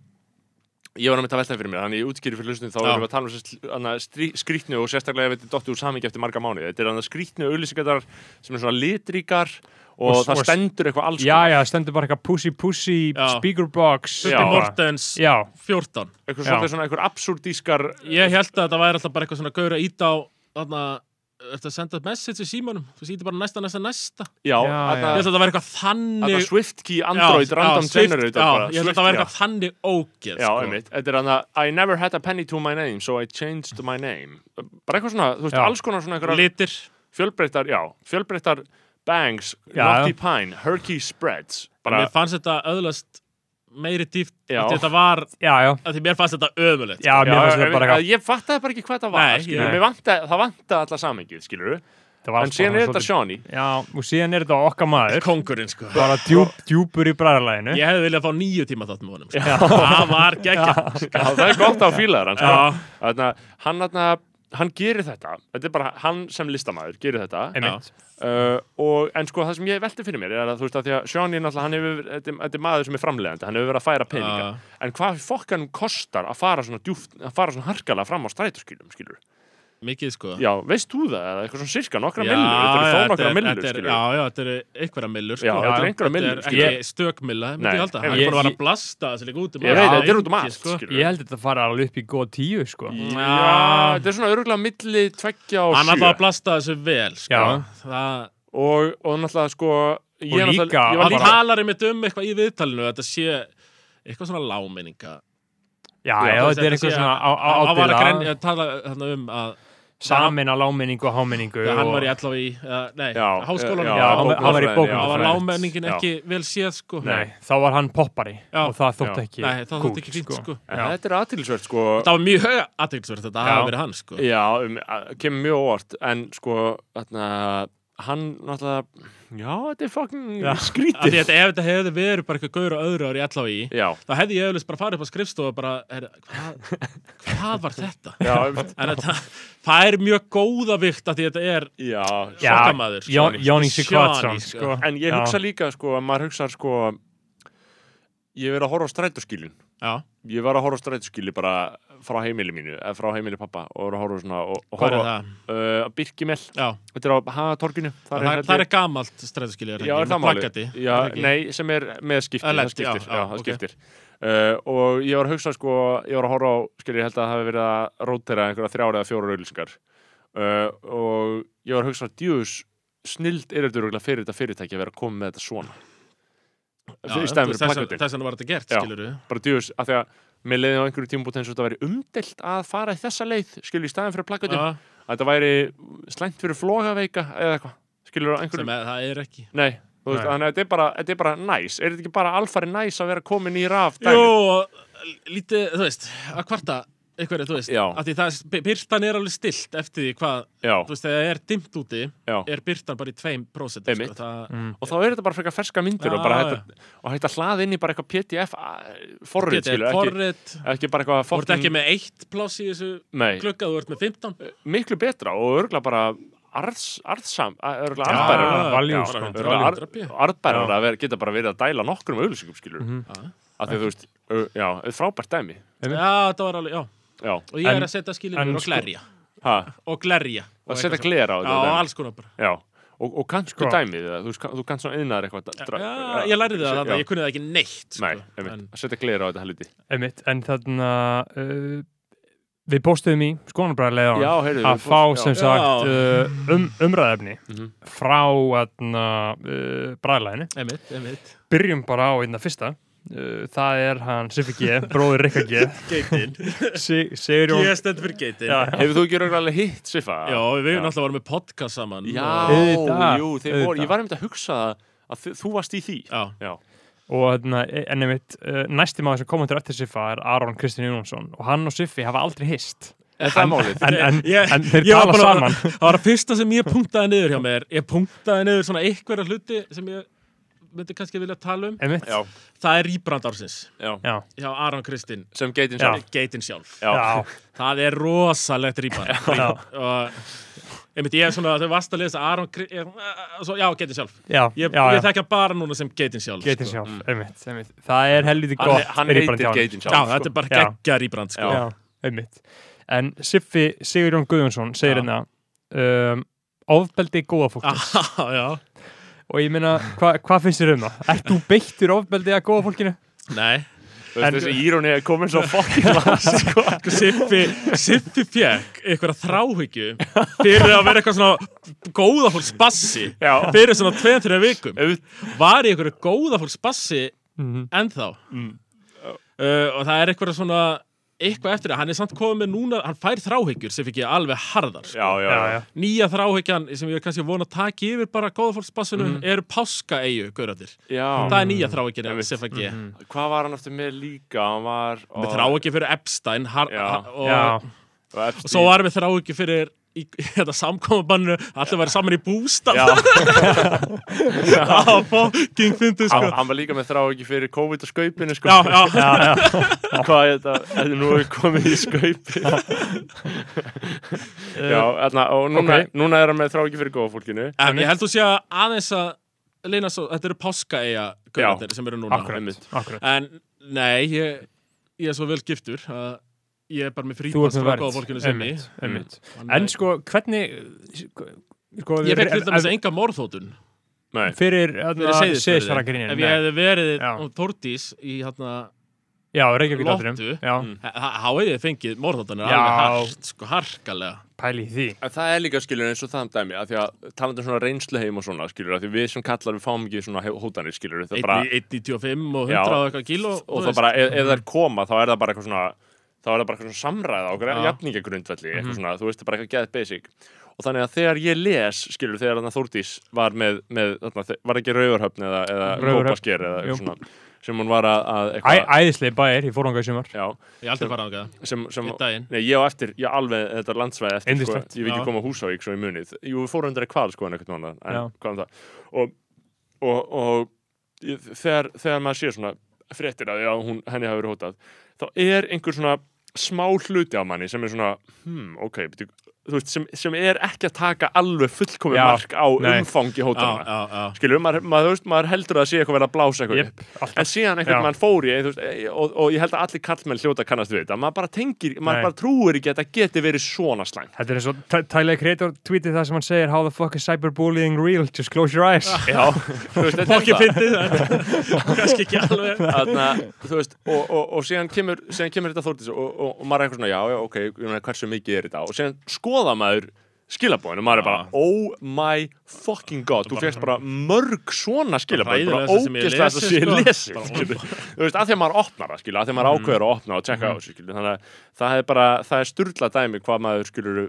[SPEAKER 1] Ég var að mynda að velta fyrir mér, þannig ég útskýri fyrir hlustinu þá
[SPEAKER 4] Já.
[SPEAKER 1] erum við að tala um þess að strí- skrýtnu og sérstaklega ef þetta er dottu úr samingi eftir marga mánuði. Þetta er þannig skrýtnu auðlýsingar sem er svona litríkar og,
[SPEAKER 2] Og-
[SPEAKER 1] það
[SPEAKER 2] og-
[SPEAKER 1] stendur eitthvað alls
[SPEAKER 2] já, já, stendur bara eitthvað pussy pussy,
[SPEAKER 4] Já.
[SPEAKER 2] speaker box
[SPEAKER 1] Já.
[SPEAKER 4] Bubbi Mortens
[SPEAKER 2] já,
[SPEAKER 4] 14
[SPEAKER 1] eitthvað
[SPEAKER 2] já.
[SPEAKER 1] svolítið svona eitthvað absúrdískar
[SPEAKER 4] Ég held að þetta væri alltaf bara eitthvað svona gaur að ít á þarna, eftir að senda message í símanum þú sýti bara næsta, næsta, næsta
[SPEAKER 1] já,
[SPEAKER 2] Já,
[SPEAKER 1] þarna-
[SPEAKER 2] já.
[SPEAKER 4] Ég held að þetta væri eitthvað
[SPEAKER 1] þarna
[SPEAKER 4] þannig
[SPEAKER 1] SwiftKey Android
[SPEAKER 4] Já,
[SPEAKER 1] random
[SPEAKER 4] já, Swift-
[SPEAKER 1] generator bara,
[SPEAKER 4] Já, ég held að
[SPEAKER 1] Swift-
[SPEAKER 4] þetta væri
[SPEAKER 1] já.
[SPEAKER 4] eitthvað þannig ógeð
[SPEAKER 1] Já,
[SPEAKER 4] sko.
[SPEAKER 1] einmitt, þetta er hann að I never had a penny to my name, so I changed my name bara eitthvað svona, þú veist,
[SPEAKER 2] Já.
[SPEAKER 1] alls konar svona einhverjar
[SPEAKER 4] Litir
[SPEAKER 1] fjölbreyttar, já, fjölbreyttar bangs,
[SPEAKER 2] Já,
[SPEAKER 1] knotty
[SPEAKER 2] já.
[SPEAKER 1] pine herky spreads, bara
[SPEAKER 4] Mér fannst þetta öðlast meiri dýft
[SPEAKER 1] Já.
[SPEAKER 4] að Þetta var,
[SPEAKER 2] já, já,
[SPEAKER 4] að því mér fannst þetta ömulegt
[SPEAKER 2] já, mér fannst
[SPEAKER 1] ég-
[SPEAKER 2] þetta bara
[SPEAKER 1] að
[SPEAKER 2] eitthvað
[SPEAKER 1] ég fattaði bara ekki hvað það var
[SPEAKER 4] Nei,
[SPEAKER 1] skilur,
[SPEAKER 2] nei.
[SPEAKER 1] nei. Vanta, það vantaði alla samengið, skilur
[SPEAKER 2] þetta var
[SPEAKER 1] en
[SPEAKER 2] allt
[SPEAKER 1] síðan
[SPEAKER 2] bara
[SPEAKER 1] er þetta
[SPEAKER 2] svolítið-
[SPEAKER 1] Sjóni
[SPEAKER 2] já, og síðan er þetta okkar maður
[SPEAKER 4] Kongurinn, sko
[SPEAKER 2] bara djúp, djúpur í bræðarlæginu
[SPEAKER 4] Ég hefði viljað fá nýju tíma þátt með honum sko. Það var geggja
[SPEAKER 1] það er gott á fílaðar hann,
[SPEAKER 4] Já.
[SPEAKER 1] sko. Þarna, hann, þarna, hann gerir þetta þetta er bara hann sem listamaður gerir þetta
[SPEAKER 2] einmitt,
[SPEAKER 1] uh, og, en sko það sem ég velti fyrir mér er að þú veist að því að Sjóni náttúrulega hann hefur þetta er- þetta er maður sem er framlegandi, hann hefur verið að færa peninga
[SPEAKER 4] Já.
[SPEAKER 1] en hvað fokkanum kostar að fara svona djúft, að fara svona harkalega fram á strætóskilum skilur,
[SPEAKER 4] Mikið, sko
[SPEAKER 1] já, veist þú það eða eitthvað svona sirka nokkra
[SPEAKER 4] Já,
[SPEAKER 1] millur, þetta
[SPEAKER 4] já,
[SPEAKER 1] er þó
[SPEAKER 4] þetta
[SPEAKER 1] nokkra
[SPEAKER 4] er-
[SPEAKER 1] millur
[SPEAKER 4] þetta er-
[SPEAKER 1] skilurðu.
[SPEAKER 4] Já, já, þetta eru einhverja millur sko.
[SPEAKER 1] Já, þetta er einhverjar millur,
[SPEAKER 4] Þetta er
[SPEAKER 1] skilurðu.
[SPEAKER 4] ekki stökmilla, myndi
[SPEAKER 1] Nei,
[SPEAKER 4] ég halda Hann
[SPEAKER 1] ég-
[SPEAKER 4] er bara að vera
[SPEAKER 2] ég-
[SPEAKER 4] að blasta þessi líka út um
[SPEAKER 1] Ég
[SPEAKER 4] allt.
[SPEAKER 1] veit,
[SPEAKER 4] Já,
[SPEAKER 1] þetta er út um
[SPEAKER 4] lengi,
[SPEAKER 1] allt,
[SPEAKER 4] sko.
[SPEAKER 1] skilurðu.
[SPEAKER 2] ég held að þetta fara alveg upp í góð tíu sko.
[SPEAKER 1] Já, þetta er svona örgulega milli tveggja og
[SPEAKER 4] Hann
[SPEAKER 1] sjö
[SPEAKER 4] ætlaði að blasta þessu vel sko.
[SPEAKER 2] Já.
[SPEAKER 4] Það,
[SPEAKER 1] og, og náttúrulega sko ég,
[SPEAKER 2] Og
[SPEAKER 1] náttúrulega-
[SPEAKER 2] líka-
[SPEAKER 1] ég
[SPEAKER 4] Hann
[SPEAKER 1] var
[SPEAKER 2] bara-
[SPEAKER 1] líka
[SPEAKER 4] talar einmitt um eitthvað í viðtalinu að Þetta sé eitthvað svona láminninga
[SPEAKER 2] já,
[SPEAKER 1] Já,
[SPEAKER 2] já, þetta er eitthvað svona á- á-
[SPEAKER 4] Hann var að grenja
[SPEAKER 2] ábyrða
[SPEAKER 4] að tala þarna um að
[SPEAKER 2] samin að láminningu og háminningu
[SPEAKER 4] Já, hann
[SPEAKER 2] og-
[SPEAKER 4] var í LHV, eða, nei,
[SPEAKER 1] Já,
[SPEAKER 4] háskólanum
[SPEAKER 2] já, hann var- hann var í
[SPEAKER 1] bókmennafræðinni,
[SPEAKER 4] Það var
[SPEAKER 2] bókmennafræði.
[SPEAKER 4] lámenningin
[SPEAKER 1] Já.
[SPEAKER 4] ekki vel séð sko
[SPEAKER 2] Nei, þá var hann poppari
[SPEAKER 4] Já.
[SPEAKER 2] og það þótt
[SPEAKER 1] Já.
[SPEAKER 2] ekki
[SPEAKER 4] Nei, það
[SPEAKER 2] kúl,
[SPEAKER 4] þótt ekki fínt sko
[SPEAKER 1] en þetta er aðtilsvert sko
[SPEAKER 4] Það var mjög höga aðeinsverð þetta
[SPEAKER 2] Já.
[SPEAKER 4] hafa verið hann sko
[SPEAKER 1] já, um, að- kemur mjög óvart en sko þarna, hann náttúrulega já, þetta er fucking
[SPEAKER 2] Já.
[SPEAKER 4] Af því
[SPEAKER 1] skrítið
[SPEAKER 4] að ef þetta hefði verið bara eitthvað gaur á öðru ári í LHV
[SPEAKER 1] já,
[SPEAKER 4] þá hefði ég auðvitað bara farið upp á skrifstofu og bara, er, hvað, hvað var þetta?
[SPEAKER 1] já, um,
[SPEAKER 4] En þetta, það er mjög góða vikt að því þetta er
[SPEAKER 1] já,
[SPEAKER 2] Já,
[SPEAKER 4] sokkamaður,
[SPEAKER 2] Jón-
[SPEAKER 4] Johnny.
[SPEAKER 2] Jóni Sikvatsson
[SPEAKER 4] Johnny,
[SPEAKER 2] sko.
[SPEAKER 1] en ég
[SPEAKER 2] Já.
[SPEAKER 1] hugsa líka sko að maður hugsa sko ég verið að horfa á strætóskilin
[SPEAKER 4] Já,
[SPEAKER 1] ég var að horfa á strætóskili bara frá heimili mínu, eða frá heimili pappa og var að horfa svona og, og
[SPEAKER 4] hvað er
[SPEAKER 1] horfa
[SPEAKER 4] það?
[SPEAKER 1] uh, Birkimel,
[SPEAKER 4] Já,
[SPEAKER 1] þetta er á Hagatorginu
[SPEAKER 4] það, er, það er gamalt stræðskiljur
[SPEAKER 1] Já, er það málið? Já,
[SPEAKER 4] nei
[SPEAKER 1] nei, sem er með skiptir, það
[SPEAKER 4] Erlent,
[SPEAKER 1] skiptir, já,
[SPEAKER 4] já, já,
[SPEAKER 1] það
[SPEAKER 4] ok.
[SPEAKER 1] skiptir. Uh, og ég var að hugsa, sko, ég var að horfa á, skilur, ég held að það hafi verið að rótera einhverja þrjára eða fjóra rauðlýsingar uh, og ég var að hugsa, djús, snild er þetta rúglega fyrir þetta fyrirtæki að vera að koma með þetta svona. Já, í stæðum fyrir plakatinn,
[SPEAKER 4] Þess vegna var þetta gert,
[SPEAKER 1] Já.
[SPEAKER 4] skiljur
[SPEAKER 1] bara djús, af því að mér leiði á einhverju tímabúti eins og þetta væri umdelt að fara í þessa leið, skilur, í stæðum fyrir plakatinn,
[SPEAKER 4] Já,
[SPEAKER 1] að þetta væri slæmt fyrir flogaveika eða eitthvað, skilur, á einhverju
[SPEAKER 4] sem að, það er ekki
[SPEAKER 1] Nei, þú veist,
[SPEAKER 2] Nei.
[SPEAKER 1] þannig að þetta er bara, þetta er bara næs. Er þetta ekki bara alfari næs að vera komin í raf
[SPEAKER 4] Jú,
[SPEAKER 1] dæmi?
[SPEAKER 4] og lítið, þú veist, að kvarta einhverju, þú veist,
[SPEAKER 1] Já.
[SPEAKER 4] af því það, byrtan er alveg stilt eftir því hvað, þú
[SPEAKER 1] Já,
[SPEAKER 4] veist, þegar það er dimmt úti,
[SPEAKER 1] já.
[SPEAKER 4] er byrtan bara í 2%
[SPEAKER 1] Einmitt.
[SPEAKER 4] sko, það,
[SPEAKER 2] Mm.
[SPEAKER 1] Og þá er þetta bara frekar ferska myndir og bara
[SPEAKER 4] Já,
[SPEAKER 1] hægt að, og hægt að hlaða inn í bara eitthvað PDF forrið,
[SPEAKER 4] Getið
[SPEAKER 1] skilur, ekki,
[SPEAKER 4] forrit
[SPEAKER 1] ekki bara eitthvað
[SPEAKER 4] Þú ert ekki
[SPEAKER 1] fokkin,
[SPEAKER 4] með eitt pláss í þessu
[SPEAKER 1] nei,
[SPEAKER 4] klukka, þú ert með 15
[SPEAKER 1] miklu betra og örgulega bara arðs, arðsam, örgulega
[SPEAKER 4] Já,
[SPEAKER 1] arðbærar.
[SPEAKER 2] value,
[SPEAKER 1] Já,
[SPEAKER 2] sko.
[SPEAKER 1] örugglega
[SPEAKER 4] Value
[SPEAKER 1] arð-
[SPEAKER 4] drop, já. Mhm.
[SPEAKER 1] Arðbærar að vera, geta bara verið að dæla nokkrum auðlýsingum, skilur, mm
[SPEAKER 4] Já.
[SPEAKER 1] að því þú veist, ö, já, frábært dæmi,
[SPEAKER 4] Já, það var alveg, já
[SPEAKER 1] já,
[SPEAKER 4] Og ég
[SPEAKER 2] En-
[SPEAKER 4] er að
[SPEAKER 2] en
[SPEAKER 4] setja skilin og
[SPEAKER 2] sko-
[SPEAKER 4] glerja
[SPEAKER 1] ha,
[SPEAKER 4] Og glerja og
[SPEAKER 1] að setja
[SPEAKER 4] eitthvað
[SPEAKER 1] glera á
[SPEAKER 4] svona.
[SPEAKER 1] þetta
[SPEAKER 4] Já,
[SPEAKER 1] dæmi.
[SPEAKER 4] alls konar bara
[SPEAKER 1] Já, og, og kannski
[SPEAKER 2] Sko.
[SPEAKER 1] dæmið eða, þú, veist, kann- þú kannst svona yðnar eitthvað dra- dra-
[SPEAKER 4] Já, ég lærði það þarna, ég kunni það ekki neitt
[SPEAKER 1] Nei,
[SPEAKER 4] sko.
[SPEAKER 1] einmitt,
[SPEAKER 4] En
[SPEAKER 1] að setja glera á þetta helviti
[SPEAKER 2] einmitt, en þarna uh, við postuðum í skoðanabræðarlega
[SPEAKER 1] Já, heyrðu
[SPEAKER 2] að
[SPEAKER 1] við-
[SPEAKER 2] fá
[SPEAKER 1] já.
[SPEAKER 2] sem
[SPEAKER 4] Já.
[SPEAKER 2] sagt uh, um, umræðefni
[SPEAKER 1] Mhm.
[SPEAKER 2] frá þarna, uh, bræðarlæðinu
[SPEAKER 4] Einmitt, einmitt
[SPEAKER 2] byrjum bara á einna fyrsta uh, það er hann Siffi G, bróður Rikka G
[SPEAKER 4] Geitin
[SPEAKER 2] Se- Sigurjón
[SPEAKER 4] Ég stend fyrir geitin
[SPEAKER 2] Já.
[SPEAKER 4] Já,
[SPEAKER 1] Hefur þú ekki rauglega hitt Siffa? Já.
[SPEAKER 4] við erum alltaf varum með podcast saman
[SPEAKER 1] Já,
[SPEAKER 4] og-
[SPEAKER 2] Auðvitað,
[SPEAKER 1] jú, þeir voru, ég var einmitt að hugsa það að þi- þú varst í því
[SPEAKER 4] Já,
[SPEAKER 1] Já,
[SPEAKER 2] og þarna, en einmitt, uh, næsti maður sem komendur eftir Siffa er Aron Kristinn Jónsson og hann og Siffi hafa aldrei hist
[SPEAKER 1] er það málið?
[SPEAKER 2] en, en,
[SPEAKER 4] Ég-
[SPEAKER 2] en þeir
[SPEAKER 4] ég var
[SPEAKER 2] tala
[SPEAKER 4] bara-
[SPEAKER 2] saman
[SPEAKER 4] Það var að fyrsta sem ég punktaði niður hjá mér Ég punktaði niður svona einhverja hluti sem ég myndi kannski vilja tala um
[SPEAKER 2] einmitt,
[SPEAKER 1] Já,
[SPEAKER 4] Það er Rýbrand ársins
[SPEAKER 1] já,
[SPEAKER 2] já,
[SPEAKER 4] hjá Aron Kristinn
[SPEAKER 1] sem geitin
[SPEAKER 2] Já.
[SPEAKER 1] sjálf
[SPEAKER 4] geitin sjálf
[SPEAKER 1] Já,
[SPEAKER 2] já.
[SPEAKER 4] það er rosalegt rýpan
[SPEAKER 2] Já.
[SPEAKER 4] og einmitt ég er svona, þau vast að lesa Aron Kri- ég- eh, svo, já, geitin sjálf
[SPEAKER 2] já,
[SPEAKER 4] ég,
[SPEAKER 2] já,
[SPEAKER 4] ég
[SPEAKER 2] já,
[SPEAKER 4] þekkja bara núna sem geitin sjálf
[SPEAKER 2] getur
[SPEAKER 4] sko.
[SPEAKER 2] sjálf, einmitt, einmitt það er helviti
[SPEAKER 1] Hann,
[SPEAKER 2] gott
[SPEAKER 1] hann
[SPEAKER 2] rebrand
[SPEAKER 1] heitir
[SPEAKER 2] hjá honum.
[SPEAKER 1] Geitin
[SPEAKER 4] já,
[SPEAKER 1] sjálf sko.
[SPEAKER 4] þetta er
[SPEAKER 2] Já.
[SPEAKER 4] bara geggja rýbrand sko.
[SPEAKER 2] já, einmitt en Siffi Sigurjón Guðjónsson segir
[SPEAKER 4] Já.
[SPEAKER 2] hérna um, ofbeldi góða fólki
[SPEAKER 4] Ah, já.
[SPEAKER 2] og ég meina, hva- hvað finnst þér um það? Ert þú beittur ofbeldi að góða fólkinu?
[SPEAKER 4] nei
[SPEAKER 1] Þú veist,
[SPEAKER 2] en-
[SPEAKER 1] þessi íróni er komin svo fokkin langt sko.
[SPEAKER 4] Siffi, Siffi fekk einhverja þráhyggju fyrir að vera eitthvað svona góða fólk spassi
[SPEAKER 1] Já.
[SPEAKER 4] fyrir svona 2-3 vikum var í einhverju góða fólk spassi
[SPEAKER 1] Mhm.
[SPEAKER 4] ennþá
[SPEAKER 1] Mm.
[SPEAKER 4] uh, og það er einhverja svona eitthvað eftir það, hann er samt komið með núna hann fær þráhyggjur sem fikk ég alveg harðar sko.
[SPEAKER 1] já, já, já, já.
[SPEAKER 4] nýja þráhyggjan sem ég er kannski vona að taka yfir bara góða fólk spassunum
[SPEAKER 1] Mhm.
[SPEAKER 4] eru páskaeyju, gauratir það er nýja þráhyggjan
[SPEAKER 1] Einmitt. Mhm.
[SPEAKER 4] sem fikk ég
[SPEAKER 1] Hvað var hann aftur með líka? Hann var
[SPEAKER 4] með þráhyggju fyrir Epstein har,
[SPEAKER 1] Já.
[SPEAKER 4] ha- og
[SPEAKER 2] Já,
[SPEAKER 1] og Epstein.
[SPEAKER 4] og svo varum við þrá ekki fyrir í, þetta samkomabannu, allir væri saman í bústað
[SPEAKER 1] Já,
[SPEAKER 4] á fucking fyndu
[SPEAKER 1] hann,
[SPEAKER 4] sko
[SPEAKER 1] hann var líka með þrá ekki fyrir COVID og skaupinu sko.
[SPEAKER 4] já, já, já,
[SPEAKER 1] Hvað er þetta? Þetta er nú er komið í skaupi Já, þarna, og núna,
[SPEAKER 2] ok.
[SPEAKER 1] núna er hann með þrá ekki fyrir góða fólkinu
[SPEAKER 4] en ég held þú sé að aðeins að leina svo, þetta eru páskaeyja
[SPEAKER 1] Já.
[SPEAKER 4] gauðarnir sem eru núna
[SPEAKER 2] Akkurat.
[SPEAKER 1] Einmitt.
[SPEAKER 2] akkurat
[SPEAKER 4] en nei, ég, ég er svo vel giftur að ég er bara með
[SPEAKER 2] Þú ert
[SPEAKER 4] frípass
[SPEAKER 2] með
[SPEAKER 4] frá
[SPEAKER 2] verð
[SPEAKER 4] góðfólkinu sinni
[SPEAKER 2] Einmitt, einmitt.
[SPEAKER 4] Þannig-
[SPEAKER 2] En sko, hvernig sko, sko,
[SPEAKER 4] ég fekk
[SPEAKER 2] ef-
[SPEAKER 4] til dæmis
[SPEAKER 2] ef-
[SPEAKER 4] enga morðhótun
[SPEAKER 1] Nei,
[SPEAKER 2] Fyrir hérna,
[SPEAKER 4] Seyðisfirði.
[SPEAKER 2] seðisfæragrinin
[SPEAKER 4] ef ég hefði verið
[SPEAKER 2] Já.
[SPEAKER 4] á Þórdís í hérna,
[SPEAKER 2] Já, Reykjavík átturum
[SPEAKER 4] Lottu.
[SPEAKER 2] Já,
[SPEAKER 1] Mm.
[SPEAKER 4] þá hefði ég fengið morðhóttunir
[SPEAKER 2] Já.
[SPEAKER 4] alveg hart, sko harkalega
[SPEAKER 2] pæli í því
[SPEAKER 1] En það er líka skilur eins og það um dæmi að því að talandi um svona reynslu heim og svona skilur að því við sem kallar við fáum ekki svona he- hótanir skilur það er bara,
[SPEAKER 4] 1,95 og
[SPEAKER 1] Já.
[SPEAKER 4] 100 og eitthvað kíló
[SPEAKER 1] og
[SPEAKER 4] þú
[SPEAKER 1] það
[SPEAKER 4] veist.
[SPEAKER 1] bara ef, ef það er koma þá er það bara eitthvað svona þá er það bara eitthvað svona samræða á
[SPEAKER 4] Já.
[SPEAKER 1] okkur jafningagrundvelli eitthvað svona, þú veist það er bara eitthvað geðið basic og þannig að þegar ég les skilur þegar þarna Þórdís var með, með þarna, þe- var ekki Rauðurhöfn eða, eða
[SPEAKER 2] Raufarhöfn,
[SPEAKER 1] Kópasker eða
[SPEAKER 2] jú.
[SPEAKER 1] eitthvað svona sem hún var að, að
[SPEAKER 2] Æ,
[SPEAKER 1] eitthvað
[SPEAKER 2] Æðislega bæir, ég fór hanga í sumar
[SPEAKER 1] já,
[SPEAKER 4] Ég hef aldrei farað á það.
[SPEAKER 1] sem, sem
[SPEAKER 4] Einn daginn.
[SPEAKER 1] nei, ég á eftir, ég á alveg þetta landsvæði eftir sko,
[SPEAKER 2] Yndislegt.
[SPEAKER 1] ég vil
[SPEAKER 4] Já.
[SPEAKER 1] ekki koma á Húsavík svo í munið jú, við fórum undir að kval sko en eitthvað annað
[SPEAKER 2] Já.
[SPEAKER 1] en hvað um það og, og, og ég- þegar, þegar maður sér svona fréttir að já, hún, henni hafi verið hótað þá er einhver svona smá hluti af manni sem er svona hmm, ok, beti, þú veist, sem, sem er ekki að taka alveg fullkomið
[SPEAKER 2] Já.
[SPEAKER 1] mark á
[SPEAKER 2] Nei.
[SPEAKER 1] umfangi hótana
[SPEAKER 4] já, já.
[SPEAKER 1] skilur, maður, maður, þú veist, maður heldur að það sé eitthvað verið að blása eitthvað
[SPEAKER 2] Jep,
[SPEAKER 1] upp
[SPEAKER 2] alltaf.
[SPEAKER 1] en síðan einhvern
[SPEAKER 2] Já.
[SPEAKER 1] mann fór ég þú veist, eh, og, og ég held að allir kallmenn hljóta kannast við þetta maður bara tengir,
[SPEAKER 2] Nei.
[SPEAKER 1] maður bara trúir ekki að þetta geti verið svona slæmt
[SPEAKER 2] Þetta er eins og Ty- Tyler Creator tweetið það sem hann segir How the fuck is cyberbullying real? Just close your eyes
[SPEAKER 1] já, þú veist, þetta
[SPEAKER 4] Fokki
[SPEAKER 1] er það
[SPEAKER 4] fyndið það. Kannski ekki alveg.
[SPEAKER 1] Þarna, þú veist, og, og, og síðan, kemur, síðan kemur þetta þórtis og, og, og maður er eitthvað svona já, já, ok, ég meina, hversu mikið er þetta og síðan skoða maður skilabóðinu maður er bara, oh my fucking god þú fegst bara mörg svona skilabóð bara
[SPEAKER 4] Hræðilegasta sem ég
[SPEAKER 1] ógeðslega þess að sé
[SPEAKER 4] lesi, sko.
[SPEAKER 1] lesið skilur. þú veist, að því að maður opnar það skilur, að því að maður
[SPEAKER 4] Mhm.
[SPEAKER 1] ákveður að opna og tjekka á þessu skilur, þannig að það er bara, það er sturla dæmi hvað maður skilur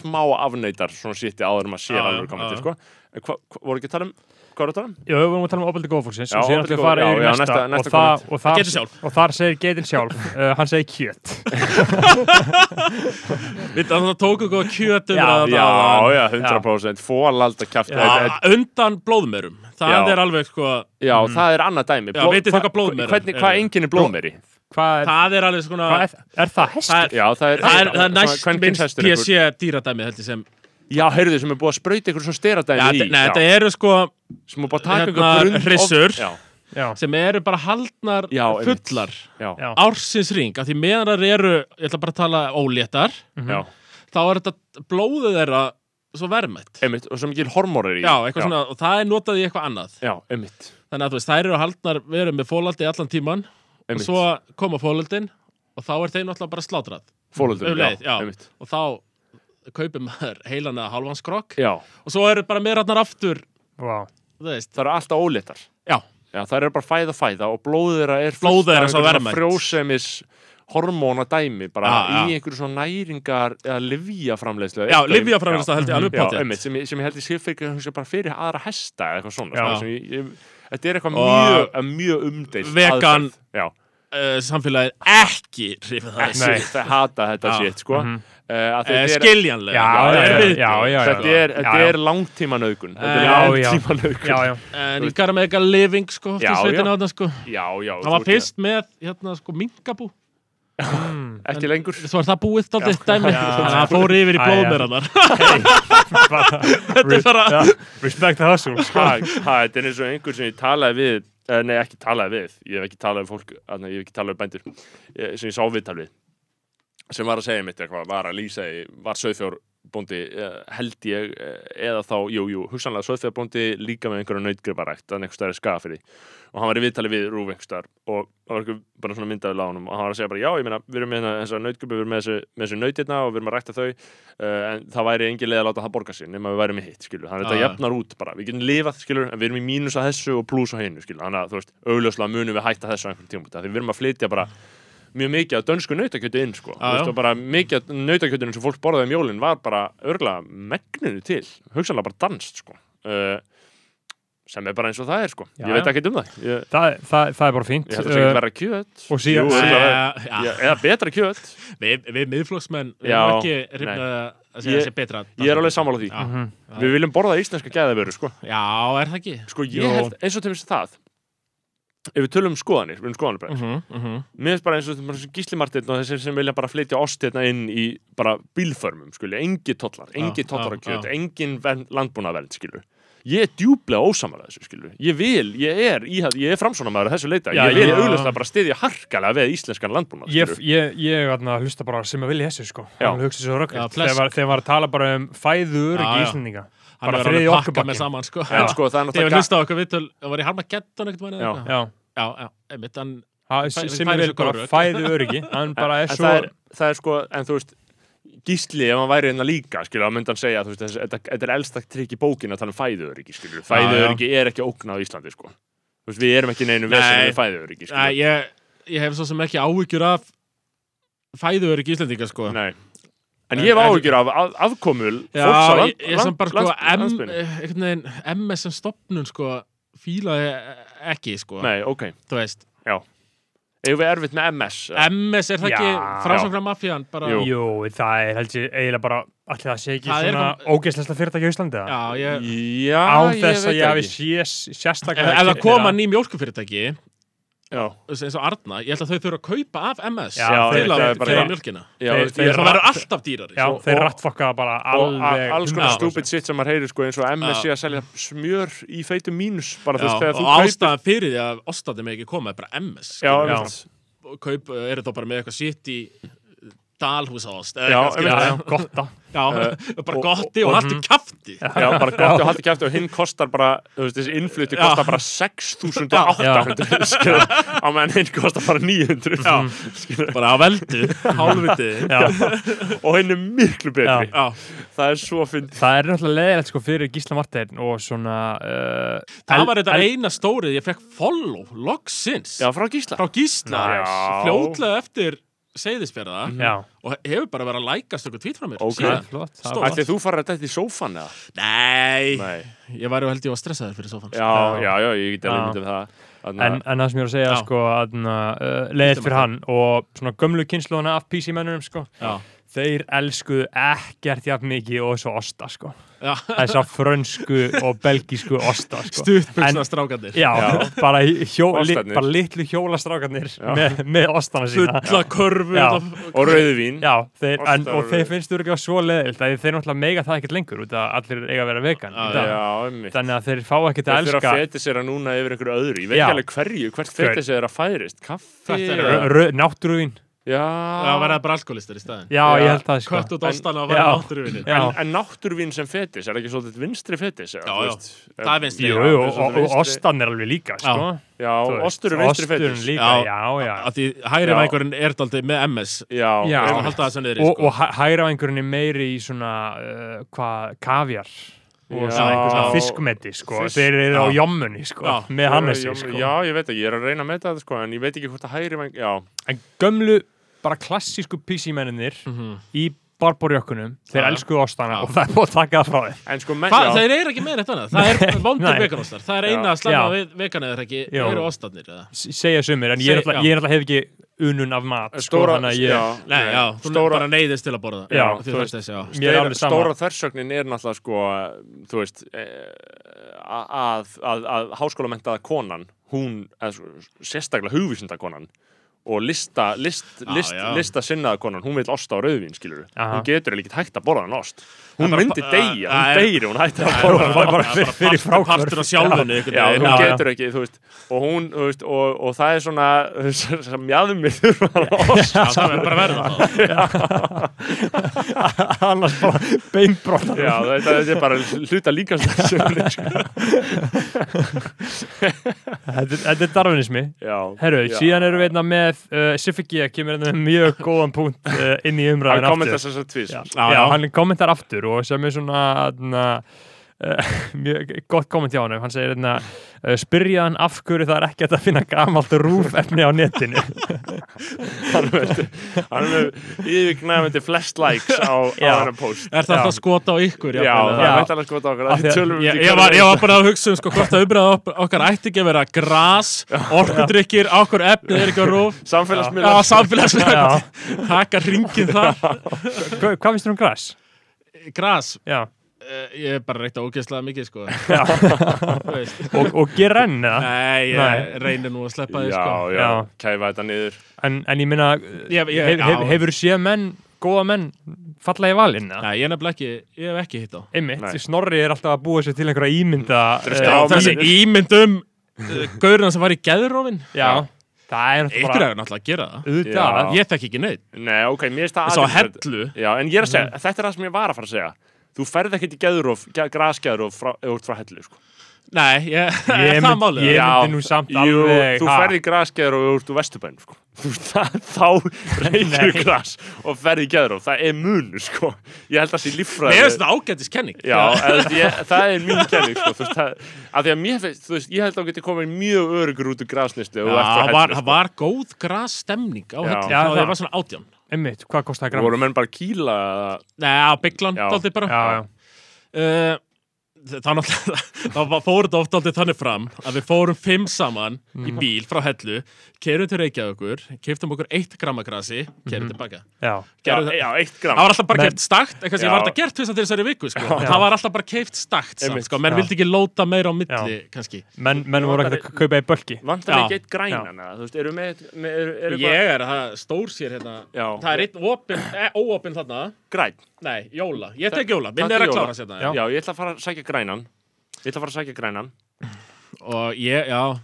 [SPEAKER 1] smá afneitar svona sýtti áður en maður sér
[SPEAKER 4] Já, já,
[SPEAKER 1] alveg komið til
[SPEAKER 4] já.
[SPEAKER 1] sko En hva, hva, voru ekki að tala um, hvað voru að tala um?
[SPEAKER 2] Já, við vorum að tala um ofbeldi góðfólksins
[SPEAKER 1] Já,
[SPEAKER 2] og síðan
[SPEAKER 1] ofbeldi
[SPEAKER 2] ætlum við að fara
[SPEAKER 1] góða-
[SPEAKER 2] yfir
[SPEAKER 1] já, já,
[SPEAKER 2] næsta,
[SPEAKER 1] næsta-
[SPEAKER 2] og,
[SPEAKER 1] næsta
[SPEAKER 2] það, og, það,
[SPEAKER 4] Geitin sjálf.
[SPEAKER 2] og þar segir Geitin sjálf uh, hann segir kjöt
[SPEAKER 4] Við þannig að tóku góða kjötum.
[SPEAKER 2] Já,
[SPEAKER 4] um að-
[SPEAKER 1] Já, já, 100% fólalda kjæft
[SPEAKER 4] Já, undan blóðmörum. Það
[SPEAKER 1] Já.
[SPEAKER 4] er alveg sko,
[SPEAKER 1] Já, það er annað dæmi
[SPEAKER 4] Já, vitið þið hvað blóðmeri
[SPEAKER 1] Hvernig,
[SPEAKER 4] eru?
[SPEAKER 1] hvað enginn er blóðmeri?
[SPEAKER 2] Hvað er,
[SPEAKER 4] það er alveg svona,
[SPEAKER 2] hva er, er það hestur?
[SPEAKER 4] það er,
[SPEAKER 1] Já, það er,
[SPEAKER 4] það er, það er næst
[SPEAKER 1] Kvenkyns
[SPEAKER 4] minnst
[SPEAKER 1] hestur ykkur.
[SPEAKER 4] PC dýradæmi held ég sem.
[SPEAKER 1] Já, heyrðu, sem er búið að sprauta ykkur svona
[SPEAKER 4] Já,
[SPEAKER 1] styradæmi
[SPEAKER 4] þetta-
[SPEAKER 1] í
[SPEAKER 4] nei,
[SPEAKER 1] já,
[SPEAKER 4] þetta eru sko,
[SPEAKER 1] Sem er búið að taka ykkur
[SPEAKER 4] hérna,
[SPEAKER 1] grunn
[SPEAKER 4] hryssur.
[SPEAKER 1] Já,
[SPEAKER 2] Já,
[SPEAKER 4] sem eru bara haldnar
[SPEAKER 1] Já, einmitt.
[SPEAKER 4] fullar.
[SPEAKER 1] já,
[SPEAKER 2] já,
[SPEAKER 4] Ársins ring, af því meðan það eru, ég ætla bara að tala óléttar,
[SPEAKER 1] já
[SPEAKER 4] Mhm. þá er þetta blóðið þeirra svo verðmætt.
[SPEAKER 1] Einmitt, og sem ekki hormórar í
[SPEAKER 4] Já, eitthvað svona, og það er notað í eitthvað annað.
[SPEAKER 1] Já, einmitt
[SPEAKER 4] Þannig að þú veist, þær eru haldnar verið með fólaldi allan tíman og
[SPEAKER 1] Einmitt,
[SPEAKER 4] svo koma fólaldin og þá er þeim náttúrulega bara slátrað
[SPEAKER 1] fólöldur
[SPEAKER 4] um leið, já.
[SPEAKER 1] einmitt
[SPEAKER 4] og þá kaupir maður heilan eða halvan skrokk
[SPEAKER 1] Já,
[SPEAKER 4] og svo eru bara meirarnar aftur,
[SPEAKER 2] vá
[SPEAKER 4] þú veist,
[SPEAKER 1] það eru alltaf óléttar
[SPEAKER 4] já,
[SPEAKER 1] Já, það eru bara fæða fæða og blóðið þeirra er
[SPEAKER 4] Blóð þeirra
[SPEAKER 1] af
[SPEAKER 4] svo
[SPEAKER 1] einhverju
[SPEAKER 4] verðmætt.
[SPEAKER 1] frjósemis hormóna dæmi bara
[SPEAKER 4] Já, já.
[SPEAKER 1] í einhverju svona næringar eða livjaframleiðslu
[SPEAKER 4] já, livjafræðursta held ég alveg
[SPEAKER 1] Já,
[SPEAKER 4] potið.
[SPEAKER 1] einmitt, sem, ég- sem ég held ég sé fyrir, hugsa, bara fyrir aðra hesta eða eitthvað svona
[SPEAKER 4] Já.
[SPEAKER 1] svona sem ég, ég, Þetta er eitthvað
[SPEAKER 4] Og-
[SPEAKER 1] mjög, mjög umdeilt
[SPEAKER 4] Vegan-
[SPEAKER 1] aðferð. Já,
[SPEAKER 4] Uh, samfélagið ekki hrifið það
[SPEAKER 1] þessi,
[SPEAKER 2] Nei.
[SPEAKER 1] það hata þetta
[SPEAKER 4] Já.
[SPEAKER 1] shit sko.
[SPEAKER 2] Mhm.
[SPEAKER 1] Eh, að
[SPEAKER 4] Eh,
[SPEAKER 1] þetta er-
[SPEAKER 4] skiljanlega Eh,
[SPEAKER 2] Já,
[SPEAKER 1] já,
[SPEAKER 4] það
[SPEAKER 1] já,
[SPEAKER 4] er við-
[SPEAKER 2] já, já, já.
[SPEAKER 1] Þetta er, þetta
[SPEAKER 2] Já, já.
[SPEAKER 1] er langtíma nauðgun Þetta
[SPEAKER 4] Eh,
[SPEAKER 1] er
[SPEAKER 2] já, já.
[SPEAKER 1] langtíma nauðgun
[SPEAKER 2] Já, já,
[SPEAKER 4] en ég gara með eitthvað living
[SPEAKER 1] Já,
[SPEAKER 4] sko, já,
[SPEAKER 1] já.
[SPEAKER 4] sveitin, já. Þarna, sko.
[SPEAKER 1] já, hérna já
[SPEAKER 4] hann var
[SPEAKER 1] þú ert-
[SPEAKER 4] fyrst með hérna sko minkabú
[SPEAKER 2] Mm.
[SPEAKER 1] ekki lengur
[SPEAKER 4] Svo er það búið þáttið dæmi
[SPEAKER 2] Já.
[SPEAKER 4] Þannig að það fór yfir í
[SPEAKER 2] Æ,
[SPEAKER 4] blóðmeranar
[SPEAKER 2] bara,
[SPEAKER 4] Þetta er bara
[SPEAKER 2] ja, respect the hustle sko.
[SPEAKER 1] ha, ha, þetta er eins og einhver sem ég talaði við eh, nei ekki talaði við, ég hef ekki talaði við fólk anna, ég hef ekki talaði við bændur eh, sem ég sá viðtal við sem var að segja mitt eitthvað, var að lýsa í, var sauðfjárbóndi eh, held ég eh, eða þá, jú, jú, hugsanlega sauðfjárbóndi líka með einhverju nautgriparækt að einhver stærri skafa fyrir og hann var í viðtali við Rúf einhver starf og það var einhver bara svona myndaði lánum og hann var að segja bara, já, ég meina, við erum með hérna þessar nautgripi við erum með þessu, með þessu nautirna og við erum að rækta þau uh, en það væri engin leið að láta það borga sér nema við værum með hitt, skilur, þannig að þetta
[SPEAKER 4] Já.
[SPEAKER 1] jafnar út bara, við getum lifað, skilur, en við erum í mínus að þessu og plús á hinu, skilur, þannig að þú veist augljóslega munum við hætta þessu á einhvern tíma því við erum að flytja bara mjög mikið af dönsku nautakjötu inn, sko,
[SPEAKER 4] Já,
[SPEAKER 1] þú veist,
[SPEAKER 4] já.
[SPEAKER 1] og bara mikið af nautakjötunum sem fólk borðaði um jólin var bara örgla megninu til, hugsanlega bara danst, sko uh, sem er bara eins og það er, sko
[SPEAKER 2] Já,
[SPEAKER 1] ég veit
[SPEAKER 2] já.
[SPEAKER 1] ekki um það, ég,
[SPEAKER 2] það, það, það er bara fínt
[SPEAKER 1] ég held að það sé
[SPEAKER 4] Eh,
[SPEAKER 2] uh,
[SPEAKER 1] ekki vera kjöt
[SPEAKER 2] og síðan
[SPEAKER 1] Jú,
[SPEAKER 2] Nei.
[SPEAKER 1] örugglega-
[SPEAKER 4] Já, já.
[SPEAKER 1] ég- eða betra kjöt,
[SPEAKER 4] Við, við miðflóksmenn, við
[SPEAKER 1] Já,
[SPEAKER 4] erum ekki rifnað að segja
[SPEAKER 1] Ég-
[SPEAKER 4] þessi betra
[SPEAKER 1] ég er alveg sammála því
[SPEAKER 4] Já,
[SPEAKER 2] Mhm.
[SPEAKER 1] við viljum borða íslenska gæðavöru, sko
[SPEAKER 4] já, er það ekki?
[SPEAKER 1] Sko ég
[SPEAKER 2] Jú.
[SPEAKER 1] held, eins og til þess það Ef við tölum um skoðanir, við erum skoðanarbreið
[SPEAKER 2] Mhm, mhm.
[SPEAKER 1] Mér finnst bara eins og þessi gíslimartirn og þessir sem vilja bara flytja ostirna inn í bara bílförmum, skilju, engi tollar engi
[SPEAKER 4] Já,
[SPEAKER 1] tollar á
[SPEAKER 4] já,
[SPEAKER 1] kjöt,
[SPEAKER 4] já.
[SPEAKER 1] engin landbúnavernd, skilju Ég er djúplega ósamalega þessu, skilju Ég vil, ég er, íhald, ég er framsónamaður að þessu leita
[SPEAKER 2] Já,
[SPEAKER 1] Ég vil
[SPEAKER 2] já.
[SPEAKER 1] auðvitað bara styðja harkalega við íslenskan landbúnað,
[SPEAKER 2] Ég,
[SPEAKER 1] skilju
[SPEAKER 2] ég, ég atna, hlusta bara sem að vilja þessu sko
[SPEAKER 1] Já.
[SPEAKER 2] hann hugsa svo rökkrið
[SPEAKER 4] Já,
[SPEAKER 2] þegar,
[SPEAKER 4] flest-
[SPEAKER 2] var- þegar var að tala bara um fæður
[SPEAKER 4] Já,
[SPEAKER 2] ekki
[SPEAKER 4] já.
[SPEAKER 2] íslendinga
[SPEAKER 4] Hann
[SPEAKER 2] Bara
[SPEAKER 4] var alveg
[SPEAKER 2] þriðji
[SPEAKER 4] pakkað
[SPEAKER 2] orkupakkinn.
[SPEAKER 4] með saman, sko
[SPEAKER 1] En sko það er
[SPEAKER 4] Þegar við
[SPEAKER 1] náttúrulega
[SPEAKER 4] hlusta á okkur viðtöl, það var í Harmageddon ekkert mæni
[SPEAKER 1] Já.
[SPEAKER 2] já,
[SPEAKER 4] já, já, einmitt, hann
[SPEAKER 2] Ha,
[SPEAKER 4] Fæ-
[SPEAKER 2] sem
[SPEAKER 4] færir
[SPEAKER 2] er
[SPEAKER 4] svo
[SPEAKER 2] bara
[SPEAKER 4] góð rök.
[SPEAKER 2] fæðu öryggi hann bara er
[SPEAKER 1] en
[SPEAKER 2] svo
[SPEAKER 1] það, er, það er sko, en þú veist Gísli, ef hann væri hérna líka, skilju, þá myndi hann segja, þú veist, þessi- þetta þetta er elsta trikk í bókin að tala um fæðuöryggi, skilju. Fæðuöryggi er ekki ógnað á Íslandi, sko. Þú veist, við erum ekki í neinu
[SPEAKER 4] Nei.
[SPEAKER 1] vesinu við fæðuöryggi,
[SPEAKER 4] Æ,
[SPEAKER 1] skilju.
[SPEAKER 4] ég, ég hef svo sem ekki áhyggjur af fæðuörygg Íslendinga sko
[SPEAKER 1] Nei. En
[SPEAKER 4] En-
[SPEAKER 1] ég hef
[SPEAKER 4] en-
[SPEAKER 1] áhyggjur af af- afkomul
[SPEAKER 4] Já,
[SPEAKER 1] fólks á land-
[SPEAKER 4] ég, ég sem
[SPEAKER 1] land-
[SPEAKER 4] bara sko
[SPEAKER 1] lands-
[SPEAKER 4] M,
[SPEAKER 1] landsbyggðinni.
[SPEAKER 4] einhvern veginn, MS sem stopnun sko fílaði ekki sko
[SPEAKER 1] Nei, ok.
[SPEAKER 4] þú veist,
[SPEAKER 1] Eigum við erfitt með MS?
[SPEAKER 4] MS er það ekki
[SPEAKER 2] Já.
[SPEAKER 4] frásangrar mafían bara,
[SPEAKER 1] Jú.
[SPEAKER 2] jú, það er held ég eiginlega bara allir það sé ekki
[SPEAKER 4] Það er
[SPEAKER 2] svona
[SPEAKER 4] kom-
[SPEAKER 2] ógeðslega fyrirtæki á Íslandi eða?
[SPEAKER 4] já, Ah, ég
[SPEAKER 1] Já,
[SPEAKER 2] án
[SPEAKER 1] ég
[SPEAKER 2] þess að
[SPEAKER 1] veit
[SPEAKER 2] ég hafi
[SPEAKER 1] ekki.
[SPEAKER 2] sé
[SPEAKER 4] ef,
[SPEAKER 2] sérstaklega
[SPEAKER 4] ef það
[SPEAKER 2] kynnt
[SPEAKER 4] koma
[SPEAKER 2] þeirra.
[SPEAKER 4] ný mjólkufyrirtæki
[SPEAKER 1] Já,
[SPEAKER 4] eins og Arna, ég held að þau þurfa að kaupa af MS
[SPEAKER 2] Já,
[SPEAKER 1] þeir-
[SPEAKER 4] til að
[SPEAKER 1] það er bara-
[SPEAKER 4] til að mjólkina
[SPEAKER 1] já,
[SPEAKER 2] Þeir-
[SPEAKER 1] þú veist,
[SPEAKER 2] þeir-
[SPEAKER 1] ég-
[SPEAKER 4] það verður alltaf dýrari
[SPEAKER 2] já,
[SPEAKER 4] sko.
[SPEAKER 2] þeir
[SPEAKER 1] og-
[SPEAKER 2] rattfokka bara
[SPEAKER 1] og a-
[SPEAKER 2] alveg
[SPEAKER 1] alls konar
[SPEAKER 2] 100%.
[SPEAKER 1] stúpid sitt sem maður heyrir sko eins og MS sé
[SPEAKER 4] Já.
[SPEAKER 1] að selja smjör í feitum mínus bara þú
[SPEAKER 4] Já,
[SPEAKER 1] veist þegar
[SPEAKER 4] og
[SPEAKER 1] þú
[SPEAKER 4] ástæðan fyrir því að ostandi með ekki koma er bara MS
[SPEAKER 1] Já,
[SPEAKER 4] skilur.
[SPEAKER 2] Já.
[SPEAKER 1] einmitt.
[SPEAKER 4] og kaup, eru þá bara með eitthvað sitt í dalhúsást
[SPEAKER 1] Já,
[SPEAKER 2] já,
[SPEAKER 1] einmitt.
[SPEAKER 2] já, gott að
[SPEAKER 4] já, bara
[SPEAKER 1] og-
[SPEAKER 4] gotti
[SPEAKER 1] og-
[SPEAKER 4] og haldi kafti
[SPEAKER 1] Já, bara gott og haldi kæfti og hinn kostar bara, þú veist, þessi innflutti
[SPEAKER 4] Já.
[SPEAKER 1] kostar bara 6.800 skilur, á meðan hinn kostar bara 900 skilur,
[SPEAKER 4] bara á veldu, hálfviti já,
[SPEAKER 2] Já,
[SPEAKER 1] og hinn er miklu betri
[SPEAKER 4] já.
[SPEAKER 1] það er svo fynd
[SPEAKER 2] það er náttúrulega leðilegt sko fyrir Gísla Martein og svona uh,
[SPEAKER 4] það
[SPEAKER 2] el-
[SPEAKER 4] var þetta
[SPEAKER 2] el-
[SPEAKER 4] eina stórið ég fekk follow, loksins
[SPEAKER 1] Já, frá Gísla
[SPEAKER 4] frá Gísla
[SPEAKER 1] Já.
[SPEAKER 4] fljótlega eftir segðisferða
[SPEAKER 2] Já,
[SPEAKER 4] og hefur bara verið að lækast okkur tvít frá mér
[SPEAKER 1] Ok.
[SPEAKER 2] það
[SPEAKER 4] síðan.
[SPEAKER 2] er flott það
[SPEAKER 4] Stór.
[SPEAKER 2] var-
[SPEAKER 1] Ætli þú farir að dætti í sófan eða?
[SPEAKER 4] nei,
[SPEAKER 1] Nei
[SPEAKER 4] ég var held ég var stressaður fyrir sofan
[SPEAKER 1] Já, já, já, ég get
[SPEAKER 2] Já.
[SPEAKER 1] alveg myndið um það Þarna-
[SPEAKER 2] En, en það sem ég var að segja,
[SPEAKER 4] Já.
[SPEAKER 2] sko, að uh, leiðist fyrir hann og svona gömlu kynsluðuna af PC-mennunum, sko,
[SPEAKER 4] já,
[SPEAKER 2] þeir elskuðu ekkert jafn mikið og þessu osta, sko.
[SPEAKER 4] já.
[SPEAKER 2] Þessa frönsku og belgísku osta, sko. En-
[SPEAKER 4] stuttbuksna strákandir
[SPEAKER 2] Já,
[SPEAKER 1] Já.
[SPEAKER 2] Bara, hjó, li,
[SPEAKER 1] Ostarnir.
[SPEAKER 2] bara litlu hjólastrákarnir með, með ostana sína.
[SPEAKER 4] fulla körfu
[SPEAKER 2] Já.
[SPEAKER 4] og-
[SPEAKER 1] Og rauðvín
[SPEAKER 2] Já, þeir, en,
[SPEAKER 1] Ostar
[SPEAKER 2] og
[SPEAKER 1] eru-
[SPEAKER 2] þeir finnst þú ekki að svo leiðilt að þeir náttúrulega mega það ekkert lengur út að allir eiga að vera vegan í
[SPEAKER 4] Já,
[SPEAKER 2] dag.
[SPEAKER 1] Já, einmitt
[SPEAKER 2] Þannig að þeir fá ekkert
[SPEAKER 1] Þeir
[SPEAKER 2] að
[SPEAKER 1] þurfa
[SPEAKER 2] elska
[SPEAKER 1] að feti sér að núna yfir einhverju öðru Ég veit
[SPEAKER 2] Já.
[SPEAKER 1] ekki alveg hverju, hvert feti sér að færist Kaffi
[SPEAKER 4] Hvert er
[SPEAKER 1] eða-
[SPEAKER 4] öðru?
[SPEAKER 2] rö- rö- náttúruvín.
[SPEAKER 1] Já,
[SPEAKER 4] Það verða bara alkoholistar í staðin
[SPEAKER 2] Já,
[SPEAKER 1] Já,
[SPEAKER 2] ég held það, sko.
[SPEAKER 4] Kött og dostan að
[SPEAKER 2] Já.
[SPEAKER 4] vera átturvinni
[SPEAKER 2] Já.
[SPEAKER 1] En, en náttúrvín sem fetis, er ekki svolítið vinstri fetis? eða,
[SPEAKER 4] Já,
[SPEAKER 1] þú
[SPEAKER 4] já.
[SPEAKER 1] veist, eh,
[SPEAKER 4] Það er vinstri.
[SPEAKER 2] Jú,
[SPEAKER 1] Já, það er
[SPEAKER 2] jú, og, og,
[SPEAKER 1] svolítið
[SPEAKER 2] og ostan er alveg líka, sko.
[SPEAKER 1] Já,
[SPEAKER 2] Þú veist,
[SPEAKER 1] ostur er vinstri
[SPEAKER 2] osturinn
[SPEAKER 1] fetis.
[SPEAKER 2] líka,
[SPEAKER 4] Já.
[SPEAKER 2] já, já.
[SPEAKER 4] Því hægri
[SPEAKER 1] Já.
[SPEAKER 4] vængurinn er daldið með MS
[SPEAKER 1] Já,
[SPEAKER 2] Já.
[SPEAKER 4] Það
[SPEAKER 1] einmitt.
[SPEAKER 4] halda það sem niður
[SPEAKER 2] Og,
[SPEAKER 4] sko.
[SPEAKER 2] og hæ- hægra vengurinn er meiri í svona, uh, hvað, kaviar og
[SPEAKER 1] Já.
[SPEAKER 2] svona einhver svona fiskmeti, sko.
[SPEAKER 1] Fisk-
[SPEAKER 2] Þeir eru á
[SPEAKER 4] Já.
[SPEAKER 2] jommunni, sko,
[SPEAKER 4] Já.
[SPEAKER 2] með Hannesi,
[SPEAKER 1] Já,
[SPEAKER 2] sko.
[SPEAKER 1] Já, ég veit ekki, ég er að reyna að meta það, sko, en ég veit ekki hvort það hægri væng, já.
[SPEAKER 2] En gömlu, bara klassísku PC-menninir
[SPEAKER 1] Mhm.
[SPEAKER 2] í barborjökkunum, þeir
[SPEAKER 4] Já.
[SPEAKER 2] elskuðu ostana
[SPEAKER 4] Já.
[SPEAKER 2] og það er búið að taka það frá þeim.
[SPEAKER 1] En sko, menn,
[SPEAKER 4] Hva,
[SPEAKER 1] já,
[SPEAKER 4] Það er ekki meira þetta annað Það er vondur
[SPEAKER 2] Nei.
[SPEAKER 4] veganostar Það er
[SPEAKER 1] Já.
[SPEAKER 4] eina að slæma
[SPEAKER 2] Já.
[SPEAKER 4] við vegan eða ekki
[SPEAKER 2] Jú.
[SPEAKER 4] eru ostarnir eða
[SPEAKER 2] S- Segja sumir, en ég er
[SPEAKER 4] Seg-
[SPEAKER 2] náttúrulega
[SPEAKER 4] já.
[SPEAKER 2] ég er náttúrulega hef ekki unun af mat, sko,
[SPEAKER 1] stóra,
[SPEAKER 2] þannig að ég...
[SPEAKER 1] já,
[SPEAKER 4] Nei, já, þú
[SPEAKER 1] stóra,
[SPEAKER 4] bara neyðist til að borða
[SPEAKER 2] Já,
[SPEAKER 4] þú
[SPEAKER 1] þú
[SPEAKER 4] veist þessi, já
[SPEAKER 2] Mér er
[SPEAKER 1] Þeir-
[SPEAKER 2] alveg sama.
[SPEAKER 1] Stóra þversögnin er náttúrulega sko, þú veist, eh, að, að, að háskólamentaða konan, hún, eða svo- sérstaklega hugvísindakonan, og lista, list,
[SPEAKER 4] Já,
[SPEAKER 1] list,
[SPEAKER 4] já.
[SPEAKER 1] lista sinnaða konan, hún vil osta á rauðvín, skilur
[SPEAKER 2] Aha.
[SPEAKER 1] hún getur eiginlega ekki hægt að borða hann ost hún
[SPEAKER 4] bara-
[SPEAKER 1] myndi deyja,
[SPEAKER 4] það
[SPEAKER 1] hún
[SPEAKER 4] er-
[SPEAKER 1] deyri, ef hún hætti að
[SPEAKER 4] Það
[SPEAKER 1] borða hann ost
[SPEAKER 2] bara fyrir- fyrir fráhvörf.
[SPEAKER 4] partur af sjálfunni
[SPEAKER 1] já, hún
[SPEAKER 4] einhvern veginn.
[SPEAKER 2] já.
[SPEAKER 1] getur ekki, þú veist og hún, þú veist, og, og það er svona þessar mjadumir þurfa á ost
[SPEAKER 4] Já, það er bara verða það.
[SPEAKER 2] annars bara beinbrotnar
[SPEAKER 1] já, þetta, þetta er bara hluta líkast þessu
[SPEAKER 2] þetta, þetta er darwinismi
[SPEAKER 1] já,
[SPEAKER 2] Herru,
[SPEAKER 1] já.
[SPEAKER 2] síðan erum við einna með uh, Sifikia kemur hérna með mjög góðan punkt uh, inn í
[SPEAKER 1] hann
[SPEAKER 2] umræðin
[SPEAKER 1] kommentar
[SPEAKER 2] aftur
[SPEAKER 1] þess að tvís
[SPEAKER 2] já,
[SPEAKER 4] Já,
[SPEAKER 2] já,
[SPEAKER 4] já.
[SPEAKER 2] hann kommentar aftur og sem er svona na, uh, mjög gott komment hjá hann hann segir hérna uh, spyrja hann af hverju það er ekki hægt að finna gamalt rúf efni á netinu
[SPEAKER 1] hann er- hann er yfirgnæfandi flest likes á, á
[SPEAKER 2] Já.
[SPEAKER 1] hennar post
[SPEAKER 4] Er það
[SPEAKER 2] Já.
[SPEAKER 4] það skota á ykkur?
[SPEAKER 1] já,
[SPEAKER 4] jafnvel,
[SPEAKER 1] það
[SPEAKER 4] eða?
[SPEAKER 1] er
[SPEAKER 2] Já.
[SPEAKER 1] hægt að skota okkur
[SPEAKER 2] Af því að-
[SPEAKER 1] það tölum við
[SPEAKER 4] Ég,
[SPEAKER 1] ekki
[SPEAKER 4] ég, var,
[SPEAKER 1] hvernig
[SPEAKER 4] ég
[SPEAKER 1] við-
[SPEAKER 4] var bara að hugsa um sko hvort að umræða op- okkar ætti ekki að vera gras, orkudrykkir, okkur efnið er ekki að rúf, já,
[SPEAKER 1] samfélagsmiðlar
[SPEAKER 4] samfélagslega,
[SPEAKER 2] Já.
[SPEAKER 4] taka ringin þar.
[SPEAKER 2] Hva, hvað finnst þér um græs?
[SPEAKER 4] Gras,
[SPEAKER 2] Já,
[SPEAKER 4] eh, ég er bara reynt að ógeðslega mikið sko.
[SPEAKER 2] já.
[SPEAKER 4] Þú veist.
[SPEAKER 2] og, og gerenn eða?
[SPEAKER 4] Nei, ég
[SPEAKER 2] Nei.
[SPEAKER 4] reynir nú að sleppa því
[SPEAKER 1] já,
[SPEAKER 4] sko.
[SPEAKER 1] já,
[SPEAKER 2] Já.
[SPEAKER 1] kæfa þetta niður
[SPEAKER 2] en, en ég minna
[SPEAKER 4] Ég- ég-
[SPEAKER 2] hef, hef,
[SPEAKER 4] já.
[SPEAKER 2] hefur séð menn, góða menn falla í valinna?
[SPEAKER 4] Nei, ég er nefnilega ekki, ég hef ekki hitt á.
[SPEAKER 2] Einmitt,
[SPEAKER 1] Nei.
[SPEAKER 2] því Snorri er alltaf að búa sér til einhverja ímynda
[SPEAKER 1] Drusta
[SPEAKER 2] eh,
[SPEAKER 1] á
[SPEAKER 4] Þessi
[SPEAKER 1] mennirnir.
[SPEAKER 4] ímyndum gaurina sem var í geðrófin
[SPEAKER 2] Já, það er
[SPEAKER 4] Ykkur
[SPEAKER 2] náttúrulega
[SPEAKER 4] er náttúrulega að gera
[SPEAKER 1] Já.
[SPEAKER 4] það
[SPEAKER 2] auðvitað
[SPEAKER 4] Ég þekki ekki neitt
[SPEAKER 1] Nei, ok, mér finnst það
[SPEAKER 4] Þessi á
[SPEAKER 1] athyglisvert.
[SPEAKER 4] hellu
[SPEAKER 1] Já, en ég er að segja, þetta er það sem ég var að fara að segja Þú ferð ekkert í geðurof, grasgeðurof frá, ef þú ert frá hellu, sko
[SPEAKER 4] Nei, ég,
[SPEAKER 2] Ég
[SPEAKER 4] er það
[SPEAKER 2] mynd-
[SPEAKER 4] málið
[SPEAKER 2] ég-
[SPEAKER 4] ég,
[SPEAKER 2] myndi nú samt alveg-
[SPEAKER 1] Jú, þú
[SPEAKER 2] ha?
[SPEAKER 1] ferð í grasgeðurof ef þú ert úr vesturbænum, sko Þú veist, það- Þá reykir þú gras og ferð í geðurof, það er munu, sko Ég held að það sé
[SPEAKER 4] Mér
[SPEAKER 1] líffræði
[SPEAKER 4] finnst þetta ágætis kenning
[SPEAKER 1] Já, eða, þú veist, ég, það er mín kenning, sko Þú veist, það, að því að mér finnst, þú veist, ég held að þú geti komið mjög örugur út úr grasnistu ef
[SPEAKER 4] Já,
[SPEAKER 1] þú ert frá
[SPEAKER 4] það var,
[SPEAKER 1] hellu,
[SPEAKER 4] það
[SPEAKER 1] sko
[SPEAKER 4] var góð grasstemning á
[SPEAKER 1] Já.
[SPEAKER 4] hellu
[SPEAKER 2] Já,
[SPEAKER 4] Já, það
[SPEAKER 2] það-
[SPEAKER 4] var svona átján
[SPEAKER 2] Einmitt, hvað kostar það
[SPEAKER 1] Voru menn bara að kýla eða-
[SPEAKER 4] Nei, á bygglan,
[SPEAKER 1] Já.
[SPEAKER 4] dálítið bara
[SPEAKER 2] Já, já.
[SPEAKER 4] Uh, þá náttúrulega, þá var- fór þetta ofta aldrei þannig fram að við fórum fimm saman í
[SPEAKER 2] Mhm.
[SPEAKER 4] bíl frá hellu, kerum til Reykjavíkur, keiftum okkur eitt grammagrasi,
[SPEAKER 2] Mhm.
[SPEAKER 4] kerum tilbaka.
[SPEAKER 2] Já,
[SPEAKER 4] Gerðu
[SPEAKER 1] Já,
[SPEAKER 4] það-
[SPEAKER 1] já, eitt gram
[SPEAKER 4] Það var alltaf bara
[SPEAKER 2] Men-
[SPEAKER 4] keift stakt, eitthvað sem ég
[SPEAKER 1] Já.
[SPEAKER 4] var alltaf gert þess að þessari viku, sko. Það var alltaf bara keift stakt, samt,
[SPEAKER 1] Einmitt.
[SPEAKER 4] sko, menn
[SPEAKER 2] Já.
[SPEAKER 4] vildi ekki lóta meira á milli, kannski.
[SPEAKER 2] menn, menn voru ekkert að kaupa í bölki
[SPEAKER 1] Vantar
[SPEAKER 4] Já.
[SPEAKER 1] ekki eitt grænan, eða, þú veist, eru með, með eru, eru
[SPEAKER 4] Ég er að það stór sér hérna,
[SPEAKER 1] Já.
[SPEAKER 4] það er einn opin, eh, óopin þarna,
[SPEAKER 1] græn
[SPEAKER 4] nei, jóla, ég tek jóla, minn
[SPEAKER 1] taktu
[SPEAKER 4] er að
[SPEAKER 1] jóla.
[SPEAKER 4] klára sérna.
[SPEAKER 1] Já, ég ætla að fara að sækja grænan Ég ætla að fara að sækja grænan
[SPEAKER 4] Og ég, já,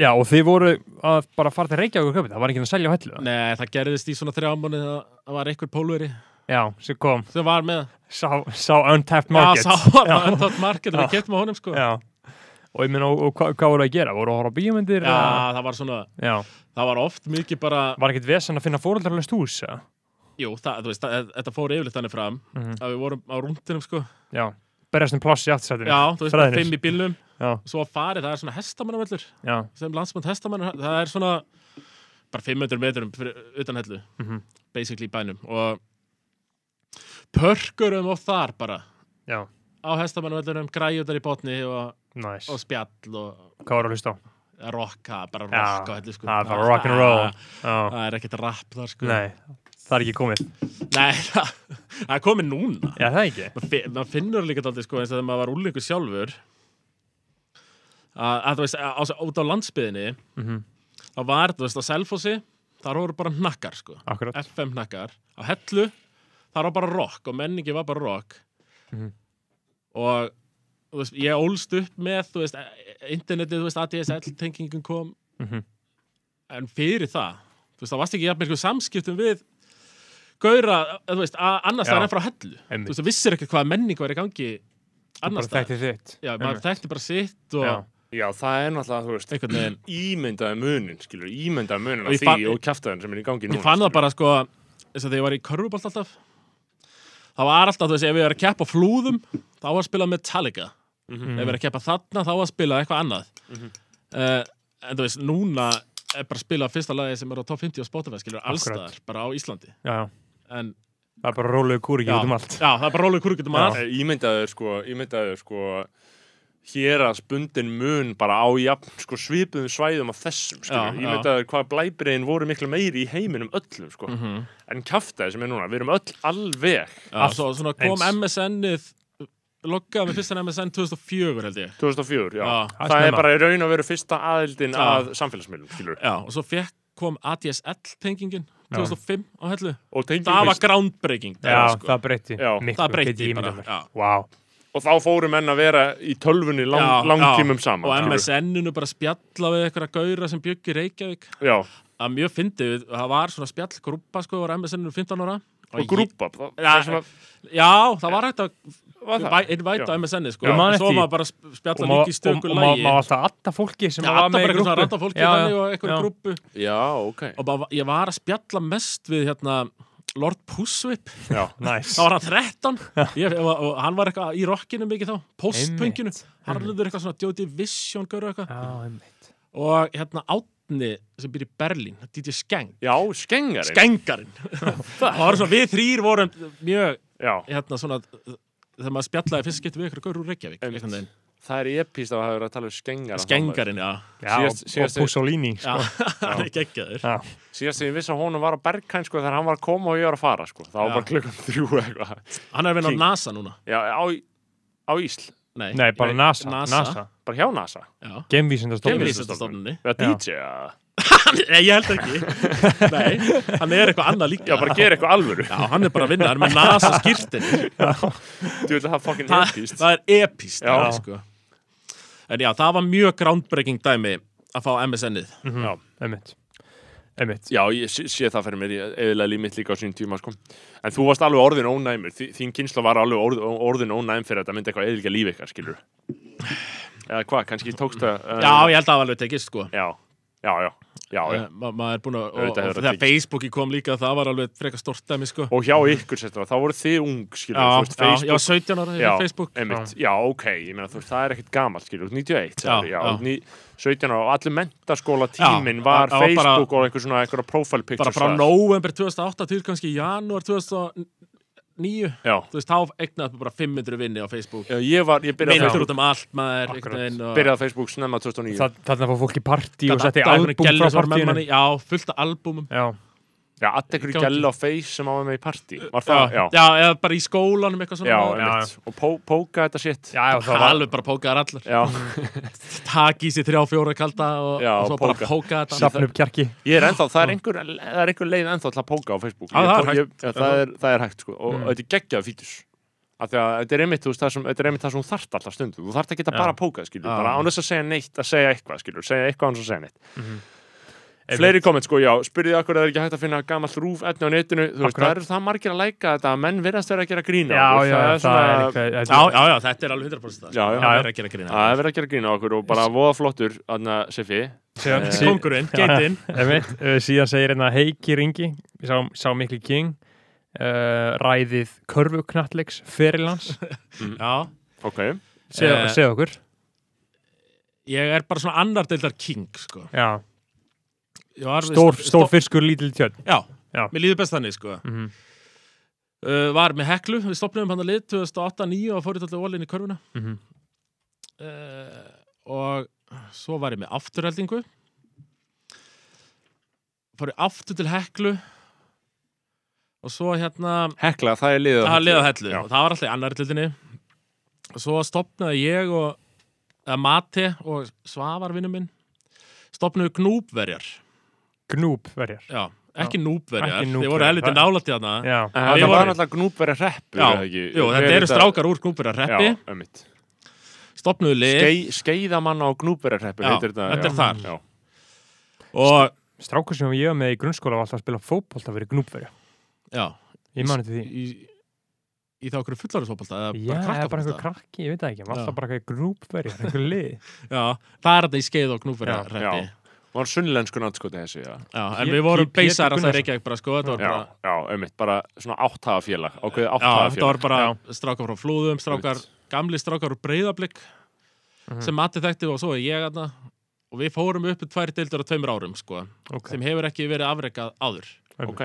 [SPEAKER 2] Já, og þið voru að bara fara til Reykjavík og kaupa það var ekki að selja á hellu það?
[SPEAKER 4] nei, það gerðist í svona þrjá mánuði að það var einhver pólveri
[SPEAKER 2] Já, sem kom,
[SPEAKER 4] sem var með
[SPEAKER 2] sá, sá untapped market
[SPEAKER 4] Já, sá var það öndað market og við getum á honum sko Já,
[SPEAKER 2] Já. og ég minna, og, og hvað, hvað voru að gera? Voru að horfa á bíómyndir? eða-
[SPEAKER 4] það var svona,
[SPEAKER 2] Já.
[SPEAKER 4] það var oft mikið bara
[SPEAKER 2] Var ekkert vesen að finna fóreldralust hús? eða?
[SPEAKER 4] Jú, það, þú veist, það, þetta fór yfirleitt þannig fram
[SPEAKER 2] Mhm.
[SPEAKER 4] að við vorum á rúndinum sko
[SPEAKER 2] Já, berjast um pláss í aftsætinu
[SPEAKER 4] Já, þú veist, bara
[SPEAKER 2] Þræðinir.
[SPEAKER 4] fimm í bílnum
[SPEAKER 2] Já.
[SPEAKER 4] Svo að farið, það er svona hestamannavellur
[SPEAKER 2] Já.
[SPEAKER 4] sem landsmönd hestamannar, það er svona bara 500 metrum fyrir, utan hellu
[SPEAKER 2] Mhm.
[SPEAKER 4] basically í bænum og pörkurum og þar bara
[SPEAKER 2] Já.
[SPEAKER 4] á hestamannavellunum, græjudar í botni og,
[SPEAKER 2] Næs,
[SPEAKER 4] og spjall og
[SPEAKER 2] hvað voru að hlusta á?
[SPEAKER 4] rocka, bara
[SPEAKER 2] Já,
[SPEAKER 4] rock á hellu sko
[SPEAKER 2] það er bara rock and roll. Já,
[SPEAKER 4] Það er ekkert rap þar sko
[SPEAKER 2] nei, það er ekki komið
[SPEAKER 4] Nei, það það er komið núna
[SPEAKER 2] Já, það er ekki
[SPEAKER 4] Maður fi- maður finnur líka daldið sko eins og þegar maður var úrlingur sjálfur að, að þú veist, að, á, út á landsbyðinni
[SPEAKER 2] Mhm.
[SPEAKER 4] þá var, þú veist, á Selfossi þar voru bara hnakkar sko
[SPEAKER 2] Akkurat
[SPEAKER 4] FM hnakkar, á Hellu þar var bara rock og menningi var bara rock
[SPEAKER 2] Mhm.
[SPEAKER 4] og þú veist, ég ólst upp með þú veist, e- internetið, þú veist, ADSL-tengingin kom
[SPEAKER 2] Mhm.
[SPEAKER 4] en fyrir það, þú veist, það varst ekki jafnir samskiptum við gauðra, þú veist, a- annars
[SPEAKER 2] Já.
[SPEAKER 4] það er frá Hellu
[SPEAKER 2] Einmitt.
[SPEAKER 4] þú veist, það vissir ekkert hvað menning var í gangi annars
[SPEAKER 2] bara
[SPEAKER 4] það,
[SPEAKER 2] þekkti þitt
[SPEAKER 4] já, maður
[SPEAKER 2] Einmitt.
[SPEAKER 4] þekkti bara sitt og
[SPEAKER 2] Já.
[SPEAKER 1] Já, það er náttúrulega, þú veist
[SPEAKER 4] einhvern veginn
[SPEAKER 1] Ímyndaði munin, skilur, ímyndaði munin af
[SPEAKER 4] Og ég
[SPEAKER 1] því
[SPEAKER 4] fann-
[SPEAKER 1] og kjaftaðin sem er í gangi núna
[SPEAKER 4] Ég fann það
[SPEAKER 1] skilur.
[SPEAKER 4] bara sko eins og þegar ég var í körfubolt alltaf Það var alltaf, þú veist, ef ég var að keppa á flúðum þá var að spila Metallica Ef ég var að keppa þarna, þá var að spila eitthvað annað uh, En þú veist, núna er bara að spila fyrsta lagi sem er á top 50 á Spotify, skilur,
[SPEAKER 2] Akkurat.
[SPEAKER 4] allstaðar bara á Íslandi
[SPEAKER 2] Já, já
[SPEAKER 4] en,
[SPEAKER 2] Það er bara róluðu kúriki út um allt
[SPEAKER 4] já, það er bara rólega kúrkutum að
[SPEAKER 1] Eh, Ímyndaðu, sko, ímyndaðu, sko Hér að spundin mun bara á jafn, sko, svipuðum svæðum af þessum, skilur
[SPEAKER 4] Já, já.
[SPEAKER 1] Ímyndaðu hvað blæbriðin voru miklu meiri í heiminum öllum, sko
[SPEAKER 4] Mhm.
[SPEAKER 1] En kjaftaði sem er núna, við erum öll alveg
[SPEAKER 4] já, svo, Svona kom
[SPEAKER 2] eins.
[SPEAKER 4] MSN-ið loggaði með fyrsta MSN 2004 held ég
[SPEAKER 1] 2004, já,
[SPEAKER 4] Já,
[SPEAKER 1] Það er
[SPEAKER 2] snemma.
[SPEAKER 1] bara í raun að vera fyrsta aðildin
[SPEAKER 4] Já.
[SPEAKER 1] að samfélagsmiðlum, skilur
[SPEAKER 4] Já, og svo fekk kom ADSL-tengingin 2005 á hellu
[SPEAKER 1] og
[SPEAKER 4] það
[SPEAKER 1] tengingin
[SPEAKER 4] var groundbreaking
[SPEAKER 2] Já,
[SPEAKER 4] það, sko.
[SPEAKER 2] það breytti
[SPEAKER 1] Já.
[SPEAKER 2] miklu,
[SPEAKER 4] Það breytti
[SPEAKER 2] get ég
[SPEAKER 4] bara,
[SPEAKER 2] ímyndað mér.
[SPEAKER 4] já.
[SPEAKER 2] Vá.
[SPEAKER 1] og þá fóru menn að vera í tölvunni lang,
[SPEAKER 4] Já,
[SPEAKER 1] langtímum
[SPEAKER 4] já.
[SPEAKER 1] saman
[SPEAKER 4] og
[SPEAKER 1] skilur.
[SPEAKER 4] MSN-unu bara spjalla við einhverja gauðra sem byggi Reykjavík
[SPEAKER 1] já,
[SPEAKER 4] það er mjög fyndið, við- það var svona spjallgrúpa sko, var MSN-unu 15 ára
[SPEAKER 1] og grúpa það,
[SPEAKER 4] Já,
[SPEAKER 1] það sem að,
[SPEAKER 4] Já, það var hægt að
[SPEAKER 1] var það,
[SPEAKER 4] invita á MSN-i sko,
[SPEAKER 2] Ég man
[SPEAKER 4] En svo
[SPEAKER 2] eftir því.
[SPEAKER 4] var bara að
[SPEAKER 2] og
[SPEAKER 4] spjalla
[SPEAKER 2] má-
[SPEAKER 4] líka í
[SPEAKER 2] og-
[SPEAKER 4] stöku
[SPEAKER 2] og má-
[SPEAKER 4] lægi
[SPEAKER 2] má alltaf alltaf fólki sem
[SPEAKER 4] Já,
[SPEAKER 2] var með
[SPEAKER 4] alltaf bara
[SPEAKER 2] í
[SPEAKER 4] eitthvað svona
[SPEAKER 2] grúpu
[SPEAKER 4] randa fólki
[SPEAKER 2] Já, já,
[SPEAKER 4] þannig og eitthvað
[SPEAKER 2] já.
[SPEAKER 4] grúpu
[SPEAKER 1] já, ok
[SPEAKER 4] og bara, ég var að spjalla mest við hérna Lord Pusswip,
[SPEAKER 1] já,
[SPEAKER 2] Nice.
[SPEAKER 4] þá var hann 13 ég, og, og hann var eitthvað í rockinu mikið þá postpunkinu, harluður eitthvað svona Jóti Vision, gaur og eitthvað
[SPEAKER 2] Já, einmitt.
[SPEAKER 4] og hérna Átni sem býr í Berlín, DJ Skeng
[SPEAKER 1] já, skengar
[SPEAKER 4] Skengarinn og það var svona, við þrýr vorum mjög
[SPEAKER 1] já,
[SPEAKER 4] hérna svona þegar maður spjallaði fyrst getur við ykkur gaur úr Reykjavík
[SPEAKER 1] Einmitt.
[SPEAKER 4] einhvern veginn.
[SPEAKER 1] það er epist að hafa verið að tala um skengar
[SPEAKER 4] Skengarinn, já
[SPEAKER 2] Já,
[SPEAKER 1] Síðast-
[SPEAKER 2] og- og
[SPEAKER 1] síðast-
[SPEAKER 2] Pussolini sko.
[SPEAKER 4] Já, hann er geggjaður
[SPEAKER 2] Já.
[SPEAKER 1] síðast þegar ég vissi að honum var á Berghain sko þegar hann var að koma og ég var að fara sko það var
[SPEAKER 4] Já.
[SPEAKER 1] bara klukkan þrjú eitthvað
[SPEAKER 4] Hann er að vinna á
[SPEAKER 1] King.
[SPEAKER 4] NASA núna
[SPEAKER 1] já, á, á Ísl,
[SPEAKER 4] Nei,
[SPEAKER 2] Nei, bara NASA, NASA. NASA.
[SPEAKER 1] bara hjá NASA
[SPEAKER 4] Já,
[SPEAKER 2] Gemvísindastofnun
[SPEAKER 4] kemvísistofnunni
[SPEAKER 1] við að DJ að
[SPEAKER 4] Nei, ég held ekki Nei, hann er eitthvað annað líka
[SPEAKER 1] já, bara gera eitthvað alvöru
[SPEAKER 4] Já, hann er bara að vinna, hann er með NASA skýrtinni
[SPEAKER 1] þú veit að það fucking E
[SPEAKER 4] Þa,
[SPEAKER 1] epist
[SPEAKER 4] Það er epist
[SPEAKER 1] Já.
[SPEAKER 4] já, sko. En já, það var mjög groundbreaking dæmi að fá MSN-ið
[SPEAKER 2] Mhm.
[SPEAKER 1] já
[SPEAKER 2] Einmitt Einmitt
[SPEAKER 1] Já, ég sé, sé það fyrir mér, ég eðla líf mitt líka á sínum tíma, sko. En þú varst alveg orðin ónæmur, Þi, þín kynsla var alveg orð, orðin ónæm fyrir að þetta myndi eitthvað eðlika líf ykkar, skilur. Eða hvað, kannski tókst það... Uh,
[SPEAKER 4] Já, ég held að það var alveg tekist sko.
[SPEAKER 1] Já, já, já, já, já.
[SPEAKER 4] Eh, ma maður er búin að, og,
[SPEAKER 1] Auðvitað
[SPEAKER 4] og
[SPEAKER 1] hefur það
[SPEAKER 4] þegar
[SPEAKER 1] tekist.
[SPEAKER 4] Facebooki kom líka það var alveg frekar stort dæmi sko.
[SPEAKER 1] Og hjá ykkur, sérstaklega, þá voru þið ung, skilur,
[SPEAKER 4] já,
[SPEAKER 1] þú veist,
[SPEAKER 4] já, ég var
[SPEAKER 1] Facebook...
[SPEAKER 4] 17 ára já, Facebook
[SPEAKER 1] einmitt, já, ok, ég meina, þú veist, það er ekkert gamalt, skilur, þú ert 91,
[SPEAKER 4] Já,
[SPEAKER 1] sagði, já,
[SPEAKER 4] já.
[SPEAKER 1] já. Ný, 17 ára, og allir mentaskóla tíminn
[SPEAKER 4] Já,
[SPEAKER 1] var
[SPEAKER 4] það var bara-
[SPEAKER 1] Facebook og einhver svona, einhverja profile pictures.
[SPEAKER 4] bara frá
[SPEAKER 1] þar.
[SPEAKER 4] november 2008 til kannski janúar 2009
[SPEAKER 1] Já,
[SPEAKER 4] þú veist, þá egnaði bara 500 vinni á Facebook
[SPEAKER 1] Já, ég var, ég byrjaði
[SPEAKER 4] myndur
[SPEAKER 1] Facebook-
[SPEAKER 4] út um allt maður
[SPEAKER 2] Akkurat.
[SPEAKER 4] einhvern veginn og-
[SPEAKER 1] byrjaði á Facebook snemma 2009.
[SPEAKER 2] Þa- Þarna fór fólk í partí og
[SPEAKER 4] Gat
[SPEAKER 2] setti
[SPEAKER 4] alltaf einhvern
[SPEAKER 2] albúm frá
[SPEAKER 4] gellis var með
[SPEAKER 2] partíinu
[SPEAKER 4] manni, já, fullt af albúmum
[SPEAKER 2] Já,
[SPEAKER 1] Já, allt ekkur
[SPEAKER 4] Gangi.
[SPEAKER 1] gæla á face sem á með í partí Var
[SPEAKER 4] já,
[SPEAKER 1] það, já, já,
[SPEAKER 4] já, eða bara í skólanum eitthvað
[SPEAKER 1] já,
[SPEAKER 4] svona maður.
[SPEAKER 1] einmitt. Og pó, póka þetta shit
[SPEAKER 2] já, já það var
[SPEAKER 4] alveg bara pókaðar allar
[SPEAKER 1] Já,
[SPEAKER 4] takk í sér þrjá fjóra kalda og,
[SPEAKER 1] Já,
[SPEAKER 4] og svo
[SPEAKER 1] póka.
[SPEAKER 4] bara pókaða þetta
[SPEAKER 2] Safn upp kjarki
[SPEAKER 1] ég er ennþá, það er einhver, það er einhver leið ennþá til að póka á Facebook
[SPEAKER 4] Já,
[SPEAKER 1] Ég
[SPEAKER 4] það er
[SPEAKER 1] tó-
[SPEAKER 4] hægt.
[SPEAKER 1] ég- já, það, er, það er hægt, sko Og
[SPEAKER 2] Mm.
[SPEAKER 1] þetta er geggjað fítus Af því að þetta er einmitt, þú veist, það sem, þetta er einmitt það sem þú þart alltaf stundum Þú þart að geta
[SPEAKER 2] Já.
[SPEAKER 1] bara að póka, skilur
[SPEAKER 4] Já.
[SPEAKER 1] Bara án þess að segja neitt, að segja eitthvað, skilur Segja eitthvað án þess að segja neitt
[SPEAKER 2] Einmitt.
[SPEAKER 1] Fleiri komment, sko, já, spyrðið akkur að það er ekki hægt að finna gammalt rúf etni á netinu, þú veist,
[SPEAKER 2] Akkurat.
[SPEAKER 1] það eru það margir að læka þetta að menn virðast vera að gera grína
[SPEAKER 2] Já, já, það er eitthvað
[SPEAKER 4] já,
[SPEAKER 2] þetta-
[SPEAKER 4] já, já, þetta er alveg 100% það,
[SPEAKER 1] Já, já.
[SPEAKER 4] sko. það er að gera grína
[SPEAKER 1] Það er verið að gera grín á okkur og bara voða flottur, aðna Siffi.
[SPEAKER 2] síðan-
[SPEAKER 1] Eh,
[SPEAKER 2] sí-
[SPEAKER 4] kongurinn, geitinn
[SPEAKER 2] Einmitt, uh, síðan segir hérna Heiki Ringi, ég sá, sá mikli King uh, ræðið körfuknallegs ferilans
[SPEAKER 4] já,
[SPEAKER 1] Ok.
[SPEAKER 2] segð
[SPEAKER 4] Eh.
[SPEAKER 2] segð okkur
[SPEAKER 4] ég er bara svona annar deildar king sko.
[SPEAKER 2] já,
[SPEAKER 4] Ég var-
[SPEAKER 2] stór, stór fiskur lítil tjörn
[SPEAKER 4] Já,
[SPEAKER 2] Já.
[SPEAKER 4] mér líður best þannig sko
[SPEAKER 2] Mhm.
[SPEAKER 4] uh, Var með Heklu, við stopnum hann að lið 2008-2009 og fórið alltaf ólinn í körfuna
[SPEAKER 2] Mhm.
[SPEAKER 4] uh, Og svo var ég með afturheldingu Fórið aftur til Heklu Og svo hérna
[SPEAKER 1] Hekla, það er liðað.
[SPEAKER 4] Það liða hellu
[SPEAKER 1] Já.
[SPEAKER 4] og það var alltaf í annar hlutinni og svo stopnaði ég og eða Mati og Svavar vinnu minn stopnaði gnúbverjar
[SPEAKER 2] gnúb verjar
[SPEAKER 4] já, ekki
[SPEAKER 2] Ekki
[SPEAKER 4] núbverjar, þeir
[SPEAKER 2] gnúpverjar,
[SPEAKER 4] voru helviti
[SPEAKER 2] það-
[SPEAKER 4] nálætt í
[SPEAKER 2] já,
[SPEAKER 4] þarna
[SPEAKER 1] En
[SPEAKER 4] Já, ég
[SPEAKER 1] þetta
[SPEAKER 4] var-
[SPEAKER 1] var náttúrulega gnúbverja hreppur,
[SPEAKER 4] Já,
[SPEAKER 1] eða ekki?
[SPEAKER 4] Jú, þetta
[SPEAKER 1] Ég
[SPEAKER 4] eru
[SPEAKER 1] veit að-
[SPEAKER 4] strákar úr gnúbverjar reppi
[SPEAKER 1] Já, ömmit.
[SPEAKER 4] stopnaðu lið
[SPEAKER 1] Skei, skeiðamann á gnúbverja hreppur,
[SPEAKER 4] Já,
[SPEAKER 1] heitir þetta.
[SPEAKER 4] þetta er
[SPEAKER 1] já.
[SPEAKER 4] þar.
[SPEAKER 1] Já.
[SPEAKER 4] og
[SPEAKER 2] strákur sem ég var með í grunnskóla var alltaf að spila fótbolt að vera gnúbverja
[SPEAKER 4] já,
[SPEAKER 2] ég mani til því
[SPEAKER 4] í, í, í þá okkur fullarinsfótbolta eða
[SPEAKER 2] Já,
[SPEAKER 4] bara
[SPEAKER 2] eða bara einhver
[SPEAKER 4] krakkafótbolta
[SPEAKER 2] krakki, ég veit það ekki, maður
[SPEAKER 4] Já.
[SPEAKER 2] alltaf bara eitthvað grúpverjar, einhver lið.
[SPEAKER 4] Já, það er þetta í skeið og gnúbverjar
[SPEAKER 1] Já,
[SPEAKER 4] reppi
[SPEAKER 1] já. Var sunnlensku náttskoti þessi, já.
[SPEAKER 4] Já, en
[SPEAKER 2] Pé-
[SPEAKER 4] við vorum
[SPEAKER 2] Pé- Pétur
[SPEAKER 4] beisar alltaf
[SPEAKER 2] Gunnarsson.
[SPEAKER 4] reykjæk bara sko, þetta var
[SPEAKER 1] Já,
[SPEAKER 4] bara
[SPEAKER 1] já, ömmit, bara svona áttafafélag, ákveðið
[SPEAKER 4] Já, þetta var
[SPEAKER 1] áttafafélag.
[SPEAKER 4] bara strákar frá flúðum, strákar, gamli strákar úr breyðablik
[SPEAKER 2] Mhm.
[SPEAKER 4] sem Matti þekkti og svo er ég aðna og við fórum upp í tvær deildur á tveimur árum sko,
[SPEAKER 2] Ok.
[SPEAKER 4] sem hefur ekki verið afrekað áður
[SPEAKER 1] Ok.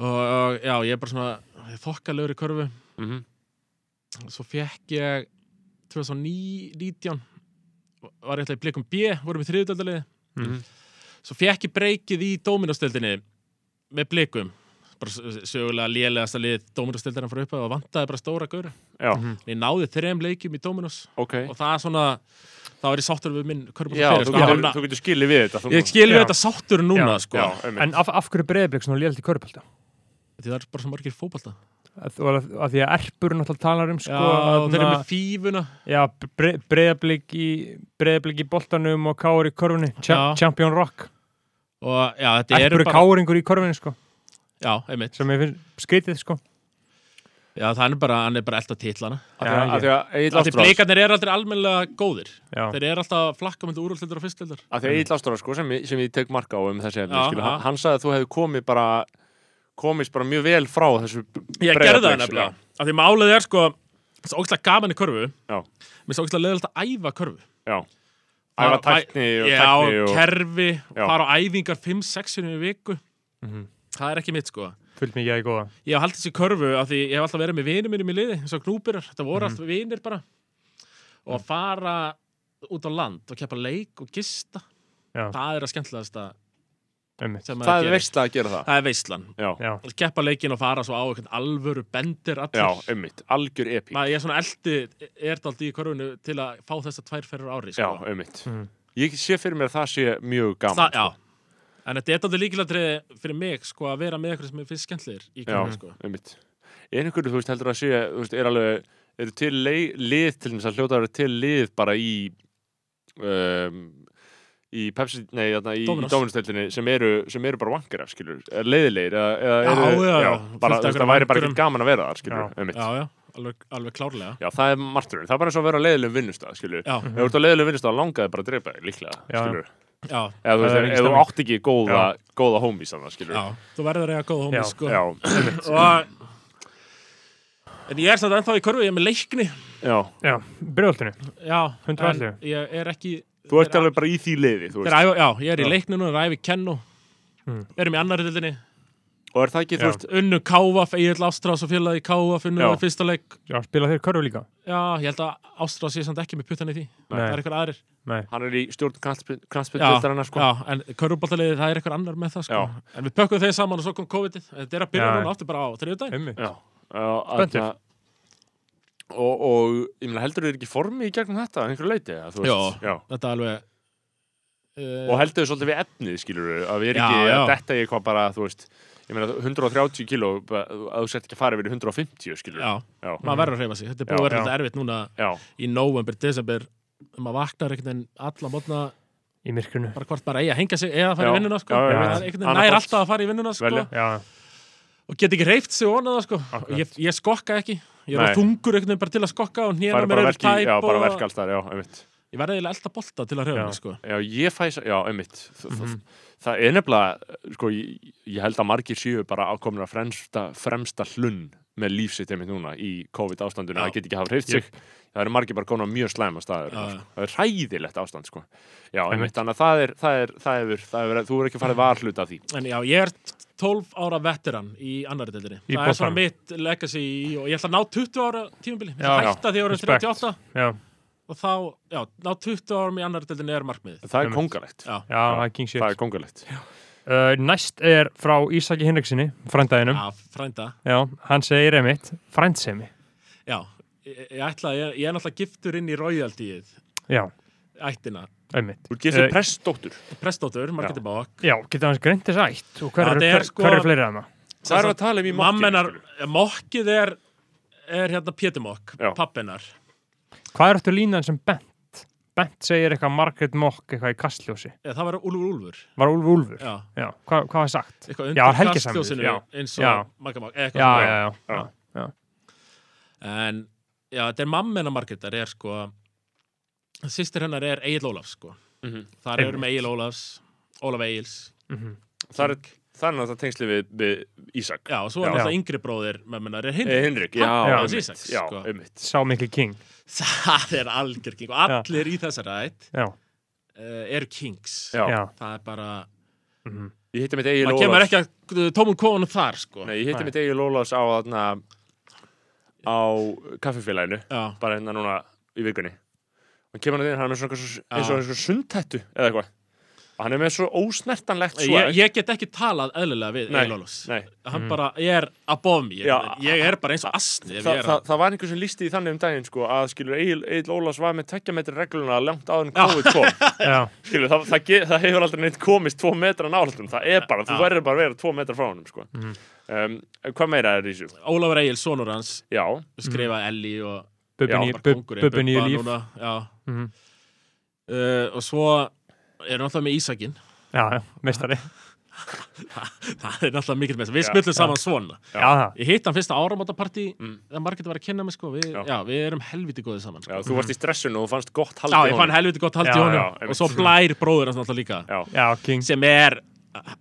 [SPEAKER 4] og, og já, ég er bara svona þokkalegur í körfu
[SPEAKER 1] Mhm.
[SPEAKER 4] svo fekk ég 2019 var ég ætla í blikum B vorum í þriðutöldaliði
[SPEAKER 2] Mhm.
[SPEAKER 4] svo fekk ég breykið í Dóminósteldinni með blikum bara s- sögulega lélegasta lið Dóminustildarinn frá upphæðu og vantaði bara stóra gaura.
[SPEAKER 1] Já,
[SPEAKER 4] En ég náði þrem leikjum í Dóminus
[SPEAKER 1] ok
[SPEAKER 4] Mhm. og það er svona, þá er ég sáttur við minn körpum
[SPEAKER 1] Já, þú getur, þú getur skilið við þetta þú-
[SPEAKER 4] Ég skil
[SPEAKER 2] Já.
[SPEAKER 4] við þetta sáttur núna,
[SPEAKER 2] Já,
[SPEAKER 4] sko.
[SPEAKER 1] Já, einmitt.
[SPEAKER 2] En af, af hverju breyðblik svona lélt í körpölda?
[SPEAKER 4] Því það er bara svo margir fótbalta.
[SPEAKER 2] Að, að, að því að erpur náttúrulega talar um
[SPEAKER 4] Já,
[SPEAKER 2] sko,
[SPEAKER 4] og þeir eru
[SPEAKER 2] þarna-
[SPEAKER 4] með
[SPEAKER 1] hérna-
[SPEAKER 4] fífuna.
[SPEAKER 2] Já, breyðablík í breyðablík í boltanum og káur í korfunni Cha
[SPEAKER 4] Já.
[SPEAKER 2] Champion Rock
[SPEAKER 4] Og já, þetta eru
[SPEAKER 2] Erpur
[SPEAKER 4] bara...
[SPEAKER 2] káringur í korfunni sko
[SPEAKER 4] Já, einmitt.
[SPEAKER 2] sem ég finnst skrítið sko
[SPEAKER 4] Já, það er bara, hann er bara elda titlana.
[SPEAKER 1] Af því
[SPEAKER 2] Já,
[SPEAKER 1] að- af því að Egill
[SPEAKER 4] Af Því
[SPEAKER 1] Ástráðs
[SPEAKER 4] blíkarnir eru aldrei almennilega góðir.
[SPEAKER 2] Já,
[SPEAKER 4] Þeir eru alltaf að flakka myndi úrvalstildar og fyrstildar.
[SPEAKER 1] af því að Egill Ástráðs sko, sem, ég- sem ég tek marka á um þessi efni
[SPEAKER 4] Já,
[SPEAKER 1] skilur,
[SPEAKER 4] já.
[SPEAKER 1] hann- hann sagði að þú hefði komið bara komist bara mjög vel frá þessu
[SPEAKER 4] Ég gerði það
[SPEAKER 1] Breiðabliks,
[SPEAKER 4] nefnilega. Af því málið er sko, það er ógæslega gaman í körfu.
[SPEAKER 1] Já.
[SPEAKER 4] Mér er ógæslega leðilegt að æfa körfu.
[SPEAKER 1] já, það var
[SPEAKER 4] Að-
[SPEAKER 1] tækni og
[SPEAKER 4] Já,
[SPEAKER 1] tækni og
[SPEAKER 4] kerfi,
[SPEAKER 1] Já. Mhm.
[SPEAKER 4] fara á æfingar 5-6 sinni í viku. Það er ekki mitt sko.
[SPEAKER 2] fullt mikið að ég góða
[SPEAKER 4] Ég hef haldið sér körfu af því ég hef alltaf verið með vinir mínum í liði, eins og knúpirar, þetta voru
[SPEAKER 1] Mhm.
[SPEAKER 4] alltaf vinir bara. Og að fara út á land og keppa leik og gista,
[SPEAKER 2] Já.
[SPEAKER 4] það er að skemmtilegasta
[SPEAKER 2] Einmitt.
[SPEAKER 4] sem
[SPEAKER 1] það
[SPEAKER 4] maður
[SPEAKER 1] er
[SPEAKER 4] gerir.
[SPEAKER 1] veist að gera það
[SPEAKER 4] Það er veistlan.
[SPEAKER 1] já,
[SPEAKER 2] Já,
[SPEAKER 4] Keppa leikin og fara svo á eitthvað alvöru bendir allir.
[SPEAKER 1] já, ummitt, algjör epík
[SPEAKER 4] Maður, ég er svona eldi, er daldi í körfunu til að fá þessa tvær ferur ári,
[SPEAKER 1] já,
[SPEAKER 4] sko.
[SPEAKER 1] ummitt
[SPEAKER 2] Mhm.
[SPEAKER 1] ég sé fyrir mér að það sé mjög gaman
[SPEAKER 4] Það, já. En þetta er daldi líkilatriði fyrir mig, sko, að vera með eitthvað sem er fyrst skemmtlegir í
[SPEAKER 1] Já,
[SPEAKER 4] körfunu, sko.
[SPEAKER 1] einmitt. En einhverju, þú veist, heldur að sé, þú veist, er alveg, eru til lei- lið til þess að hljóta að eru til lið bara í, um, í Pepsi, nei, þarna, í, í
[SPEAKER 4] Dominos.
[SPEAKER 1] Dominus-teltinni sem eru, sem eru bara vankirar, skilur, eða leiðilegir, eða, eða
[SPEAKER 4] Já,
[SPEAKER 1] eru,
[SPEAKER 4] já, já,
[SPEAKER 1] bara,
[SPEAKER 4] fullt af
[SPEAKER 1] þú veist,
[SPEAKER 4] einhverjum
[SPEAKER 1] það væri bara
[SPEAKER 4] vankurum.
[SPEAKER 1] ekki gaman að vera þar, skilur,
[SPEAKER 2] Já,
[SPEAKER 1] einmitt.
[SPEAKER 4] Já, já, alveg, alveg klárlega.
[SPEAKER 1] Já, það er marturinn, það er bara eins og að vera á leiðilegum vinnustað, skilur.
[SPEAKER 4] Já,
[SPEAKER 1] Ef þú ert á leiðilegum vinnustað, langaði bara að drepa þig, líklega,
[SPEAKER 2] Já, já.
[SPEAKER 1] skilur.
[SPEAKER 4] já,
[SPEAKER 1] Eða þú
[SPEAKER 2] Það er
[SPEAKER 1] veist,
[SPEAKER 2] ekki
[SPEAKER 1] ef þú
[SPEAKER 2] stemning.
[SPEAKER 1] átt ekki góða, góða homies annað, skilur.
[SPEAKER 4] já. Þú verður að reyja góð
[SPEAKER 2] Já,
[SPEAKER 4] homi, sko.
[SPEAKER 1] já,
[SPEAKER 4] Og... En ég er samt ennþá í körfu, ég er með leikni.
[SPEAKER 1] já.
[SPEAKER 2] já, breyðoltinu
[SPEAKER 4] Já,
[SPEAKER 2] 111.
[SPEAKER 4] en ég er ekki...
[SPEAKER 1] Þú ert alveg bara í því leiði, þú veist.
[SPEAKER 4] Þeir æfa, já, ég er í
[SPEAKER 2] Já.
[SPEAKER 4] leikni núna, ræfi kennu
[SPEAKER 2] Mm.
[SPEAKER 4] Erum í annari dildinni
[SPEAKER 1] Og er það ekki,
[SPEAKER 2] Já.
[SPEAKER 1] þú veist,
[SPEAKER 4] Unnu Kávaf, Egil Ástrás og félagi Kávaf Unnu
[SPEAKER 1] Já.
[SPEAKER 4] var fyrsta leik
[SPEAKER 2] Já, spila þeir körfu líka?
[SPEAKER 4] Já, ég held að Ástrás sé samt ekki með puttan í því Það er
[SPEAKER 2] Nei,
[SPEAKER 4] eitthvað aðrir
[SPEAKER 2] nei,
[SPEAKER 1] hann er í stjórn knastbyttildarinnar sko.
[SPEAKER 4] Já, en körfuboltaliðið, það er eitthvað annar með það sko.
[SPEAKER 1] Já.
[SPEAKER 4] En við pökkum þeir saman og svo kom COVID-ið Þetta er að byrja
[SPEAKER 2] Já.
[SPEAKER 4] núna aftur bara á þriðjudaginn
[SPEAKER 2] einmitt
[SPEAKER 1] Já. Uh,
[SPEAKER 2] Spenntur.
[SPEAKER 1] að- og, og ég meina heldur þau ekki formi í gegnum þetta að einhverju leiti eða, þú veist, já.
[SPEAKER 4] Þetta er alveg uh,
[SPEAKER 1] og heldur þau svolítið við efnið skilur að við erum
[SPEAKER 4] Já,
[SPEAKER 1] ekki
[SPEAKER 4] já.
[SPEAKER 1] að detta í eitthvað bara þú veist ég meina 130 kíló bara, að þú sett ekki að fara yfir í 150 skilur
[SPEAKER 4] Já,
[SPEAKER 1] já.
[SPEAKER 4] maður verður að reyfa sig Þetta er búið að
[SPEAKER 1] Já,
[SPEAKER 4] vera
[SPEAKER 2] já.
[SPEAKER 4] þetta erfitt núna
[SPEAKER 1] Já.
[SPEAKER 4] í november, desember maður vaknar einhvern veginn alla mótna
[SPEAKER 2] í myrkrinu
[SPEAKER 4] bara hvort maður eigi að hengja sig eða að fara
[SPEAKER 1] Já,
[SPEAKER 4] í vinnuna sko.
[SPEAKER 1] já,
[SPEAKER 2] já,
[SPEAKER 4] Það
[SPEAKER 2] já.
[SPEAKER 4] er einhvern veginn
[SPEAKER 1] Annað
[SPEAKER 4] nær
[SPEAKER 1] hvort.
[SPEAKER 4] alltaf að fara í vinnuna sko.
[SPEAKER 1] Velja.
[SPEAKER 2] Já,
[SPEAKER 4] og get ekki reyft sig vonað sko.
[SPEAKER 2] Akkurat.
[SPEAKER 4] ég, ég skokka ekki ég er
[SPEAKER 1] Nei.
[SPEAKER 4] á þungur einhvern veginn bara til að skokka og
[SPEAKER 1] Það
[SPEAKER 4] hnýra
[SPEAKER 1] er
[SPEAKER 4] mér
[SPEAKER 1] bara
[SPEAKER 4] eru
[SPEAKER 1] verki, já,
[SPEAKER 4] tæp
[SPEAKER 1] bara
[SPEAKER 4] og...
[SPEAKER 1] verki alls þar, já, einmitt.
[SPEAKER 4] ég verði eiginlega elda bolta til að reyfa
[SPEAKER 2] Já.
[SPEAKER 4] mig sko.
[SPEAKER 1] Já, ég fæs, já, einmitt. Mm Það er nefnilega, sko, ég, ég held að margir séu bara ákomnir að fremsta, fremsta hlunn með lífsitt einmitt núna í COVID-ástandinu,
[SPEAKER 4] Já.
[SPEAKER 1] það get ekki hafa hreift sig. Það eru margir bara konar mjög slæma staðir.
[SPEAKER 4] Já,
[SPEAKER 1] Já, sko. Það er hræðilegt ástand, sko. Já,
[SPEAKER 2] Einmitt.
[SPEAKER 1] einmitt, þannig að það er, það er, það hefur, það hefur, þú er ekki farið varhluta af því.
[SPEAKER 4] en já, ég er 12 ára veteran í annari deildinni
[SPEAKER 2] Í
[SPEAKER 4] það er svona
[SPEAKER 2] boltanum.
[SPEAKER 4] mitt legacy í- og ég ætla að ná 20 ára tímabili ég
[SPEAKER 2] Já,
[SPEAKER 4] ætla að hætta því að ég voru
[SPEAKER 2] respect.
[SPEAKER 4] 38
[SPEAKER 2] já,
[SPEAKER 4] og þá, já, ná 20 árum í annari deildinni er markmiðið
[SPEAKER 1] Það er
[SPEAKER 2] Einmitt.
[SPEAKER 1] kongalegt.
[SPEAKER 4] já,
[SPEAKER 2] já, það er king shit
[SPEAKER 1] Það er kongalegt.
[SPEAKER 2] Uh, næst er frá Ísaki Hinriksinni, frændaðinum.
[SPEAKER 4] já frænda
[SPEAKER 2] Já, hann segir einmitt, frændsemi.
[SPEAKER 4] Já, ég, ég ætla, ég, ég er náttúrulega giftur inn í royaltyið,
[SPEAKER 2] Já,
[SPEAKER 4] ættina,
[SPEAKER 2] einmitt.
[SPEAKER 1] Þú getur
[SPEAKER 2] Eh,
[SPEAKER 1] prestdóttur.
[SPEAKER 4] prestóttur, Margeti Bák.
[SPEAKER 2] Já, getur hans greint þess ætt og hver
[SPEAKER 4] Já,
[SPEAKER 2] eru
[SPEAKER 4] þetta er
[SPEAKER 2] hver,
[SPEAKER 4] sko-
[SPEAKER 2] hver er fleiri að maður?
[SPEAKER 1] Það er að tala um í mokkinu,
[SPEAKER 4] Mammenar,
[SPEAKER 1] skilur.
[SPEAKER 4] eh, mokkið er, er hérna Pétumokk,
[SPEAKER 1] Já.
[SPEAKER 4] pappinar.
[SPEAKER 2] Hvað er eftir línan sem Bent? Bent segir eitthvað Margaret Mock eitthvað í kastljósi.
[SPEAKER 4] Eða, Eh, það var Úlfur Úlfur,
[SPEAKER 2] Var Úlfur Úlfur?
[SPEAKER 4] já.
[SPEAKER 2] Já, hvað, hvað var sagt?
[SPEAKER 4] Eitthvað
[SPEAKER 2] Já,
[SPEAKER 4] undir
[SPEAKER 2] Helgi Samur,
[SPEAKER 4] kastljósinu
[SPEAKER 2] já.
[SPEAKER 4] eins
[SPEAKER 2] Já.
[SPEAKER 4] og Maggamokk, eða
[SPEAKER 2] Já, já,
[SPEAKER 4] eitthvað.
[SPEAKER 2] já.
[SPEAKER 1] Já.
[SPEAKER 2] já.
[SPEAKER 4] svona. En, já, þetta er mammenar Margetar, er sko, sýstir hennar er Egil Ólafs, sko.
[SPEAKER 1] Mhm.
[SPEAKER 4] Þar eru með Egil Ólafs, Ólaf Egils.
[SPEAKER 2] Mhm.
[SPEAKER 1] Það er, það er náttúrulega tengslið við, við Ísak.
[SPEAKER 4] Já, og svo er
[SPEAKER 2] Já.
[SPEAKER 4] náttúrulega yngri bróðir mömmunar er hinn.
[SPEAKER 1] Eh, Hinrik, já,
[SPEAKER 4] Hann-
[SPEAKER 1] já,
[SPEAKER 4] hans
[SPEAKER 1] einmitt,
[SPEAKER 4] Ísaks,
[SPEAKER 1] já,
[SPEAKER 4] Ah, sko.
[SPEAKER 1] einmitt.
[SPEAKER 2] Sá mikil king.
[SPEAKER 4] Það er algjör king og allir í þessari ætt
[SPEAKER 2] Já,
[SPEAKER 4] uh, eru kings
[SPEAKER 1] Já.
[SPEAKER 2] já.
[SPEAKER 4] það er bara,
[SPEAKER 1] Ég hitti mitt Egil
[SPEAKER 4] maður kemur ekki að tómum kofunum þar sko
[SPEAKER 1] Nei, ég hitti
[SPEAKER 2] Nei.
[SPEAKER 1] mitt Egil Ólafs á þarna á kaffifélaginu
[SPEAKER 4] Já,
[SPEAKER 1] bara hérna núna í vikunni hann kemur hann inn, hann er með svona eitthvað svo- eins og
[SPEAKER 4] Já.
[SPEAKER 1] eins og sundtættu eða eitthvað hann er með svo ósnertanlegt
[SPEAKER 4] ég,
[SPEAKER 1] svag
[SPEAKER 4] ég get ekki talað eðlilega við
[SPEAKER 1] Nei,
[SPEAKER 4] Egil Ólafs
[SPEAKER 1] nei. Mm.
[SPEAKER 4] hann bara, ég er above me ég,
[SPEAKER 1] Já,
[SPEAKER 4] ég er bara eins og asni ef
[SPEAKER 1] Þa,
[SPEAKER 4] ég er
[SPEAKER 1] það, það var einhver sem lísti því þannig um daginn sko, að skilur Egil, Egil Ólafs var með tekja metri regluna langt áður en COVID kom
[SPEAKER 2] já,
[SPEAKER 1] skilur, það, það, ge, það hefur aldrei neitt komist tvo metra nálatum, það er bara, þú
[SPEAKER 4] Já. Mhm.
[SPEAKER 1] verður bara að vera tvo metra frá honum sko. um, en hvað meira er í þessu?
[SPEAKER 4] Ólafur Egil, sonur hans
[SPEAKER 1] Já, Mm.
[SPEAKER 4] skrifaði Ellie og
[SPEAKER 2] bubbin
[SPEAKER 1] Já,
[SPEAKER 2] í-
[SPEAKER 4] var
[SPEAKER 2] bub-
[SPEAKER 4] kóngurinn,
[SPEAKER 2] bubbin í
[SPEAKER 4] Bubba
[SPEAKER 2] líf
[SPEAKER 4] núna, já.
[SPEAKER 2] Mhm.
[SPEAKER 4] uh, og svo erum alltaf með Ísakin
[SPEAKER 2] já, já, meistari
[SPEAKER 4] það er alltaf mikill með þess við
[SPEAKER 1] Já,
[SPEAKER 4] spilum saman svona
[SPEAKER 2] já, já,
[SPEAKER 4] ég hitt hann fyrsta áramótapartí
[SPEAKER 1] Mm.
[SPEAKER 4] það margir var að kynna mig sko við,
[SPEAKER 1] Já.
[SPEAKER 4] já. við erum helviti góðið saman
[SPEAKER 1] já
[SPEAKER 4] sko.
[SPEAKER 1] þú varst í stressinu og þú fannst gott
[SPEAKER 4] já,
[SPEAKER 1] haldið
[SPEAKER 4] ég fann helviti gott haldi
[SPEAKER 2] Já,
[SPEAKER 4] í honum
[SPEAKER 1] já,
[SPEAKER 4] og
[SPEAKER 1] einmitt. Mm.
[SPEAKER 4] svo blær bróður hans alltaf líka
[SPEAKER 1] Já,
[SPEAKER 2] já, king
[SPEAKER 4] sem er,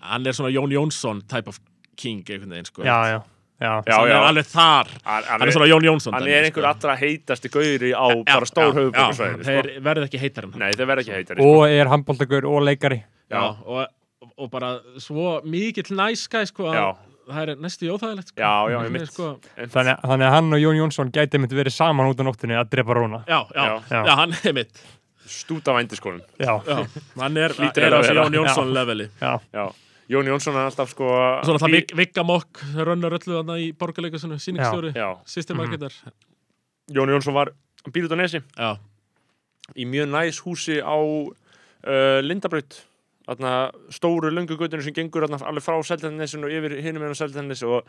[SPEAKER 4] hann er svona Jón Jónsson type of king einhvern veginn sko
[SPEAKER 2] já, já, já,
[SPEAKER 1] Já,
[SPEAKER 4] hann
[SPEAKER 1] já.
[SPEAKER 4] er alveg þar
[SPEAKER 1] Hann- hann
[SPEAKER 4] hann
[SPEAKER 1] er-
[SPEAKER 4] er svona Jón Jónsson
[SPEAKER 1] hann
[SPEAKER 4] dæmi,
[SPEAKER 1] er
[SPEAKER 4] sko.
[SPEAKER 1] einhver allra heitasti gauri á
[SPEAKER 4] Já,
[SPEAKER 1] bara stór
[SPEAKER 4] já,
[SPEAKER 1] höfuborgarsvæði
[SPEAKER 4] já,
[SPEAKER 1] sko.
[SPEAKER 4] þeir verða ekki heitar en hann
[SPEAKER 1] Nei, þeir verða ekki heitari sko.
[SPEAKER 2] og er handbóltagur og leikari
[SPEAKER 1] Já.
[SPEAKER 4] já, og, og bara svo mikill næskæ sko, að
[SPEAKER 1] Já.
[SPEAKER 4] það er næstu jóþægilegt sko.
[SPEAKER 1] Já, já,
[SPEAKER 4] Hann er,
[SPEAKER 1] einmitt.
[SPEAKER 4] sko,
[SPEAKER 2] þannig, að- þannig að hann og Jón Jónsson gæti myndi verið saman út á nóttinni að drepa Róna
[SPEAKER 4] já, já,
[SPEAKER 1] Já.
[SPEAKER 4] já,
[SPEAKER 2] Já.
[SPEAKER 4] hann er mitt
[SPEAKER 1] Stúta vændiskonum
[SPEAKER 2] já,
[SPEAKER 4] já, hann er,
[SPEAKER 1] Hlýtur
[SPEAKER 4] er
[SPEAKER 1] að
[SPEAKER 4] á þessu
[SPEAKER 1] vera.
[SPEAKER 4] Jón Jónsson leveli
[SPEAKER 2] já,
[SPEAKER 1] Já, Jón Jónsson er alltaf sko
[SPEAKER 4] Svo náttúrulega
[SPEAKER 1] Bí-
[SPEAKER 4] Vig- Vigga Mokk rönnar öllu þarna í borgarleikasunum, síningstjóri,
[SPEAKER 1] Já,
[SPEAKER 4] sýstimarketar.
[SPEAKER 1] Jón Jónsson var bíl út á nesi
[SPEAKER 4] Já,
[SPEAKER 1] í mjög næs húsi á uh, Lindabraut þarna stóru löngugutinu sem gengur þarna alveg frá Seltjarnesinu og yfir hinum meðan Seltjarnes og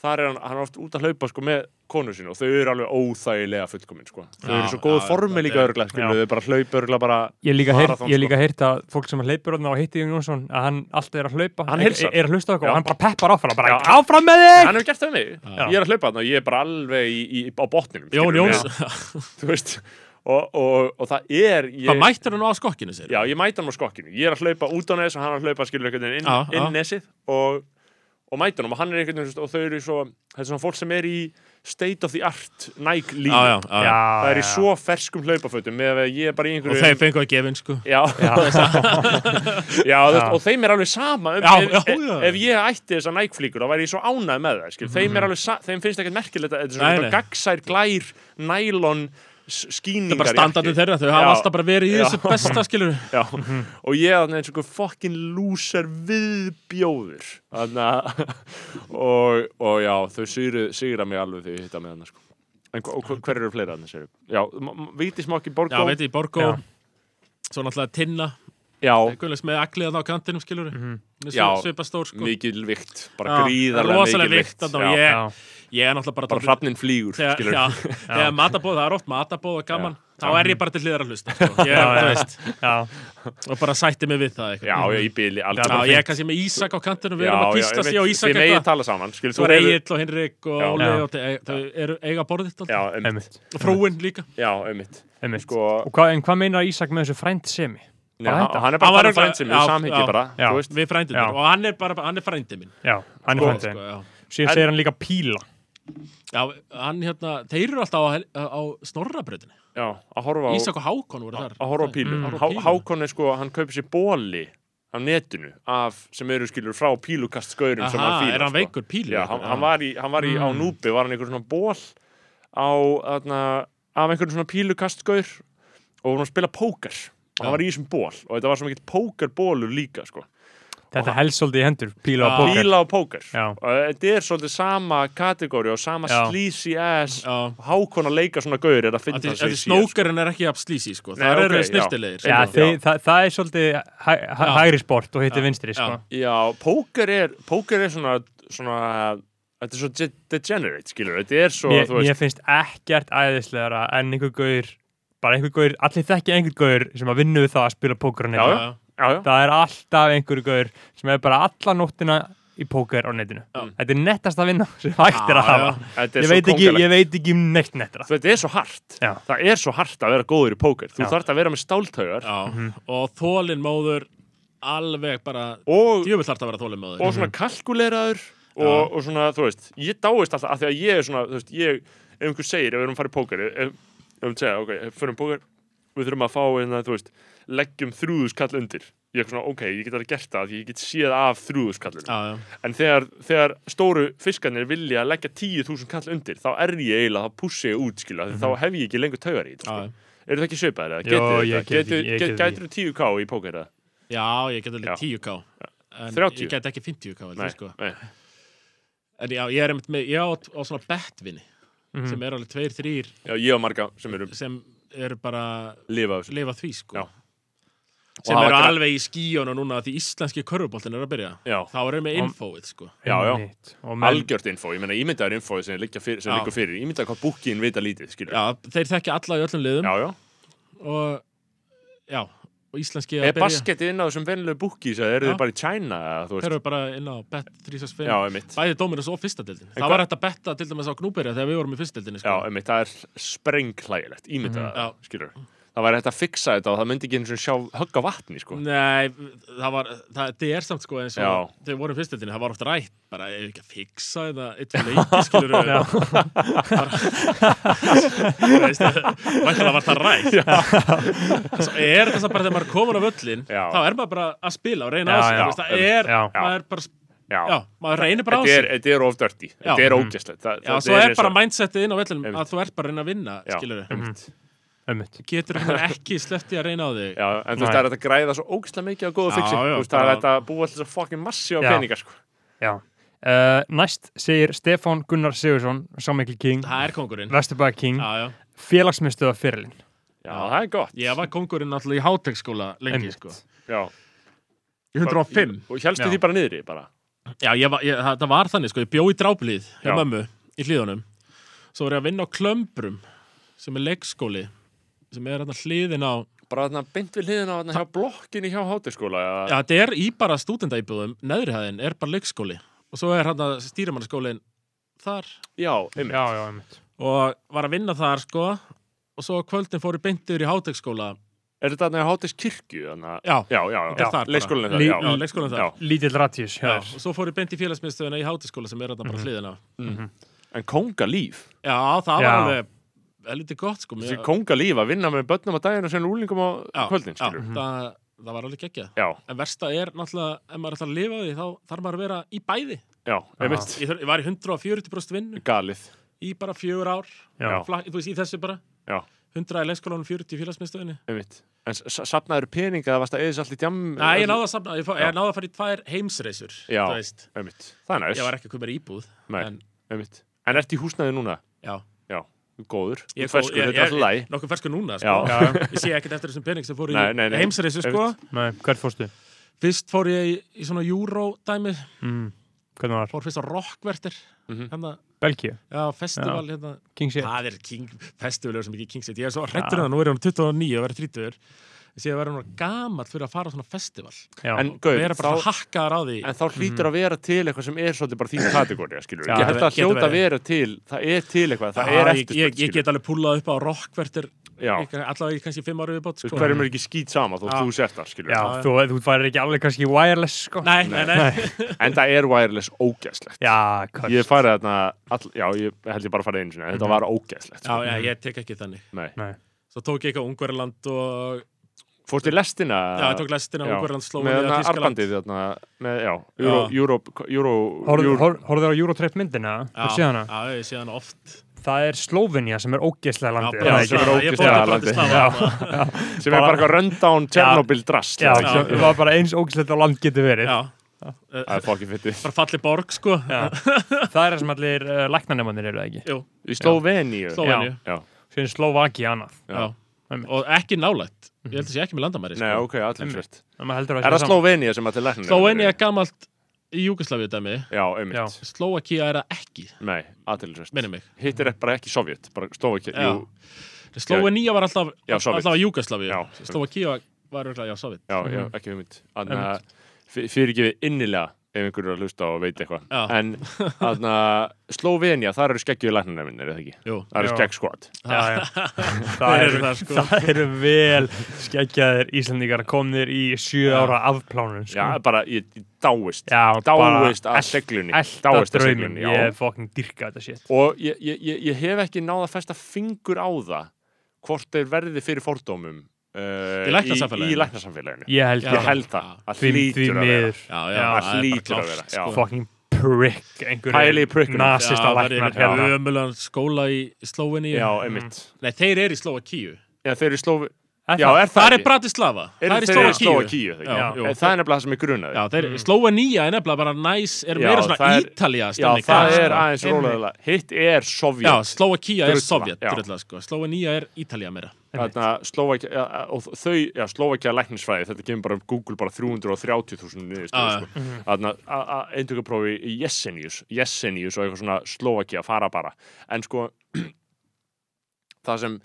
[SPEAKER 1] þar er hann, hann er oft út að hlaupa sko með konu sín og þau eru alveg óþægilega fullkomin sko. þau
[SPEAKER 4] Já,
[SPEAKER 1] eru svo góð
[SPEAKER 4] já,
[SPEAKER 1] formi
[SPEAKER 4] þetta
[SPEAKER 1] líka
[SPEAKER 4] er-
[SPEAKER 1] örgla
[SPEAKER 2] Já.
[SPEAKER 1] þau bara hlaupa örgla bara
[SPEAKER 2] ég líka heyrt,
[SPEAKER 1] Marathon,
[SPEAKER 2] ég
[SPEAKER 1] sko.
[SPEAKER 2] líka heyrt að fólk sem hleypur þarna og hitti Jón Jónsson að hann alltaf er að hlaupa
[SPEAKER 1] Hann
[SPEAKER 2] er,
[SPEAKER 1] heilsar.
[SPEAKER 2] er að hlusta á okkur
[SPEAKER 1] Já.
[SPEAKER 2] og hann bara peppar áfram bara
[SPEAKER 1] Já.
[SPEAKER 2] áfram með þig
[SPEAKER 1] hann hefur gert það við mig,
[SPEAKER 4] Já.
[SPEAKER 1] ég er að hlaupa þarna og ég er bara alveg í, í, á botninum
[SPEAKER 4] Jón
[SPEAKER 1] skilurðu,
[SPEAKER 4] Jónsson,
[SPEAKER 1] með- þú veist og, og, og það er ég,
[SPEAKER 4] það mættur hann á skokkinu sér.
[SPEAKER 1] já, ég mæta hann á skokkinu, ég er að hlaupa út á nes og hann er að hlaupa skilur einhvern veginn inn,
[SPEAKER 4] Já, já.
[SPEAKER 1] inn nesið og, og mæta hann og hann er einhvern veginn þú veist, og þau eru svo, þetta er svona fólk sem er í state of the art Nike líf
[SPEAKER 4] já, já, já.
[SPEAKER 1] það er í svo ferskum hlaupafötum með að ég er bara í
[SPEAKER 4] Og
[SPEAKER 1] einhverju
[SPEAKER 4] þeir fengu að gefa inn, sko.
[SPEAKER 1] Já, já. þú veist, og þeim er alveg sama um,
[SPEAKER 4] Já,
[SPEAKER 1] ef,
[SPEAKER 4] já,
[SPEAKER 1] ef,
[SPEAKER 4] já.
[SPEAKER 1] ef ég ætti þessar nækflíkur þá væri ég svo ánæð með það skil. þeim, er alveg, sa- þeim finnst ekkert merkilegt að þetta er
[SPEAKER 4] Mhm. Nei,
[SPEAKER 1] svona
[SPEAKER 4] nei.
[SPEAKER 1] gagsær, glær, nælon s- skíningar
[SPEAKER 4] Það er bara
[SPEAKER 1] í
[SPEAKER 4] standardin
[SPEAKER 1] jakkið.
[SPEAKER 4] þeirra, þau hafa
[SPEAKER 1] Já.
[SPEAKER 4] alltaf bara verið í
[SPEAKER 1] Já.
[SPEAKER 4] þessu besta, skilur.
[SPEAKER 1] Já,
[SPEAKER 4] Mhm.
[SPEAKER 1] og ég er eins og einhver fokkin lúser viðbjóður Þannig að og, og já, þau sigra, sigra mig alveg þegar ég hitta með hann sko. En hva- og hva- hver eru fleira þannig, segir Já, Víti Smokki
[SPEAKER 4] Já,
[SPEAKER 1] Borgó
[SPEAKER 4] veit ég, Borgó,
[SPEAKER 2] Já.
[SPEAKER 4] svo náttúrulega Tinna,
[SPEAKER 1] Já,
[SPEAKER 4] guðlegs með aglið þarna á kantinum, skilur.
[SPEAKER 2] Mhm.
[SPEAKER 1] Já.
[SPEAKER 4] Svipa stór, sko.
[SPEAKER 1] mikil vikt,
[SPEAKER 4] Já,
[SPEAKER 1] bara gríðarlega mikil
[SPEAKER 4] rosalega
[SPEAKER 1] vikt
[SPEAKER 4] vikt þarna og
[SPEAKER 1] Já,
[SPEAKER 4] ég,
[SPEAKER 2] Já.
[SPEAKER 4] ég er náttúrulega bara
[SPEAKER 1] Bara
[SPEAKER 4] dálítið-
[SPEAKER 1] hrafnin flýgur,
[SPEAKER 4] þegar,
[SPEAKER 1] skilur
[SPEAKER 4] já, þegar matabóð, það er oft matabóð og gaman, þá er ég bara til hliðar að hlusta sko. ég,
[SPEAKER 2] Já,
[SPEAKER 4] þú
[SPEAKER 2] já.
[SPEAKER 4] veist,
[SPEAKER 2] Já,
[SPEAKER 4] og bara sætti mig við það eitthvað.
[SPEAKER 1] Já, ég í byli
[SPEAKER 4] Já, ég er kannski með Ísak á kantinum, við erum að týsta sig á Ísak
[SPEAKER 1] Við megin
[SPEAKER 4] eitthvað.
[SPEAKER 1] tala saman, skilur þú
[SPEAKER 4] Svo er
[SPEAKER 1] hefur-
[SPEAKER 4] Egil og Henrik og
[SPEAKER 1] Já.
[SPEAKER 4] Óli
[SPEAKER 2] Já.
[SPEAKER 4] og þau- þau eru eiga borðið þetta
[SPEAKER 1] Já, um,
[SPEAKER 2] einmitt,
[SPEAKER 4] og frúin líka.
[SPEAKER 1] já, einmitt
[SPEAKER 2] einmitt.
[SPEAKER 1] Sko,
[SPEAKER 2] Og hvað, en hvað meinar Ísak með þessu frændsemi?
[SPEAKER 1] Nei,
[SPEAKER 2] Bara
[SPEAKER 1] hann, hann er
[SPEAKER 2] þetta.
[SPEAKER 4] Hann var
[SPEAKER 1] bara hann
[SPEAKER 4] örugglega-
[SPEAKER 1] frænsinn,
[SPEAKER 4] já,
[SPEAKER 1] við samhengi
[SPEAKER 4] já.
[SPEAKER 1] bara,
[SPEAKER 2] Já.
[SPEAKER 1] þú veist
[SPEAKER 4] Við frændið
[SPEAKER 2] Já.
[SPEAKER 4] þetta og hann er bara, hann er frændið minn.
[SPEAKER 2] Já, hann er
[SPEAKER 1] Sko,
[SPEAKER 2] frændið.
[SPEAKER 4] Sko, já.
[SPEAKER 2] Síðan
[SPEAKER 1] En-
[SPEAKER 2] segir hann líka píla.
[SPEAKER 4] já, hann hérna, þeir eru alltaf á, hel- á snorrabröðinu.
[SPEAKER 1] Já, að horfa á
[SPEAKER 4] Ísak og Hákon voru þar.
[SPEAKER 1] að horfa á pílu
[SPEAKER 4] Horfa á
[SPEAKER 1] Há,
[SPEAKER 4] pílu.
[SPEAKER 1] Hákon er sko, hann kaupir sér bóli af netinu, af, sem eru skilur frá pílukastskaurum sem hann
[SPEAKER 4] Aha,
[SPEAKER 1] fílar
[SPEAKER 4] er hann
[SPEAKER 1] sko.
[SPEAKER 4] veikur Ah. pílu? Hmm.
[SPEAKER 1] Já, hann, hann var í, hann var í á núpi, var hann einhver svona ból á, þarna, af einhverjum svona pílukastskaur og voru að spila póker og hann
[SPEAKER 4] Já.
[SPEAKER 1] var í þessum ból og þetta var svo mikill pókerbólur líka sko.
[SPEAKER 2] Þetta helst svolítið í hendur, píla og
[SPEAKER 4] Já.
[SPEAKER 2] póker.
[SPEAKER 1] píla og póker
[SPEAKER 2] Já.
[SPEAKER 1] og þetta er svolítið sama kategóri og sama
[SPEAKER 2] Já.
[SPEAKER 1] sleazy ass
[SPEAKER 4] Já.
[SPEAKER 1] Hákon að leika svona gaur er að finna
[SPEAKER 4] Þetta
[SPEAKER 1] sig í
[SPEAKER 4] þetta
[SPEAKER 1] síðar, sko.
[SPEAKER 4] snókerinn er ekki af slísi, sko.
[SPEAKER 1] Nei,
[SPEAKER 4] Það
[SPEAKER 1] ok,
[SPEAKER 4] eru sko.
[SPEAKER 1] já.
[SPEAKER 4] snirtilegir.
[SPEAKER 2] Já,
[SPEAKER 1] Já.
[SPEAKER 2] þið, það, það er svolítið hæ, hæ,
[SPEAKER 4] Já.
[SPEAKER 2] hægri sport og hittir
[SPEAKER 4] Já.
[SPEAKER 2] vinstri, sko.
[SPEAKER 4] Já.
[SPEAKER 1] Já, póker er, póker er svona, svona, þetta er svo de- degenerate, skilur, þetta er svo,
[SPEAKER 2] Mér,
[SPEAKER 1] sko, þú
[SPEAKER 2] mér
[SPEAKER 1] veist,
[SPEAKER 2] finnst ekkert æðislegra en einhver gaur, bara einhver gaur, allir þekki einhver gaur sem að vinna við það að spila póker á
[SPEAKER 1] Já,
[SPEAKER 2] netinu.
[SPEAKER 1] já. já, já,
[SPEAKER 2] Það er alltaf einhver gaur sem er bara alla nóttina í póker á netinu. Þetta er nettast að vinna sem hægt er að
[SPEAKER 4] Já,
[SPEAKER 2] hafa.
[SPEAKER 1] þetta er
[SPEAKER 2] Ég
[SPEAKER 1] svo
[SPEAKER 2] veit, ekki, ég veit ekki um neitt nettra.
[SPEAKER 1] Þetta er svo hart,
[SPEAKER 2] Já.
[SPEAKER 1] það er svo hart að vera góður í póker, þú
[SPEAKER 2] Já.
[SPEAKER 1] þarft að vera með stáltaugar
[SPEAKER 4] Já, og þólinn móður alveg bara
[SPEAKER 1] og,
[SPEAKER 4] djöfull þarf það að vera þólinn móður
[SPEAKER 1] og svona kalkuleraður og, og svona, þú veist, ég dáist alltaf að því að ég er svona, þú veist, ég, ef einhver segir, ef við erum að fara í póker, ef, ef við segja, ok, ef við förum í póker, við þurfum að fá, einna, þú veist, leggjum þrjúðuskall undir. Ég er svona, ok, ég get alveg gert það, ég get séð af þrjúðuskallinu.
[SPEAKER 4] já, já.
[SPEAKER 1] En þegar, þegar stóru fiskarnir vilja leggja 10.000 kall undir, þá er ég eiginlega, þá pússi ég út, skilja, mm þá hef ég ekki lengur taugar í þetta,
[SPEAKER 4] Mhm. Já,
[SPEAKER 1] sko.
[SPEAKER 4] já.
[SPEAKER 1] Eru það ekki svipaðir eða?
[SPEAKER 2] Jó,
[SPEAKER 1] Getið þetta?
[SPEAKER 2] ég get ekki-
[SPEAKER 1] Getið-
[SPEAKER 2] ég
[SPEAKER 1] get-
[SPEAKER 2] get
[SPEAKER 1] Gætirðu 10k í póker eða?
[SPEAKER 4] Já, ég get alveg
[SPEAKER 1] Já.
[SPEAKER 4] 10k en
[SPEAKER 1] 30?
[SPEAKER 4] ég get ekki 50k
[SPEAKER 1] Nei,
[SPEAKER 4] heldur, sko.
[SPEAKER 1] nei.
[SPEAKER 4] en já, ég er einmitt með, ég á, á svona bettvinni
[SPEAKER 2] Mhm.
[SPEAKER 1] Mhm.
[SPEAKER 4] sem er alveg tveir, þrýr
[SPEAKER 1] Já, ég og marga sem eru
[SPEAKER 4] sem eru bara
[SPEAKER 1] lifa af þessu.
[SPEAKER 4] lifa því sko
[SPEAKER 1] Já.
[SPEAKER 4] sem
[SPEAKER 1] Og hafa
[SPEAKER 4] eru
[SPEAKER 1] gra-
[SPEAKER 4] alveg í skíjónu núna því íslenski körfuboltin er að byrja
[SPEAKER 1] Já.
[SPEAKER 4] þá erum við infoið sko
[SPEAKER 1] Já, já.
[SPEAKER 2] Einmitt. Og menn-
[SPEAKER 1] Algjört info, ég meina ímyndaður info sem liggur fyrir, sem
[SPEAKER 4] Já.
[SPEAKER 1] liggur fyrir. ímyndaður hvað búkin vita lítið, skilur.
[SPEAKER 4] já, þeir þekki alla í öllum liðum
[SPEAKER 1] já. já.
[SPEAKER 4] og já, og íslenski
[SPEAKER 1] Er
[SPEAKER 4] að byrja
[SPEAKER 1] basketið inn á þessum venlulegu búkis eða eru
[SPEAKER 4] Já.
[SPEAKER 1] þið bara í China eða þú
[SPEAKER 4] þeir
[SPEAKER 1] veist?
[SPEAKER 4] eru bara inn á bet
[SPEAKER 1] Já,
[SPEAKER 4] 365
[SPEAKER 1] einmitt.
[SPEAKER 4] bæði Dóminus og fyrsta deildin það
[SPEAKER 1] hvað-
[SPEAKER 4] var hægt að betta til dæmis á Gnúberja þegar við vorum í fyrsta deildinni
[SPEAKER 1] Já,
[SPEAKER 4] sko.
[SPEAKER 1] einmitt, það er sprenghlægilegt, ímyndaður,
[SPEAKER 4] Mhm.
[SPEAKER 1] mm. skilur. Það væri hægt að fixa þetta og það myndi ekki eins og sjá högga vatni,
[SPEAKER 4] Mm.
[SPEAKER 1] sko.
[SPEAKER 4] Nei, það var, það, það er samt sko eins og
[SPEAKER 1] Já.
[SPEAKER 4] þegar við vorum í fyrstildinni, það var oft rætt bara, ef ekki að fixa þetta eitthvað leiki, skilur við Væntalega var það rætt Svo er þetta samt bara þegar maður er komin á völlin
[SPEAKER 1] Já.
[SPEAKER 4] þá er maður bara að spila og reyna
[SPEAKER 2] Já,
[SPEAKER 4] á sig
[SPEAKER 2] já.
[SPEAKER 4] þú veist, það er,
[SPEAKER 2] Já.
[SPEAKER 4] maður er bara já, maður reynir bara á
[SPEAKER 1] Þetta er,
[SPEAKER 4] sig
[SPEAKER 1] þetta er of dirty, þetta
[SPEAKER 4] Já. Mhm.
[SPEAKER 1] er ógæslegt. Það,
[SPEAKER 4] Já,
[SPEAKER 1] þetta
[SPEAKER 4] svo er
[SPEAKER 1] eins og-
[SPEAKER 4] bara mindsetið inn á vellinum
[SPEAKER 1] Einmitt.
[SPEAKER 4] að þú ert bara að reyna að
[SPEAKER 1] Já.
[SPEAKER 4] vinna,
[SPEAKER 1] Mhm.
[SPEAKER 4] skilur við
[SPEAKER 1] Einmitt.
[SPEAKER 2] Einmitt.
[SPEAKER 4] Getur einhvern veginn ekki sleppti að reyna á þig
[SPEAKER 1] Já, en þú veist,
[SPEAKER 2] Nei.
[SPEAKER 1] það er hægt að græða svo ógæslega mikið á góðu
[SPEAKER 4] Já,
[SPEAKER 1] fixi.
[SPEAKER 4] já,
[SPEAKER 1] Þú veist, það er
[SPEAKER 4] bara-
[SPEAKER 1] hægt að búa alltaf fucking massi á
[SPEAKER 2] Já.
[SPEAKER 1] peninga, sko.
[SPEAKER 2] Já. Uh, næst segir Stefán Gunnar Sigursson, Sámikli King,
[SPEAKER 4] Það er kongurinn
[SPEAKER 2] Vesturbæða King,
[SPEAKER 4] Já, já
[SPEAKER 2] félagsmyndstöða fyrirlin.
[SPEAKER 1] Já, það er gott.
[SPEAKER 4] Ég var kongurinn náttúrulega í hátekskóla lengi, sko.
[SPEAKER 1] Já.
[SPEAKER 4] Í 105.
[SPEAKER 1] Og helstu
[SPEAKER 2] Já.
[SPEAKER 1] því bara niðri, bara.
[SPEAKER 4] Já, ég var, ég, það, það var þannig, sko. Ég bjó í dráblíð hjá
[SPEAKER 1] Já.
[SPEAKER 4] mömmu í hlíðunum. Svo var ég að vinna á Klömbrum, sem er leikskóli, sem er þarna hliðin á...
[SPEAKER 1] Bara þarna beint við hliðina á þarna hjá blokkinni hjá hátirskóla.
[SPEAKER 4] Já, þetta er í bara stúdendaíbúðum, neðrihæðin er bara leikskóli. Og svo er þarna stýrimannaskólin þar
[SPEAKER 1] Já, einmitt.
[SPEAKER 2] Já, já, einmitt.
[SPEAKER 4] og var að vinna þar, sko. Og svo á kvöldin fór ég beint yfir í hátekskóla.
[SPEAKER 1] Er þetta þarna hjá hátirskirkju? Þarna...
[SPEAKER 4] Já, já,
[SPEAKER 1] Já, já,
[SPEAKER 4] Þetta er þar bara.
[SPEAKER 1] Leikskólinn
[SPEAKER 2] Lí-
[SPEAKER 1] þar, já.
[SPEAKER 4] leikskólan þar.
[SPEAKER 1] Já.
[SPEAKER 2] Lítill Ratjus, já.
[SPEAKER 4] Og svo fór ég beint í félagsmiðstöðuna í hátekskóla sem er þarna bara hliðin á.
[SPEAKER 1] En kongalíf.
[SPEAKER 4] Já, það
[SPEAKER 2] Já.
[SPEAKER 4] var alveg... Lítið gott sko
[SPEAKER 1] Þessi
[SPEAKER 4] mér-
[SPEAKER 1] kongalíf að vinna með börnum á daginn og sen úlingum á
[SPEAKER 4] já,
[SPEAKER 1] kvöldin,
[SPEAKER 4] já, Mm.
[SPEAKER 1] skilur.
[SPEAKER 4] það, það var alveg geggjað
[SPEAKER 1] Já,
[SPEAKER 4] en versta er náttúrulega, ef maður ætlar að lifa á því þá þarf maður að vera í bæði
[SPEAKER 1] já, einmitt.
[SPEAKER 4] ég, þur, ég var í 140% vinnu
[SPEAKER 1] Galið.
[SPEAKER 4] í bara fjögur ár
[SPEAKER 1] Já.
[SPEAKER 4] Fla, þú veist, í þessu bara
[SPEAKER 1] Já.
[SPEAKER 4] 100 í leikskólanum, 40 í félagsmiðstöðinni
[SPEAKER 1] Einmitt. En s- s- safnaður peninga, það varst að eðis allt í djam...
[SPEAKER 4] Nei, ég náði að safna, ég, fó,
[SPEAKER 1] Já.
[SPEAKER 4] ég náði að fara í tvær heimsreisur
[SPEAKER 1] Já.
[SPEAKER 4] þú veist,
[SPEAKER 1] Einmitt. Það er næst.
[SPEAKER 4] ég var ekki að koma mér í íbúð
[SPEAKER 1] Nei.
[SPEAKER 4] en,
[SPEAKER 1] Einmitt. En ert í húsnæði núna?
[SPEAKER 4] já,
[SPEAKER 1] Já. Góður.
[SPEAKER 4] ég,
[SPEAKER 1] Þú ferskur, þetta er alltaf læg.
[SPEAKER 4] nokkuð fersku núna sko.
[SPEAKER 1] Já.
[SPEAKER 4] ég sé ekkert eftir þessum pening sem fór í
[SPEAKER 1] Nei, nei, nei.
[SPEAKER 4] heimsreisu sko.
[SPEAKER 2] Nei, hvert fórstu?
[SPEAKER 4] fyrst fór ég í, í svona júró-dæmi
[SPEAKER 2] Mm. Hvernig var?
[SPEAKER 4] fór fyrst á rockvertir
[SPEAKER 1] Mhm.
[SPEAKER 4] hérna,
[SPEAKER 2] Belgíu?
[SPEAKER 4] já, festival Hérna,
[SPEAKER 2] King Shit?
[SPEAKER 4] Það er King, festivalur sem ekki King City. Ég er svo hrettur um það, nú er hann 29 og verið 30. Þessi að vera hann gamall fyrir að fara á svona festival.
[SPEAKER 2] Já.
[SPEAKER 1] En
[SPEAKER 4] Gau,
[SPEAKER 1] gauð,
[SPEAKER 4] vera bara þá...
[SPEAKER 1] þá,
[SPEAKER 4] hakkaðar á því.
[SPEAKER 1] en þá hlýtur að vera til eitthvað sem er svolítið bara þín kategóri, skilur.
[SPEAKER 2] Já,
[SPEAKER 1] ég held að
[SPEAKER 2] getur
[SPEAKER 1] hljóta að
[SPEAKER 2] verið.
[SPEAKER 1] vera til, það er til eitthvað, það
[SPEAKER 4] Já,
[SPEAKER 1] er
[SPEAKER 4] ég,
[SPEAKER 1] eftir.
[SPEAKER 4] ég, ég get alveg púlað upp á rockvertir,
[SPEAKER 1] Já,
[SPEAKER 4] allavega í kannski fimm ára viðbót.
[SPEAKER 1] þú
[SPEAKER 4] Sko.
[SPEAKER 1] veist, hverjum er ekki skýt sama þó
[SPEAKER 4] Já.
[SPEAKER 1] þú sért það, skilur.
[SPEAKER 2] Já, þú, þú færir ekki alveg kannski wireless, sko.
[SPEAKER 4] Nei, nei, nei.
[SPEAKER 1] En það er wireless ógæslegt.
[SPEAKER 2] Já, kvart.
[SPEAKER 1] Ég farið þarna, all, já, ég held ég bara farið einu sinni, þetta var ógæslegt.
[SPEAKER 4] Mhm. Já,
[SPEAKER 1] Sko.
[SPEAKER 4] já, ég tek ekki þannig.
[SPEAKER 1] Nei.
[SPEAKER 2] Nei.
[SPEAKER 4] Svo tók ég eitthvað Ungverjaland og...
[SPEAKER 1] Fórstu í lestina?
[SPEAKER 4] Já, ég tók lestina,
[SPEAKER 1] Já.
[SPEAKER 4] Ungverjaland,
[SPEAKER 1] Með
[SPEAKER 4] Slóðið,
[SPEAKER 1] þarna
[SPEAKER 4] Tískaland.
[SPEAKER 1] arbandið þarna, með, já, Euro,
[SPEAKER 4] Já.
[SPEAKER 1] Euro, Euro,
[SPEAKER 2] Horfðu
[SPEAKER 1] Euro,
[SPEAKER 2] horfðu þér á Eurotrip myndina? Já. Sér hana?
[SPEAKER 4] Já, ég sé hana oft.
[SPEAKER 2] Það er Slóvinja sem er ógeðslega
[SPEAKER 1] Já,
[SPEAKER 2] landið. er það
[SPEAKER 1] sem
[SPEAKER 2] ekki?
[SPEAKER 1] er
[SPEAKER 4] Bratislava. Ég fór
[SPEAKER 1] ógeðslega
[SPEAKER 4] til
[SPEAKER 1] landið.
[SPEAKER 4] Bratislava.
[SPEAKER 1] sem er bara eitthvað rundown Chernobyl drast.
[SPEAKER 2] Já,
[SPEAKER 4] Já.
[SPEAKER 2] það var bara eins ógeðslega land getur verið.
[SPEAKER 4] Já, Eh,
[SPEAKER 1] Það er fokkið fyttið.
[SPEAKER 4] bara falli borg, sko.
[SPEAKER 2] Það er það sem allir uh, læknarnemannir eru það ekki.
[SPEAKER 4] Jú,
[SPEAKER 1] Í Sloveníu.
[SPEAKER 4] Slóveníu.
[SPEAKER 1] Já.
[SPEAKER 2] Sér er Slóvaki annað.
[SPEAKER 1] Já. Mhm.
[SPEAKER 4] Já. Og ekki nálægt. Ég held að sé ekki með landamæri, sko.
[SPEAKER 1] Nei, ok, allir svert.
[SPEAKER 2] En maður heldur að
[SPEAKER 1] Er
[SPEAKER 2] sé
[SPEAKER 1] það Slovenia sem allir læknir?
[SPEAKER 4] Slóenia er gamalt í Júkoslavið dæmi
[SPEAKER 1] Já, einmitt.
[SPEAKER 4] Slóakia er það ekki,
[SPEAKER 1] Nei, allir svert.
[SPEAKER 4] minnum mig
[SPEAKER 1] Hitt er bara ekki Sovjet, bara Slovakia.
[SPEAKER 4] Já.
[SPEAKER 1] Jú,
[SPEAKER 4] Slóenia var alltaf,
[SPEAKER 1] Já, Sovét.
[SPEAKER 4] alltaf Júkoslavið
[SPEAKER 1] Já.
[SPEAKER 4] Slóakia var örgulega, já, Sovjet
[SPEAKER 1] já, já, ekki hugmynd. Þannig að fyrir ekki við innilega ef einhverju er að hlusta og veit eitthvað.
[SPEAKER 4] Já.
[SPEAKER 1] En þannig að Slovenia, þar eru skeggjuði læknir minni, er það ekki?
[SPEAKER 4] Jú,
[SPEAKER 1] Það eru
[SPEAKER 2] Já.
[SPEAKER 1] skegg skot.
[SPEAKER 2] Já, já. það,
[SPEAKER 4] Þeir
[SPEAKER 2] eru,
[SPEAKER 4] eru það, sko.
[SPEAKER 2] það eru vel skeggjaðir Íslandingar komnir í sjö
[SPEAKER 4] Já.
[SPEAKER 2] ára afplánun sko.
[SPEAKER 1] Já, bara, ég, ég dáist.
[SPEAKER 2] já
[SPEAKER 1] dáist
[SPEAKER 2] bara
[SPEAKER 1] að seglunni.
[SPEAKER 2] elda
[SPEAKER 1] Dáist að
[SPEAKER 2] drauminn,
[SPEAKER 1] seglunni, já.
[SPEAKER 2] ég er fokkin dyrka þetta shit
[SPEAKER 1] og ég, ég, ég, ég hef ekki náða að festa fingur á það hvort þeir verði fyrir fordómum uh,
[SPEAKER 4] Í læknasamfélaginu?
[SPEAKER 1] í, í læknasamfélaginu.
[SPEAKER 2] ég held
[SPEAKER 4] Já.
[SPEAKER 1] Ég
[SPEAKER 2] það,
[SPEAKER 1] held það,
[SPEAKER 4] Já.
[SPEAKER 1] að
[SPEAKER 2] því, því
[SPEAKER 1] hlýtur að vera.
[SPEAKER 2] miður
[SPEAKER 4] já, já,
[SPEAKER 2] Já,
[SPEAKER 4] það er bara
[SPEAKER 1] hlýtur að
[SPEAKER 4] klárt,
[SPEAKER 1] vera,
[SPEAKER 4] sko.
[SPEAKER 1] já.
[SPEAKER 2] fokkin prick
[SPEAKER 1] Pæli í prickunum.
[SPEAKER 2] nasista
[SPEAKER 4] Já, það er
[SPEAKER 2] læknar
[SPEAKER 4] einhvern
[SPEAKER 2] hérna.
[SPEAKER 4] ömulegan skóla í Slóveníu
[SPEAKER 1] Já, einmitt.
[SPEAKER 4] Nei, þeir eru í Slóakíu
[SPEAKER 1] Já, þeir eru slófi... Já, er það ekki?
[SPEAKER 4] Þar er Bratislava,
[SPEAKER 1] Eru
[SPEAKER 4] það er í
[SPEAKER 1] þeir
[SPEAKER 4] Slóa
[SPEAKER 1] Slóa
[SPEAKER 4] Kíu
[SPEAKER 1] Kíu,
[SPEAKER 4] Já, jú.
[SPEAKER 1] það er nefnilega það sem er grunaði
[SPEAKER 4] Já, þeir, Slóvenía er nefnilega bara næs, er
[SPEAKER 1] Já,
[SPEAKER 4] meira svona
[SPEAKER 1] það er-
[SPEAKER 4] Ítalía
[SPEAKER 1] Já,
[SPEAKER 4] stemning
[SPEAKER 1] það
[SPEAKER 4] þar,
[SPEAKER 1] er
[SPEAKER 4] sko.
[SPEAKER 1] aðeins
[SPEAKER 2] Einmitt.
[SPEAKER 1] rólega Hitt er
[SPEAKER 4] Já,
[SPEAKER 1] Sovjet
[SPEAKER 4] Slóakía er
[SPEAKER 1] Drulla,
[SPEAKER 4] Sovjet,
[SPEAKER 1] já.
[SPEAKER 4] drullar sko Slóvenía er Ítalía meira
[SPEAKER 2] Einmitt.
[SPEAKER 1] Þarna, Slóvakja, ja, og þau, já, Slóvakja læknisfræði, þetta kemur bara um Google bara 330.000
[SPEAKER 4] Já, já.
[SPEAKER 1] niðurstöðu, sko. Þarna, eintöku prófi í Jessenius, Jessenius og eitthvað svona Slóvakja fara bara. En sko, það sem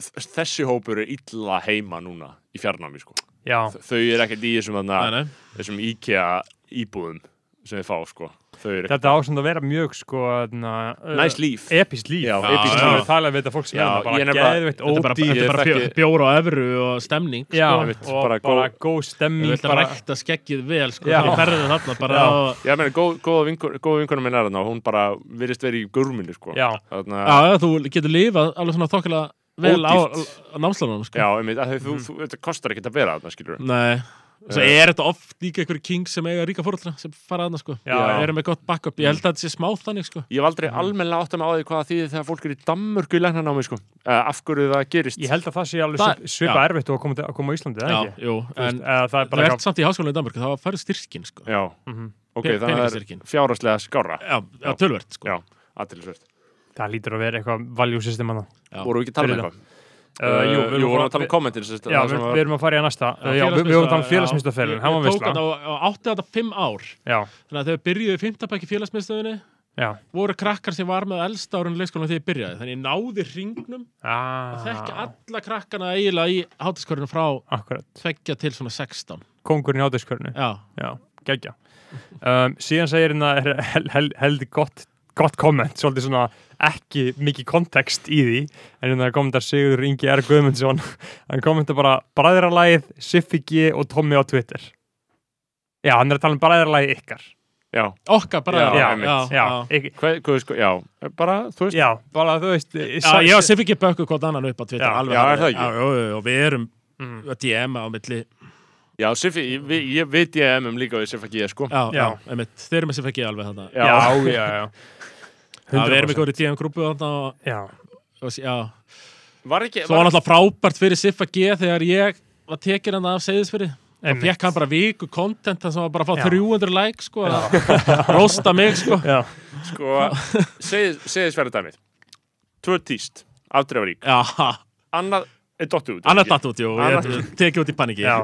[SPEAKER 1] þ- þessi hópur er illa heima núna í fjarnámi, sko.
[SPEAKER 2] já,
[SPEAKER 1] Þ- Þau eru ekkert í þessum,
[SPEAKER 4] Nei,
[SPEAKER 1] þarna,
[SPEAKER 4] nei.
[SPEAKER 1] þessum IKEA íbúðum sem þið fá, sko. Þau eru
[SPEAKER 2] þetta ásend að vera mjög sko
[SPEAKER 1] næs
[SPEAKER 2] næst
[SPEAKER 1] líf.
[SPEAKER 2] epist líf
[SPEAKER 1] Já,
[SPEAKER 2] Já,
[SPEAKER 1] episkt
[SPEAKER 2] já.
[SPEAKER 4] líf.
[SPEAKER 2] Við talaðum við þetta fólk sem
[SPEAKER 1] Já,
[SPEAKER 2] er þarna
[SPEAKER 1] ég er
[SPEAKER 2] bara
[SPEAKER 1] nefnilega-
[SPEAKER 2] geðveitt
[SPEAKER 4] Þetta er bara, þetta
[SPEAKER 2] ódýr
[SPEAKER 4] er bara
[SPEAKER 1] þekki-
[SPEAKER 4] bjó- bjór og evru og stemning
[SPEAKER 2] Já,
[SPEAKER 4] sko.
[SPEAKER 1] einmitt,
[SPEAKER 2] og
[SPEAKER 1] bara
[SPEAKER 2] bara,
[SPEAKER 1] góð-
[SPEAKER 2] góð
[SPEAKER 4] Ég
[SPEAKER 2] stemming
[SPEAKER 4] vil
[SPEAKER 2] bara,
[SPEAKER 4] bara ekta skeggið vel sko,
[SPEAKER 2] Já.
[SPEAKER 4] í ferðin þarna bara
[SPEAKER 2] Já.
[SPEAKER 4] á-
[SPEAKER 1] Já, meni, góð, góða vinkonu, góð vinkonu minn er þarna og hún bara virðist verið í gurminni, sko.
[SPEAKER 2] Já,
[SPEAKER 1] Þarna,
[SPEAKER 4] Já, já, þú getur lifað alveg svona þokkala vel á,
[SPEAKER 1] Ódýrt.
[SPEAKER 4] á námslánum sko.
[SPEAKER 1] Já, einmitt, að þau, þú, þú, þetta kostar ekkert að vera þarna, skilur við.
[SPEAKER 4] Nei Svo
[SPEAKER 1] Eh.
[SPEAKER 4] er þetta oft líka einhverjir king sem eiga ríka fórhaldra sem fara aðna sko
[SPEAKER 2] Já.
[SPEAKER 4] Já. eru með gott backup, ég held að þetta sé smá þannig sko
[SPEAKER 1] Ég hef aldrei almennilega átt að með á því hvað því þegar fólk er í Danmörku í læknanámi, sko. Uh, af hverju það gerist.
[SPEAKER 2] ég held að það sé alveg
[SPEAKER 4] Það-
[SPEAKER 2] svip- svipa erfitt og að koma, til- að koma á Íslandi, eða
[SPEAKER 4] Já,
[SPEAKER 2] ekki?
[SPEAKER 4] jú,
[SPEAKER 2] Þú veist,
[SPEAKER 4] en
[SPEAKER 2] eða það er
[SPEAKER 4] það
[SPEAKER 2] bara
[SPEAKER 4] ert samt í háskólanum í Danmark þá færðu styrkin sko
[SPEAKER 1] Já,
[SPEAKER 2] Mhm.
[SPEAKER 1] ok,
[SPEAKER 4] Pe-
[SPEAKER 1] þannig að það
[SPEAKER 4] peningastyrkin.
[SPEAKER 1] er fjárhagslega skára.
[SPEAKER 4] Já, já
[SPEAKER 1] Já.
[SPEAKER 4] tölvert sko
[SPEAKER 1] Já, aðtilisvert.
[SPEAKER 2] það lítur að vera eitthvað value system hana.
[SPEAKER 4] Já.
[SPEAKER 1] Vorum við ekki að tala um
[SPEAKER 2] Fyrir
[SPEAKER 1] eitthvað? Uh, jú, við vorum að tala um kommentin, sérst.
[SPEAKER 2] Já, við, við erum að fara í að næsta já, já, við, við vorum að tala um félagsmyndstöðferðin, hann var
[SPEAKER 4] Ég
[SPEAKER 2] vissla
[SPEAKER 4] tók hann á, á átti þetta fimm ár
[SPEAKER 2] Já,
[SPEAKER 4] Þannig að þegar byrjuðu í fimmtabæki félagsmyndstöðinni
[SPEAKER 2] já
[SPEAKER 4] voru krakkar sem var með elsta árun leikskólanum þegar ég byrjaði Þannig ég náði ringnum að þekki
[SPEAKER 2] ah,
[SPEAKER 4] alla krakkana eiginlega í hátaskorinu frá
[SPEAKER 2] Akkurat,
[SPEAKER 4] tveggja til svona 16
[SPEAKER 2] kongurinn í átöskörnu
[SPEAKER 4] Já,
[SPEAKER 2] Já, geggja um, Síðan segir hérna hel, hel, heldur gott, gott komment svolítið svona ekki mikið kontekst í því en hérna kommentar Sigur Ingi R. Guðmundsson hann kommentar bara bræðralægið Siffi G og Tommy á Twitter Já, hann er að tala um bræðralægið ykkar
[SPEAKER 1] Já,
[SPEAKER 4] okkar bara
[SPEAKER 1] Já,
[SPEAKER 4] já,
[SPEAKER 1] einmitt.
[SPEAKER 4] já,
[SPEAKER 2] Já,
[SPEAKER 4] já.
[SPEAKER 2] ekki,
[SPEAKER 1] hvað, hvað, sko, já, bara, þú veist.
[SPEAKER 2] já bara þú veist
[SPEAKER 4] Já, ég og Siffi ekki bökku hvort annan upp á Twitter
[SPEAKER 2] Já,
[SPEAKER 4] alveg,
[SPEAKER 1] já, er
[SPEAKER 4] alveg.
[SPEAKER 1] það ekki?
[SPEAKER 4] Já, já, já, og við erum
[SPEAKER 2] mm,
[SPEAKER 4] að DM á milli
[SPEAKER 1] Já, Siffi, ég, vi- ég veit ég um um líka við Siffa G, sko.
[SPEAKER 4] Já, já,
[SPEAKER 2] Já.
[SPEAKER 4] einmitt, þeir eru með Siffi ekki alveg þarna
[SPEAKER 2] Já, já, já, já.
[SPEAKER 4] Já, við
[SPEAKER 2] 100%.
[SPEAKER 4] erum í góðri DM-grúpu þarna og,
[SPEAKER 2] Já,
[SPEAKER 4] og já,
[SPEAKER 1] Var ekki,
[SPEAKER 4] svo var náttúrulega frábært fyrir Siffa G þegar ég var tekin hann af Seyðisfyrir og
[SPEAKER 2] einmitt.
[SPEAKER 4] fekk hann bara viku content þar sem var bara að fá
[SPEAKER 2] Já.
[SPEAKER 4] 300 like sko, að rosta mig sko
[SPEAKER 2] Já,
[SPEAKER 1] sko, segðisverði dæmið. Tvö tíst, afdreifarík.
[SPEAKER 4] Já,
[SPEAKER 1] Annað er dottu út.
[SPEAKER 4] annað datt út, jú,
[SPEAKER 1] Annað-
[SPEAKER 4] ég tekið út í paniki
[SPEAKER 2] já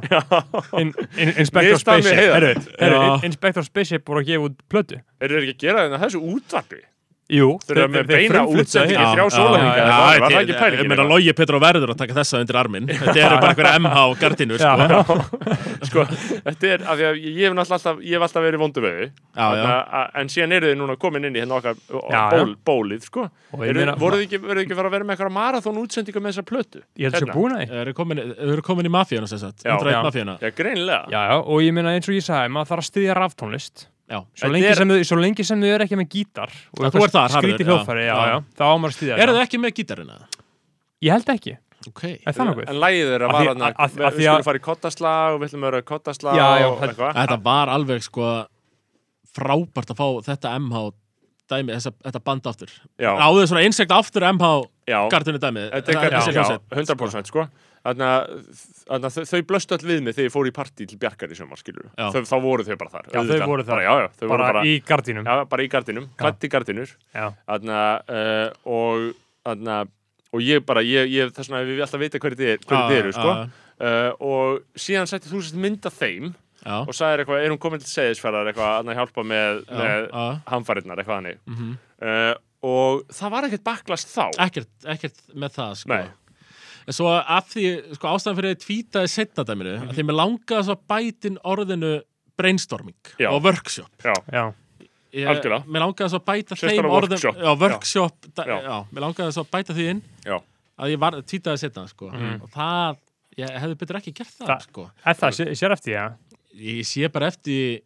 [SPEAKER 2] in, in, Inspector
[SPEAKER 1] Misdæmi
[SPEAKER 2] Spaceship
[SPEAKER 1] heiðar.
[SPEAKER 2] Herru, herru,
[SPEAKER 4] Já.
[SPEAKER 2] in- Inspector Spaceship voru að gefa út plötu
[SPEAKER 1] Eru þeir ekki að gera þetta þessu útvarpi?
[SPEAKER 2] Jú,
[SPEAKER 1] Þeir eru með beina
[SPEAKER 2] frumfluttu
[SPEAKER 1] útsendingu
[SPEAKER 2] það
[SPEAKER 1] í
[SPEAKER 2] hér.
[SPEAKER 1] þrjá sólarhringa,
[SPEAKER 4] já,
[SPEAKER 1] eða hvað?
[SPEAKER 4] já,
[SPEAKER 1] Var það
[SPEAKER 4] ég-
[SPEAKER 1] ekki pælingin
[SPEAKER 4] Ég meina,
[SPEAKER 1] eða?
[SPEAKER 4] Logi Petro verður að taka þessa undir arminn Þetta eru bara einhverja MH gardinur
[SPEAKER 2] Já,
[SPEAKER 4] sko.
[SPEAKER 2] já,
[SPEAKER 1] sko, þetta er af því að ég hef náttúrulega alltaf, ég hef alltaf verið vondu við þau,
[SPEAKER 4] Já, já.
[SPEAKER 1] Þarna, a- en síðan eru þið núna komin inn í hérna okkar já,
[SPEAKER 2] Já,
[SPEAKER 1] ból, bólið, sko
[SPEAKER 2] Og ég
[SPEAKER 1] eru,
[SPEAKER 2] meina-
[SPEAKER 1] voruð þið ekki, voruð þið ekki að fara að vera með eitthvað marathón útsendingu með þessa plötu
[SPEAKER 2] ég held sér búin að því
[SPEAKER 4] Þau eru komin, þau eru komin í mafíuna sem sagt
[SPEAKER 1] Já.
[SPEAKER 2] Já.
[SPEAKER 4] 101 mafíuna
[SPEAKER 1] já, greinilega,
[SPEAKER 2] hérna. Já, já, og ég meina eins og ég sagði, maður þarf að styðja raftónlist
[SPEAKER 4] Já.
[SPEAKER 2] svo
[SPEAKER 1] Þetta
[SPEAKER 2] lengi,
[SPEAKER 1] er-
[SPEAKER 2] sem þau, svo lengi sem þau eru ekki með gítar og
[SPEAKER 4] Já, þú ert þar, harður,
[SPEAKER 2] skrítið
[SPEAKER 4] já.
[SPEAKER 2] hljóðfæri, já,
[SPEAKER 4] Já.
[SPEAKER 2] já, þá á maður að styðja
[SPEAKER 4] Eru
[SPEAKER 2] það.
[SPEAKER 4] þau ekki með gítarina?
[SPEAKER 2] Ég held ekki,
[SPEAKER 4] Ok
[SPEAKER 2] er það nokkuð?
[SPEAKER 1] en lægið þeirra
[SPEAKER 2] Af
[SPEAKER 1] var
[SPEAKER 2] því-
[SPEAKER 1] hann
[SPEAKER 2] að- að-
[SPEAKER 1] við
[SPEAKER 2] að
[SPEAKER 1] við
[SPEAKER 2] því að-
[SPEAKER 1] skulum fara í kottaslag og við ætlum að vera kottaslag
[SPEAKER 2] Já, já,
[SPEAKER 1] og
[SPEAKER 2] þetta-
[SPEAKER 1] eitthvað
[SPEAKER 4] Þetta var alveg sko frábært að fá þetta MH dæmi, þessa, þetta band aftur
[SPEAKER 1] já,
[SPEAKER 4] Ráðið svona insekt aftur MH
[SPEAKER 1] já,
[SPEAKER 4] gardinu dæmi
[SPEAKER 1] þetta er
[SPEAKER 2] já,
[SPEAKER 1] gæti,
[SPEAKER 4] þessi
[SPEAKER 1] já,
[SPEAKER 4] hljómsveit.
[SPEAKER 1] 100% sko Þannig að- þannig að þau- þau blöstu all við mig þegar ég fór í partí til Bjarkar í sjömar, skilur
[SPEAKER 4] Já.
[SPEAKER 1] Þau, Þá voru þau bara þar
[SPEAKER 2] Já, þau
[SPEAKER 1] auðvitað.
[SPEAKER 2] voru þar.
[SPEAKER 1] bara, já, já, þau voru
[SPEAKER 2] bara,
[SPEAKER 1] bara,
[SPEAKER 2] í gardínum
[SPEAKER 1] já, bara í gardinum, klætt í gardinur
[SPEAKER 2] Já,
[SPEAKER 1] Þarna, uh, og, þarna, og ég bara, ég, ég, þess vegna við alltaf vita hverju þið er- hverjir þið eru,
[SPEAKER 4] Já,
[SPEAKER 1] sko. Uh, og síðan sætti þú sérst mynd af þeim
[SPEAKER 4] Já,
[SPEAKER 1] og sagðir eitthvað, er hún komin til seðisferðar eitthvað þarna, að hjálpa með,
[SPEAKER 4] já,
[SPEAKER 1] með
[SPEAKER 4] já
[SPEAKER 1] hamfarirnar, eitthvað hannig.
[SPEAKER 4] Mhm.
[SPEAKER 1] Uh, og það var ekkert baklast þá.
[SPEAKER 4] ekkert, ekkert með það sko.
[SPEAKER 1] Nei.
[SPEAKER 4] en svo af því sko, ástæðan fyrir að ég tvítaði setna dæminu mm -hmm. að því mér langaði svo að bætin orðinu brainstorming
[SPEAKER 1] Já.
[SPEAKER 4] og workshop
[SPEAKER 1] Já,
[SPEAKER 2] já,
[SPEAKER 4] ég,
[SPEAKER 1] Algjörlega.
[SPEAKER 4] mér langaði svo að bæta
[SPEAKER 1] Sérstaklega
[SPEAKER 4] þeim orðum
[SPEAKER 1] workshop.
[SPEAKER 4] já, workshop já.
[SPEAKER 1] Já.
[SPEAKER 4] Já, mér langaði svo að bæta því inn
[SPEAKER 1] Já.
[SPEAKER 4] að ég var, tvítaði setna sko.
[SPEAKER 1] Mhm.
[SPEAKER 4] og það, ég hefði betur ekki gert það
[SPEAKER 2] Það-
[SPEAKER 4] sko.
[SPEAKER 2] er það, sér, sér eftir, já
[SPEAKER 4] ég sé bara eftir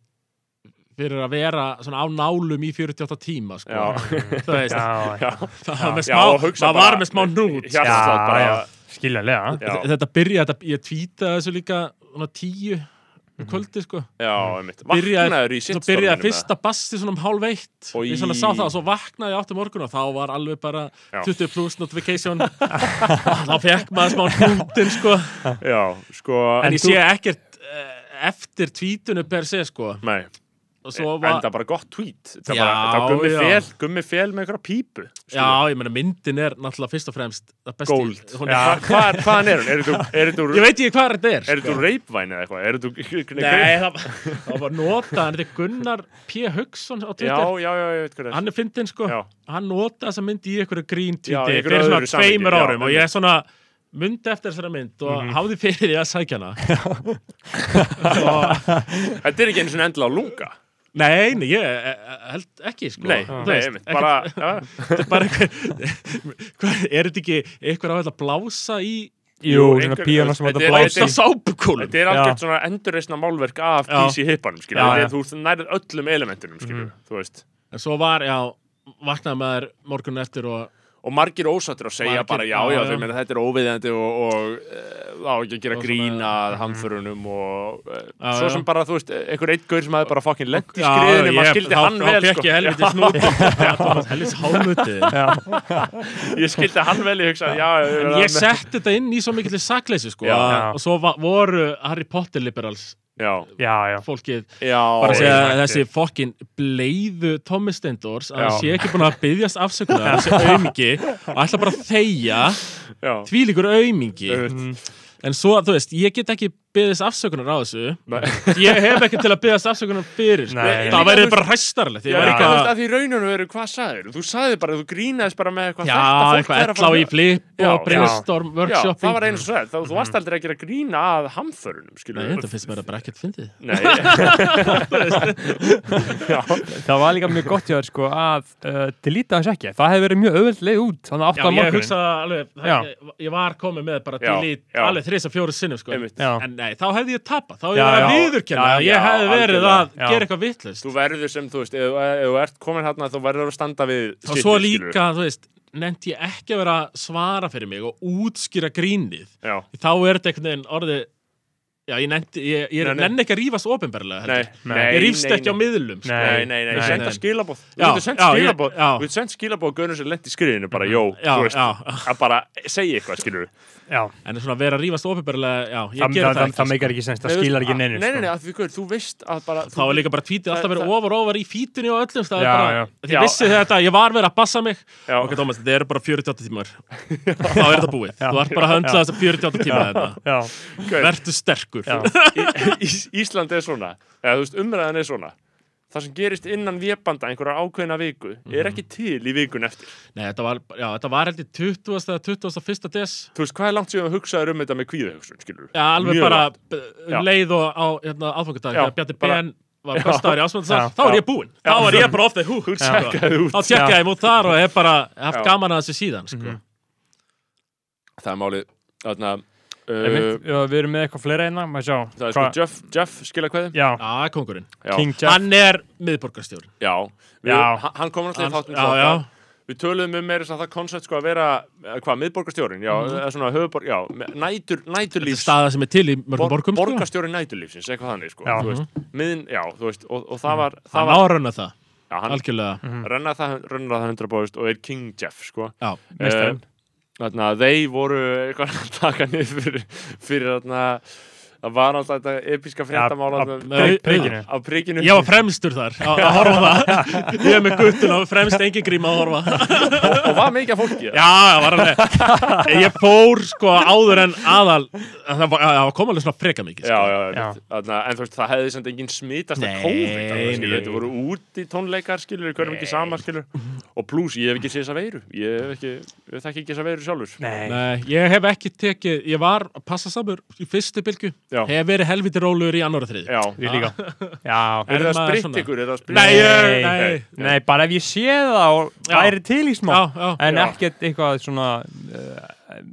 [SPEAKER 4] fyrir að vera svona á nálum í 48 tíma sko.
[SPEAKER 1] Já.
[SPEAKER 4] það veist
[SPEAKER 2] Já, já,
[SPEAKER 4] það var með
[SPEAKER 1] Já,
[SPEAKER 4] smá,
[SPEAKER 1] og hugsa
[SPEAKER 4] maður
[SPEAKER 1] bara-
[SPEAKER 4] var með smá nút
[SPEAKER 1] Já,
[SPEAKER 2] já,
[SPEAKER 1] bara-
[SPEAKER 2] já, skiljanlega
[SPEAKER 1] Já.
[SPEAKER 4] þetta byrja, þetta, ég tvítaði þessu líka svona tíu um kvöldi sko
[SPEAKER 1] Já, einmitt.
[SPEAKER 4] Byrjaði-
[SPEAKER 1] Vaknaður Mhm. í hérna.
[SPEAKER 4] Svo
[SPEAKER 1] sitt
[SPEAKER 4] byrjaði fyrsta bassi svona um hálf eitt
[SPEAKER 1] Oj.
[SPEAKER 4] Ég svona sá það og svo vaknaði ég átti morgun og þá var alveg bara
[SPEAKER 1] Já.
[SPEAKER 4] 20 plus notification Þá fekk maður smá hnútin sko
[SPEAKER 1] Já, sko
[SPEAKER 4] En ég
[SPEAKER 2] þú-
[SPEAKER 4] sé ekkert eh, eftir tvítunum per se sko
[SPEAKER 1] Nei, e-
[SPEAKER 4] Og svo var
[SPEAKER 1] enda bara gott tweet Það
[SPEAKER 4] Já,
[SPEAKER 1] bara, það var gummi
[SPEAKER 4] já.
[SPEAKER 1] fél, gummi fél með einhverja pípu skilur.
[SPEAKER 4] Já, ég meina myndin er náttúrulega fyrst og fremst það besti-
[SPEAKER 1] Gold.
[SPEAKER 4] Hún
[SPEAKER 1] Hva,
[SPEAKER 4] er,
[SPEAKER 1] hvað er, hvaðan er hún? Er þetta er þetta úr-
[SPEAKER 4] Ég veit ekki hvað þetta er sko.
[SPEAKER 1] er þetta úr reipvæn eða eitthvað? Er þetta úr...
[SPEAKER 4] Nei, það, það var notað Þetta er Gunnar P. Hugson á
[SPEAKER 1] Já,
[SPEAKER 4] Twitter
[SPEAKER 1] já, já, ég veit hvað það er.
[SPEAKER 4] Hann er fyndin sko
[SPEAKER 1] Já.
[SPEAKER 4] Hann notaði þessa mynd í einhverju grín
[SPEAKER 1] Já, í
[SPEAKER 4] tweeti
[SPEAKER 1] einhverju
[SPEAKER 4] fyrir svona
[SPEAKER 1] öðru samhengi,
[SPEAKER 4] tveimur
[SPEAKER 1] já,
[SPEAKER 4] árum og
[SPEAKER 1] einmitt.
[SPEAKER 4] ég
[SPEAKER 1] Mhm.
[SPEAKER 4] er svona myndi eftir þessara mynd og hafði fyrir því að sækja hana og,
[SPEAKER 1] Þetta er ekki einu svona endla á lunga.
[SPEAKER 4] Nei, nei, ég eh, eh, held ekki sko
[SPEAKER 1] Nei,
[SPEAKER 4] Þú
[SPEAKER 1] nei,
[SPEAKER 4] veist,
[SPEAKER 1] einmitt.
[SPEAKER 4] ekkert-
[SPEAKER 1] Bara, já,
[SPEAKER 4] þetta er bara einhver Hvað- Er þetta ekki eitthvað að blása í
[SPEAKER 2] Jú,
[SPEAKER 1] Jú,
[SPEAKER 2] svona
[SPEAKER 1] einhver-
[SPEAKER 2] píana sem
[SPEAKER 1] þetta
[SPEAKER 2] þetta
[SPEAKER 1] er-
[SPEAKER 2] blási
[SPEAKER 4] Blása í sápukúlum
[SPEAKER 1] þetta er algjört svona endurreisna málverk af
[SPEAKER 4] Já.
[SPEAKER 1] PC hippanum, skilju.
[SPEAKER 4] Já, Mhm.
[SPEAKER 1] Þetta
[SPEAKER 2] já.
[SPEAKER 1] er- Þú ert nærið öllum elementunum, skilju, þú veist.
[SPEAKER 4] En svo var, já, vaknaði maður morgun eftir og
[SPEAKER 1] Og margir ósattir að segja
[SPEAKER 4] Margir-
[SPEAKER 1] bara, já,
[SPEAKER 4] já,
[SPEAKER 1] já,
[SPEAKER 4] já.
[SPEAKER 1] þau meina þetta er óviðjandi og, og e, á ekki að gera
[SPEAKER 4] Og svona- Mhm.
[SPEAKER 1] grína hamförunum og e,
[SPEAKER 4] Já,
[SPEAKER 1] svo
[SPEAKER 4] já.
[SPEAKER 1] sem bara, þú veist, einhver eitt gaur sem hafi bara fokkin lent í
[SPEAKER 4] Já,
[SPEAKER 1] skriðinu, maður
[SPEAKER 4] ég-
[SPEAKER 1] skildi
[SPEAKER 4] þá-
[SPEAKER 1] hann vel,
[SPEAKER 4] Þá fekk
[SPEAKER 1] sko.
[SPEAKER 4] ég helviti snúti Helviti hálmutið
[SPEAKER 1] Ég skildi hann vel, ég hugsaði, já, já,
[SPEAKER 4] En
[SPEAKER 1] já,
[SPEAKER 4] ég setti þetta inn í svo mikill sakleysi sko
[SPEAKER 1] Já.
[SPEAKER 4] að- Og svo va- voru Harry Potter liberals
[SPEAKER 1] já,
[SPEAKER 2] Já, já,
[SPEAKER 4] fólkið
[SPEAKER 1] já,
[SPEAKER 4] bara að segja
[SPEAKER 1] já,
[SPEAKER 4] að þessi fokkin bleiðu Thomas Stendors að
[SPEAKER 1] Já.
[SPEAKER 4] hann sé ekki búin að byggjast afsökunar þessi aumingi og ætla bara að þegja
[SPEAKER 1] já,
[SPEAKER 4] tvílíkur aumingi
[SPEAKER 1] auðvitað.
[SPEAKER 4] en svo, þú veist, ég get ekki byggðist afsökunar á þessu
[SPEAKER 1] Nei.
[SPEAKER 4] ég hef ekki til að byggðast afsökunar fyrir sko.
[SPEAKER 2] Nei.
[SPEAKER 4] það væri bara hræstarlegt ég
[SPEAKER 1] Já,
[SPEAKER 4] var
[SPEAKER 1] líka,
[SPEAKER 4] ekki
[SPEAKER 1] þú
[SPEAKER 4] að
[SPEAKER 1] veist, að því rauninu veru, hvað sagðir? Þú sagðir bara, þú grínaðist bara með eitthvað
[SPEAKER 4] Já,
[SPEAKER 1] þetta fólk
[SPEAKER 4] eitthvað
[SPEAKER 1] er að
[SPEAKER 4] ell á
[SPEAKER 1] fara-
[SPEAKER 4] í flip
[SPEAKER 1] Já,
[SPEAKER 4] og brainstorm
[SPEAKER 1] Já,
[SPEAKER 4] workshopping
[SPEAKER 1] það var eins og sveit, þú varst aldrei að gera grína að hamförunum, skilur
[SPEAKER 4] Mhm. Nei, þetta finnst mér að bara ekkert fyndið
[SPEAKER 1] Nei,
[SPEAKER 2] það var líka mjög gott hjá þér sko að uh, delita þess ekki, það hefði verið mjög auðvöld leið út þannig að
[SPEAKER 4] Já,
[SPEAKER 2] átta á
[SPEAKER 4] ég
[SPEAKER 2] morgunin
[SPEAKER 4] hugsa alveg
[SPEAKER 2] Já.
[SPEAKER 4] það- ég- Ég var komið með bara
[SPEAKER 1] Já,
[SPEAKER 4] delete
[SPEAKER 1] já.
[SPEAKER 4] alveg þrís að fjóru sinnum sko.
[SPEAKER 1] einmitt.
[SPEAKER 2] Já.
[SPEAKER 4] En nei, þá hefði ég tapað Þá hefði
[SPEAKER 2] Já,
[SPEAKER 4] ég að
[SPEAKER 2] já.
[SPEAKER 4] viðurkenna
[SPEAKER 2] Já,
[SPEAKER 4] að Ég
[SPEAKER 1] já,
[SPEAKER 4] hefði verið
[SPEAKER 1] algjörlega.
[SPEAKER 4] að
[SPEAKER 2] Já.
[SPEAKER 4] gera eitthvað vittlust
[SPEAKER 1] Þú verður sem, þú veist, ef ef þú ert komin hérna þú verður að standa við
[SPEAKER 4] Og svo líka, þú veist, nefndi ég ekki að vera að svara fyrir mig og útskýra grínið
[SPEAKER 1] Já,
[SPEAKER 4] Þá er þetta einhvern veginn orðið Já, ég nefndi, ég, ég
[SPEAKER 1] Nei, nei.
[SPEAKER 4] nenni ekki að rífast opinberlega
[SPEAKER 1] nei,
[SPEAKER 4] heldur.
[SPEAKER 1] nei
[SPEAKER 4] Ég rífst
[SPEAKER 1] nei,
[SPEAKER 4] ekki á
[SPEAKER 1] nei.
[SPEAKER 4] miðlum sko.
[SPEAKER 1] Nei, nei, nei,
[SPEAKER 2] Nei,
[SPEAKER 1] senda
[SPEAKER 4] nei.
[SPEAKER 1] skilabóð Þú
[SPEAKER 4] Já,
[SPEAKER 1] getur sendt
[SPEAKER 4] já, ég-
[SPEAKER 1] skilabóð
[SPEAKER 4] já.
[SPEAKER 1] Þú getur sendt skilabóð að gaunum sem lent í skriðinu bara, jó,
[SPEAKER 4] Já,
[SPEAKER 1] þú veist
[SPEAKER 4] já,
[SPEAKER 1] að bara segja eitthvað, skilur
[SPEAKER 2] Já,
[SPEAKER 4] En svona vera að rífast opinberlega, já, ég
[SPEAKER 2] það,
[SPEAKER 4] gera
[SPEAKER 2] það,
[SPEAKER 4] það,
[SPEAKER 2] það,
[SPEAKER 4] ekki,
[SPEAKER 2] það
[SPEAKER 4] sko.
[SPEAKER 2] meikar ekki sens, það skilar ekki neinu
[SPEAKER 1] Nei, nei, nei,
[SPEAKER 2] sko.
[SPEAKER 1] af því, gaur, þú veist að bara
[SPEAKER 4] Þá var líka bara tvítið alltaf verið
[SPEAKER 1] Það-
[SPEAKER 4] ofar og ofar í fítunni og öllum staðar
[SPEAKER 2] Já,
[SPEAKER 4] bara,
[SPEAKER 2] já.
[SPEAKER 4] Því
[SPEAKER 1] Já.
[SPEAKER 4] ég vissi þetta, ég var verið að passa mig
[SPEAKER 1] Já.
[SPEAKER 4] Ok, Thomas, þetta eru bara 48 tímar Þá er þetta búið, þú ert bara að höndla þess að 48 tíma þetta
[SPEAKER 2] Já,
[SPEAKER 1] Gaur.
[SPEAKER 4] Vertu sterkur
[SPEAKER 2] Já.
[SPEAKER 1] Í- Ís- Ísland er svona eða þú veist umræðan er svona það sem gerist innan vébanda einhverja ákveðna viku er
[SPEAKER 2] Mhm.
[SPEAKER 1] ekki til í vikun eftir
[SPEAKER 4] Nei, þetta var, já, þetta var heldur 20. eða 21. des
[SPEAKER 1] þú veist hvað er langt síðan að hugsaður um þetta með kvíðahugsun skilur
[SPEAKER 4] Já, alveg bara
[SPEAKER 1] langt.
[SPEAKER 4] b- um
[SPEAKER 1] Já.
[SPEAKER 4] leið og á hérna, aðfangadag
[SPEAKER 1] Já,
[SPEAKER 4] Þegar Bjarni
[SPEAKER 1] bara-
[SPEAKER 4] Ben var bestaður í
[SPEAKER 2] Já.
[SPEAKER 4] ásmöndsar Þá er ég búinn, þá er ég bara ofta í hú
[SPEAKER 1] Tjekkaðu út.
[SPEAKER 4] sko. Þá tjekka ég mút þar og hef bara haft
[SPEAKER 1] Já. Mhm.
[SPEAKER 4] gaman að þessu síðan sko.
[SPEAKER 1] það er málið þarna uh,
[SPEAKER 2] Einmitt, já, Við erum með eitthvað fleira einna, maður sjá
[SPEAKER 1] það er sko
[SPEAKER 2] Hvað-
[SPEAKER 1] Jeff, Jeff skilja hverði
[SPEAKER 2] Já,
[SPEAKER 4] Já, kongurinn
[SPEAKER 1] já,
[SPEAKER 2] King Jeff
[SPEAKER 4] Hann er miðborgarstjóri
[SPEAKER 1] já. Við,
[SPEAKER 2] Já.
[SPEAKER 1] hann- hann kom
[SPEAKER 4] Hann-
[SPEAKER 1] náttúrulega í þáttum
[SPEAKER 4] já, já.
[SPEAKER 1] við töluðum um meira þess að það koncept sko að vera eh, hvað, miðborgarstjórin, já,
[SPEAKER 2] Mhm.
[SPEAKER 1] eða svona höfuborg, já, me- nætur,
[SPEAKER 4] Þetta er
[SPEAKER 1] næturlífs
[SPEAKER 4] staða sem er til í mörgum borgum sko. Mhm.
[SPEAKER 1] borgarstjóri næturlífsins, eitthvað þannig sko,
[SPEAKER 2] Já.
[SPEAKER 1] þú veist, miðin, já, þú veist og, og það var, það
[SPEAKER 4] Mm. Hann Mm.
[SPEAKER 1] var
[SPEAKER 4] árauna það,
[SPEAKER 1] já, hann, Mhm.
[SPEAKER 4] algjörlega
[SPEAKER 1] renna það, renna það 100 og er King Jeff sko.
[SPEAKER 4] Já,
[SPEAKER 2] Meistarinn.
[SPEAKER 1] þannig að þeir voru eitthvað að taka niður fyrir, fyrir þarna, það var alltaf þetta episka fréttamála
[SPEAKER 2] af-
[SPEAKER 1] þarna-
[SPEAKER 4] Nei,
[SPEAKER 2] prik- prikinu.
[SPEAKER 1] af prikinu
[SPEAKER 4] Ég var fremstur þar á- að horfa á það Ég er með guttun og fremst engin gríma að horfa
[SPEAKER 1] og var mikið af fólki
[SPEAKER 4] Já, það var alveg Ég fór sko áður en aðal Það var, það var kom alveg svona freka mikið
[SPEAKER 1] Já,
[SPEAKER 4] sko.
[SPEAKER 1] já,
[SPEAKER 2] Já.
[SPEAKER 1] já. Þarna, en þú veist, það hefði samt enginn smitast að
[SPEAKER 4] Nei,
[SPEAKER 1] COVID þarna, skilur,
[SPEAKER 4] nei.
[SPEAKER 1] þetta voru úti tónleikar, skilur, hverjum ekki saman, skilur og pluss, ég hef ekki séð þessa veiru ég hef ekki, ég þekki ekki þessa veiru sjálfur
[SPEAKER 2] Nei,
[SPEAKER 4] Nei, ég hef ekki tekið Ég var að passa samur í fyrstu bylgu
[SPEAKER 1] Já.
[SPEAKER 4] Hef verið helviti rólugur í annar og þrið
[SPEAKER 1] Já,
[SPEAKER 2] við líka Já,
[SPEAKER 1] er það
[SPEAKER 4] maður
[SPEAKER 1] spritt
[SPEAKER 4] svona?
[SPEAKER 1] ykkur, er það spritt
[SPEAKER 4] Nei,
[SPEAKER 2] Nei,
[SPEAKER 4] ég- nei.
[SPEAKER 2] nei, bara ef ég sé það og
[SPEAKER 4] Já.
[SPEAKER 2] væri til í smá
[SPEAKER 4] Já, já.
[SPEAKER 2] en
[SPEAKER 1] Já.
[SPEAKER 2] ekkert eitthvað svona uh,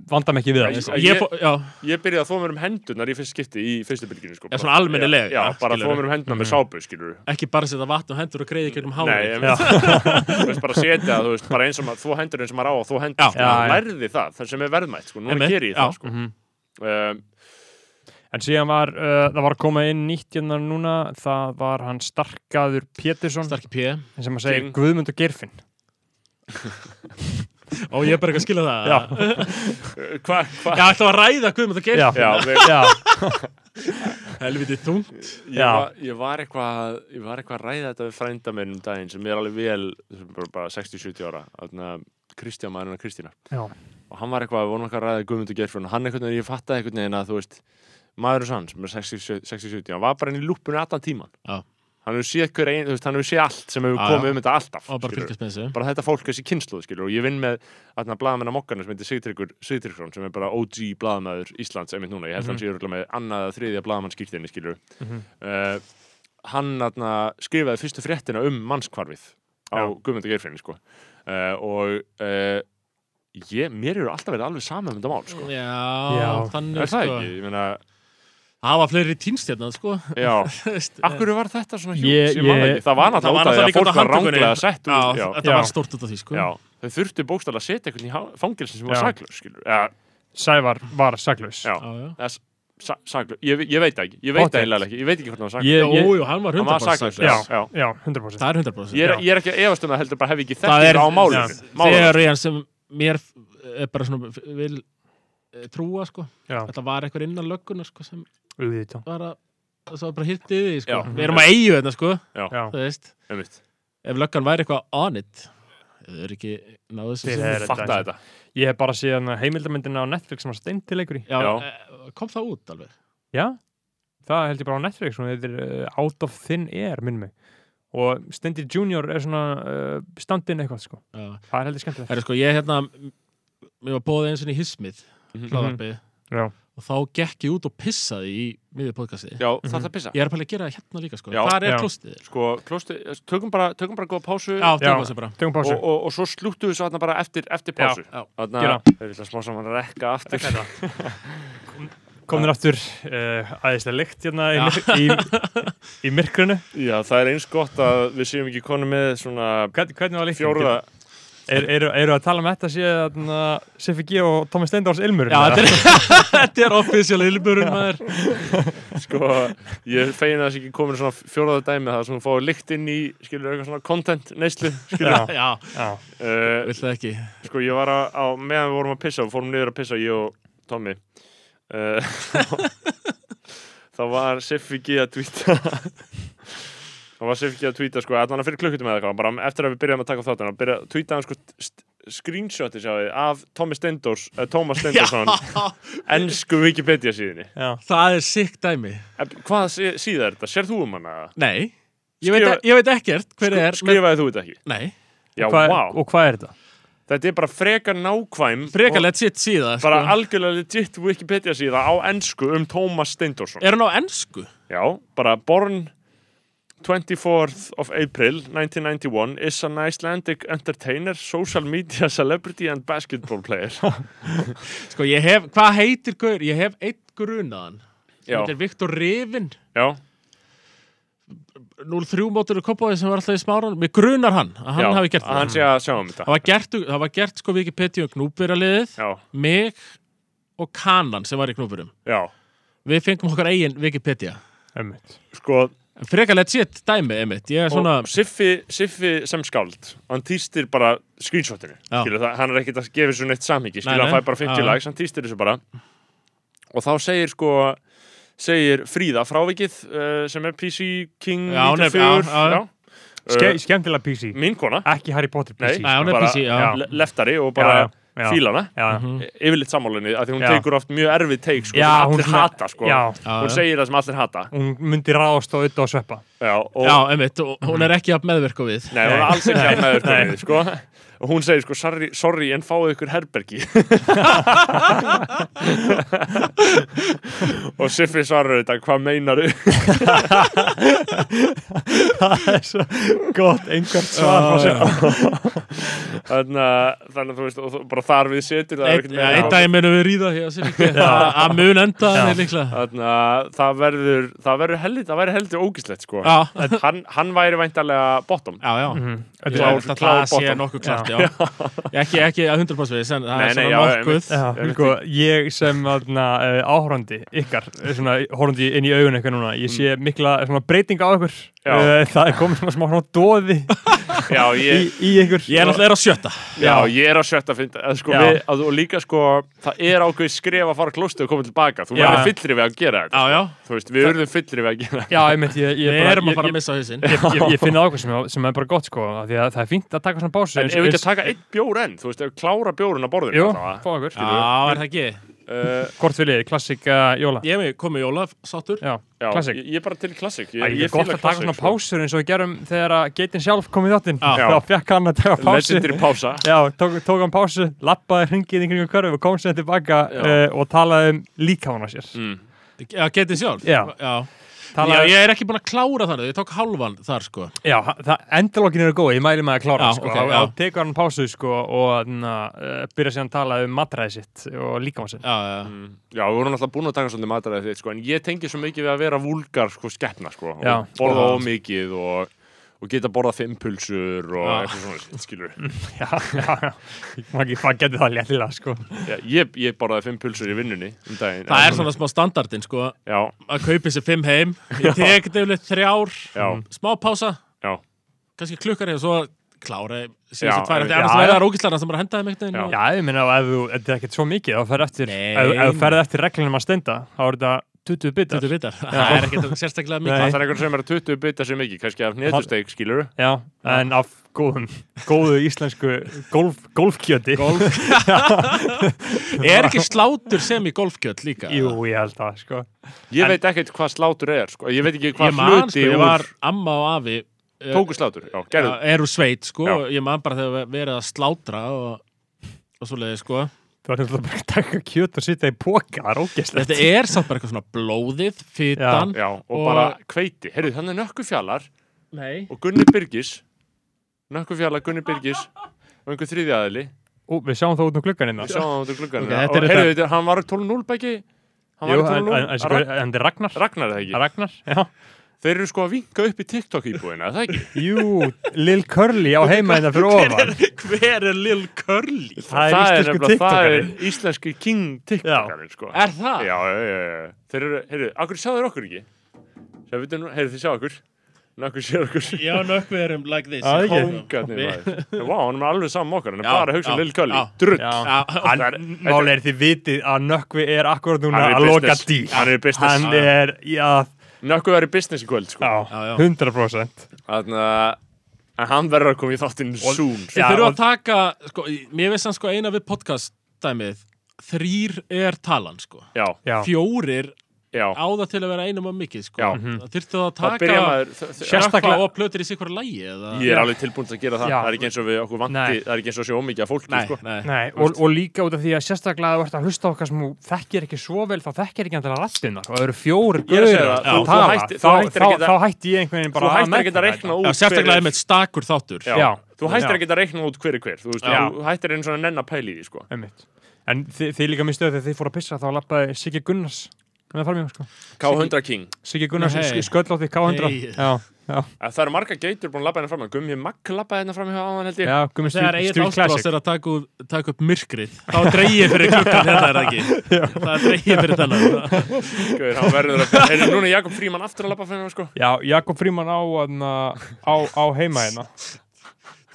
[SPEAKER 2] vanda mig ekki við það
[SPEAKER 1] Nei,
[SPEAKER 2] sko.
[SPEAKER 1] ég-
[SPEAKER 4] Ég, fó, já,
[SPEAKER 1] Ég byrjaði að þóa mér um hendurnar í fyrst skipti í fyrstu bylginu sko.
[SPEAKER 4] Já,
[SPEAKER 1] bara-
[SPEAKER 4] svona almennilega,
[SPEAKER 1] Já,
[SPEAKER 4] já,
[SPEAKER 1] bara
[SPEAKER 4] skilurðu. Mhm.
[SPEAKER 1] þóa mér um hendurnar með sápu, skilur
[SPEAKER 4] ekki bara setja vatn og hendur og greiði gegnum hálf
[SPEAKER 1] Nei, ég veist, þú veist, bara setja það, þú veist, bara eins og maður, þó hendur eins og maður á og þó hendur,
[SPEAKER 4] Já.
[SPEAKER 1] sko,
[SPEAKER 2] Já, já. Mhm.
[SPEAKER 1] lærði það, það sem er verðmætt, sko, núna
[SPEAKER 4] Einmitt,
[SPEAKER 1] ger ég
[SPEAKER 4] já.
[SPEAKER 1] það, sko. Um,
[SPEAKER 2] en síðan var, uh, það var að koma inn nýtt hérna núna, það var hann Starkaður Pétursson,
[SPEAKER 4] Starki P
[SPEAKER 2] sem að segja
[SPEAKER 1] King.
[SPEAKER 2] Guðmund og Geirfinn
[SPEAKER 4] Ó, ég er bara ekki að skila það
[SPEAKER 2] Já.
[SPEAKER 1] Hva, hva?
[SPEAKER 4] Já, ætlaðu að ræða Guðmund og Geir
[SPEAKER 2] Já.
[SPEAKER 1] Já, við,
[SPEAKER 2] Já,
[SPEAKER 4] Helviti þungt
[SPEAKER 1] ég,
[SPEAKER 2] Já.
[SPEAKER 1] var, ég var eitthvað að- ég var eitthvað að ræða þetta við frænda minn um daginn sem er alveg vel sem er bara, bara 60-70 ára þarna, Kristján maður hennar Kristína
[SPEAKER 2] já,
[SPEAKER 1] og hann var eitthvað, við vorum eitthvað að ræða Guðmundur Geirfrún og hann einhvern veginn, ég fattaði einhvern veginn að þú veist maður hans, með 60-70 hann var bara inn í lúpunni allan tíman
[SPEAKER 4] Já.
[SPEAKER 1] hann hefur séð hver ein, þú veist, hann hefur séð allt sem hefur
[SPEAKER 4] Já,
[SPEAKER 1] komið
[SPEAKER 4] já.
[SPEAKER 1] um þetta alltaf
[SPEAKER 4] Og bara
[SPEAKER 1] skilurðu.
[SPEAKER 4] fylgjast með þessu
[SPEAKER 1] bara þetta fólk, þessi kynsluð, skilur og ég vinn með að blaðamenn á mokkarnu sem heitir Sigtryggur Sigtryggrón sem er bara OG blaðamæður Íslands einmitt núna, ég held mm -hmm.
[SPEAKER 4] Mhm.
[SPEAKER 1] hann sé örugglega með annað eða þriðja blaðamann skýrtinni, skilur
[SPEAKER 2] Mhm.
[SPEAKER 1] uh, hann atna, skrifaði fyrstu fréttina um mannskvarfið á
[SPEAKER 2] Já.
[SPEAKER 1] Guðmundur Geirfinni, sko uh, og uh, ég, mér eru alltaf verið alveg saman um þetta mál, sko
[SPEAKER 4] Já,
[SPEAKER 2] Já.
[SPEAKER 1] Er
[SPEAKER 4] þannig
[SPEAKER 1] það
[SPEAKER 4] sko
[SPEAKER 1] ekki? Ég meina,
[SPEAKER 4] Það var fleiri týnst hérna, sko
[SPEAKER 1] já,
[SPEAKER 4] Veist,
[SPEAKER 1] akkur var þetta svona hjúks?
[SPEAKER 2] Ég-
[SPEAKER 1] Ég, man það
[SPEAKER 2] ég-
[SPEAKER 1] ekki. Það var
[SPEAKER 4] Það var
[SPEAKER 1] náttúrulega út af því
[SPEAKER 4] náttúrulega
[SPEAKER 1] að
[SPEAKER 4] líka út
[SPEAKER 1] fólk
[SPEAKER 4] af
[SPEAKER 1] var
[SPEAKER 4] handtökunni.
[SPEAKER 1] ránglega sett
[SPEAKER 4] Já,
[SPEAKER 1] úr, já,
[SPEAKER 4] þetta
[SPEAKER 2] Já.
[SPEAKER 4] var stórt út af því, sko
[SPEAKER 1] já, þau þurftu bókstæðlega að setja einhvern í fangilsin sem var
[SPEAKER 2] Já.
[SPEAKER 1] saklaus, skilur ja,
[SPEAKER 2] Sævar var saklaus
[SPEAKER 1] Já.
[SPEAKER 4] Já, já.
[SPEAKER 1] Eða s- sa- saklaus, ég, ég veit það ekki ég veit
[SPEAKER 2] Pottet.
[SPEAKER 1] það eiginlega ekki, ég veit ekki hvort hann var saklaus
[SPEAKER 2] Ég- ég-
[SPEAKER 4] Jú, jú, hann var
[SPEAKER 1] hann var
[SPEAKER 4] 100%
[SPEAKER 1] saklaus,
[SPEAKER 4] saklaus.
[SPEAKER 1] já,
[SPEAKER 2] Já.
[SPEAKER 1] já.
[SPEAKER 2] Já, 100%
[SPEAKER 4] Það er 100%
[SPEAKER 1] Ég, er,
[SPEAKER 4] Já.
[SPEAKER 1] ég er ekki að efast um það heldur bara hef ekki
[SPEAKER 4] það er
[SPEAKER 1] þekkingu á málinu
[SPEAKER 2] Já.
[SPEAKER 1] málinu,
[SPEAKER 4] þegar ég sem mér er bara svona vil eh, trúa sko
[SPEAKER 2] Já,
[SPEAKER 4] þetta var eitthvað innan löggunar sko sem
[SPEAKER 2] auðvitað
[SPEAKER 4] var að það var bara hitt í því sko
[SPEAKER 1] Já.
[SPEAKER 4] við erum að eigu þetta sko
[SPEAKER 2] Já,
[SPEAKER 4] þú veist
[SPEAKER 1] einmitt,
[SPEAKER 4] ef löggan væri eitthvað on it þau eru ekki náðu þessu
[SPEAKER 2] Þeir
[SPEAKER 4] sem-
[SPEAKER 2] eru-
[SPEAKER 1] fatta þetta
[SPEAKER 2] ég hef bara síðan heimildamindina á Netflix sem var steintileikur í
[SPEAKER 4] já,
[SPEAKER 1] Já.
[SPEAKER 4] eh, kom það út alveg
[SPEAKER 2] Já, það held ég bara á Netflix hún heitir uh, Out of Thin Air minn mig og Stendi Junior er svona uh, standin eitthvað sko
[SPEAKER 4] já.
[SPEAKER 2] það er heldur skemmtilegt
[SPEAKER 4] það er sko ég hérna mér var bóðið eins og í hismið
[SPEAKER 1] Mhm.
[SPEAKER 4] hlaðarpi
[SPEAKER 2] Já.
[SPEAKER 4] og þá gekk ég út og pissaði í miðið podcasti
[SPEAKER 1] já, það er að pissa
[SPEAKER 4] ég er að pæla að gera það hérna líka sko
[SPEAKER 1] Já.
[SPEAKER 4] hvað er
[SPEAKER 2] Já.
[SPEAKER 4] klostið?
[SPEAKER 1] sko, klósti, tökum bara, tökum bara góða pásu
[SPEAKER 4] Já,
[SPEAKER 2] Já.
[SPEAKER 4] tökum þessu bara
[SPEAKER 2] Tökum
[SPEAKER 1] og,
[SPEAKER 2] pásu
[SPEAKER 1] og, og svo slúttu við svo þarna bara eftir, eftir
[SPEAKER 2] Já.
[SPEAKER 1] pásu
[SPEAKER 4] Já.
[SPEAKER 1] þarna,
[SPEAKER 2] Gera.
[SPEAKER 1] við viljum smá saman að rekka aftur
[SPEAKER 2] Komnir aftur uh, aðeinslega lykt hérna í, í, í myrkrinu
[SPEAKER 1] já, það er eins gott að við séum ekki konu með svona
[SPEAKER 2] Hvern, Hvernig var lykt?
[SPEAKER 1] fjóruða
[SPEAKER 2] er, eru, eru að tala um þetta síðan uh, Siffi G og Tómi Steindors Ilmur
[SPEAKER 4] Já, þetta er, þetta er offisjál ilmurinn maður
[SPEAKER 1] sko, ég feina þess ekki komin svona fjóruða dæmi það sem hún fáið lykt inn í skilur eitthvað svona content neyslu
[SPEAKER 2] já,
[SPEAKER 4] Já,
[SPEAKER 2] já,
[SPEAKER 1] uh,
[SPEAKER 4] vill það ekki
[SPEAKER 1] Sko ég var að, á, meðan við vorum að pissa, við fórum niður að pissa, ég og Tommy uh, þá var Siffi G að tvíta þá var Siffi G að tvíta sko, allan að fyrir klukkutum eða eitthvað bara eftir að við byrjaðum að taka þáttan, að byrja að tvíta hann sko st- screenshoti sjáði af Tommy Stendors, uh, Thomas Stendorsson ennsku Wikipedia síðinni
[SPEAKER 2] já.
[SPEAKER 4] Það er sick dæmi
[SPEAKER 1] Eh, Hvað sí- síða er þetta? Sér þú um hana?
[SPEAKER 4] Nei, ég veit,
[SPEAKER 1] Skrifa-
[SPEAKER 4] ég veit ekkert hver
[SPEAKER 1] Sk-
[SPEAKER 4] er men-
[SPEAKER 1] Skrifaði Sko, þú þetta ekki?
[SPEAKER 4] Nei,
[SPEAKER 1] Já,
[SPEAKER 2] Hvað,
[SPEAKER 1] vá,
[SPEAKER 2] Og hvað er þetta?
[SPEAKER 1] þetta er bara frekar nákvæm
[SPEAKER 4] frekar lett sitt síða
[SPEAKER 1] bara
[SPEAKER 4] sko.
[SPEAKER 1] algjörlega legit Wikipedia síða á ennsku um Tómas Steindorsson
[SPEAKER 4] Er hann á ennsku?
[SPEAKER 1] Já, bara born 24th of April 1991 is an Icelandic entertainer, social media celebrity and basketball player
[SPEAKER 4] Sko, ég hef, hvað heitir Gaur? Ég hef eitt grunaðan
[SPEAKER 1] Já,
[SPEAKER 4] Þetta er Viktor Rifin
[SPEAKER 1] já,
[SPEAKER 4] 03 mótur í Kópaði sem var alltaf í smáran Mér grunar hann, að hann
[SPEAKER 1] já
[SPEAKER 4] hafi gert
[SPEAKER 1] að
[SPEAKER 4] það
[SPEAKER 1] Hann sé að sjá um þetta
[SPEAKER 4] Það var gert, það var gert sko Wikipedia um knúpiraliðið
[SPEAKER 1] Já,
[SPEAKER 4] Mig og Kanan sem var í knúpurum
[SPEAKER 1] já,
[SPEAKER 4] Við fengum okkar eigin Wikipedia
[SPEAKER 2] Ömmit
[SPEAKER 1] sko
[SPEAKER 4] Frekarlegt sitt dæmi, einmitt. Ég er svona...
[SPEAKER 1] og Siffi, Siffi sem skáld hann týstir bara screenshotinu
[SPEAKER 4] Já.
[SPEAKER 1] skilur, það, hann er ekkert að gefa svo neitt samhengi skilur,
[SPEAKER 4] Nei,
[SPEAKER 1] hann
[SPEAKER 4] nei.
[SPEAKER 1] fær bara 50
[SPEAKER 4] Já, já.
[SPEAKER 1] lags, hann týstir þessu bara og þá segir sko segir Fríða frávikið uh, sem er PC King
[SPEAKER 4] Já, hún er-
[SPEAKER 1] 94
[SPEAKER 4] já, já.
[SPEAKER 2] Ske,
[SPEAKER 1] Uh,
[SPEAKER 2] Skemmtilega PC,
[SPEAKER 1] mín kona
[SPEAKER 2] ekki Harry Potter
[SPEAKER 1] Nei,
[SPEAKER 2] PC
[SPEAKER 4] Nei, hún er
[SPEAKER 1] bara-
[SPEAKER 4] PC, já.
[SPEAKER 2] já.
[SPEAKER 1] le- leftari og bara
[SPEAKER 2] já, já.
[SPEAKER 1] fílana Eh,
[SPEAKER 2] Já, já.
[SPEAKER 4] Mhm. Mm.
[SPEAKER 1] yfirleitt sammálinni, af því hún
[SPEAKER 2] Já.
[SPEAKER 1] tekur oft mjög erfið teik sko,
[SPEAKER 2] Já,
[SPEAKER 1] sem
[SPEAKER 2] hún
[SPEAKER 1] allir
[SPEAKER 2] svona-
[SPEAKER 1] hata sko.
[SPEAKER 2] Já.
[SPEAKER 4] Já,
[SPEAKER 1] hún
[SPEAKER 4] já.
[SPEAKER 1] segir það sem allir hata
[SPEAKER 2] hún myndi ráðast á auðvitað og sveppa
[SPEAKER 1] já, og Mhm.
[SPEAKER 4] Já, einmitt, og hún er ekki að meðverka við.
[SPEAKER 1] Nei, hún er
[SPEAKER 2] Nei.
[SPEAKER 1] alls ekki að meður komið, sko. Og hún segir, sko, sorry, sorry en fáið ykkur herbergi. og Siffi svarar þetta, hvað meinaru?
[SPEAKER 2] það er svo gott einhvert svar frá
[SPEAKER 4] Ah, Já,
[SPEAKER 2] sveppa
[SPEAKER 1] þannig, að- þannig að þú veist, og þú- bara þar við situr, það er
[SPEAKER 4] Eitt,
[SPEAKER 1] ekkert
[SPEAKER 4] ja, eitt
[SPEAKER 1] meira.
[SPEAKER 4] daginn munum við ríða hér, sem ekki. Að mun enda þannig líklega.
[SPEAKER 1] Þannig að það verður, það verður heldur, það verður heldur ógislegt, sko.
[SPEAKER 4] Já,
[SPEAKER 1] Hann, hann væri væntalega bottom.
[SPEAKER 4] já, já.
[SPEAKER 2] Mhm. Þetta
[SPEAKER 4] Ég held
[SPEAKER 2] var-
[SPEAKER 4] að Það sé
[SPEAKER 1] bottom.
[SPEAKER 4] nokkuð
[SPEAKER 2] Já.
[SPEAKER 4] samt, já. ekki, ekki að 100% veist, en það
[SPEAKER 1] Nei,
[SPEAKER 4] er
[SPEAKER 1] nei,
[SPEAKER 4] svona
[SPEAKER 1] já,
[SPEAKER 4] nokkuð.
[SPEAKER 2] Já,
[SPEAKER 1] Ég veit
[SPEAKER 2] sko, ég sem aðna, uh, áhorandi ykkar, eh, svona horfandi inn í augun eitthvað núna, ég
[SPEAKER 4] Mm.
[SPEAKER 2] sé mikla svona, breyting á ykkur,
[SPEAKER 1] Já.
[SPEAKER 2] uh, það er komið svona smá svona dóði
[SPEAKER 1] já,
[SPEAKER 2] í,
[SPEAKER 1] ég,
[SPEAKER 2] í ykkur
[SPEAKER 4] Ég er náttúrulega er á sjötta.
[SPEAKER 1] já, ég er á sjötta fynda að, sko,
[SPEAKER 2] Já.
[SPEAKER 1] við, að, og líka sko það er ákveð skref að fara á klósti og koma tilbaka þú
[SPEAKER 2] Já.
[SPEAKER 1] verður fyllri við að gera þetta
[SPEAKER 4] Já, já.
[SPEAKER 1] þú veist, við verðum fyllri við að gera þetta
[SPEAKER 2] Já, ég meint, ég, ég,
[SPEAKER 4] Við
[SPEAKER 2] bara-
[SPEAKER 4] erum
[SPEAKER 2] ég-
[SPEAKER 4] að fara
[SPEAKER 2] ég-
[SPEAKER 4] að missa hausinn.
[SPEAKER 2] ég, ég, ég finna ákveð sem, sem er bara gott sko af því að það er fínt að taka svona pásu
[SPEAKER 1] en ef við ekki að taka einn bjór enn þú veist, ef við klára bjórun á borðinu
[SPEAKER 2] Jú,
[SPEAKER 1] allavega.
[SPEAKER 2] fá okkur
[SPEAKER 4] Já, er það ekki?
[SPEAKER 1] Uh,
[SPEAKER 2] Hvort viljið, klassik uh, jóla
[SPEAKER 4] Ég hef komið jóla sáttur.
[SPEAKER 2] Já,
[SPEAKER 1] já,
[SPEAKER 2] klassik
[SPEAKER 1] ég, ég er bara til klassik ég,
[SPEAKER 2] Æ, ég er gott
[SPEAKER 1] fíla
[SPEAKER 2] að taka
[SPEAKER 1] klassik,
[SPEAKER 2] svona
[SPEAKER 1] sko.
[SPEAKER 2] pásur eins og við gerum þegar að geitin sjálf kom í þáttinn
[SPEAKER 4] Já.
[SPEAKER 2] þá fekk hann að taka pásu
[SPEAKER 1] legendary pása
[SPEAKER 2] Já, tók, tók hann pásu, lappaði hringið í kringum körfu og kom sér tilbaka
[SPEAKER 1] Já.
[SPEAKER 2] uh, og talaði um líkamann á sér
[SPEAKER 4] Já, getið sjálf.
[SPEAKER 2] Já.
[SPEAKER 4] Mm. Já,
[SPEAKER 2] talaði,
[SPEAKER 4] ég er ekki búin að klára þar, ég tók hálfan þar sko.
[SPEAKER 2] já það, endalókin eru góð, ég mæli maður að klára
[SPEAKER 4] Já,
[SPEAKER 2] sko,
[SPEAKER 4] ok,
[SPEAKER 2] okay,
[SPEAKER 4] já.
[SPEAKER 2] og tekur hann pásu sko, og na, uh, byrja sér að tala um matræði sitt og líkamann sinn
[SPEAKER 4] Já, já.
[SPEAKER 1] Já, við vorum alltaf búin að taka svolítið mataræði þitt, sko, en ég tengi svo mikið við að vera vulgar, sko, skeppna, sko,
[SPEAKER 2] Já.
[SPEAKER 1] og borða
[SPEAKER 4] Já.
[SPEAKER 1] ómikið og, og geta borðað fimm pulsur og
[SPEAKER 4] Já.
[SPEAKER 1] eitthvað svona, shit, skilur.
[SPEAKER 2] Já, já, já, maður maður getur það léttilega sko
[SPEAKER 1] Já, ég, ég borðaði fimm pulsur í vinnunni um daginn.
[SPEAKER 4] Það er svona smá standardin sko
[SPEAKER 1] Já,
[SPEAKER 4] að kaupa sér fimm heim ég tek dæfilegt þrjár
[SPEAKER 1] já,
[SPEAKER 4] smá pása,
[SPEAKER 1] já,
[SPEAKER 4] kannski klukkar ég og svo klára ég
[SPEAKER 1] Já,
[SPEAKER 4] síðan sér tvær
[SPEAKER 1] einmitt.
[SPEAKER 4] eftir annars
[SPEAKER 2] Já, já.
[SPEAKER 4] verða það rókislarna sem bara henda þeim ekkert
[SPEAKER 1] Já.
[SPEAKER 4] einu
[SPEAKER 2] Já, ég minna að ef þú, þetta er ekkert svo mikið þá ferð eftir,
[SPEAKER 4] Nei.
[SPEAKER 2] ef, ef þú ferð eftir reglunum að stenda þá er þetta 20 bitar
[SPEAKER 4] Þetta vitar, það er ekkert sérstaklega
[SPEAKER 1] það
[SPEAKER 4] mikið
[SPEAKER 1] er einhver sem er að 20 bita sem ekki, kannski af netusteik, skilur.
[SPEAKER 2] Já, en af góðum, góðu íslensku golf, golfkjöti
[SPEAKER 4] Golf Er ekki slátur sem í golfkjöld líka?
[SPEAKER 2] Jú, ég held það, sko
[SPEAKER 1] Ég veit ekkert hvað slátur er, sko, ég veit ekki
[SPEAKER 4] Ég
[SPEAKER 1] hvað
[SPEAKER 4] man sko,
[SPEAKER 1] hluti
[SPEAKER 4] ég
[SPEAKER 1] úr
[SPEAKER 4] var amma og afi eh,
[SPEAKER 1] tóku slátur, já, gerðu.
[SPEAKER 4] eh, eru sveit sko,
[SPEAKER 1] Já.
[SPEAKER 4] ég man bara þegar verið að slátra og, og svoleiði sko
[SPEAKER 2] Þú er alltaf bara að taka kjöt og sitja í póka, það er ógeðslegt
[SPEAKER 4] Þetta er samt bara eitthvað svona blóðið, fytan
[SPEAKER 1] Já, og,
[SPEAKER 4] Og-
[SPEAKER 1] bara hveiti. Herru, þannig nökkufjallar
[SPEAKER 4] Nei
[SPEAKER 1] og Gunni Byrgis, nökkufjallar, Gunni Byrgis og einhver þriði aðili
[SPEAKER 2] Ú, Við sjáum það út um hérna. nú gluggan innan
[SPEAKER 1] Við sjáum það út úr gluggan
[SPEAKER 2] Ok, þetta er
[SPEAKER 1] Og
[SPEAKER 2] þetta-
[SPEAKER 1] heyrðu, þetta- hann var 12-0 bæki Hann
[SPEAKER 2] Jú,
[SPEAKER 1] var
[SPEAKER 2] en, en,
[SPEAKER 1] 12-0
[SPEAKER 2] en, sko,
[SPEAKER 1] Ragn-
[SPEAKER 2] en þetta er Ragnar
[SPEAKER 1] Ragnar er það ekki
[SPEAKER 2] Ragnar, já
[SPEAKER 1] Þeir eru sko að vinka upp í TikTok íbúina, er það ekki
[SPEAKER 2] Jú, Lil Curly á heima hérna fyrir ofan
[SPEAKER 4] Hver er Lil Curly?
[SPEAKER 2] Það er íslensku
[SPEAKER 1] nefnilega- Það
[SPEAKER 2] tiktokari
[SPEAKER 1] er íslenski king tiktokarinn sko
[SPEAKER 4] Er það?
[SPEAKER 1] Já, já, já, já Þeir eru, heyrðu, akkur sjá þeir okkur ekki Sjá, veitum, nú- heyrðu, þið sjá okkur Nakkur sér okkur
[SPEAKER 4] Já, nökkverum like this
[SPEAKER 2] Já, ekki.
[SPEAKER 1] Kongarnir maður Vá, hann er alveg saman okkar Hann er
[SPEAKER 4] Já,
[SPEAKER 1] bara að hugsa um
[SPEAKER 4] já,
[SPEAKER 1] Lil Kali
[SPEAKER 4] já.
[SPEAKER 1] Drull
[SPEAKER 2] Já.
[SPEAKER 1] Það er-
[SPEAKER 2] Máli er því vitið að Nökkvi er akkurat núna
[SPEAKER 1] Hann er í
[SPEAKER 2] að loka
[SPEAKER 1] business.
[SPEAKER 2] dýr.
[SPEAKER 1] Hann er í business.
[SPEAKER 2] Hann
[SPEAKER 4] Já.
[SPEAKER 2] er, já,
[SPEAKER 1] Nakkur verið business í kvöld sko
[SPEAKER 2] já,
[SPEAKER 4] Já, já.
[SPEAKER 2] 100%.
[SPEAKER 1] Þannig að en hann verður að koma í þáttinn soon sko.
[SPEAKER 4] Þið
[SPEAKER 2] Já,
[SPEAKER 4] þurfum
[SPEAKER 2] og-
[SPEAKER 4] að taka, sko, mér veist hann sko eina við podcast dæmið Þrýr er talan, sko
[SPEAKER 1] Já,
[SPEAKER 2] Já,
[SPEAKER 4] Fjórir
[SPEAKER 1] já
[SPEAKER 4] á það til að vera einum að mikið, sko
[SPEAKER 1] Já.
[SPEAKER 4] Það þurftu að
[SPEAKER 1] Það byrja
[SPEAKER 4] taka
[SPEAKER 1] maður þ- þ-
[SPEAKER 2] sérstaklega,
[SPEAKER 4] Sjöfla og plötur í sig hverju lægi eða...
[SPEAKER 1] Ég er
[SPEAKER 2] Já.
[SPEAKER 1] alveg tilbúin að gera það.
[SPEAKER 2] Já.
[SPEAKER 1] Það er ekki eins og við okkur vanti,
[SPEAKER 2] Nei.
[SPEAKER 1] það er ekki eins og sé ómikið af fólki,
[SPEAKER 4] Nei,
[SPEAKER 1] sko.
[SPEAKER 4] nei
[SPEAKER 2] nei, og, og líka út af því að sérstaklega að þú ert að hlusta á okkar sem þú þekkir ekki svo vel, þá þekkir ekki andala rattinnar og það eru fjóri
[SPEAKER 1] Ég er að segja
[SPEAKER 2] gaurar
[SPEAKER 1] það,
[SPEAKER 2] sem
[SPEAKER 1] þú- þú
[SPEAKER 2] tala.
[SPEAKER 1] hættir-
[SPEAKER 2] þá,
[SPEAKER 1] þú hættir
[SPEAKER 2] þá,
[SPEAKER 1] ekki
[SPEAKER 2] þá,
[SPEAKER 1] að-
[SPEAKER 2] hætti ég einhvern veginn
[SPEAKER 1] Þú
[SPEAKER 2] bara
[SPEAKER 1] hættir
[SPEAKER 2] merkja
[SPEAKER 1] ekki að
[SPEAKER 2] þetta.
[SPEAKER 1] reikna út
[SPEAKER 4] Já, sérstaklega einmitt stakur þáttur
[SPEAKER 1] Já.
[SPEAKER 2] Já.
[SPEAKER 1] Þú
[SPEAKER 2] Já.
[SPEAKER 1] hættir ekki að reikna út hver er hver. Þú veist,
[SPEAKER 2] Já.
[SPEAKER 1] þú hættir eins og að nenn að pæla í því, sko.
[SPEAKER 2] Einmitt. En þið, þið líka mistuðu þegar þið fóru að pissa, þá lappaði Siggi Gunnars með farmjá, sko.
[SPEAKER 1] K100 King.
[SPEAKER 2] Siggi Gunnars
[SPEAKER 4] Nei.
[SPEAKER 2] hey. sköllótti K100.
[SPEAKER 4] Nei.
[SPEAKER 2] Já, já,
[SPEAKER 1] Að Það eru marga geitur búin að lappa hérna fram. Gummi Magg lappaði hérna fram hjá áðan, held ég.
[SPEAKER 2] já, gummi
[SPEAKER 4] Þegar
[SPEAKER 2] stríð
[SPEAKER 4] eigin ástrás
[SPEAKER 2] klassik.
[SPEAKER 4] er að taka, upp- taka upp myrkrið þá dreigir fyrir klukkan, þetta er það ekki Það dreigir fyrir þennan
[SPEAKER 1] Gauður, hann verður að... Heyrðu, núna er Jakob Fríman aftur að lappa fram hjá, sko.
[SPEAKER 2] Já, Jakob Fríman á, þarna, á, á heima hérna.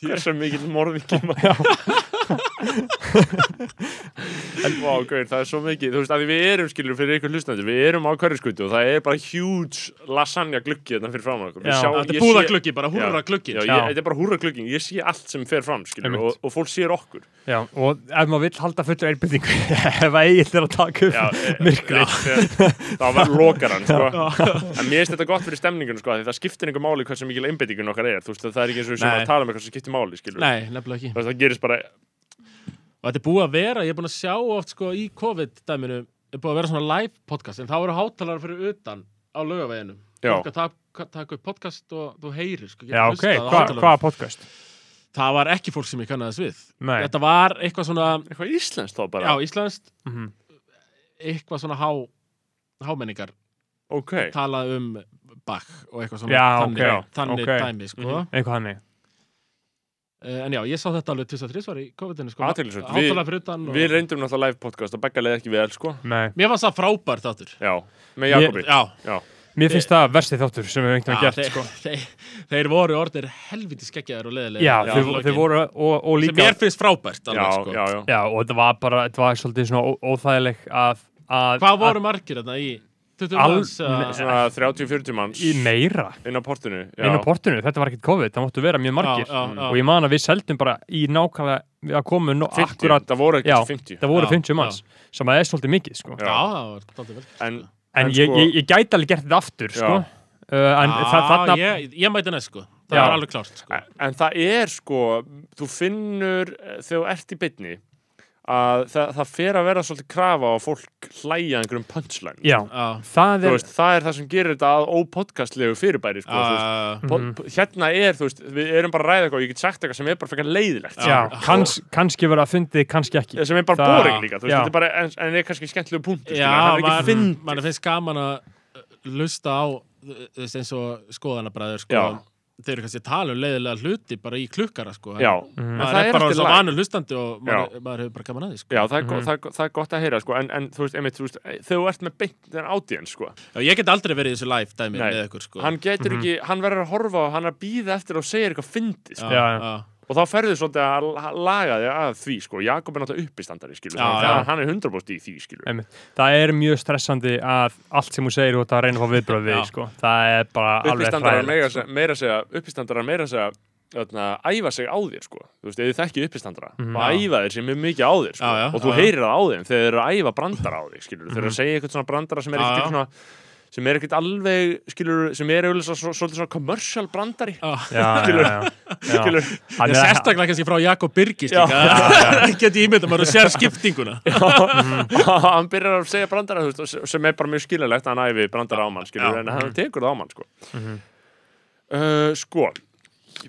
[SPEAKER 1] Hversu mikill morðingi maður. en vá, gauður, það er svo mikið. Þú veist, að því við erum, skilur, fyrir ykkur hlustandi, við erum á hverjaskutu og það er bara huge lasagna gluggi þarna fyrir fram okkur. Við
[SPEAKER 2] Já.
[SPEAKER 1] sjáum-
[SPEAKER 4] Þetta
[SPEAKER 1] ég
[SPEAKER 4] er búða
[SPEAKER 1] sé-
[SPEAKER 4] gluggi, bara húrra gluggi
[SPEAKER 1] Já,
[SPEAKER 2] Já.
[SPEAKER 1] ég, þetta er bara húra klugging, ég sé allt sem fer fram skilur,
[SPEAKER 2] Einmitt.
[SPEAKER 1] og, og fólk sér okkur
[SPEAKER 2] Já, og ef maður vill halda fullur einbyrtingu ef að eigin er að taka upp
[SPEAKER 1] Já, e-
[SPEAKER 2] myrkrið.
[SPEAKER 1] já, þegar- þá verður lokar hann sko. en mér finnst þetta gott fyrir stemningun sko, af því það skiptir einhver máli hversu mikil einbeitingun okkar er þú veist að það er ekki eins og við sem
[SPEAKER 4] Nei.
[SPEAKER 1] að tala um eitthvað sem skiptir máli skilur.
[SPEAKER 4] Nei, nefnilega ekki
[SPEAKER 1] Þú veist, það gerist bara
[SPEAKER 4] og þetta er búið að vera, ég er búin að sjá oft sko í COVID-dæminu, er búið að vera svona live podcast en þá eru hátalara fyrir utan á laugaveginum,
[SPEAKER 1] Já.
[SPEAKER 4] fólk að taka, taka upp podcast og þú heyrir sko, getur
[SPEAKER 2] Já, ok,
[SPEAKER 4] hlustað á
[SPEAKER 2] hva,
[SPEAKER 4] hátalara.
[SPEAKER 2] hvaða podcast?
[SPEAKER 4] það var ekki fólk sem ég kannaðist við
[SPEAKER 2] Nei.
[SPEAKER 4] þetta var eitthvað svona,
[SPEAKER 1] eitthvað íslenskt þá
[SPEAKER 4] já,
[SPEAKER 1] bara
[SPEAKER 4] íslenskt
[SPEAKER 2] Mhm.
[SPEAKER 4] eitthvað svona há hámenningar,
[SPEAKER 1] ok,
[SPEAKER 4] talað um bakk og eitthvað svona
[SPEAKER 2] Já,
[SPEAKER 4] þannig,
[SPEAKER 2] ok, Mhm. já,
[SPEAKER 4] þannig
[SPEAKER 2] ok.
[SPEAKER 4] dæmi sko
[SPEAKER 2] Eitthvað hannig.
[SPEAKER 4] Uh, en já, ég sá þetta alveg 23 svar í COVID-19 sko.
[SPEAKER 1] Athyglisvert. Við-
[SPEAKER 4] Áttalega fyrir utan og...
[SPEAKER 1] Við reyndum náttúrulega live podcast og begga leið ekki vel, sko.
[SPEAKER 2] Nei,
[SPEAKER 4] Mér fannst það frábær þáttur
[SPEAKER 1] Já, með Jakobi.
[SPEAKER 4] Já,
[SPEAKER 1] Já.
[SPEAKER 2] mér finnst það versti þáttur sem við einhvern
[SPEAKER 4] já
[SPEAKER 2] veginn gert
[SPEAKER 4] þeir,
[SPEAKER 2] sko.
[SPEAKER 4] þeir, þeir voru orðnir helviti skeggjaðar og leðilega
[SPEAKER 2] Já, þeir, þeir voru og, og
[SPEAKER 4] Sem
[SPEAKER 2] líka
[SPEAKER 4] mér finnst frábært
[SPEAKER 1] Já,
[SPEAKER 4] alveg, sko.
[SPEAKER 1] já, já.
[SPEAKER 2] Já, og þetta var bara, þetta var svolítið svona ó- óþægileg að, að
[SPEAKER 4] Hvað voru margir þarna í 20
[SPEAKER 2] Al-
[SPEAKER 4] manns?
[SPEAKER 1] Svona
[SPEAKER 4] eða-
[SPEAKER 1] 30-40 manns
[SPEAKER 2] að, í meira
[SPEAKER 1] inn á portinu. Já.
[SPEAKER 2] inn á portinu, þetta var ekkert COVID, það máttu vera mjög margir
[SPEAKER 4] Já, já, já.
[SPEAKER 2] og ég man að við seldum bara í nákvæmlega við að komu nú
[SPEAKER 1] 50,
[SPEAKER 2] akkurat
[SPEAKER 1] það voru
[SPEAKER 2] já,
[SPEAKER 1] ekkert 50.
[SPEAKER 2] það voru
[SPEAKER 4] Já,
[SPEAKER 2] 50 manns sem að það er svolítið mikið sko.
[SPEAKER 1] Já.
[SPEAKER 4] Já, það var tóttið vel
[SPEAKER 1] En,
[SPEAKER 2] en,
[SPEAKER 1] En
[SPEAKER 2] ég,
[SPEAKER 1] sko-
[SPEAKER 2] ég, ég gæti alveg gert þetta aftur sko.
[SPEAKER 1] Já.
[SPEAKER 2] uh, en
[SPEAKER 4] Já,
[SPEAKER 2] það, þarna
[SPEAKER 4] Ah, ég, ég mæti næst sko Það
[SPEAKER 2] Já.
[SPEAKER 4] var alveg klárt sko.
[SPEAKER 1] en það er, sko, þú finnur eh, þegar þú ert í beinni að það, það fer að vera svolítið krafa á að fólk hlæja einhverjum punchline.
[SPEAKER 2] já,
[SPEAKER 4] Já,
[SPEAKER 2] það
[SPEAKER 1] Þú
[SPEAKER 2] er
[SPEAKER 1] veist, það er það sem gerir þetta að ópodcastlegu fyrirbæri, sko.
[SPEAKER 2] Ah,
[SPEAKER 1] þú veist.
[SPEAKER 4] uh,
[SPEAKER 1] Po-
[SPEAKER 2] mhm.
[SPEAKER 1] po- Hérna er, þú veist, við erum bara að ræða eitthvað og ég get sagt eitthvað sem er bara frekar leiðilegt.
[SPEAKER 2] já, kanns, kannski verið að fundi, kannski ekki
[SPEAKER 1] sem er bara
[SPEAKER 2] Það-
[SPEAKER 1] boring líka, þú veist,
[SPEAKER 2] Já.
[SPEAKER 1] þetta er bara, en, en er kannski skemmtilegu punktur,
[SPEAKER 4] já
[SPEAKER 1] skilur, hann er
[SPEAKER 4] maður
[SPEAKER 1] ekki finn
[SPEAKER 4] maður finnst gaman að uh, lusta á uh, þú veist, eins og skoðanabræður sko.
[SPEAKER 1] Já.
[SPEAKER 4] Þeir eru kannski að tala um leiðilega hluti bara í klukkara sko.
[SPEAKER 1] Já,
[SPEAKER 4] En
[SPEAKER 1] en
[SPEAKER 4] maður er, bara
[SPEAKER 1] allt í
[SPEAKER 4] svo
[SPEAKER 1] lagi.
[SPEAKER 4] vanur hlustandi og maður, maður hefur bara gaman að því sko.
[SPEAKER 1] Já, það er, mm það, er- það er gott að heyra, sko, en, en þú veist, einmitt, þú veist, þegar þú ert með beint en ádíðan, sko,
[SPEAKER 4] Já, Ég get aldrei verið í þessu live dæmi
[SPEAKER 1] Nei.
[SPEAKER 4] með ykkur sko.
[SPEAKER 1] hann getur ekki, hann verður að horfa á, hann er að býða eftir að segja eitthvað fyndi, sko,
[SPEAKER 2] Já, já.
[SPEAKER 1] og þá ferðu svolítið að la- laga þig að því, sko, Jakob er náttúrulega uppistandari, skilur,
[SPEAKER 4] Já,
[SPEAKER 1] þannig
[SPEAKER 4] já.
[SPEAKER 1] að hann er 100% í því, skilur.
[SPEAKER 2] Einmitt. Það er mjög stressandi að allt sem þú segir þú ert að reyna að fá viðbröð við,
[SPEAKER 4] Já.
[SPEAKER 2] sko. Það er bara alveg
[SPEAKER 1] uppistandarar meira,
[SPEAKER 2] sko.
[SPEAKER 1] sko. meira segja uppistandarar meira segja öðna, æfa sig á þér sko þú veist, eða þekki uppistandara og æfa þér sem er mikið á þér sko.
[SPEAKER 4] Mhm. Já, já,
[SPEAKER 1] og þú
[SPEAKER 4] já, já.
[SPEAKER 1] heyrir það á þeim þegar þeir eru að æfa brandara á þig skilur, þeir eru að segja eitthvað svona brandara sem er
[SPEAKER 4] Já,
[SPEAKER 1] ekkert
[SPEAKER 4] já.
[SPEAKER 1] svona sem er ekkert alveg, skilur, sem er auðvitað svo, svolítið svona commercial brandari
[SPEAKER 4] Já.
[SPEAKER 2] Já, já, já, já.
[SPEAKER 1] skilur,
[SPEAKER 2] Hann
[SPEAKER 4] Ég
[SPEAKER 2] er-
[SPEAKER 4] sérstaklega kannski frá Jakob Birgis
[SPEAKER 1] Já.
[SPEAKER 4] líka Get ég ímynda, maður sér skiptinguna Mhm.
[SPEAKER 1] hann byrjar að segja brandara þú veist, og s- sem er bara mjög skiljanlegt að hann æfi brandara á mann, skilur,
[SPEAKER 4] Já. Mhm.
[SPEAKER 1] en hann tekur það á mann sko, uh, sko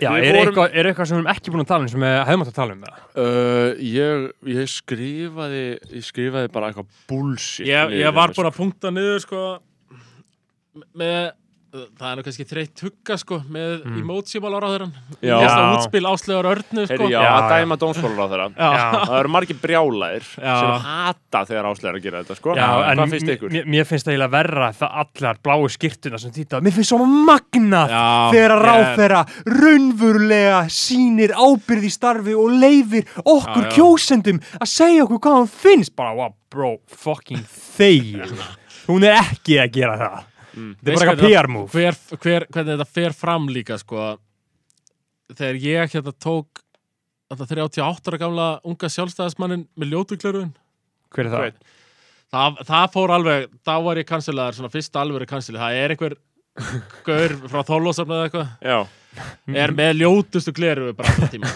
[SPEAKER 2] Já,
[SPEAKER 1] Við
[SPEAKER 2] er,
[SPEAKER 1] vorum-
[SPEAKER 2] eitthvað, er eitthvað sem við erum ekki búin að tala um sem við hefum átt að tala um það?
[SPEAKER 1] Uh, ég, ég skrifaði ég skrifaði bara eitthvað bullshit
[SPEAKER 4] ég,
[SPEAKER 1] niður
[SPEAKER 4] ég var
[SPEAKER 1] hérna,
[SPEAKER 4] búinn að punkta niður sko með það er nú kannski þreytt hugga sko með mm. emoji-mál áraðurann
[SPEAKER 1] Já.
[SPEAKER 2] Já.
[SPEAKER 4] útspil áslegar örnu
[SPEAKER 1] sko. Heyri,
[SPEAKER 4] sko
[SPEAKER 1] já,
[SPEAKER 2] Já,
[SPEAKER 1] að
[SPEAKER 2] já.
[SPEAKER 1] dæma dómsfólar á þeirra
[SPEAKER 2] Já.
[SPEAKER 1] það eru margir brjálæðir
[SPEAKER 4] Já.
[SPEAKER 1] sem hata þegar áslegar að gera þetta sko.
[SPEAKER 2] Já, en
[SPEAKER 1] hvað finnst ykkur?
[SPEAKER 2] mér- Mér finnst það eiginlega verra það allar bláu skýrtuna sem týta Mér finnst svo magnað
[SPEAKER 4] Já,
[SPEAKER 2] þegar að
[SPEAKER 4] ég-
[SPEAKER 2] ráðherra raunverulega sýnir ábyrði starfi og leifir okkur
[SPEAKER 4] Já, já.
[SPEAKER 2] kjósendum að segja okkur hvað hann finnst bara, wow, bro, fucking þeir Hún er ekki að gera það Þetta er
[SPEAKER 4] Veist
[SPEAKER 2] bara
[SPEAKER 4] hvernig
[SPEAKER 2] eitthvað
[SPEAKER 4] það-
[SPEAKER 2] PR move
[SPEAKER 4] hver, hver, hvernig þetta fer fram líka sko þegar ég hérna tók þetta 38 ára gamla unga sjálfstæðismannin með ljótuklerun
[SPEAKER 2] Hver er það?
[SPEAKER 1] Hver?
[SPEAKER 4] það, það fór alveg, þá var ég kanselaðar svona fyrsta alvöru kanselið, það er einhver gaur frá Þorlósafna eða eitthvað
[SPEAKER 1] já,
[SPEAKER 2] Mhm.
[SPEAKER 4] er með ljótustu gleru bara alltaf tíma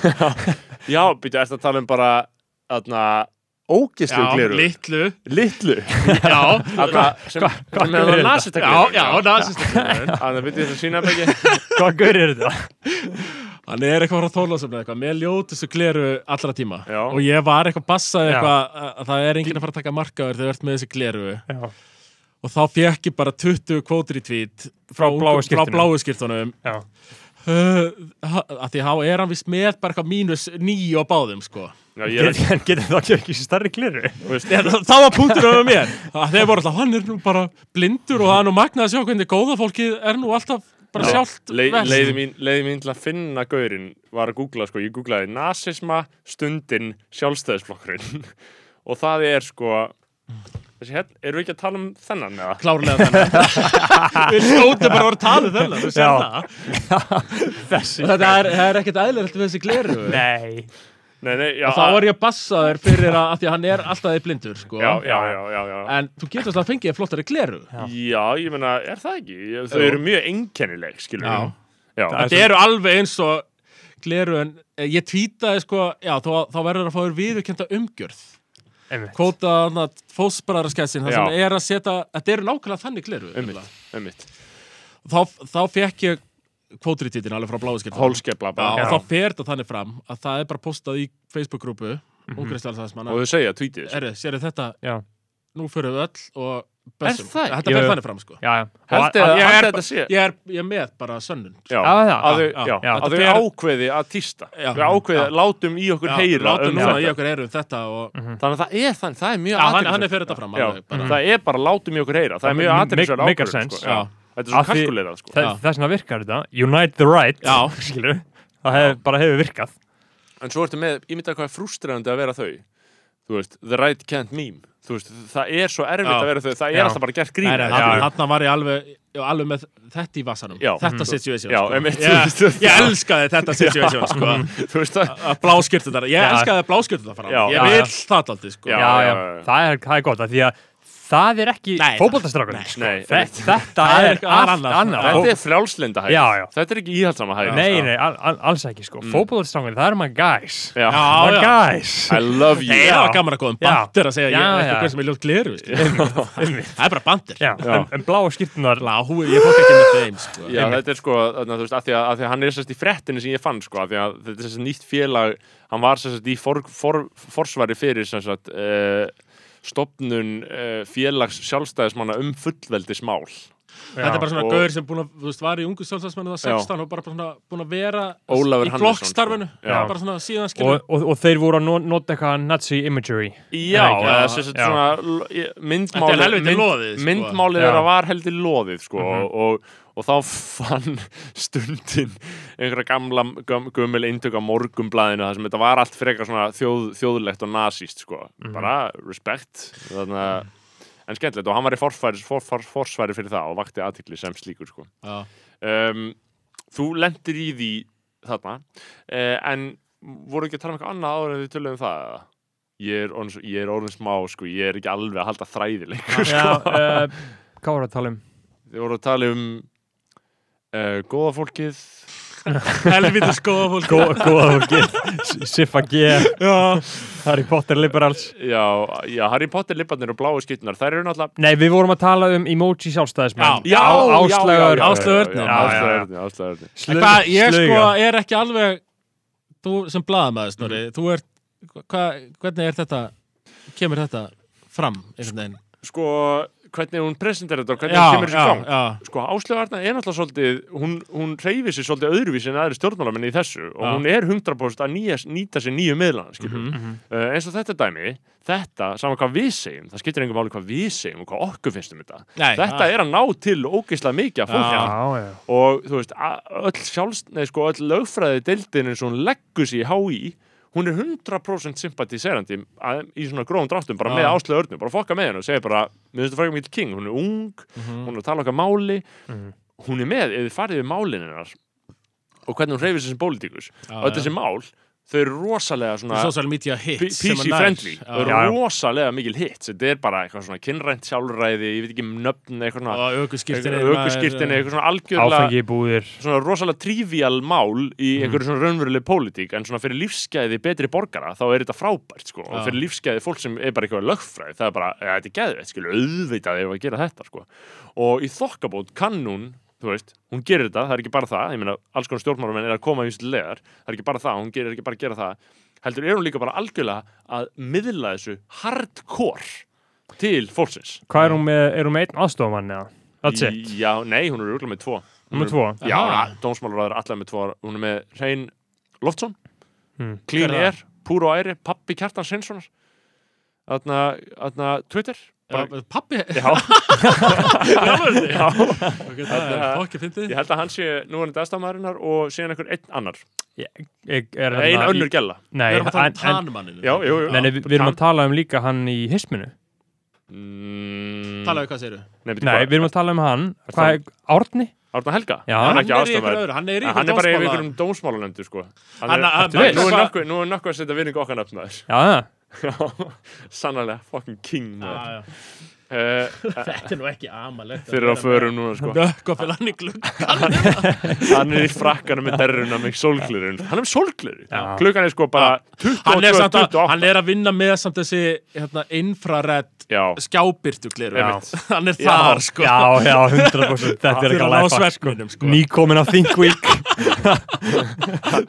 [SPEAKER 1] já býttu, ert að tala um bara aðna, ógislu
[SPEAKER 4] já,
[SPEAKER 1] gliru
[SPEAKER 4] litlu
[SPEAKER 1] litlu
[SPEAKER 4] já,
[SPEAKER 1] Þarna sem sem
[SPEAKER 2] hvað
[SPEAKER 1] hefur
[SPEAKER 2] er
[SPEAKER 1] nasista
[SPEAKER 4] já, já, nasistu gleraugun.
[SPEAKER 1] það býttu þess að sína ekki
[SPEAKER 2] Hvað gaur er þetta?
[SPEAKER 4] hann er eitthvað frá Þorlósafna eitthvað með ljótustu gleru allra tíma
[SPEAKER 1] Já.
[SPEAKER 4] og ég var eitthvað bassað
[SPEAKER 2] Já.
[SPEAKER 4] eitthvað að- að það er enginn að fara að taka markaður þegar þú ert með þessi gleru
[SPEAKER 2] Já.
[SPEAKER 4] og þá fekk ég bara 20 kvótur í tvít frá,
[SPEAKER 2] bláu
[SPEAKER 4] frá
[SPEAKER 2] skyrtunum.
[SPEAKER 4] bláu skýrtunum
[SPEAKER 2] Já,
[SPEAKER 4] að því þá er hann vist með bara eitthvað mínus nýju á báðum sko
[SPEAKER 1] já, ég er
[SPEAKER 2] getur
[SPEAKER 1] ekki
[SPEAKER 2] get, get það ekki- ekki starri kliru?
[SPEAKER 1] þú veist,
[SPEAKER 4] Ég, það, það var punktur um mér Að Þeir voru alltaf, hann er nú bara blindur og það er nú magnað að sjá hvernig góða fólkið er nú alltaf bara sjálft
[SPEAKER 1] Le,
[SPEAKER 4] verst.
[SPEAKER 1] leiði, mín, leiði mín til að finna gaurinn var að googla, sko, ég googlaði nasisma, stundin, sjálfstæðisflokkurinn og það er sko þessi hérna, erum við ekki að tala um þennan eða?
[SPEAKER 4] Klárlega þennan Við stóttum bara að um voru talið þennan þú
[SPEAKER 2] Já.
[SPEAKER 4] sér það.
[SPEAKER 2] Þessi
[SPEAKER 4] Þetta er, það er ekkert eðlilegt við þessi gleru
[SPEAKER 2] Nei
[SPEAKER 1] Nei, nei, já,
[SPEAKER 4] Þá var ég bassaður fyrir að, að því að hann er alltaf í blindur sko.
[SPEAKER 1] já, já, já, já, já.
[SPEAKER 4] En þú getur alltaf að fengið þér flottari gleru
[SPEAKER 1] já, ég meina, er það ekki? Ég- Þau
[SPEAKER 4] Jú.
[SPEAKER 1] eru mjög einkennileg, skilur
[SPEAKER 4] Já.
[SPEAKER 1] við já.
[SPEAKER 2] Það
[SPEAKER 4] Þetta eru alveg eins og gleru en ég tvítaði sko, já, þá, þá verður að fá þér viðurkenda umgjörð
[SPEAKER 2] Einmitt.
[SPEAKER 4] Kvóta fósbraraskessin, það sem
[SPEAKER 1] Já.
[SPEAKER 4] er að setja, þetta eru nákvæmlega þannig gleru
[SPEAKER 1] Einmitt, einmitt.
[SPEAKER 4] þá, þá fekk ég kvótritítin alveg frá bláðskipta
[SPEAKER 1] Hólskepla bara.
[SPEAKER 4] og þá fer þetta þannig fram að það er bara postað í
[SPEAKER 1] Mhm.
[SPEAKER 4] Facebook-grúpu mm -hmm.
[SPEAKER 1] Og þau segja, tweetið sko. þessu.
[SPEAKER 4] Herri, séru þetta,
[SPEAKER 2] Já.
[SPEAKER 4] nú fyrir við öll og bössum.
[SPEAKER 1] það ekki?
[SPEAKER 4] Þetta
[SPEAKER 2] Jú,
[SPEAKER 4] fer
[SPEAKER 2] jú.
[SPEAKER 4] þannig fram, sko.
[SPEAKER 2] já, já. Og að-
[SPEAKER 1] Haldið
[SPEAKER 2] að-
[SPEAKER 1] að
[SPEAKER 2] ég
[SPEAKER 1] haldið
[SPEAKER 2] er-
[SPEAKER 1] að þetta sé
[SPEAKER 4] Ég er, ég er með bara sönnun. sko.
[SPEAKER 1] Já,
[SPEAKER 2] Já, já,
[SPEAKER 1] að þau-
[SPEAKER 4] já,
[SPEAKER 1] já,
[SPEAKER 2] já.
[SPEAKER 1] að þau
[SPEAKER 4] Þetta fer-
[SPEAKER 1] ákveði að týsta
[SPEAKER 4] Já.
[SPEAKER 1] Þau ákveði,
[SPEAKER 4] Já.
[SPEAKER 1] látum í okkur
[SPEAKER 4] Já,
[SPEAKER 1] heyra
[SPEAKER 4] Látum
[SPEAKER 1] um
[SPEAKER 4] núna
[SPEAKER 1] þetta. Mhm.
[SPEAKER 4] í okkur eyru um þetta og
[SPEAKER 1] Þannig að það er þannig, það er mjög
[SPEAKER 4] Já, hann-
[SPEAKER 1] athyglisvert.
[SPEAKER 4] hann er fyrir þetta fram,
[SPEAKER 1] Já,
[SPEAKER 4] alveg, bara.
[SPEAKER 1] Mhm. Það er bara látum í okkur heyra, það er
[SPEAKER 2] Það
[SPEAKER 1] mjög
[SPEAKER 2] make-
[SPEAKER 1] aðeinsverð
[SPEAKER 2] make
[SPEAKER 1] ákvörðun
[SPEAKER 2] sense.
[SPEAKER 1] sko.
[SPEAKER 4] Já.
[SPEAKER 1] Þetta er svo
[SPEAKER 2] Að því-
[SPEAKER 1] kalkuleirað sko.
[SPEAKER 4] Já.
[SPEAKER 2] Þa- Þess vegna virkar þetta Unite the right
[SPEAKER 4] Já.
[SPEAKER 2] skilur Það hef, bara hefur virkað
[SPEAKER 1] En svo ertu með, ég myndi að hvað er frustrerandi að vera þau Þú veist, the right can't meme Þú veist, það er svo erfitt
[SPEAKER 4] Já.
[SPEAKER 1] að vera þau Það er
[SPEAKER 2] Já.
[SPEAKER 1] alltaf bara gert grín
[SPEAKER 4] Nei, nei,
[SPEAKER 2] já, já.
[SPEAKER 4] þarna þarna var ég alveg, ég var alveg með þetta í vasanum,
[SPEAKER 1] Já. Mhm.
[SPEAKER 4] þetta situation
[SPEAKER 1] Já,
[SPEAKER 4] sko.
[SPEAKER 1] einmitt.
[SPEAKER 4] ég, ég elskaði þetta situation sko.
[SPEAKER 1] Þú veist það
[SPEAKER 4] að bláskirtu þetta, ég
[SPEAKER 2] Já.
[SPEAKER 4] elskaði bláskirtu þetta fram
[SPEAKER 1] Já,
[SPEAKER 4] ég
[SPEAKER 2] já,
[SPEAKER 4] vil
[SPEAKER 2] já.
[SPEAKER 4] það aldrei sko.
[SPEAKER 1] Já,
[SPEAKER 2] já,
[SPEAKER 1] já,
[SPEAKER 2] já,
[SPEAKER 1] já.
[SPEAKER 2] Það, er, það er gott af Því að það er ekki
[SPEAKER 4] Nei,
[SPEAKER 2] fótboltastrákur
[SPEAKER 4] nei,
[SPEAKER 2] sko.
[SPEAKER 1] nei,
[SPEAKER 2] Þe-
[SPEAKER 1] einmitt.
[SPEAKER 2] Þetta
[SPEAKER 4] Það er
[SPEAKER 2] er
[SPEAKER 4] eitthvað
[SPEAKER 2] allt
[SPEAKER 4] annað.
[SPEAKER 2] annað
[SPEAKER 1] Þetta er frjálslinda hæð
[SPEAKER 2] Já, já.
[SPEAKER 1] Þetta er ekki íhaldsama hæð
[SPEAKER 2] Nei,
[SPEAKER 1] sko.
[SPEAKER 2] nei, al, al, alls ekki sko mm. það er maður guys
[SPEAKER 1] Já.
[SPEAKER 4] Já.
[SPEAKER 2] My guys
[SPEAKER 1] I love you
[SPEAKER 4] Nei, það var
[SPEAKER 2] Já.
[SPEAKER 4] gaman að góðum
[SPEAKER 2] Já.
[SPEAKER 4] bandir að segja
[SPEAKER 2] Já,
[SPEAKER 4] ég er
[SPEAKER 2] já.
[SPEAKER 4] eitthvað sem er ljótt gleru sko. það er bara bandir
[SPEAKER 2] Já,
[SPEAKER 1] Já.
[SPEAKER 2] En, en bláa skýrtunar
[SPEAKER 4] Lá, hú, ég fótt ekki með þeim sko.
[SPEAKER 1] Já, þetta er sko, þarna, þú veist, að því að, að því að hann er sérst í frettinni sem ég fann, sko, að því að þetta er sérst nýtt félag, hann var sérst í for, for, forsvari fyrir sérst uh, stopnun uh, félags sjálfstæðismanna um fullveldismál
[SPEAKER 4] þetta er bara svona
[SPEAKER 1] og-
[SPEAKER 4] gaur sem búin að, þú veist, var í ungu sjálfstæðsmennu það 16 og bara bara svona búin að vera
[SPEAKER 1] Ólafur
[SPEAKER 4] í
[SPEAKER 1] Hannesson,
[SPEAKER 4] flokkstarfinu
[SPEAKER 1] sko. Já.
[SPEAKER 4] bara svona síðan skilur
[SPEAKER 2] og, og, og þeir voru að no- nota eitthvað Nazi imagery
[SPEAKER 1] Já,
[SPEAKER 2] Nei, ekki.
[SPEAKER 1] eða sérst
[SPEAKER 2] Já.
[SPEAKER 1] svona l- í- myndmálið
[SPEAKER 4] Þetta er helviti loðið, sko. Mhm.
[SPEAKER 1] Myndmálið
[SPEAKER 2] Já.
[SPEAKER 1] þeirra var heldur loðið, sko, og, og þá fann stundin einhverja gamla, göm, gömul eindök á morgumblaðinu, það sem þetta var allt frekar svona þjóð, þjóðlegt og nasíst, sko
[SPEAKER 4] Mhm.
[SPEAKER 1] bara respect þannig að En skemmtilegt og hann var í forfæri, for, for, forsværi fyrir það og vakti aðtikli sem slíkur sko.
[SPEAKER 4] Já.
[SPEAKER 1] Um, þú lendir í því þarna, uh, en voru ekki að tala um eitthvað annað áður en við tölum um það eða? ég er, orðin, svo- ég er orðin smá sko, ég er ekki alveg að halda þræði lengur
[SPEAKER 2] Já,
[SPEAKER 1] sko.
[SPEAKER 2] uh, hvað voru að tala um?
[SPEAKER 1] Þið voru að tala um uh, góða fólkið
[SPEAKER 4] helviti skoða fólk
[SPEAKER 2] Gó- Góða fólki Siffa G
[SPEAKER 4] Já.
[SPEAKER 2] Harry Potter liberals
[SPEAKER 1] já, já, Harry Potter lipparnir og bláu skytnar, þær eru náttúrulega
[SPEAKER 2] Nei, við vorum að tala um emoji sjálfstæðismenn
[SPEAKER 1] Já,
[SPEAKER 2] Áslaugar
[SPEAKER 4] Áslaugar,
[SPEAKER 1] já, já,
[SPEAKER 2] já, já, já.
[SPEAKER 1] Áslaugar, Áslaugar
[SPEAKER 2] Slug-
[SPEAKER 4] Hvað, ég sko
[SPEAKER 2] sluga.
[SPEAKER 4] er ekki alveg þú sem blaðamaður snorri
[SPEAKER 1] Mm.
[SPEAKER 4] þú ert, hva, hvernig er þetta kemur þetta fram einhvern veginn
[SPEAKER 1] Sko, hvernig hún presentar þetta og hvernig hún kemur
[SPEAKER 4] já,
[SPEAKER 1] þessu í gang
[SPEAKER 4] já,
[SPEAKER 1] sko Áslöf Arna er náttúrulega svolítið hún, hún reyfi sér svolítið öðruvísi en aðri stjórnmálamenn í þessu og
[SPEAKER 4] Já. Mhm,
[SPEAKER 1] hún er 100% að nýja, nýta sér nýju miðlana mm uh, eins og þetta dæmi þetta, saman hvað við segjum það skiptir engum máli hvað við segjum og hvað okkur finnst um þetta
[SPEAKER 4] Nei,
[SPEAKER 1] þetta
[SPEAKER 4] já.
[SPEAKER 1] er að ná til ógeislega mikið að fólki
[SPEAKER 4] Já.
[SPEAKER 2] Já, já
[SPEAKER 1] og þú veist, a- öll sjálfs nei, sko, öll lögfræði deildin eins og hún leggur sér í HÍ hún er 100% sympatiserandi að, í svona grófum dráttum, bara
[SPEAKER 4] Já.
[SPEAKER 1] með Áslöf Örnu bara fokka með henni og segja bara, mér finnst þetta frækum mikill king, hún er ung,
[SPEAKER 4] Mhm.
[SPEAKER 1] hún er að tala okkar máli hún er með, ef þið farið við málin hennar og hvernig hún reyfir sér sem pólitíkus
[SPEAKER 4] Já,
[SPEAKER 1] og öll
[SPEAKER 4] já.
[SPEAKER 1] þessi mál, þau eru rosalega svona
[SPEAKER 4] social media hits
[SPEAKER 1] P-
[SPEAKER 4] sem
[SPEAKER 1] PC
[SPEAKER 4] er nær.
[SPEAKER 1] friendly, þau
[SPEAKER 4] já,
[SPEAKER 1] eru
[SPEAKER 2] Já, já.
[SPEAKER 1] rosalega mikil hits þetta er bara eitthvað svona kynrænt sjálfræði ég veit ekki um nöfn, eitthvað svona
[SPEAKER 4] og aukuskirtinni
[SPEAKER 1] aukurskirtin, eitthvað svona algjörlega
[SPEAKER 2] Áfengi í búðir
[SPEAKER 1] svona rosalega trivial mál í einhverju svona raunverulegu pólitík en svona fyrir lífsgæði betri borgara þá er þetta frábært sko og
[SPEAKER 4] Já.
[SPEAKER 1] fyrir lífsgæði fólk sem er bara eitthvað lögfræð það er bara, ja, þetta er geðveitt, skilu, auðvitað ef að gera þetta sko og í þokkabót kann hún þú veist, hún gerir þetta, það er ekki bara það ég meina, alls konar stjórnmálamenn er að koma í vinslu legar það er ekki bara það, hún gerir ekki bara að gera það heldur er hún líka bara algjörlega að miðla þessu hardcore til fólksins
[SPEAKER 2] Hvað er hún með, er hún með einn aðstofamann eða? That's it,
[SPEAKER 1] Já, nei, hún er rúglega með tvo
[SPEAKER 2] hún er tvo
[SPEAKER 1] Já,
[SPEAKER 4] Aha.
[SPEAKER 1] na, dómsmálaráður allar með tvo Hún er með Hrein Loftsson
[SPEAKER 2] Hmm.
[SPEAKER 1] Clean
[SPEAKER 4] Hver er
[SPEAKER 1] Air, Púr og Æri, Pappi Kjartan Sveinssonar Þarna, þarna Twitter bara,
[SPEAKER 4] bara, pappi
[SPEAKER 1] Já,
[SPEAKER 4] Ok, það er fokki fyndið
[SPEAKER 1] ég held að hann sé nú hann dagstafmaðurinnar og síðan einhver einn annar
[SPEAKER 2] Ég er
[SPEAKER 1] Ein
[SPEAKER 2] hérna-
[SPEAKER 1] önnur gælla
[SPEAKER 2] Nei,
[SPEAKER 4] við erum að tala um
[SPEAKER 2] en- en-
[SPEAKER 4] tanmanninu
[SPEAKER 1] Já, jú, jú.
[SPEAKER 2] nei, nei, við við erum að tala um líka hann í hisminu
[SPEAKER 1] mm,
[SPEAKER 4] talaðu um hvað segirðu
[SPEAKER 1] Nei, byrju,
[SPEAKER 2] Nei,
[SPEAKER 1] hvað?
[SPEAKER 2] við erum að tala um hann Hvað er, Árni?
[SPEAKER 1] Árna Helga
[SPEAKER 2] Já.
[SPEAKER 1] Hann
[SPEAKER 4] hann
[SPEAKER 1] er ekki
[SPEAKER 4] er í einhverju
[SPEAKER 1] aðstafmaður
[SPEAKER 4] öðru, hann er í
[SPEAKER 1] Hann er bara yfir
[SPEAKER 4] einhverju
[SPEAKER 1] einhverjum dómsmálanefndu sko
[SPEAKER 4] Hann-
[SPEAKER 1] Hann er,
[SPEAKER 4] hann-
[SPEAKER 1] Nú er-
[SPEAKER 4] hann-
[SPEAKER 1] nú er
[SPEAKER 4] hann-
[SPEAKER 1] nokkuð- nú er nokkuð að setja vinningu okkar nafn að
[SPEAKER 2] Já, það
[SPEAKER 1] þess Sannarlega, fucking king maður.
[SPEAKER 4] dómsmála
[SPEAKER 1] Eh,
[SPEAKER 4] þetta er nú ekki amalegt
[SPEAKER 1] Þeir eru á förum núna sko
[SPEAKER 4] nökk og fyrir hann í glugg
[SPEAKER 1] hann er í frakkanum með derruna með sólglirun hann er með sólglirun
[SPEAKER 2] Já.
[SPEAKER 1] klukkan er sko bara 20
[SPEAKER 4] hann er, samt að, hann er að vinna með samt þessi hérna, infrarætt
[SPEAKER 1] já,
[SPEAKER 4] skjábyrtu gleru
[SPEAKER 1] Já.
[SPEAKER 4] hann er þar sko
[SPEAKER 2] Já, já, 100% Þetta er
[SPEAKER 4] Fyrir
[SPEAKER 2] ekki að
[SPEAKER 4] að ná
[SPEAKER 2] læfa
[SPEAKER 4] svefninum, sko.
[SPEAKER 2] Nýkomin af Think Week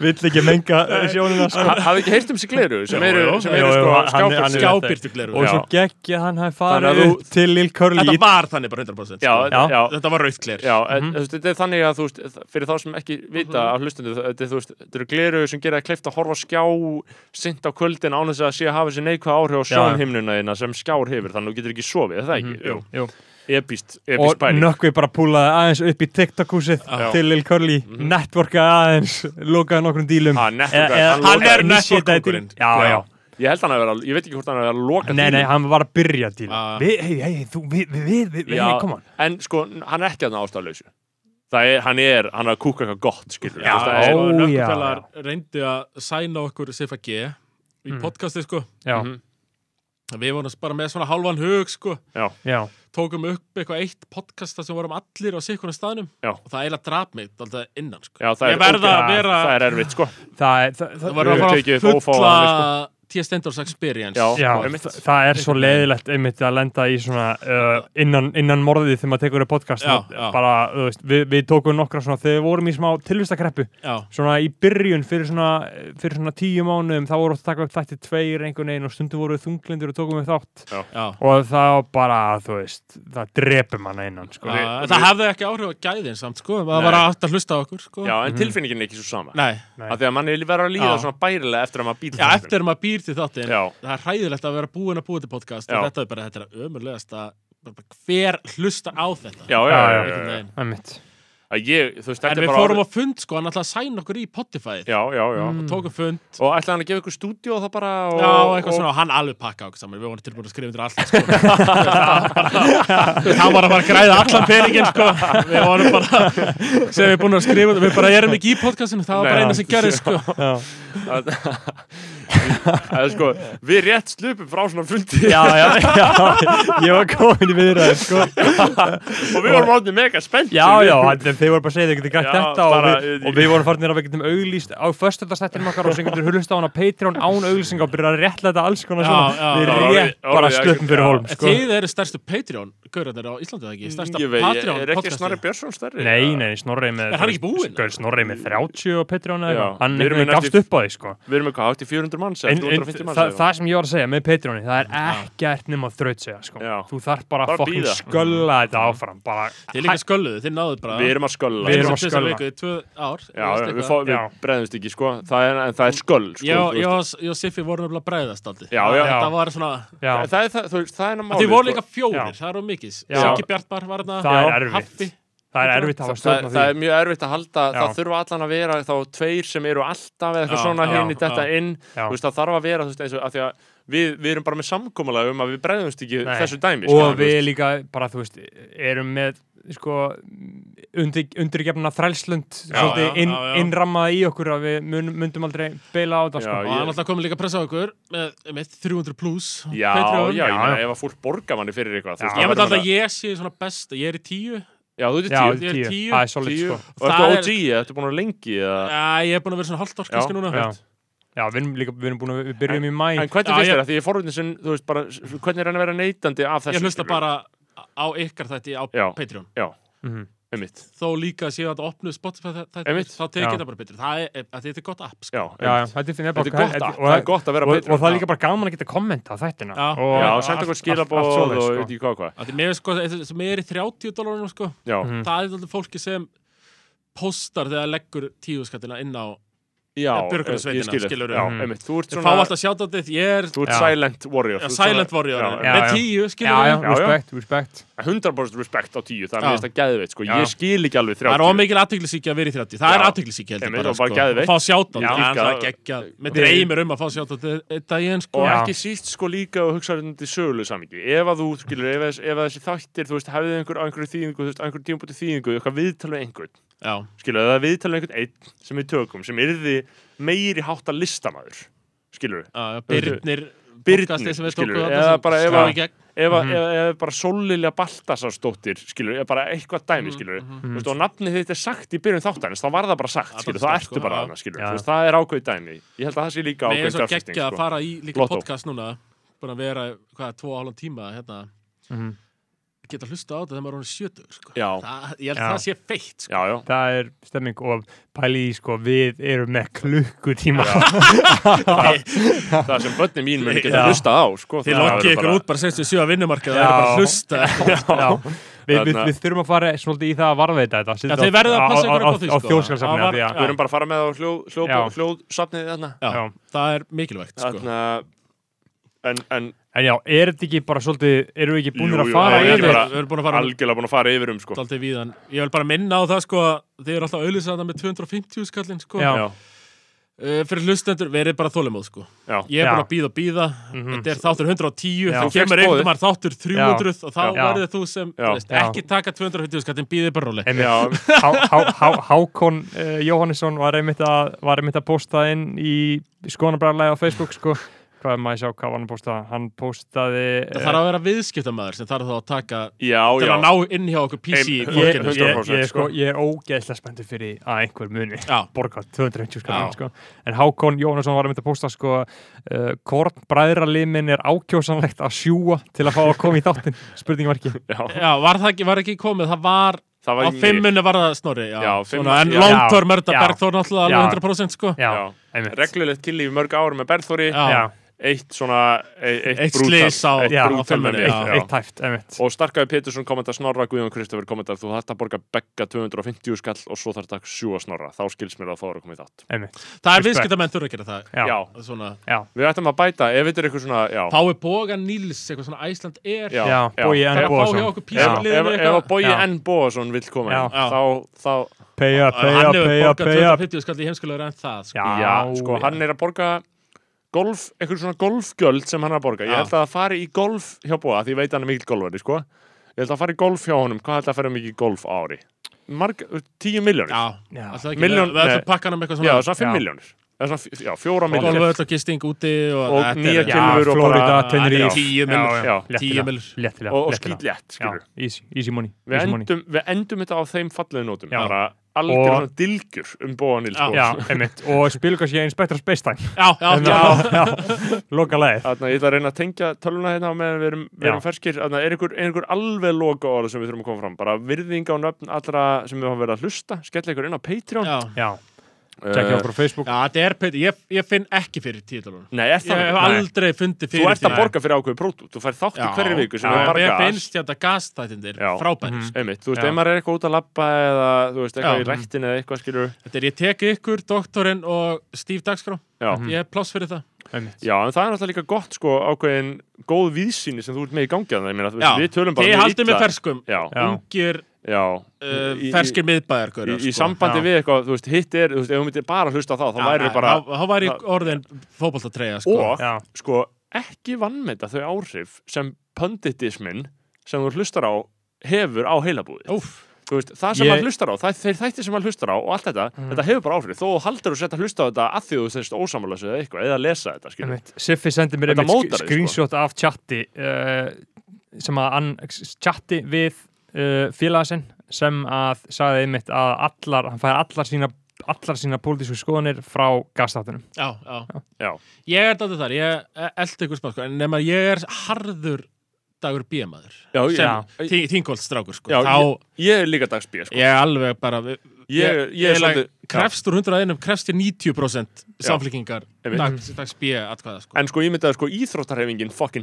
[SPEAKER 2] Vill ekki menga eh, sjónina sko.
[SPEAKER 1] Ha- hafið ekki heyrt um þessi gliru sem
[SPEAKER 4] Jú,
[SPEAKER 1] eru,
[SPEAKER 4] jú,
[SPEAKER 1] sem
[SPEAKER 2] jú,
[SPEAKER 1] eru
[SPEAKER 2] jú,
[SPEAKER 1] sko
[SPEAKER 2] hann er- hann er-
[SPEAKER 1] skápur
[SPEAKER 4] skjábyrtu gleru
[SPEAKER 2] Og svo
[SPEAKER 1] Já.
[SPEAKER 2] geggja hann hafi
[SPEAKER 1] þannig
[SPEAKER 2] farið
[SPEAKER 1] að þú,
[SPEAKER 2] upp til Lil Curly
[SPEAKER 4] Þetta var þannig bara 100%
[SPEAKER 1] já,
[SPEAKER 4] sko.
[SPEAKER 1] já,
[SPEAKER 2] Já.
[SPEAKER 1] já,
[SPEAKER 4] Þetta var rauðkler
[SPEAKER 1] Já, en þú veist, þetta er þannig að þú veist, fyrir þá sem ekki vita af hlustundu, þetta er, þú veist, þetta eru gleru sem gera kleift að horfa á skjá sint á kvöldin án þess að sé að hafa þessi neikvæð áhrif á
[SPEAKER 2] Já.
[SPEAKER 1] sjónhimnuna þína sem skjár hefur, þannig að þú getur ekki sofið, er það ekki?
[SPEAKER 2] Jú, jú.
[SPEAKER 1] Epist, epist
[SPEAKER 2] og
[SPEAKER 1] bæring.
[SPEAKER 2] nökkvi bara púlaði aðeins upp í TikTok-húsið
[SPEAKER 1] Já.
[SPEAKER 2] til Lil Curly, networkaði aðeins lokaði nokkrum dílum
[SPEAKER 1] Ha, networkaði,
[SPEAKER 2] Eh, eh,
[SPEAKER 1] hann
[SPEAKER 2] hann
[SPEAKER 1] lokaði.
[SPEAKER 2] er networkungurinn já,
[SPEAKER 4] Já.
[SPEAKER 2] já,
[SPEAKER 1] Ég held hann að vera, ég veit ekki hvort hann að vera að loka
[SPEAKER 2] nei, nei,
[SPEAKER 1] tímum.
[SPEAKER 2] hann var að byrja díl
[SPEAKER 4] Já.
[SPEAKER 2] hei, hei, þú, við, við, við, við
[SPEAKER 1] Já,
[SPEAKER 2] hey, come on
[SPEAKER 1] en sko, hann er ekki að það ástæðlausu. Það er, hann er, hann er að kúka eitthvað gott, skilur.
[SPEAKER 2] Já.
[SPEAKER 4] Sko,
[SPEAKER 1] það er,
[SPEAKER 2] Ó, já,
[SPEAKER 4] Nökkufjallar reyndi að sæna okkur Sifa G í
[SPEAKER 1] Mm.
[SPEAKER 4] podcasti sko
[SPEAKER 2] já,
[SPEAKER 1] Mhm.
[SPEAKER 4] Við vorum bara með svona hálfan hug sko
[SPEAKER 1] já,
[SPEAKER 2] já,
[SPEAKER 4] Tókum upp eitthvað eitt podcasta sem vorum allir á sikkunum staðnum
[SPEAKER 1] Já.
[SPEAKER 4] Og það eiginlega draf mig alltaf innan sko
[SPEAKER 1] já, það er,
[SPEAKER 4] Ég verða
[SPEAKER 1] ógeð-
[SPEAKER 4] að vera
[SPEAKER 1] það er erfitt, sko.
[SPEAKER 2] það er það,
[SPEAKER 4] Það
[SPEAKER 2] það,
[SPEAKER 4] var að
[SPEAKER 1] Ég
[SPEAKER 4] fara
[SPEAKER 1] tekið
[SPEAKER 4] að
[SPEAKER 1] upp ófáanlega,
[SPEAKER 4] fulla T.S. Stendors experience
[SPEAKER 1] Já.
[SPEAKER 2] Já,
[SPEAKER 1] einmitt.
[SPEAKER 2] þa- það er svo leiðilegt einmitt að lenda í svona uh, innan, innan morðið þegar maður tekur upp podcast
[SPEAKER 4] Já,
[SPEAKER 2] Það-
[SPEAKER 4] já.
[SPEAKER 2] bara, þú veist, við, við tókum nokkra svona þegar við vorum í smá tilvistakreppu
[SPEAKER 4] Já.
[SPEAKER 2] svona í byrjun fyrir svona, fyrir svona tíu mánuðum þá voru oft að taka upp þætti tveir einhvern veginn og stundum voru við þunglindir og tókum við þátt
[SPEAKER 4] Já.
[SPEAKER 2] og þá bara, þú veist, það drepur manna innan sko.
[SPEAKER 4] Já,
[SPEAKER 1] við-
[SPEAKER 4] Ah, það hafði ekki áhrif á gæðin samt sko, það var aftur að hlusta á okkur sko.
[SPEAKER 1] Já, en tilfinningin er ekki svo sama.
[SPEAKER 4] Nei,
[SPEAKER 2] Nei.
[SPEAKER 1] Af því að manni verður að líða
[SPEAKER 4] Já.
[SPEAKER 1] svona bærilega eftir að maður býr
[SPEAKER 4] já, eftir að maður býr til þáttinn
[SPEAKER 1] Já.
[SPEAKER 4] það er hræðilegt að vera búin að búa til podcast og
[SPEAKER 1] Já.
[SPEAKER 4] þetta er bara, þetta er ömurlegast að bara- bara hver hlusta á þetta
[SPEAKER 1] Já, já,
[SPEAKER 2] Já,
[SPEAKER 1] já,
[SPEAKER 2] já.
[SPEAKER 1] já, já, já.
[SPEAKER 4] Einhvern veginn.
[SPEAKER 2] Einmitt.
[SPEAKER 1] Að Ég, þú veist,
[SPEAKER 4] En
[SPEAKER 1] þetta er
[SPEAKER 4] við
[SPEAKER 1] bara
[SPEAKER 4] fórum
[SPEAKER 1] orðið-
[SPEAKER 4] á fund sko, hann ætlaði að sæna okkur í Spotify
[SPEAKER 1] Já, já, já
[SPEAKER 4] og tókum fund
[SPEAKER 1] Og ætlaði hann að gefa ykkur stúdíu og það bara og,
[SPEAKER 4] Já, eitthvað
[SPEAKER 1] og,
[SPEAKER 4] svona, og hann alveg pakka okkur saman, við vorum tilbúin að skrifa undir allt sko. Þú veist, hann var að fara að græða allan peningin sko. við vorum bara sem við búin að skrifa, við bara erum ekki í podcastinu það var
[SPEAKER 1] Nei,
[SPEAKER 4] bara eina sem gerði sko.
[SPEAKER 2] Já.
[SPEAKER 1] að, að, sko, Við rétt slupum frá svona fundi
[SPEAKER 2] Já, já, já, ég var komin í viðræðin sko.
[SPEAKER 1] Og við vorum átni mega spennt
[SPEAKER 2] Já, já, þeir þeir voru bara að segja þeir getið grætt
[SPEAKER 1] Já,
[SPEAKER 2] þetta og,
[SPEAKER 1] bara-
[SPEAKER 2] við, og við vorum farinir að við getum auglýst á föstudagstættinum okkar og sem getur hlusta á hana Patreon án auglýsing og byrja að réttlæta alls konar
[SPEAKER 4] Já,
[SPEAKER 2] svona
[SPEAKER 4] já,
[SPEAKER 2] við
[SPEAKER 1] já.
[SPEAKER 2] rétt
[SPEAKER 1] Orðið-
[SPEAKER 2] bara
[SPEAKER 1] orðið-
[SPEAKER 2] stöppum fyrir
[SPEAKER 1] já.
[SPEAKER 2] holm
[SPEAKER 4] En
[SPEAKER 2] sko.
[SPEAKER 4] Þið eru stærstu Patreon Gaurarnir á Íslandi, eða ekki? Stærsta
[SPEAKER 1] Ég veit, ég-
[SPEAKER 4] Patreon
[SPEAKER 1] er ekki
[SPEAKER 4] podcastið.
[SPEAKER 1] Snorri Björnsson stærri
[SPEAKER 2] Nei, nei, Snorri með
[SPEAKER 4] Er hann ekki búinn?
[SPEAKER 2] Gaur, Snorri með 30 á Patreon eða
[SPEAKER 1] Já.
[SPEAKER 2] eitthvað Hann
[SPEAKER 1] Við erum
[SPEAKER 2] einhvern veginn
[SPEAKER 1] með
[SPEAKER 2] gafst
[SPEAKER 1] næstu-
[SPEAKER 2] upp á því sko
[SPEAKER 1] Við erum eitthvað hátt í 400 manns eða
[SPEAKER 2] en, en,
[SPEAKER 1] 250 manns
[SPEAKER 2] það,
[SPEAKER 1] eða
[SPEAKER 2] það sem ég var að segja með Patreoni það er ekkert nema að þraut segja sko.
[SPEAKER 1] Já.
[SPEAKER 2] Þú þarf bara
[SPEAKER 1] Bara
[SPEAKER 2] að fokkin
[SPEAKER 1] bíða. Mm.
[SPEAKER 2] skölla þetta áfram bara,
[SPEAKER 4] Þið líka skölluðu, þið náðu bara
[SPEAKER 1] eitthvað. Við erum að skölla
[SPEAKER 2] Við erum að
[SPEAKER 4] Þið
[SPEAKER 2] skölva.
[SPEAKER 4] viku í tvö ár
[SPEAKER 1] Já, já, við,
[SPEAKER 4] veist eitthvað.
[SPEAKER 1] fó, við
[SPEAKER 2] Já.
[SPEAKER 1] breðumst ekki sko það er, En það er sköll sko,
[SPEAKER 4] Já,
[SPEAKER 1] þú veist.
[SPEAKER 4] já, já, Siffi voru nefnilega að bræðast aldrei
[SPEAKER 1] Já, já.
[SPEAKER 4] Þetta var svona
[SPEAKER 2] já,
[SPEAKER 1] Það, það, er það, þú veist, það er sko. námið
[SPEAKER 4] Þið voru líka fjórir,
[SPEAKER 2] Já.
[SPEAKER 4] það er á mikið
[SPEAKER 2] Já.
[SPEAKER 4] Siggi Bjartmar var þarna
[SPEAKER 2] Það er
[SPEAKER 4] já,
[SPEAKER 2] erfitt.
[SPEAKER 4] Haffi.
[SPEAKER 2] það er erfitt að
[SPEAKER 1] það,
[SPEAKER 2] hafa stjórn á því
[SPEAKER 1] það er mjög erfitt að halda,
[SPEAKER 2] Já.
[SPEAKER 1] það þurfa allan að vera þá tveir sem eru alltaf eða eitthvað
[SPEAKER 4] Já,
[SPEAKER 1] svona
[SPEAKER 4] já,
[SPEAKER 1] hinn í þetta
[SPEAKER 4] já.
[SPEAKER 1] inn
[SPEAKER 2] Já.
[SPEAKER 1] þú veist það þarf að vera þú veist eins og af því að við, við erum bara með samkómulega um að við bregðumst ekki
[SPEAKER 2] Nei.
[SPEAKER 1] þessu dæmi
[SPEAKER 2] og
[SPEAKER 1] skilurðu, þú
[SPEAKER 2] við
[SPEAKER 1] veist.
[SPEAKER 2] líka bara, þú veist, erum með sko, undir, undirgefna þrælslund
[SPEAKER 4] já,
[SPEAKER 2] svolítið inn,
[SPEAKER 4] já, já.
[SPEAKER 2] innrammað í okkur að við mun, mundum aldrei beila á þetta sko.
[SPEAKER 4] Og
[SPEAKER 1] Já,
[SPEAKER 4] hann
[SPEAKER 1] ég-
[SPEAKER 4] alltaf komið líka að pressa á ykkur með, með 300 plus
[SPEAKER 1] já, já, ég
[SPEAKER 2] já,
[SPEAKER 1] meina
[SPEAKER 2] já.
[SPEAKER 1] ef að fólk borga manni fyrir eitthvað þú veist,
[SPEAKER 4] Ég
[SPEAKER 1] það
[SPEAKER 4] veit
[SPEAKER 1] verður
[SPEAKER 4] alltaf
[SPEAKER 1] bara-
[SPEAKER 4] að ég sé svona best Ég er í tíu
[SPEAKER 1] já, þú ert
[SPEAKER 2] Já,
[SPEAKER 1] tíu,
[SPEAKER 4] ég er tíu.
[SPEAKER 2] það er svolít
[SPEAKER 1] tíu
[SPEAKER 2] sko.
[SPEAKER 1] og ertu
[SPEAKER 4] Það er-
[SPEAKER 1] OG, ertu búin að lengi eða-
[SPEAKER 4] Já, Ég er búin að vera svona hálft orð kannski
[SPEAKER 1] Já,
[SPEAKER 4] núna
[SPEAKER 2] já. já, við erum líka, við erum búin að við byrjum í mæ
[SPEAKER 1] en hvernig
[SPEAKER 4] Já,
[SPEAKER 1] finnst
[SPEAKER 4] ég-
[SPEAKER 1] þér það, því ég forvitni sem þú veist bara, hvernig er hann að vera neytandi af þessu
[SPEAKER 4] Ég hlusta
[SPEAKER 1] skilurðu?
[SPEAKER 4] bara á ykkar þætti á
[SPEAKER 1] Já.
[SPEAKER 4] Patreon
[SPEAKER 1] já,
[SPEAKER 2] Mhm.
[SPEAKER 1] einmitt,
[SPEAKER 4] þó líka séu þetta opnuð Spotify þæ-
[SPEAKER 1] Einmitt.
[SPEAKER 4] þættir, þá tekið
[SPEAKER 2] Já.
[SPEAKER 4] þetta bara betur það er, að þetta er gott app
[SPEAKER 1] já,
[SPEAKER 4] sko.
[SPEAKER 2] já, já,
[SPEAKER 1] einmitt.
[SPEAKER 2] þetta er, þetta
[SPEAKER 1] þetta er
[SPEAKER 2] bara-
[SPEAKER 1] gott að-
[SPEAKER 2] og-
[SPEAKER 1] það er gott að vera
[SPEAKER 2] og,
[SPEAKER 1] Patreon,
[SPEAKER 2] og það er
[SPEAKER 1] já.
[SPEAKER 2] líka bara gaman að geta kommenta á þættina
[SPEAKER 4] Já.
[SPEAKER 2] og,
[SPEAKER 1] já,
[SPEAKER 2] allt-
[SPEAKER 1] senda okkur
[SPEAKER 2] allt- allt
[SPEAKER 1] skilaboð og
[SPEAKER 2] svoleiðis, sko.
[SPEAKER 1] veit ekki hvað og hvað
[SPEAKER 4] Af því mér finnst sko, þetta sem er í 30 dólarunum sko,
[SPEAKER 1] já,
[SPEAKER 4] það er þetta fólki sem postar þegar leggur tíuskattina inn á
[SPEAKER 1] já, eh,
[SPEAKER 4] Eða björgunarsveitina,
[SPEAKER 1] ég skil þig.
[SPEAKER 4] skilurðu.
[SPEAKER 1] Já,
[SPEAKER 2] Mhm.
[SPEAKER 1] einmitt, þú ert svona
[SPEAKER 4] þeir fá alltaf sjátt á þitt ég er
[SPEAKER 1] Þú ert
[SPEAKER 2] Já.
[SPEAKER 1] silent warrior
[SPEAKER 4] já,
[SPEAKER 1] Þú ert
[SPEAKER 4] silent
[SPEAKER 1] svona-
[SPEAKER 4] warrior
[SPEAKER 1] Já,
[SPEAKER 2] já.
[SPEAKER 4] með tíu
[SPEAKER 2] já,
[SPEAKER 4] skilur
[SPEAKER 2] já,
[SPEAKER 1] Já, já.
[SPEAKER 2] respekt, respekt
[SPEAKER 1] já. 100% respect á 10 Það er
[SPEAKER 4] Já.
[SPEAKER 1] mér þetta geðveitt sko.
[SPEAKER 2] Já.
[SPEAKER 1] Ég skil ekki alveg 30
[SPEAKER 4] það er ómikil aðteglisíki að vera í 30 það
[SPEAKER 1] Já.
[SPEAKER 4] er aðteglisíki heldur
[SPEAKER 1] Einmitt,
[SPEAKER 4] bara,
[SPEAKER 1] og bara
[SPEAKER 4] sko.
[SPEAKER 1] geðveikt.
[SPEAKER 4] og fá sjátt á
[SPEAKER 1] Já,
[SPEAKER 4] þetta það
[SPEAKER 1] það-
[SPEAKER 4] er geggja með dreymir um að fá sjátt á þetta daginn sko
[SPEAKER 1] Og
[SPEAKER 2] Já.
[SPEAKER 1] ekki síst sko líka og hugsaður þetta í sögulegu samingi Ef að þú skilur, ef, þess- ef að þessi þættir Þú veist, hefðið einhver á einhverju þýðingu Þú veist, á einhverju tímabúti þýðingu Eitthvað viðtal við einhvern
[SPEAKER 4] já,
[SPEAKER 1] Skilur, eða viðtal við einhvern einn sem við tökum Sem yrði meiri hátta listamaður Skilur,
[SPEAKER 4] já, já, Birnir
[SPEAKER 1] Birnir,
[SPEAKER 4] podcastið sem við
[SPEAKER 1] skilur,
[SPEAKER 4] tókum
[SPEAKER 1] eða bara ef að-
[SPEAKER 4] ef
[SPEAKER 1] ef,
[SPEAKER 4] Mhm.
[SPEAKER 1] mm ef, ef bara sólilega Baltasarsdóttir skilur, ef bara eitthvað
[SPEAKER 4] Mhm,
[SPEAKER 1] dæmi skilur mm veist, og nafnið þitt er sagt í byrjun þáttanins þá var það bara sagt,
[SPEAKER 4] Það er
[SPEAKER 1] skilur,
[SPEAKER 4] bara
[SPEAKER 1] þá
[SPEAKER 4] sagt,
[SPEAKER 1] ertu
[SPEAKER 4] sko,
[SPEAKER 1] bara
[SPEAKER 4] já.
[SPEAKER 1] hana, skilur,
[SPEAKER 2] Já.
[SPEAKER 1] þú veist, það er ákveð dæmi ég held að það sé líka sko.
[SPEAKER 4] Mér er
[SPEAKER 1] ákveð
[SPEAKER 4] svo geggja að
[SPEAKER 1] fjárfesting
[SPEAKER 4] fara í líka
[SPEAKER 1] Lotto.
[SPEAKER 4] podcast núna Búin að vera, hvað, tvo álan tíma hérna
[SPEAKER 2] Mhm.
[SPEAKER 4] geta hlusta á þetta þegar maður er orðin sjötugur sko.
[SPEAKER 1] Já,
[SPEAKER 4] það, ég
[SPEAKER 2] Já.
[SPEAKER 4] held að það sé feitt sko.
[SPEAKER 1] já, já.
[SPEAKER 2] það er stemming og pæli í sko við erum með klukkutíma
[SPEAKER 1] Það sem börni mín mun geta
[SPEAKER 2] Já.
[SPEAKER 1] hlustað á, sko.
[SPEAKER 4] Þið
[SPEAKER 1] það
[SPEAKER 4] loggið
[SPEAKER 1] verður
[SPEAKER 4] ykkur
[SPEAKER 1] bara-
[SPEAKER 4] út bara 67 að vinnumarkað það
[SPEAKER 2] Já.
[SPEAKER 4] er bara að hlusta
[SPEAKER 2] Já, við, við,
[SPEAKER 1] Þarna-
[SPEAKER 2] við þurfum að fara svolítið í það að varðveita þetta Setja
[SPEAKER 4] Já, þið
[SPEAKER 2] á-
[SPEAKER 4] verðið að passa ykkur upp á því,
[SPEAKER 2] á
[SPEAKER 4] sko.
[SPEAKER 2] þjóðskjálfsafnið
[SPEAKER 4] Það var-
[SPEAKER 2] af því
[SPEAKER 1] Við
[SPEAKER 2] að-
[SPEAKER 1] erum bara að fara með það á hljóð, hljóð,
[SPEAKER 2] Já.
[SPEAKER 1] hljóðsafnið þarna.
[SPEAKER 4] Já,
[SPEAKER 2] Já.
[SPEAKER 4] það er mikilvægt sko.
[SPEAKER 1] Þarna, en, en
[SPEAKER 2] En já, er þetta ekki bara svolítið erum við ekki búinir
[SPEAKER 1] Jú,
[SPEAKER 2] að
[SPEAKER 1] jú,
[SPEAKER 2] fara
[SPEAKER 1] það er
[SPEAKER 4] Við
[SPEAKER 1] ekki
[SPEAKER 2] yfir
[SPEAKER 1] bara-
[SPEAKER 4] erum búin að fara
[SPEAKER 1] algjörlega búin að fara yfir um, sko.
[SPEAKER 4] aldrei víðan Ég vil bara minna á það sko að þið eru alltaf auðlýsað þetta með 250 skallin sko
[SPEAKER 2] Já.
[SPEAKER 1] Já,
[SPEAKER 4] uh, Fyrir hlustendur verið bara þólimóð sko
[SPEAKER 1] já.
[SPEAKER 4] Ég er
[SPEAKER 2] Já. Mhm.
[SPEAKER 4] bara að býða og býða Þetta er þáttur 110
[SPEAKER 2] Já.
[SPEAKER 4] Þú
[SPEAKER 1] Þú fékkst
[SPEAKER 4] kemur einhvern
[SPEAKER 1] boðið.
[SPEAKER 4] veginn þáttur 300 og þá
[SPEAKER 2] Já.
[SPEAKER 4] verður þú sem
[SPEAKER 1] Já.
[SPEAKER 4] veist,
[SPEAKER 2] Já.
[SPEAKER 4] ekki taka 250 skallin býðið bara róleg
[SPEAKER 2] Einmitt.
[SPEAKER 1] Já,
[SPEAKER 2] Há- Há- Há- Hákon uh, Jóhannesson var einmitt að, var einmitt að posta inn í skonabræðarlega á Facebook sko. hvað er maður að sjá hvað var hann að posta hann postaði eh,
[SPEAKER 4] Það þarf að vera viðskiptamæður sem þarf þá að taka
[SPEAKER 1] já,
[SPEAKER 4] til
[SPEAKER 1] já.
[SPEAKER 4] að ná inn hjá okkur PC
[SPEAKER 1] Ein-
[SPEAKER 2] ég,
[SPEAKER 4] fólkinu,
[SPEAKER 2] ég,
[SPEAKER 4] sko.
[SPEAKER 2] ég,
[SPEAKER 1] 100%
[SPEAKER 2] sko,
[SPEAKER 1] sko.
[SPEAKER 2] ég er ógeðslega spenntur fyrir því að einhver muni
[SPEAKER 4] Já.
[SPEAKER 2] borga 250
[SPEAKER 4] Já.
[SPEAKER 2] skallin sko. en Hákon Jóhannesson var einmitt að posta sko, uh, hvort bræðralimin er ákjósanlegt að sjúa til að fá að koma í þáttin spurningmarki
[SPEAKER 1] já.
[SPEAKER 4] Já, var það ekki, var ekki komið, það var
[SPEAKER 1] Það var
[SPEAKER 4] á
[SPEAKER 1] í-
[SPEAKER 4] fimmunni var það snorri já,
[SPEAKER 1] Já, fimm-
[SPEAKER 4] svona, en
[SPEAKER 1] já.
[SPEAKER 4] longtor mörda
[SPEAKER 2] Já.
[SPEAKER 4] Bergþór náttúrulega
[SPEAKER 2] Já.
[SPEAKER 4] alveg 100% sko
[SPEAKER 2] já,
[SPEAKER 1] Já.
[SPEAKER 2] einmitt
[SPEAKER 1] Reglulegt til í mörg ár með Berþóri,
[SPEAKER 4] Já.
[SPEAKER 2] já,
[SPEAKER 1] eitt svona, e- eitt,
[SPEAKER 4] Eitt
[SPEAKER 1] brútal-
[SPEAKER 4] slys á-
[SPEAKER 1] eitt
[SPEAKER 2] já,
[SPEAKER 1] brútal
[SPEAKER 4] á filmunni,
[SPEAKER 1] með mig,
[SPEAKER 4] já.
[SPEAKER 1] já.
[SPEAKER 2] eitt tæft einmitt.
[SPEAKER 1] Og starkaði Pétursson kommentar snorra, Guðjón Kristofur kommentar, þú þarft að borga begga 250 skall og svo þarft að sjúa snorra. Þá skils mér að það voru komið þátt.
[SPEAKER 2] einmitt.
[SPEAKER 4] það er
[SPEAKER 2] Respect.
[SPEAKER 4] viðskiptamenn þurfa að gera það
[SPEAKER 2] Já.
[SPEAKER 1] Já,
[SPEAKER 4] svona,
[SPEAKER 2] já,
[SPEAKER 1] við ættum að bæta, ef þetta er eitthvað svona, já.
[SPEAKER 4] Pái Boga Nils, eitthvað svona Æsland er
[SPEAKER 1] Já.
[SPEAKER 2] já, bói
[SPEAKER 1] Ef-
[SPEAKER 2] enn
[SPEAKER 4] að fá hjá okkur
[SPEAKER 1] Ef,
[SPEAKER 4] písum
[SPEAKER 1] ef,
[SPEAKER 4] liðinu
[SPEAKER 1] ef að
[SPEAKER 4] eitthvað
[SPEAKER 1] Bói
[SPEAKER 2] Já.
[SPEAKER 1] N. Bóasson vill koma
[SPEAKER 2] Já.
[SPEAKER 1] inn, þá, þá
[SPEAKER 2] Peja, peja,
[SPEAKER 4] hann hefur
[SPEAKER 2] peja,
[SPEAKER 4] borgað
[SPEAKER 2] peja
[SPEAKER 4] 250 skall í heimskulegur en það sko.
[SPEAKER 2] Já,
[SPEAKER 1] já, sko, hann er að borga golf, eitthvað svona golfgjöld sem hann er að borga
[SPEAKER 4] Já.
[SPEAKER 1] ég held að það fari í golf hjá Bóa því ég veit að hann er mikill golfari, sko ég held að það fari í golf hjá honum, hvað held að fari mikið í golf á ári? Marg, 10 miljónir
[SPEAKER 4] já,
[SPEAKER 2] Já.
[SPEAKER 4] alltaf ekki
[SPEAKER 1] Milljón-
[SPEAKER 4] Miljón, við ætlum
[SPEAKER 1] nei.
[SPEAKER 4] að pakka hann um eitthvað
[SPEAKER 1] já,
[SPEAKER 4] svona
[SPEAKER 1] svona 5
[SPEAKER 2] Já.
[SPEAKER 1] miljónir eða svona, f- já, 4 miljónir
[SPEAKER 4] golföll og gisting úti og,
[SPEAKER 1] Og
[SPEAKER 4] Þetta er-
[SPEAKER 1] nýja
[SPEAKER 4] Já,
[SPEAKER 1] kylfur og bara-
[SPEAKER 2] Florida,
[SPEAKER 4] Já,
[SPEAKER 2] Tenerife
[SPEAKER 4] tíu millur.
[SPEAKER 2] Já, já,
[SPEAKER 1] Já,
[SPEAKER 2] léttilega,
[SPEAKER 4] tíu millur.
[SPEAKER 2] léttilega,
[SPEAKER 1] og, og
[SPEAKER 2] léttilega.
[SPEAKER 1] skýtlegt,
[SPEAKER 2] Já,
[SPEAKER 1] skilur
[SPEAKER 2] easy, easy money
[SPEAKER 1] við
[SPEAKER 2] easy money.
[SPEAKER 1] endum, við endum þetta á þeim fallegu nótum
[SPEAKER 2] Já.
[SPEAKER 1] bara algjör
[SPEAKER 2] Og-
[SPEAKER 1] svona dilgjur um Bóa Nils
[SPEAKER 4] Já.
[SPEAKER 1] Bóa
[SPEAKER 2] Já, einmitt, og spilum kannski einn spektra space time
[SPEAKER 4] já, já, já.
[SPEAKER 2] Loka leið
[SPEAKER 1] Þannig að ég ætla að reyna að tengja töluna hérna á meðan við erum, við
[SPEAKER 2] Já.
[SPEAKER 1] erum ferskir. Þannig að er einhver, er einhver alveg loka orð sem við þurfum að koma fram. Bara virðinga og nöfn allra sem við hafa verið að hlusta. Skella ykkur inn á Patreon.
[SPEAKER 4] já,
[SPEAKER 2] Já,
[SPEAKER 1] Eh,
[SPEAKER 2] tjekkja okkur á Facebook
[SPEAKER 4] já, þetta er Pétur, ég, ég finn ekki fyrir tíðalunum
[SPEAKER 1] Nei, er
[SPEAKER 4] ég
[SPEAKER 1] það
[SPEAKER 4] hef
[SPEAKER 1] ekki?
[SPEAKER 2] Nei.
[SPEAKER 4] aldrei fundið
[SPEAKER 1] Þú
[SPEAKER 4] fyrir
[SPEAKER 1] ert að borga fyrir ákveðu prótútt. Þú fær þátt í
[SPEAKER 4] Já.
[SPEAKER 1] hverju viku sem
[SPEAKER 4] Já,
[SPEAKER 1] er bara
[SPEAKER 4] mér
[SPEAKER 1] gas.
[SPEAKER 4] finnst hérna þetta gastætindir
[SPEAKER 1] Já.
[SPEAKER 4] frábæri
[SPEAKER 2] Mhm,
[SPEAKER 4] sko.
[SPEAKER 1] Einmitt, þú veist,
[SPEAKER 2] Já.
[SPEAKER 1] ef maður er eitthvað út að labba eða, þú veist, eitthvað
[SPEAKER 4] Já.
[SPEAKER 1] í rættin eða eitthvað skilur.
[SPEAKER 4] þetta er ég tek ykkur, doktorinn og Steve Dagskrá
[SPEAKER 1] Já.
[SPEAKER 2] Mhm.
[SPEAKER 4] ég hef pláss fyrir það
[SPEAKER 2] einmitt.
[SPEAKER 1] Já, en það er náttúrulega líka gott, sko, ákveðin góð víðsýni sem þú ert með í gangi að það. Ég meina, þú
[SPEAKER 4] Já.
[SPEAKER 1] veist, við tölum bara
[SPEAKER 4] þið
[SPEAKER 1] mjög
[SPEAKER 4] haldið
[SPEAKER 1] illa-
[SPEAKER 4] með ferskum
[SPEAKER 1] Já,
[SPEAKER 2] Já.
[SPEAKER 4] ungir,
[SPEAKER 1] já.
[SPEAKER 4] uh,
[SPEAKER 1] Í- í-
[SPEAKER 4] ferskir miðbæjar
[SPEAKER 1] Í,
[SPEAKER 4] gaurar,
[SPEAKER 1] í sambandi
[SPEAKER 2] Já.
[SPEAKER 1] við eitthvað, þú veist, hitt er, þú veist, ef þú myndir bara hlusta á það, þá
[SPEAKER 4] sko. Já,
[SPEAKER 1] væri
[SPEAKER 4] nei,
[SPEAKER 1] bara,
[SPEAKER 4] þá, þá væri ég orðin fótboltatreyja sko.
[SPEAKER 1] og
[SPEAKER 2] Já.
[SPEAKER 1] sko ekki vannmeta þau áhrif sem pönditismin sem þú hlustar á hefur á heilabúið
[SPEAKER 4] Úff,
[SPEAKER 1] þú veist, það sem
[SPEAKER 2] Ég- Mhm.
[SPEAKER 1] maður hlustar á, það, þeir þætti sem maður hlustar á og allt þetta, þetta hefur bara áhrif þó þú haldur þú sett að hlusta á þetta að því þú þessist ósamalösu eða eitthvað, eða lesa þetta skilur.
[SPEAKER 2] Einmitt. Siffi sendi mér
[SPEAKER 1] Þetta
[SPEAKER 2] einmitt sk-
[SPEAKER 1] mótar þig, sko.
[SPEAKER 2] screenshot af chatti uh, sem að an, chatti við uh, félagasinn sem að sagði einmitt að allar, hann fær allar sína allar sína pólitísku skoðanir frá gastáttunum
[SPEAKER 4] já, já.
[SPEAKER 1] Já.
[SPEAKER 4] ég er dættu þar, ég eldi ykkur smá sko, en nema ég er harður dagur bíamaður
[SPEAKER 1] Já, já.
[SPEAKER 4] sem tíngóldstrákur sko.
[SPEAKER 1] Já,
[SPEAKER 4] þá
[SPEAKER 1] ég er líka dagsbíð sko.
[SPEAKER 4] ég er alveg bara ég,
[SPEAKER 1] ég, ég er svolítið já.
[SPEAKER 4] krefst úr 100 aðeinum, krefst ég 90% samflíkingar
[SPEAKER 1] Einmitt.
[SPEAKER 4] dags, dags bíu atkvæða sko.
[SPEAKER 1] En sko ég myndi að sko íþróttarhefingin fucking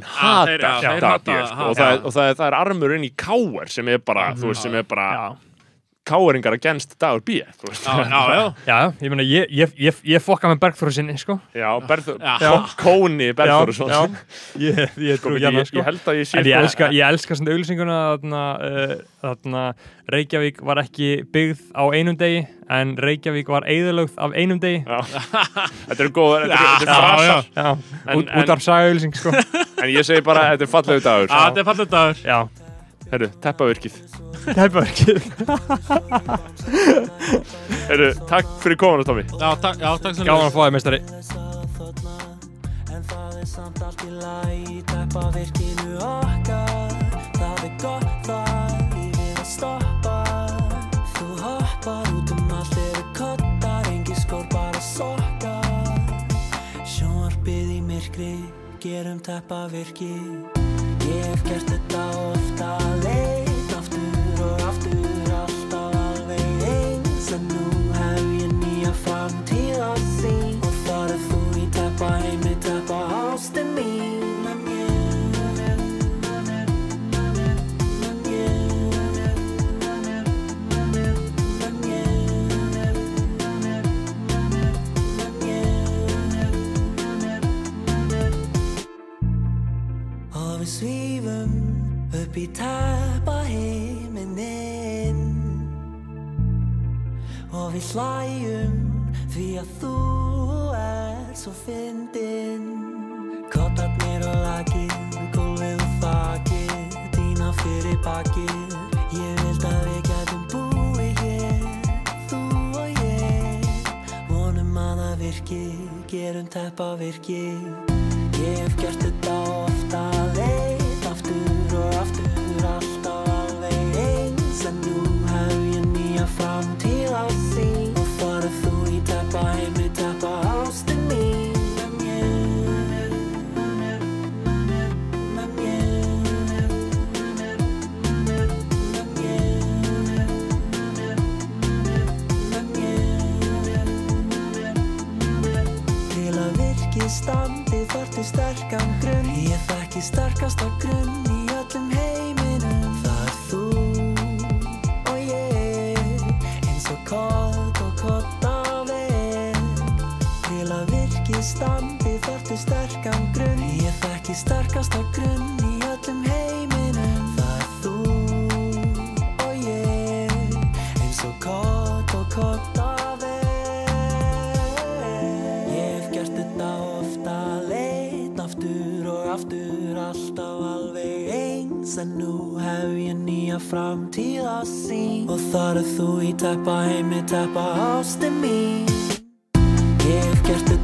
[SPEAKER 1] hatar
[SPEAKER 4] þeir- já, þeir
[SPEAKER 1] þetta
[SPEAKER 4] hata-
[SPEAKER 1] BF, sko, og,
[SPEAKER 4] hata- Mhm.
[SPEAKER 1] það er, og það, er, það er armurinn í káer sem er bara, þú veist, sem er bara
[SPEAKER 2] Já,
[SPEAKER 1] káeringar að genst dagur bíð
[SPEAKER 4] já, já, já.
[SPEAKER 2] já, ég meina ég, ég, ég, ég fokka með Bergþóru sinni, sko
[SPEAKER 1] Já, Berður,
[SPEAKER 4] Já.
[SPEAKER 1] Kóni Berðursson
[SPEAKER 2] Já, já. Ég, ég
[SPEAKER 1] sko,
[SPEAKER 2] trú
[SPEAKER 1] ég,
[SPEAKER 2] hérna,
[SPEAKER 1] ég
[SPEAKER 2] sko.
[SPEAKER 1] held að ég sé
[SPEAKER 2] En ég
[SPEAKER 1] sko-
[SPEAKER 2] elska, ég elska svona auglýsinguna þarna, uh, þarna Reykjavík var ekki byggð á einum degi en Reykjavík var eðalögð af einum degi
[SPEAKER 1] Já. Þetta eru góðar, þetta eru- þetta eru
[SPEAKER 4] Já, já.
[SPEAKER 1] frasar
[SPEAKER 2] Já,
[SPEAKER 1] En-
[SPEAKER 2] út, út af sagauglýsing sko
[SPEAKER 1] En ég segi bara, þetta er fallegu dagur
[SPEAKER 4] Já, þetta er fallið dagur
[SPEAKER 2] Já,
[SPEAKER 1] Herru, teppavirkið
[SPEAKER 2] tæpaverkið
[SPEAKER 1] Herru, takk fyrir komuna, Tommy
[SPEAKER 4] Já, takk, já, takk sem
[SPEAKER 2] Gáðan að fá þig meistari
[SPEAKER 5] En það er samt allt í lagi Teppa virkinu okkar Það er gott að Lífið að stoppa Þú hoppar út um allt eru kottar Engi skór bara sokkar Sjónvarpið í myrkri Gerum teppa virki Ég hef gert þetta ofta leið og við svífum upp í teppa heiminin og við hlæjum því að þú er svo fyndin Kottarnir og lakið, gólfið og þakið dýna fyrir bakið ég vild að við gætum búið hér þú og ég vonum að það virki gerum teppa virki ég hef gert þetta ofta leit aftur og aftur alltaf alveg eins en nú hef ég nýja framtíð á því fara þú í teppa heimi teppa ástin mín með mér með mér, með mér, með mér, með mér, með mér, með mér, með mér til að virki standi þarfti sterkan grunn ég þekki sterkasta grunn í öllum heiminum það er þú og ég eins og kott og kott af er til að virki standi þarfti sterkan grunn ég þekki sterkasta grunn í öllum heiminum það er þú og ég eins og kott og kott af er Ég hef gert þetta ofta leit aftur og aftur alltaf alveg eins en nú hef ég nýja framtíð að sín og þar er þú í teppa heimi teppa ástin mín Ég hef gert þetta